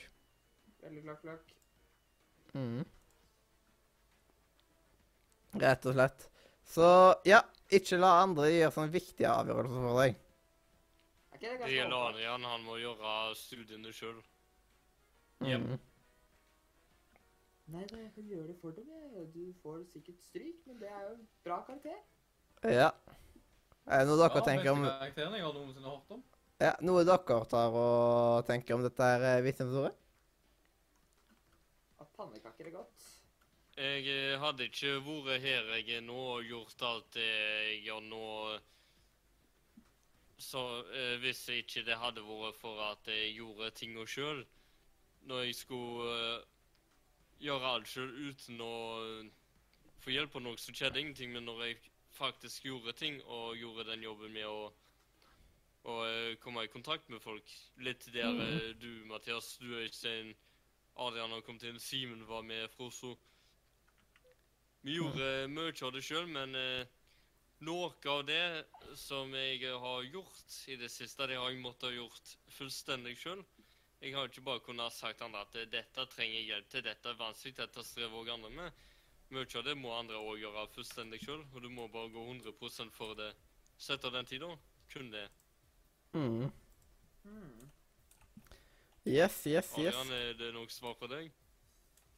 S3: Veldig klokk, klokk.
S1: Mm. Rett og slett. Så ja, ikke la andre gjøre sånne viktige avgjørelser for deg.
S3: Er ikke det
S4: Det
S3: ganske
S4: gjelder
S3: åpenbart?
S4: Adrian. Han må gjøre studiene sjøl.
S1: Mm.
S3: Nei, da, jeg kan gjøre det for dem. jeg. Du får sikkert stryk, men det er jo en bra karakter.
S1: Ja. Er det noe dere
S2: Ja,
S1: tenker om
S2: Beste karakteren jeg har noensinne hørt om.
S1: ja, Noe dere tar og tenker om dette her eh, vitneforsordet?
S3: At pannekaker er godt.
S4: Jeg eh, hadde ikke vært her jeg er nå og gjort alt det jeg gjør nå Så eh, hvis ikke det hadde vært for at jeg gjorde tinga sjøl, når jeg skulle eh, gjøre alt sjøl uten å eh, få hjelp av noen, så skjedde ingenting. Men når jeg faktisk gjorde ting, og gjorde den jobben med å å, eh, komme i kontakt med folk Litt der eh, du, Mathias, du Øystein, Adrian har kommet inn, Simen var med, Froso. Vi gjorde mye av det sjøl, men eh, noe av det som jeg har gjort i det siste, det har jeg måttet ha gjort fullstendig sjøl. Jeg har ikke bare kunnet ha sagt til andre at eh, dette trenger jeg hjelp til, dette er vanskelig, dette strever òg andre med. Mye av det må andre òg gjøre fullstendig sjøl, og du må bare gå 100 for det. Sett av den tida. Kun det.
S1: Mm.
S3: Hmm.
S1: Yes, yes, yes.
S4: Adrian, er det noe svar på deg?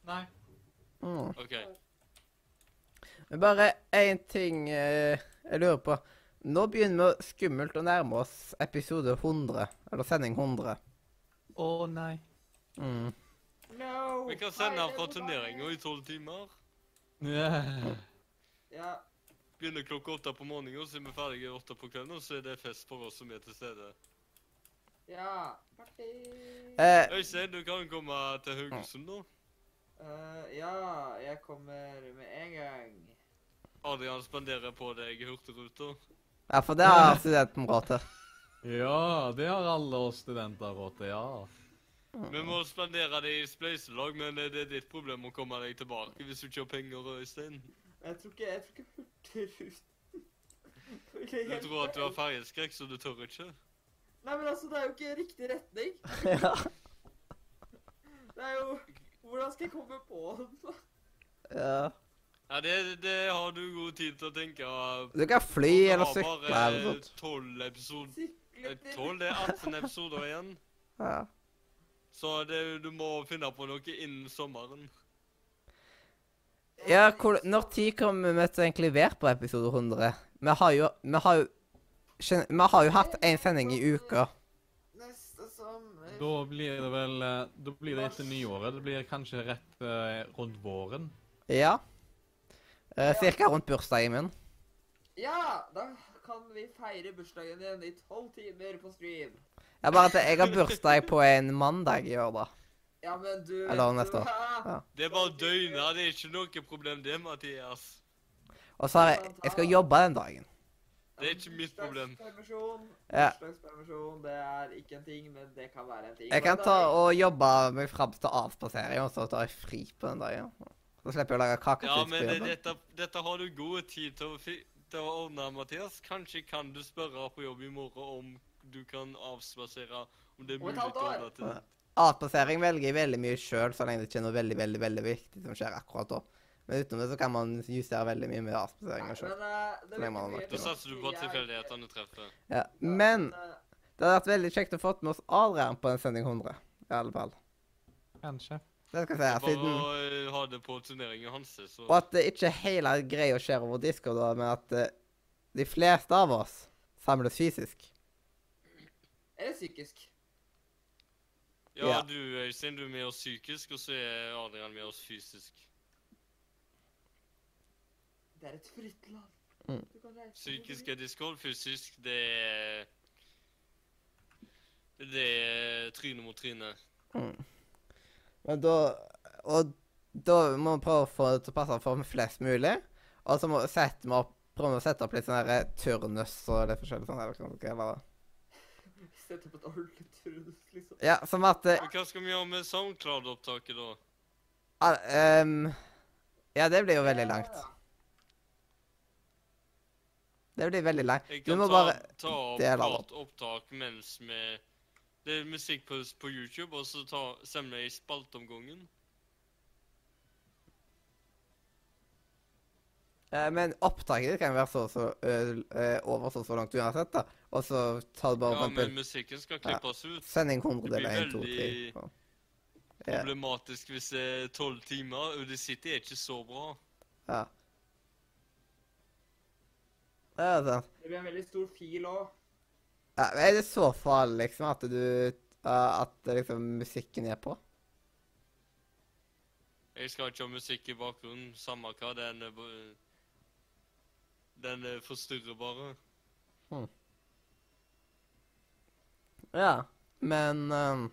S2: Nei.
S1: Mm.
S4: OK.
S1: Men bare én ting eh, jeg lurer på. Nå begynner vi skummelt å nærme oss episode 100, eller sending 100.
S2: Å nei.
S1: Mm.
S3: No!
S4: Vi kan sende
S3: Hei,
S4: han fra
S3: everybody.
S4: turneringa i tolv timer.
S3: Ja.
S4: Begynner klokka åtte på morgenen, så er vi ferdige åtte på kvelden, og så er det fest for oss som er til stede.
S3: Ja. Party!
S1: Eh,
S4: Øystein, du kan komme til Haugesund, da.
S3: Eh, ja, jeg kommer med en gang.
S4: Adrian spanderer på deg Hurtigruta.
S1: ja, for det har studenten råd til.
S2: [LAUGHS] Ja, det har alle oss studenter råd til, ja.
S4: Vi må spandere det i spleiselag, men eh, det er ditt problem å komme deg tilbake hvis du ikke har penger, Øystein.
S3: Jeg tror ikke jeg tror ikke Hurtigruten ville [LAUGHS]
S4: Du tror at du har
S3: hjelpe.
S4: ferjeskrekk, så du tør ikke.
S3: Nei, men altså, det er jo ikke riktig retning.
S1: [LAUGHS] ja.
S3: Det er jo Hvordan skal jeg komme på den? [LAUGHS] da?
S1: ja.
S4: Ja, det, det har du god tid til å tenke.
S1: Du kan fly eller sykle eller
S4: bare eh,
S1: noe sånt.
S4: tolv episoder
S3: Sykle til
S4: Tolv? Det er 18 episoder igjen.
S1: Ja.
S4: Så det, du må finne på noe innen sommeren.
S1: Ja, hvor, når tid kommer vi til å egentlig være på episode 100? Vi har jo Vi har jo, skjøn- vi har jo hatt én sending i uka.
S3: Neste sommer
S2: Da blir det vel eh, Da blir det etter nyåret. Det blir kanskje rett eh, rundt våren.
S1: Ja. Eh, cirka rundt bursdagen min.
S3: Ja! Da kan vi feire bursdagen din i tolv timer på stream.
S1: Ja, bare at jeg har bursdag på en mandag i år, da.
S3: Ja, men du vet
S1: Eller
S3: du
S1: neste år.
S3: hva?
S1: Ja.
S4: Det er bare døgnet. Det er ikke noe problem, det, Mathias.
S1: Og så har jeg Jeg skal jobbe den dagen.
S4: Det er ikke mitt problem.
S3: Bursdagspermisjon.
S1: Ja.
S3: Bursdagspermisjon, det er ikke en ting, men det kan være en ting.
S1: Jeg kan
S3: Men
S1: ta
S3: da-
S1: og jobbe meg fram til avspasering, og så tar jeg fri på den dagen. Så slipper jeg å lage kaker
S4: Ja,
S1: på
S4: men det,
S1: jobben.
S4: dette, dette har du god tid til å, fi, til å ordne, Mathias. Kanskje kan du spørre på jobb i morgen om du kan avspasere om det er
S3: Om et
S4: mulig å
S3: halvt år.
S4: ordne til det.
S1: Avspasering velger jeg veldig mye sjøl, så lenge det ikke er noe veldig veldig, veldig viktig som skjer akkurat da. Men utenom det så kan man justere veldig mye med
S3: Nei,
S1: avspaseringa sjøl.
S3: men, eh, det
S1: Så lenge man har
S3: vet
S1: makt til
S3: vi-
S4: Da satser du på at
S3: Jeg-
S4: tilfeldighetene treffer.
S1: Ja.
S3: Ja,
S1: Men
S3: eh,
S1: det hadde vært veldig kjekt å få med oss Adrian på en sending 100. I alle fall.
S2: Kanskje.
S1: Det skal jeg si.
S4: Bare å
S1: Siden
S4: eh, ha det på turneringen hans, så
S1: Og at det ikke hele greia skjer over Discord, da, men at eh, de fleste av oss samles fysisk.
S3: Eller psykisk.
S4: Ja,
S1: ja.
S4: du Øystein, du er med oss psykisk, og så er Adrian med oss fysisk.
S3: Det er et fritt land.
S1: Mm.
S3: Du kan reise hvor du
S4: Psykisk
S3: vil.
S4: er discord, fysisk det er Det er tryne mot tryne.
S1: Men da, og da må vi prøve å få det til å passe for flest mulig. Og så må sette vi opp, prøve å sette opp litt sånn her turnus og litt forskjellig sånn. her, liksom, skal være.
S3: Sette på et [LAUGHS] ordentlig trudus, liksom.
S1: Ja, som at eh,
S4: Men hva skal vi gjøre med SoundCloud-opptaket, da?
S1: al- ehm, Ja, det blir jo veldig langt.
S3: Ja,
S1: Det blir veldig langt.
S4: Jeg
S1: Du
S4: kan
S1: må
S4: ta,
S1: bare
S4: ta opp
S1: dele den
S4: klart opptak mens vi Det er musikk på, på YouTube, og så ta, sender jeg i spalteomgangen.
S1: eh, Men opptaket ditt kan jo være så og så ø, ø, over så og så langt uansett, da. Og så tar du bare
S4: Ja,
S1: for
S4: men
S1: eksempel
S4: musikken skal klippes ut.
S1: sending 100
S4: det blir
S1: eller 1, 2, 3.
S4: veldig-
S1: sånn. Ja.
S4: Problematisk hvis det er tolv timer. Audacity er ikke så bra.
S1: Ja. Ja, sant.
S3: Det blir en veldig stor fil òg.
S1: Ja, men er det så farlig, liksom, at du uh, At liksom musikken er på?
S4: Jeg skal ikke ha musikk i bakgrunnen. Samme hva, den er bare- Den eh, forstyrrer bare.
S1: Ja. Men um,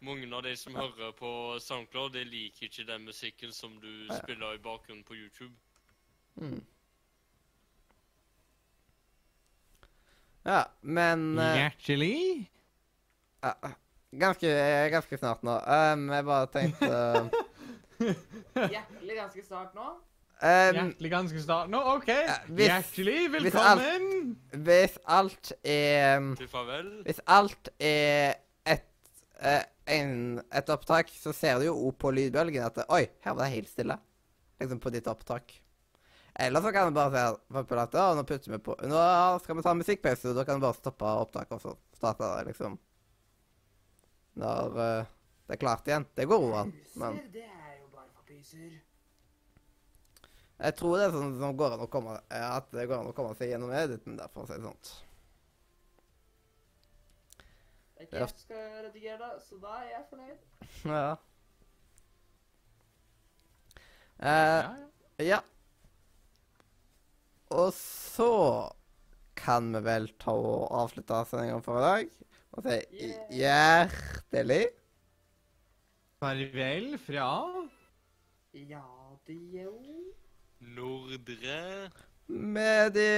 S4: Mange av de som hører på SoundCloud, de liker ikke den musikken som du
S1: Ja.
S4: spiller i bakgrunnen på YouTube.
S1: mm. Ja, men eh,
S2: Hjertelig?
S1: ja, ganske, eh, ganske snart nå. Um, jeg bare tenkte um,
S3: Hjertelig ganske snart nå.
S1: um,
S2: Hjertelig ganske snart. Nå, OK.
S1: eh, hvis-
S2: Hjertelig
S1: hvis alt-
S2: velkommen.
S1: Hvis alt er um,
S4: Til farvel.
S1: Hvis alt er et, eh, en, et opptak, så ser du jo også på lydbølgen at Oi, her var det helt stille. Liksom på ditt opptak. Eller så kan du bare si for eksempel at ja, nå putter vi på Nå skal vi ta en musikkpause, og da kan du bare stoppe opptaket og så starte det, liksom. Når eh, det er klart igjen. Det går jo an, men
S3: Pyser, det er jo bare for pyser.
S1: Jeg tror det er sånn som går an å komme, eh, at det går an å komme seg gjennom editen der, for å si det sånn. Ja.
S3: Det er ikke jeg som skal redigere det, så da er jeg fornøyd.
S1: Ja. Eh,
S2: Ja, ja.
S1: ja. Og så kan vi vel ta og avslutte sendinga for i dag og si
S3: Yeah.
S1: hjertelig
S2: Farvel fra
S3: Ja, det jo.
S4: Nordre
S1: med de...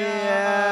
S2: Ja.